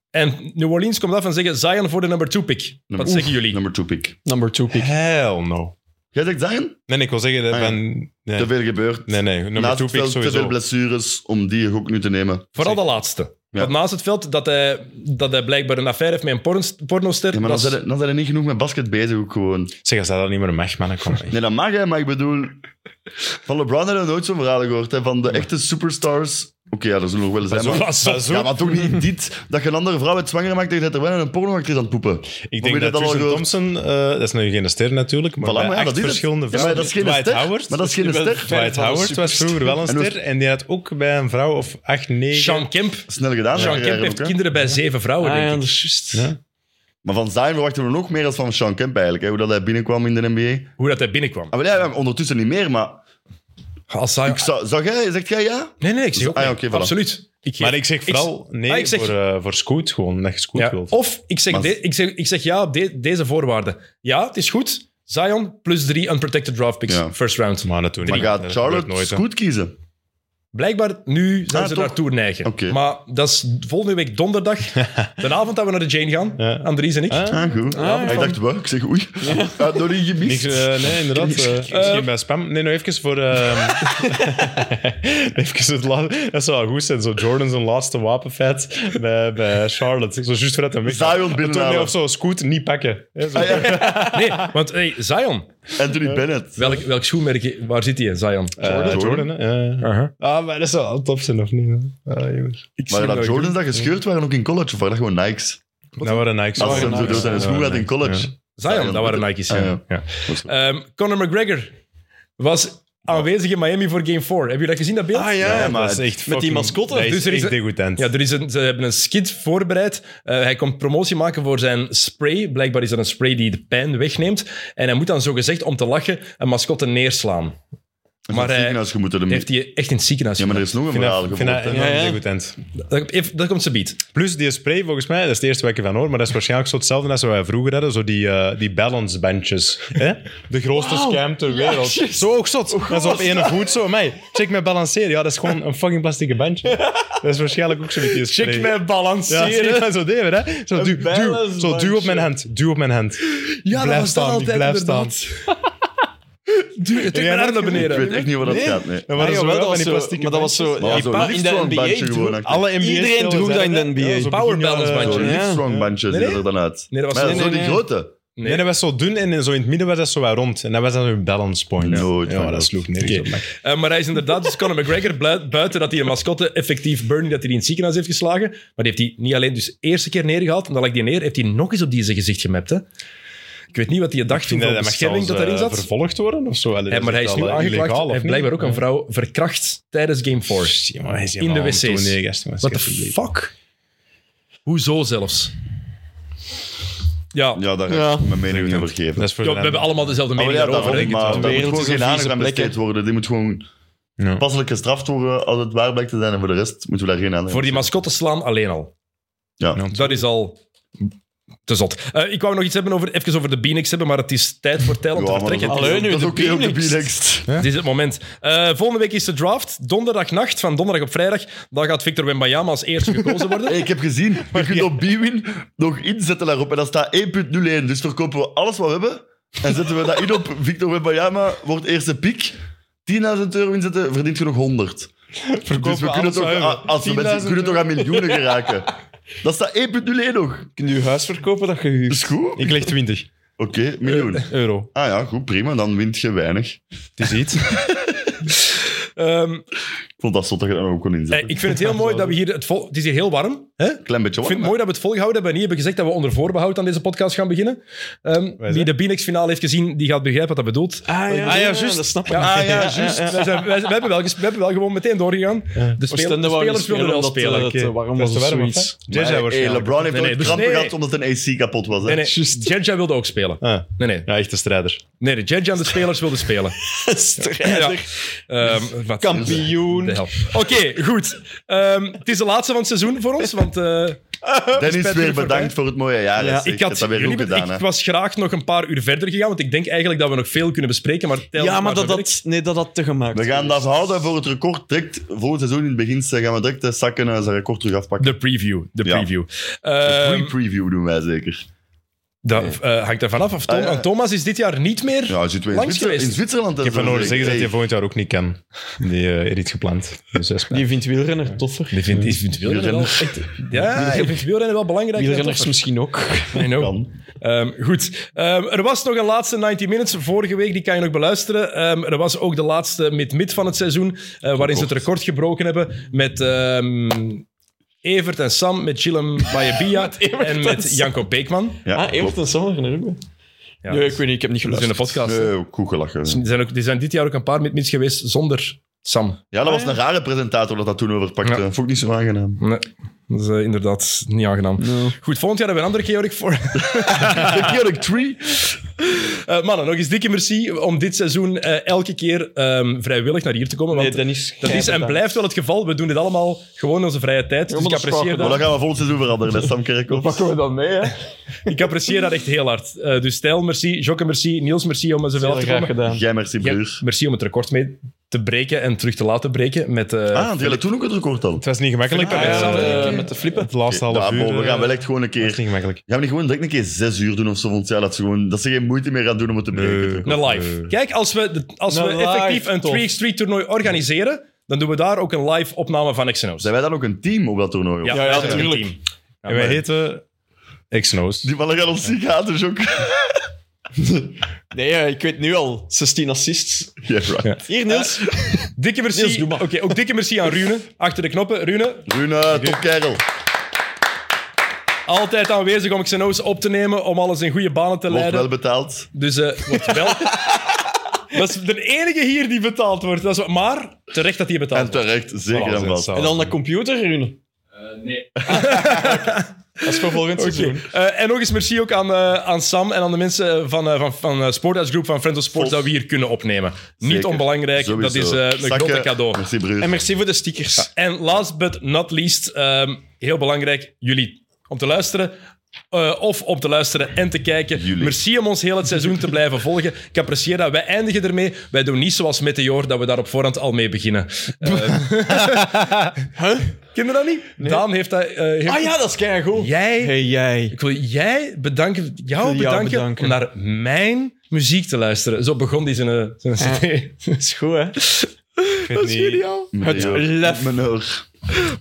Speaker 1: en New Orleans komt af en zeggen Zion voor de number two pick. Wat
Speaker 2: Oef,
Speaker 1: zeggen jullie?
Speaker 2: Number two pick.
Speaker 3: Number two pick.
Speaker 4: Hell no.
Speaker 2: Jij zegt Zion?
Speaker 4: Nee, nee, ik wil zeggen, dat
Speaker 2: Ah, ja.
Speaker 4: ben, nee.
Speaker 2: Te veel gebeurd.
Speaker 4: nee, nee, nummer
Speaker 2: Naast
Speaker 4: 2
Speaker 2: het
Speaker 4: pick
Speaker 2: veld te veel
Speaker 4: sowieso.
Speaker 2: blessures om die ook nu te nemen.
Speaker 1: Vooral de laatste.
Speaker 2: Ja.
Speaker 1: Want naast het veld dat hij, dat hij blijkbaar een affaire heeft met een porn- pornoster.
Speaker 2: Ja, maar dan
Speaker 1: dat is-
Speaker 2: zijn, er- dan zijn er niet genoeg met basket bezig ook gewoon.
Speaker 4: Zeg, als dat dan niet meer mag, man, dan kom ik.
Speaker 2: Nee, dat mag, hè, maar ik bedoel... Van LeBron hebben we nooit zo'n verhalen gehoord. Hè. Van de echte superstars... Oké, ja, er zullen nog wel zijn,
Speaker 1: zo-
Speaker 2: maar...
Speaker 1: maar zo-
Speaker 2: Ja, maar toch niet dit. Dat je een andere vrouw het zwanger maakt en je zet er wel een pornoactrice aan het poepen.
Speaker 4: Ik
Speaker 2: Heb je
Speaker 4: denk dat
Speaker 2: al
Speaker 4: Tristan
Speaker 2: gehoord?
Speaker 4: Thompson, eh, dat is nu geen ster natuurlijk, maar
Speaker 2: Voilà,
Speaker 4: bij
Speaker 2: maar ja,
Speaker 4: acht
Speaker 2: dat is het.
Speaker 4: verschillende
Speaker 2: Ja, maar dat is geen
Speaker 4: Dwight
Speaker 2: ster.
Speaker 4: Howard,
Speaker 2: Maar dat is geen
Speaker 4: Wel,
Speaker 2: ster.
Speaker 4: Dwight Howard was vroeger wel een
Speaker 2: En hoe-
Speaker 4: ster en die had ook bij een vrouw of acht, negen...
Speaker 1: Sean Kemp.
Speaker 2: Snel gedaan.
Speaker 1: Sean
Speaker 2: hè,
Speaker 1: Kemp heeft
Speaker 2: ook, hè.
Speaker 1: kinderen bij zeven vrouwen,
Speaker 3: Ah, ja,
Speaker 1: denk
Speaker 3: dat
Speaker 1: ik.
Speaker 3: is juist.
Speaker 4: Ja.
Speaker 2: Maar van Zion verwachten we nog meer dan van Sean Kemp eigenlijk. Hè, hoe dat hij binnenkwam in de NBA.
Speaker 1: Hoe dat hij binnenkwam.
Speaker 2: Ah, wel, ja, ja, ondertussen niet meer, maar...
Speaker 1: Als Zion-
Speaker 2: Ik zou, zou jij, zegt jij ja?
Speaker 1: Nee, nee, ik zeg ook
Speaker 2: Ah, ja,
Speaker 1: nee.
Speaker 2: oké, voilà.
Speaker 1: Absoluut. Ik geef-
Speaker 4: Maar ik zeg vooral nee
Speaker 1: Ah, ik zeg-
Speaker 4: voor, eh, voor Scoot gewoon, dat je Scoot
Speaker 1: Ja,
Speaker 2: Oh,
Speaker 4: wilt.
Speaker 1: Of ik zeg,
Speaker 2: Maar-
Speaker 1: de- ik zeg, ik zeg ja op de- deze voorwaarden. Ja, het is goed. Zion plus drie unprotected draft picks,
Speaker 2: Ja.
Speaker 1: first round.
Speaker 4: maar dat doen
Speaker 2: Maar
Speaker 4: niet.
Speaker 2: gaat
Speaker 4: Dat
Speaker 2: Charlotte
Speaker 4: gebeurt nooit, hè.
Speaker 2: Scoot kiezen?
Speaker 1: Blijkbaar nu zijn
Speaker 2: Ah,
Speaker 1: ze
Speaker 2: toch?
Speaker 1: naartoe neigen.
Speaker 2: Oké.
Speaker 1: Maar dat is volgende week donderdag. De avond dat we naar de Jane gaan,
Speaker 4: Ja.
Speaker 1: Andries en ik.
Speaker 4: Ah,
Speaker 2: Ah, goed.
Speaker 3: ja.
Speaker 2: ik dacht, wel, ik zeg oei. Ah, door die gemist.
Speaker 4: Niks, eh, nee,
Speaker 2: [LAUGHS]
Speaker 4: inderdaad. eh, misschien bij spam. Nee, nou even voor. eh, even het laatste. Dat zou wel goed zijn. Zo Jordan zijn laatste wapenfeit bij, bij Charlotte. Zo juist voordat hij weg.
Speaker 2: Zion
Speaker 4: En toen, nee,
Speaker 2: binnenhalen.
Speaker 4: Of zo, Scoot niet pakken. Hè, zo.
Speaker 2: Ah, ja.
Speaker 1: Nee, want hey, Zion.
Speaker 2: Anthony Bennett.
Speaker 1: Welk, welk schoenmerk, waar zit hij in, Zion?
Speaker 4: Eh, Jordan. hè, ja. Ah, maar dat zou al top zijn, of niet? hè? Ah, jongens.
Speaker 2: Maar dat Jordans dat gescheurd waren ook in college, of waren dat gewoon Nikes?
Speaker 3: Nou,
Speaker 4: Dat waren Nike's.
Speaker 2: Als ze hem zo
Speaker 4: Nike's.
Speaker 2: door zijn schoen gaat in college.
Speaker 1: Zion,
Speaker 2: Zion.
Speaker 1: dat waren Nike's.
Speaker 2: Ah,
Speaker 1: ja.
Speaker 2: ja.
Speaker 1: Ja. Ehm, Conor McGregor was aanwezig in Miami voor Game 4. Heb je dat gezien, dat beeld?
Speaker 3: Ah ja,
Speaker 4: Ja,
Speaker 2: maar
Speaker 4: maar dat is echt
Speaker 3: met die
Speaker 4: fucking-
Speaker 3: mascotte.
Speaker 4: Dat is
Speaker 1: Dus er is
Speaker 4: echt
Speaker 1: een-
Speaker 4: degoutant.
Speaker 1: Ja, er is een, ze hebben een skit voorbereid. Eh, hij komt promotie maken voor zijn spray. Blijkbaar is dat een spray die de pijn wegneemt. En hij moet dan zogezegd, om te lachen, een mascotte neerslaan. Maar
Speaker 2: Maar
Speaker 1: hij-
Speaker 2: ziekenhuis moeten hem.
Speaker 1: Heeft hij echt in het ziekenhuis
Speaker 2: Ja, maar er
Speaker 1: gebracht.
Speaker 2: is nog een
Speaker 4: Ik vind
Speaker 2: verhaal
Speaker 4: dat- ik vind dat
Speaker 2: gevolgd.
Speaker 4: enorm
Speaker 3: Ja, ja.
Speaker 4: degoutant.
Speaker 1: dat, even- dat komt ze beat.
Speaker 4: Plus die spray, volgens mij, dat is het eerste wat ik van hoor, maar dat is waarschijnlijk zo hetzelfde als wat wij vroeger hadden, zo die, eh, die balance benches. Hè? De grootste scam ter wereld. zo ook zot.
Speaker 3: Oh,
Speaker 4: dat is op ene voet zo. Mij, check mij balanceren. Ja, dat is gewoon een fucking
Speaker 3: [LAUGHS]
Speaker 4: plastic bandje. dat is waarschijnlijk ook zo met die spray. Ja, zie je
Speaker 1: balanceren.
Speaker 4: dat zo deden, hè? Zo, duw, duw, zo duw op mijn hand, duw op mijn hand.
Speaker 1: Ja,
Speaker 4: blijf
Speaker 1: dat was
Speaker 4: staan,
Speaker 1: dat altijd
Speaker 4: blijf
Speaker 1: inderdaad. Duw, trek
Speaker 4: Ja,
Speaker 1: mijn arm
Speaker 4: dat
Speaker 1: naar
Speaker 2: Ik weet
Speaker 1: beneden.
Speaker 2: echt niet waar dat
Speaker 3: Nee.
Speaker 2: gaat, nee.
Speaker 4: Dat
Speaker 3: Ah,
Speaker 4: waren zo
Speaker 3: jawel, dat
Speaker 4: wel
Speaker 3: was
Speaker 4: van die
Speaker 3: zo-
Speaker 4: plastieke
Speaker 3: maar dat was zo-
Speaker 4: bandjes.
Speaker 2: Maar
Speaker 3: Ja,
Speaker 2: zo
Speaker 3: pa- in de
Speaker 2: liefstrong
Speaker 3: NBA
Speaker 2: bandje
Speaker 3: droeg-
Speaker 2: gewoon. hè.
Speaker 4: Alle NBA
Speaker 3: Iedereen
Speaker 4: spelers
Speaker 3: droeg dat
Speaker 4: hadden
Speaker 3: in de NBA.
Speaker 4: zo eh,
Speaker 1: Power
Speaker 4: begin jaren-
Speaker 1: balance bandje.
Speaker 2: Zo'n
Speaker 3: Ja.
Speaker 2: liefstrong bandje ziet er dan uit.
Speaker 1: Nee, dat was
Speaker 2: Maar ja,
Speaker 1: nee,
Speaker 2: zo
Speaker 3: nee,
Speaker 2: die
Speaker 3: nee.
Speaker 2: grote.
Speaker 4: Nee, dat was zo dun en in- zo in het midden was dat zo wat rond. En dat was dan hun balance point.
Speaker 2: Nooit van
Speaker 4: Ja, dat
Speaker 2: gehoord.
Speaker 4: sloeg nergens
Speaker 1: Oké.
Speaker 4: op. maar-
Speaker 1: Eh, maar hij is inderdaad, dus Conor McGregor, blui- buiten dat hij een mascotte effectief Bernie, dat hij die in het ziekenhuis heeft geslagen, maar die heeft hij niet alleen dus eerste keer neergehaald, en dan lag die neer, heeft hij nog eens op die zijn gezicht gemapt. Hè? Ik weet niet wat hij dacht toen
Speaker 4: Vind je
Speaker 1: van
Speaker 4: dat mag
Speaker 1: bescherming dat daarin
Speaker 4: zelfs, eh,
Speaker 1: zat.
Speaker 4: vervolgd worden of zo? Allee,
Speaker 1: Ja,
Speaker 4: dat
Speaker 1: maar hij
Speaker 4: echt
Speaker 1: is nu
Speaker 4: al, eh,
Speaker 1: aangeklaagd.
Speaker 4: illegaal,
Speaker 1: Hij
Speaker 4: of
Speaker 1: heeft
Speaker 4: niet? eh?
Speaker 1: blijkbaar ook een vrouw verkracht tijdens Game 4.
Speaker 4: Ja, maar Oh, hij is
Speaker 1: In
Speaker 4: helemaal
Speaker 1: de wc's.
Speaker 4: aan het toneel, gast, maar
Speaker 1: What the
Speaker 4: alsjeblieft.
Speaker 1: fuck? Hoezo zelfs? Ja,
Speaker 2: Ja, daar
Speaker 3: Ja.
Speaker 2: heb ik mijn mening over gegeven.
Speaker 4: Dat is voor
Speaker 1: Ja,
Speaker 4: de
Speaker 1: we hebben allemaal dezelfde
Speaker 2: Maar
Speaker 1: mening
Speaker 2: ja,
Speaker 1: daarover.
Speaker 2: daarom,
Speaker 1: denk ik. Het
Speaker 2: maar daar moet
Speaker 3: wereld
Speaker 2: gewoon
Speaker 3: is een
Speaker 2: geen aandacht
Speaker 3: vieze
Speaker 2: aan
Speaker 3: plek, hè.
Speaker 2: besteed worden. Die moet gewoon
Speaker 4: Ja.
Speaker 2: passelijk gestraft worden als het waar blijkt te zijn. En voor de rest moeten we daar geen aandacht
Speaker 1: Voor die mascotte slaan alleen al.
Speaker 2: Ja.
Speaker 1: Dat is al te zot. Eh, ik wou nog iets hebben over, even over de Beanix hebben, maar het is tijd voor Tijl om te
Speaker 2: Ja, maar dat is
Speaker 1: vertrekken.
Speaker 2: ook-
Speaker 3: Allee, nu,
Speaker 2: dat is
Speaker 3: de
Speaker 2: ook heel de
Speaker 3: Phoenix.
Speaker 2: B-next.
Speaker 1: Het is het moment. Eh, volgende week is de draft. Donderdagnacht, van donderdag op vrijdag. Dan gaat Victor Wembanyama als eerste gekozen worden.
Speaker 2: [LAUGHS] Hey, ik heb
Speaker 1: [LAUGHS]
Speaker 2: gezien, je kunt op B-win nog inzetten daarop. En dat staat 1.01. Dus verkopen we alles wat we hebben. En zetten we dat in
Speaker 1: [LAUGHS]
Speaker 2: op Victor Wembanyama, wordt eerste piek. 10.000 euro inzetten, verdient je nog 100. dus we kunnen
Speaker 4: alles
Speaker 2: toch,
Speaker 4: wat we hebben.
Speaker 2: ah, als we mensen
Speaker 4: 10.000
Speaker 2: kunnen toch aan
Speaker 1: [LAUGHS]
Speaker 2: miljoenen geraken. Dat staat 1.01 nog.
Speaker 3: Kun je je huis verkopen dat je
Speaker 2: Dat
Speaker 3: huurt?
Speaker 2: is goed.
Speaker 4: Ik leg 20.
Speaker 2: Oké, miljoen.
Speaker 1: Eh.
Speaker 4: Euro.
Speaker 2: Ah ja, goed, prima. Dan wint je weinig.
Speaker 4: Het is iets.
Speaker 1: Ehm,
Speaker 2: Ik vond dat zot dat je dat ook kon
Speaker 1: eh,
Speaker 2: inzetten.
Speaker 1: ik vind het heel mooi dat we hier... Het, vol- het is hier heel warm. Hè?
Speaker 2: Klein beetje
Speaker 1: Eh, Ik vind het mooi dat we het volgehouden hebben en niet hebben gezegd dat we onder voorbehoud aan deze podcast gaan beginnen. Ehm,
Speaker 4: Wij
Speaker 1: wie
Speaker 4: zijn-
Speaker 1: de Binex finale heeft gezien, die gaat begrijpen wat dat bedoelt.
Speaker 3: Ah ja,
Speaker 4: juist.
Speaker 3: dat snap ik.
Speaker 1: Ja, [LAUGHS]
Speaker 2: Ah, ja,
Speaker 1: juist. Wij, zijn- wij- wij hebben wel, ges- we hebben wel gewoon meteen doorgegaan. De, spelers-
Speaker 3: Oostende
Speaker 1: de
Speaker 3: wou niet
Speaker 1: spelers wilden wel
Speaker 3: omdat,
Speaker 1: spelen.
Speaker 3: eh, het,
Speaker 4: oké.
Speaker 3: eh, waarom
Speaker 4: Dat is
Speaker 3: was het
Speaker 4: te warm, of,
Speaker 3: zoiets?
Speaker 4: hè? JJ
Speaker 2: hey,
Speaker 4: waarschijnlijk.
Speaker 2: LeBron heeft
Speaker 1: Nee, nee,
Speaker 2: ooit
Speaker 1: dus-
Speaker 2: kramp
Speaker 1: nee,
Speaker 2: gehad
Speaker 1: nee.
Speaker 2: omdat een AC kapot was. Hè?
Speaker 1: Nee, nee. Jerja wilde ook spelen.
Speaker 4: Ah.
Speaker 1: Nee, nee.
Speaker 4: Ja, echt een strijder.
Speaker 1: Nee, de Jerja en de spelers wilden
Speaker 2: [LAUGHS]
Speaker 1: spelen.
Speaker 3: Strijder,
Speaker 1: Ehm, wat-
Speaker 3: kampioen.
Speaker 1: de hel. Oké, goed. Ehm, het is de laatste van het seizoen voor ons,
Speaker 2: [LAUGHS]
Speaker 1: want... eh,
Speaker 2: Dennis, weer bedankt voor het mooie jaar.
Speaker 3: Ja,
Speaker 2: Ja, ik
Speaker 1: Ik,
Speaker 2: heb
Speaker 1: had,
Speaker 2: dat weer
Speaker 1: jullie
Speaker 2: goed
Speaker 1: hebben-
Speaker 2: gedaan. hè.
Speaker 1: ik was graag nog een paar uur verder gegaan, want ik denk eigenlijk dat we nog veel kunnen bespreken. Maar tel
Speaker 3: Ja, maar
Speaker 1: zo
Speaker 3: dat
Speaker 1: werkt.
Speaker 3: dat, nee, dat had te gemaakt.
Speaker 2: We gaan dat houden voor het record. Direct volgend seizoen in het begin eh, gaan we direct de zakken en zijn record terug afpakken.
Speaker 1: De preview. De
Speaker 2: Ja.
Speaker 1: preview.
Speaker 2: De
Speaker 1: Ehm,
Speaker 2: pre-preview doen wij zeker.
Speaker 1: dat eh, hangt ervan af. Of Tom-
Speaker 2: Ah, ja.
Speaker 1: want Thomas is dit jaar niet meer.
Speaker 2: Ja, zitten we in,
Speaker 1: langs
Speaker 2: Zwitser-
Speaker 1: geweest.
Speaker 2: in Zwitserland.
Speaker 4: Ik heb van horen zeggen dat hij volgend jaar ook niet kan. Die eh, heeft iets [LAUGHS] gepland. Dus dat is spijt.
Speaker 3: Die vindt wielrenner toffer.
Speaker 1: Ik vind, ik vind wielrennen wel
Speaker 2: Wielrennen.
Speaker 1: echt- Ja, ik vind wielrennen wel belangrijk.
Speaker 3: Wielrenners misschien ook.
Speaker 1: I know.
Speaker 2: Kan.
Speaker 1: Ehm, goed. Ehm, er was nog een laatste 90 Minutes vorige week, die kan je nog beluisteren. Ehm, er was ook de laatste mid-mid van het seizoen, eh, waarin ze het record gebroken hebben met ehm, Evert en Sam, met Chillem Bayabia en
Speaker 3: en
Speaker 1: met
Speaker 3: Sam.
Speaker 1: Janko Beekman.
Speaker 2: Ja,
Speaker 3: ah, Evert
Speaker 2: klopt.
Speaker 3: en Sommer er ook bij.
Speaker 1: Ja,
Speaker 3: Nee, ik weet niet, ik heb niet
Speaker 1: dat is in de
Speaker 3: geluisterd.
Speaker 1: podcast.
Speaker 2: Nee, ook goed gelachen.
Speaker 1: Er, zijn ook, er zijn dit jaar ook een paar mid-mids geweest zonder Sam.
Speaker 2: Ja, dat was een rare presentator dat dat toen overpakte.
Speaker 1: Ja.
Speaker 2: Vond ik niet zo aangenaam.
Speaker 1: Nee, dat is eh, inderdaad niet aangenaam. Goed, volgend jaar hebben we een andere Georg voor.
Speaker 2: De Chaotic 3.
Speaker 1: Eh, mannen, nog eens dikke merci om dit seizoen eh, elke keer ehm, vrijwillig naar hier te komen.
Speaker 3: Nee,
Speaker 1: Want
Speaker 3: Dennis.
Speaker 1: dat
Speaker 3: jij
Speaker 1: is en
Speaker 3: bedankt.
Speaker 1: blijft wel het geval. We doen dit allemaal gewoon in onze vrije tijd. Dus ik
Speaker 3: dat is
Speaker 1: apprecieer
Speaker 2: Maar dat
Speaker 1: dat.
Speaker 2: gaan we volgend seizoen veranderen, hè, Sam Kerkhoff.
Speaker 3: Pakken we dat mee, hè?
Speaker 1: Ik apprecieer dat echt heel hard. Eh, dus Stijl, merci. Jocke, merci. Niels, merci om zoveel
Speaker 3: Heel
Speaker 1: af te
Speaker 3: graag
Speaker 1: komen.
Speaker 3: gedaan.
Speaker 2: Jij merci,
Speaker 1: Ja,
Speaker 2: broer.
Speaker 1: merci om het record mee te breken en terug te laten breken. Met, eh,
Speaker 2: Ah, die hadden toen ook het record al.
Speaker 4: Het was niet gemakkelijk.
Speaker 1: Philippe
Speaker 4: maar,
Speaker 1: en
Speaker 4: eh,
Speaker 1: Sam,
Speaker 3: Eh, met de flippen.
Speaker 4: Het laatste half
Speaker 2: Ja,
Speaker 4: uur.
Speaker 2: maar we gaan
Speaker 4: eh,
Speaker 2: wel echt gewoon een
Speaker 4: Dat
Speaker 2: keer...
Speaker 4: is niet gemakkelijk.
Speaker 2: Gaan we niet gewoon direct een keer zes uur doen of zo? Want ja, dat ze, gewoon, dat ze geen moeite meer gaan doen om het te breken.
Speaker 4: Nee.
Speaker 1: Een live.
Speaker 4: Eh.
Speaker 1: Kijk, als we, de- als
Speaker 3: Een
Speaker 1: we effectief
Speaker 3: live,
Speaker 1: een
Speaker 3: tof.
Speaker 1: 3x3 toernooi organiseren, dan doen we daar ook een live opname van Xenos.
Speaker 2: Zijn wij dan ook een team op dat toernooi? of?
Speaker 1: Ja,
Speaker 3: Ja, ja,
Speaker 1: wij zijn een
Speaker 3: tuurlijk.
Speaker 1: team.
Speaker 4: en wij heten X-Nose.
Speaker 2: Die mannen gaan ons ziek haten, dus ook.
Speaker 3: Nee, eh, ik weet nu al. 16 assists.
Speaker 2: [LAUGHS] Ja, right.
Speaker 3: Hier, Niels.
Speaker 1: Dikke
Speaker 3: Niels,
Speaker 1: merci.
Speaker 3: doe
Speaker 1: Oké,
Speaker 3: maar.
Speaker 1: ook dikke merci aan Rune. Achter de knoppen. Rune,
Speaker 2: Rune, top kerel.
Speaker 1: altijd aanwezig om Xenos op te nemen, om alles in goede banen te
Speaker 2: Wordt
Speaker 1: leiden.
Speaker 2: wel betaald.
Speaker 1: Dus eh wordt wel. [LAUGHS] dat is de enige hier die betaald wordt. Dat is, wat- maar terecht dat die
Speaker 2: En
Speaker 1: betaald wordt.
Speaker 2: terecht, zeker en vast.
Speaker 3: En dan de computer, Rune. [LAUGHS] nee. Dat is voor volgend seizoen.
Speaker 1: Eh, en nog eens merci ook aan, eh, aan Sam en aan de mensen van, eh van, van eh, Sporthuis Group van Friends of Sports
Speaker 2: Of-
Speaker 1: dat we hier kunnen opnemen. Niet
Speaker 2: Zeker.
Speaker 1: onbelangrijk, dat
Speaker 2: Sowieso.
Speaker 1: is eh, een
Speaker 2: Zakken.
Speaker 1: grote cadeau.
Speaker 2: Merci, broer.
Speaker 3: En merci voor de stickers.
Speaker 1: En last but not least, ehm, heel belangrijk, jullie om te luisteren. eh, of om te luisteren en te kijken.
Speaker 2: Jullie.
Speaker 1: Merci om ons heel het seizoen te blijven volgen. Ik apprecieer dat. Wij eindigen ermee. Wij doen niet zoals Meteor, dat we daar op voorhand al mee beginnen. Eh,
Speaker 2: [LAUGHS]
Speaker 1: Kinderen dat niet? Daan heeft dat... eh, heeft-
Speaker 3: Ah ja, dat is keigoed.
Speaker 1: Jij...
Speaker 3: Hey, jij.
Speaker 1: Ik wil jij bedanken, jou
Speaker 3: Ik wil jou
Speaker 1: bedanken,
Speaker 3: bedanken.
Speaker 1: om naar mijn muziek te luisteren. Zo begon die zijn, eh, [LAUGHS] zijn cd.
Speaker 3: [LAUGHS] Dat is goed, hè?
Speaker 4: Dat is
Speaker 3: Het lef.
Speaker 2: Mijn oor.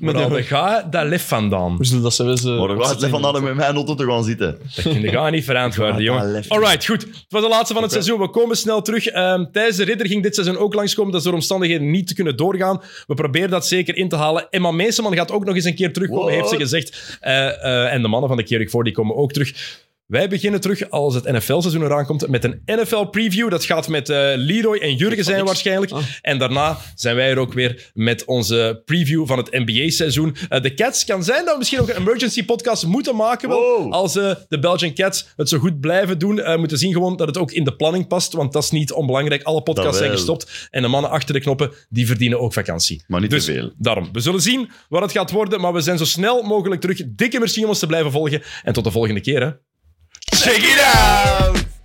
Speaker 1: Maar
Speaker 3: dat-
Speaker 1: dan ga je dat lef vandaan.
Speaker 3: Hoe zullen dat ze eens, eh,
Speaker 2: Maar dan gaat het van hadden met mijn auto te gaan zitten.
Speaker 1: En dat gaat niet verantwoorden, jongen. Alright, goed. Het was de laatste van het seizoen. We komen snel terug. Ehm Thijs de Ridder ging dit seizoen ook langskomen. Dat is door omstandigheden niet te kunnen doorgaan. We proberen dat zeker in te halen. Emma Meeseman gaat ook nog eens een keer terugkomen,
Speaker 2: What?
Speaker 1: heeft ze gezegd. Eh, eh, en de mannen van de Kerik voor die komen ook terug. Wij beginnen terug als het NFL-seizoen eraan komt met een NFL-preview. Dat gaat met eh, Leroy en Jurgen zijn waarschijnlijk. En daarna zijn wij er ook weer met onze preview van het NBA-seizoen. Eh, de Cats kan zijn dat we misschien ook een emergency podcast moeten maken. Wel,
Speaker 2: Wow.
Speaker 1: Als eh, de Belgian Cats het zo goed blijven doen, eh, moeten zien gewoon dat het ook in de planning past. Want dat is niet onbelangrijk. Alle podcasts
Speaker 2: Dat
Speaker 1: zijn
Speaker 2: wel.
Speaker 1: gestopt. En de mannen achter de knoppen, die verdienen ook vakantie.
Speaker 2: Maar niet
Speaker 1: Dus
Speaker 2: te veel.
Speaker 1: Daarom, we zullen zien wat het gaat worden. Maar we zijn zo snel mogelijk terug. Dikke merci om ons te blijven volgen. En tot de volgende keer. Hè.
Speaker 2: Check it out!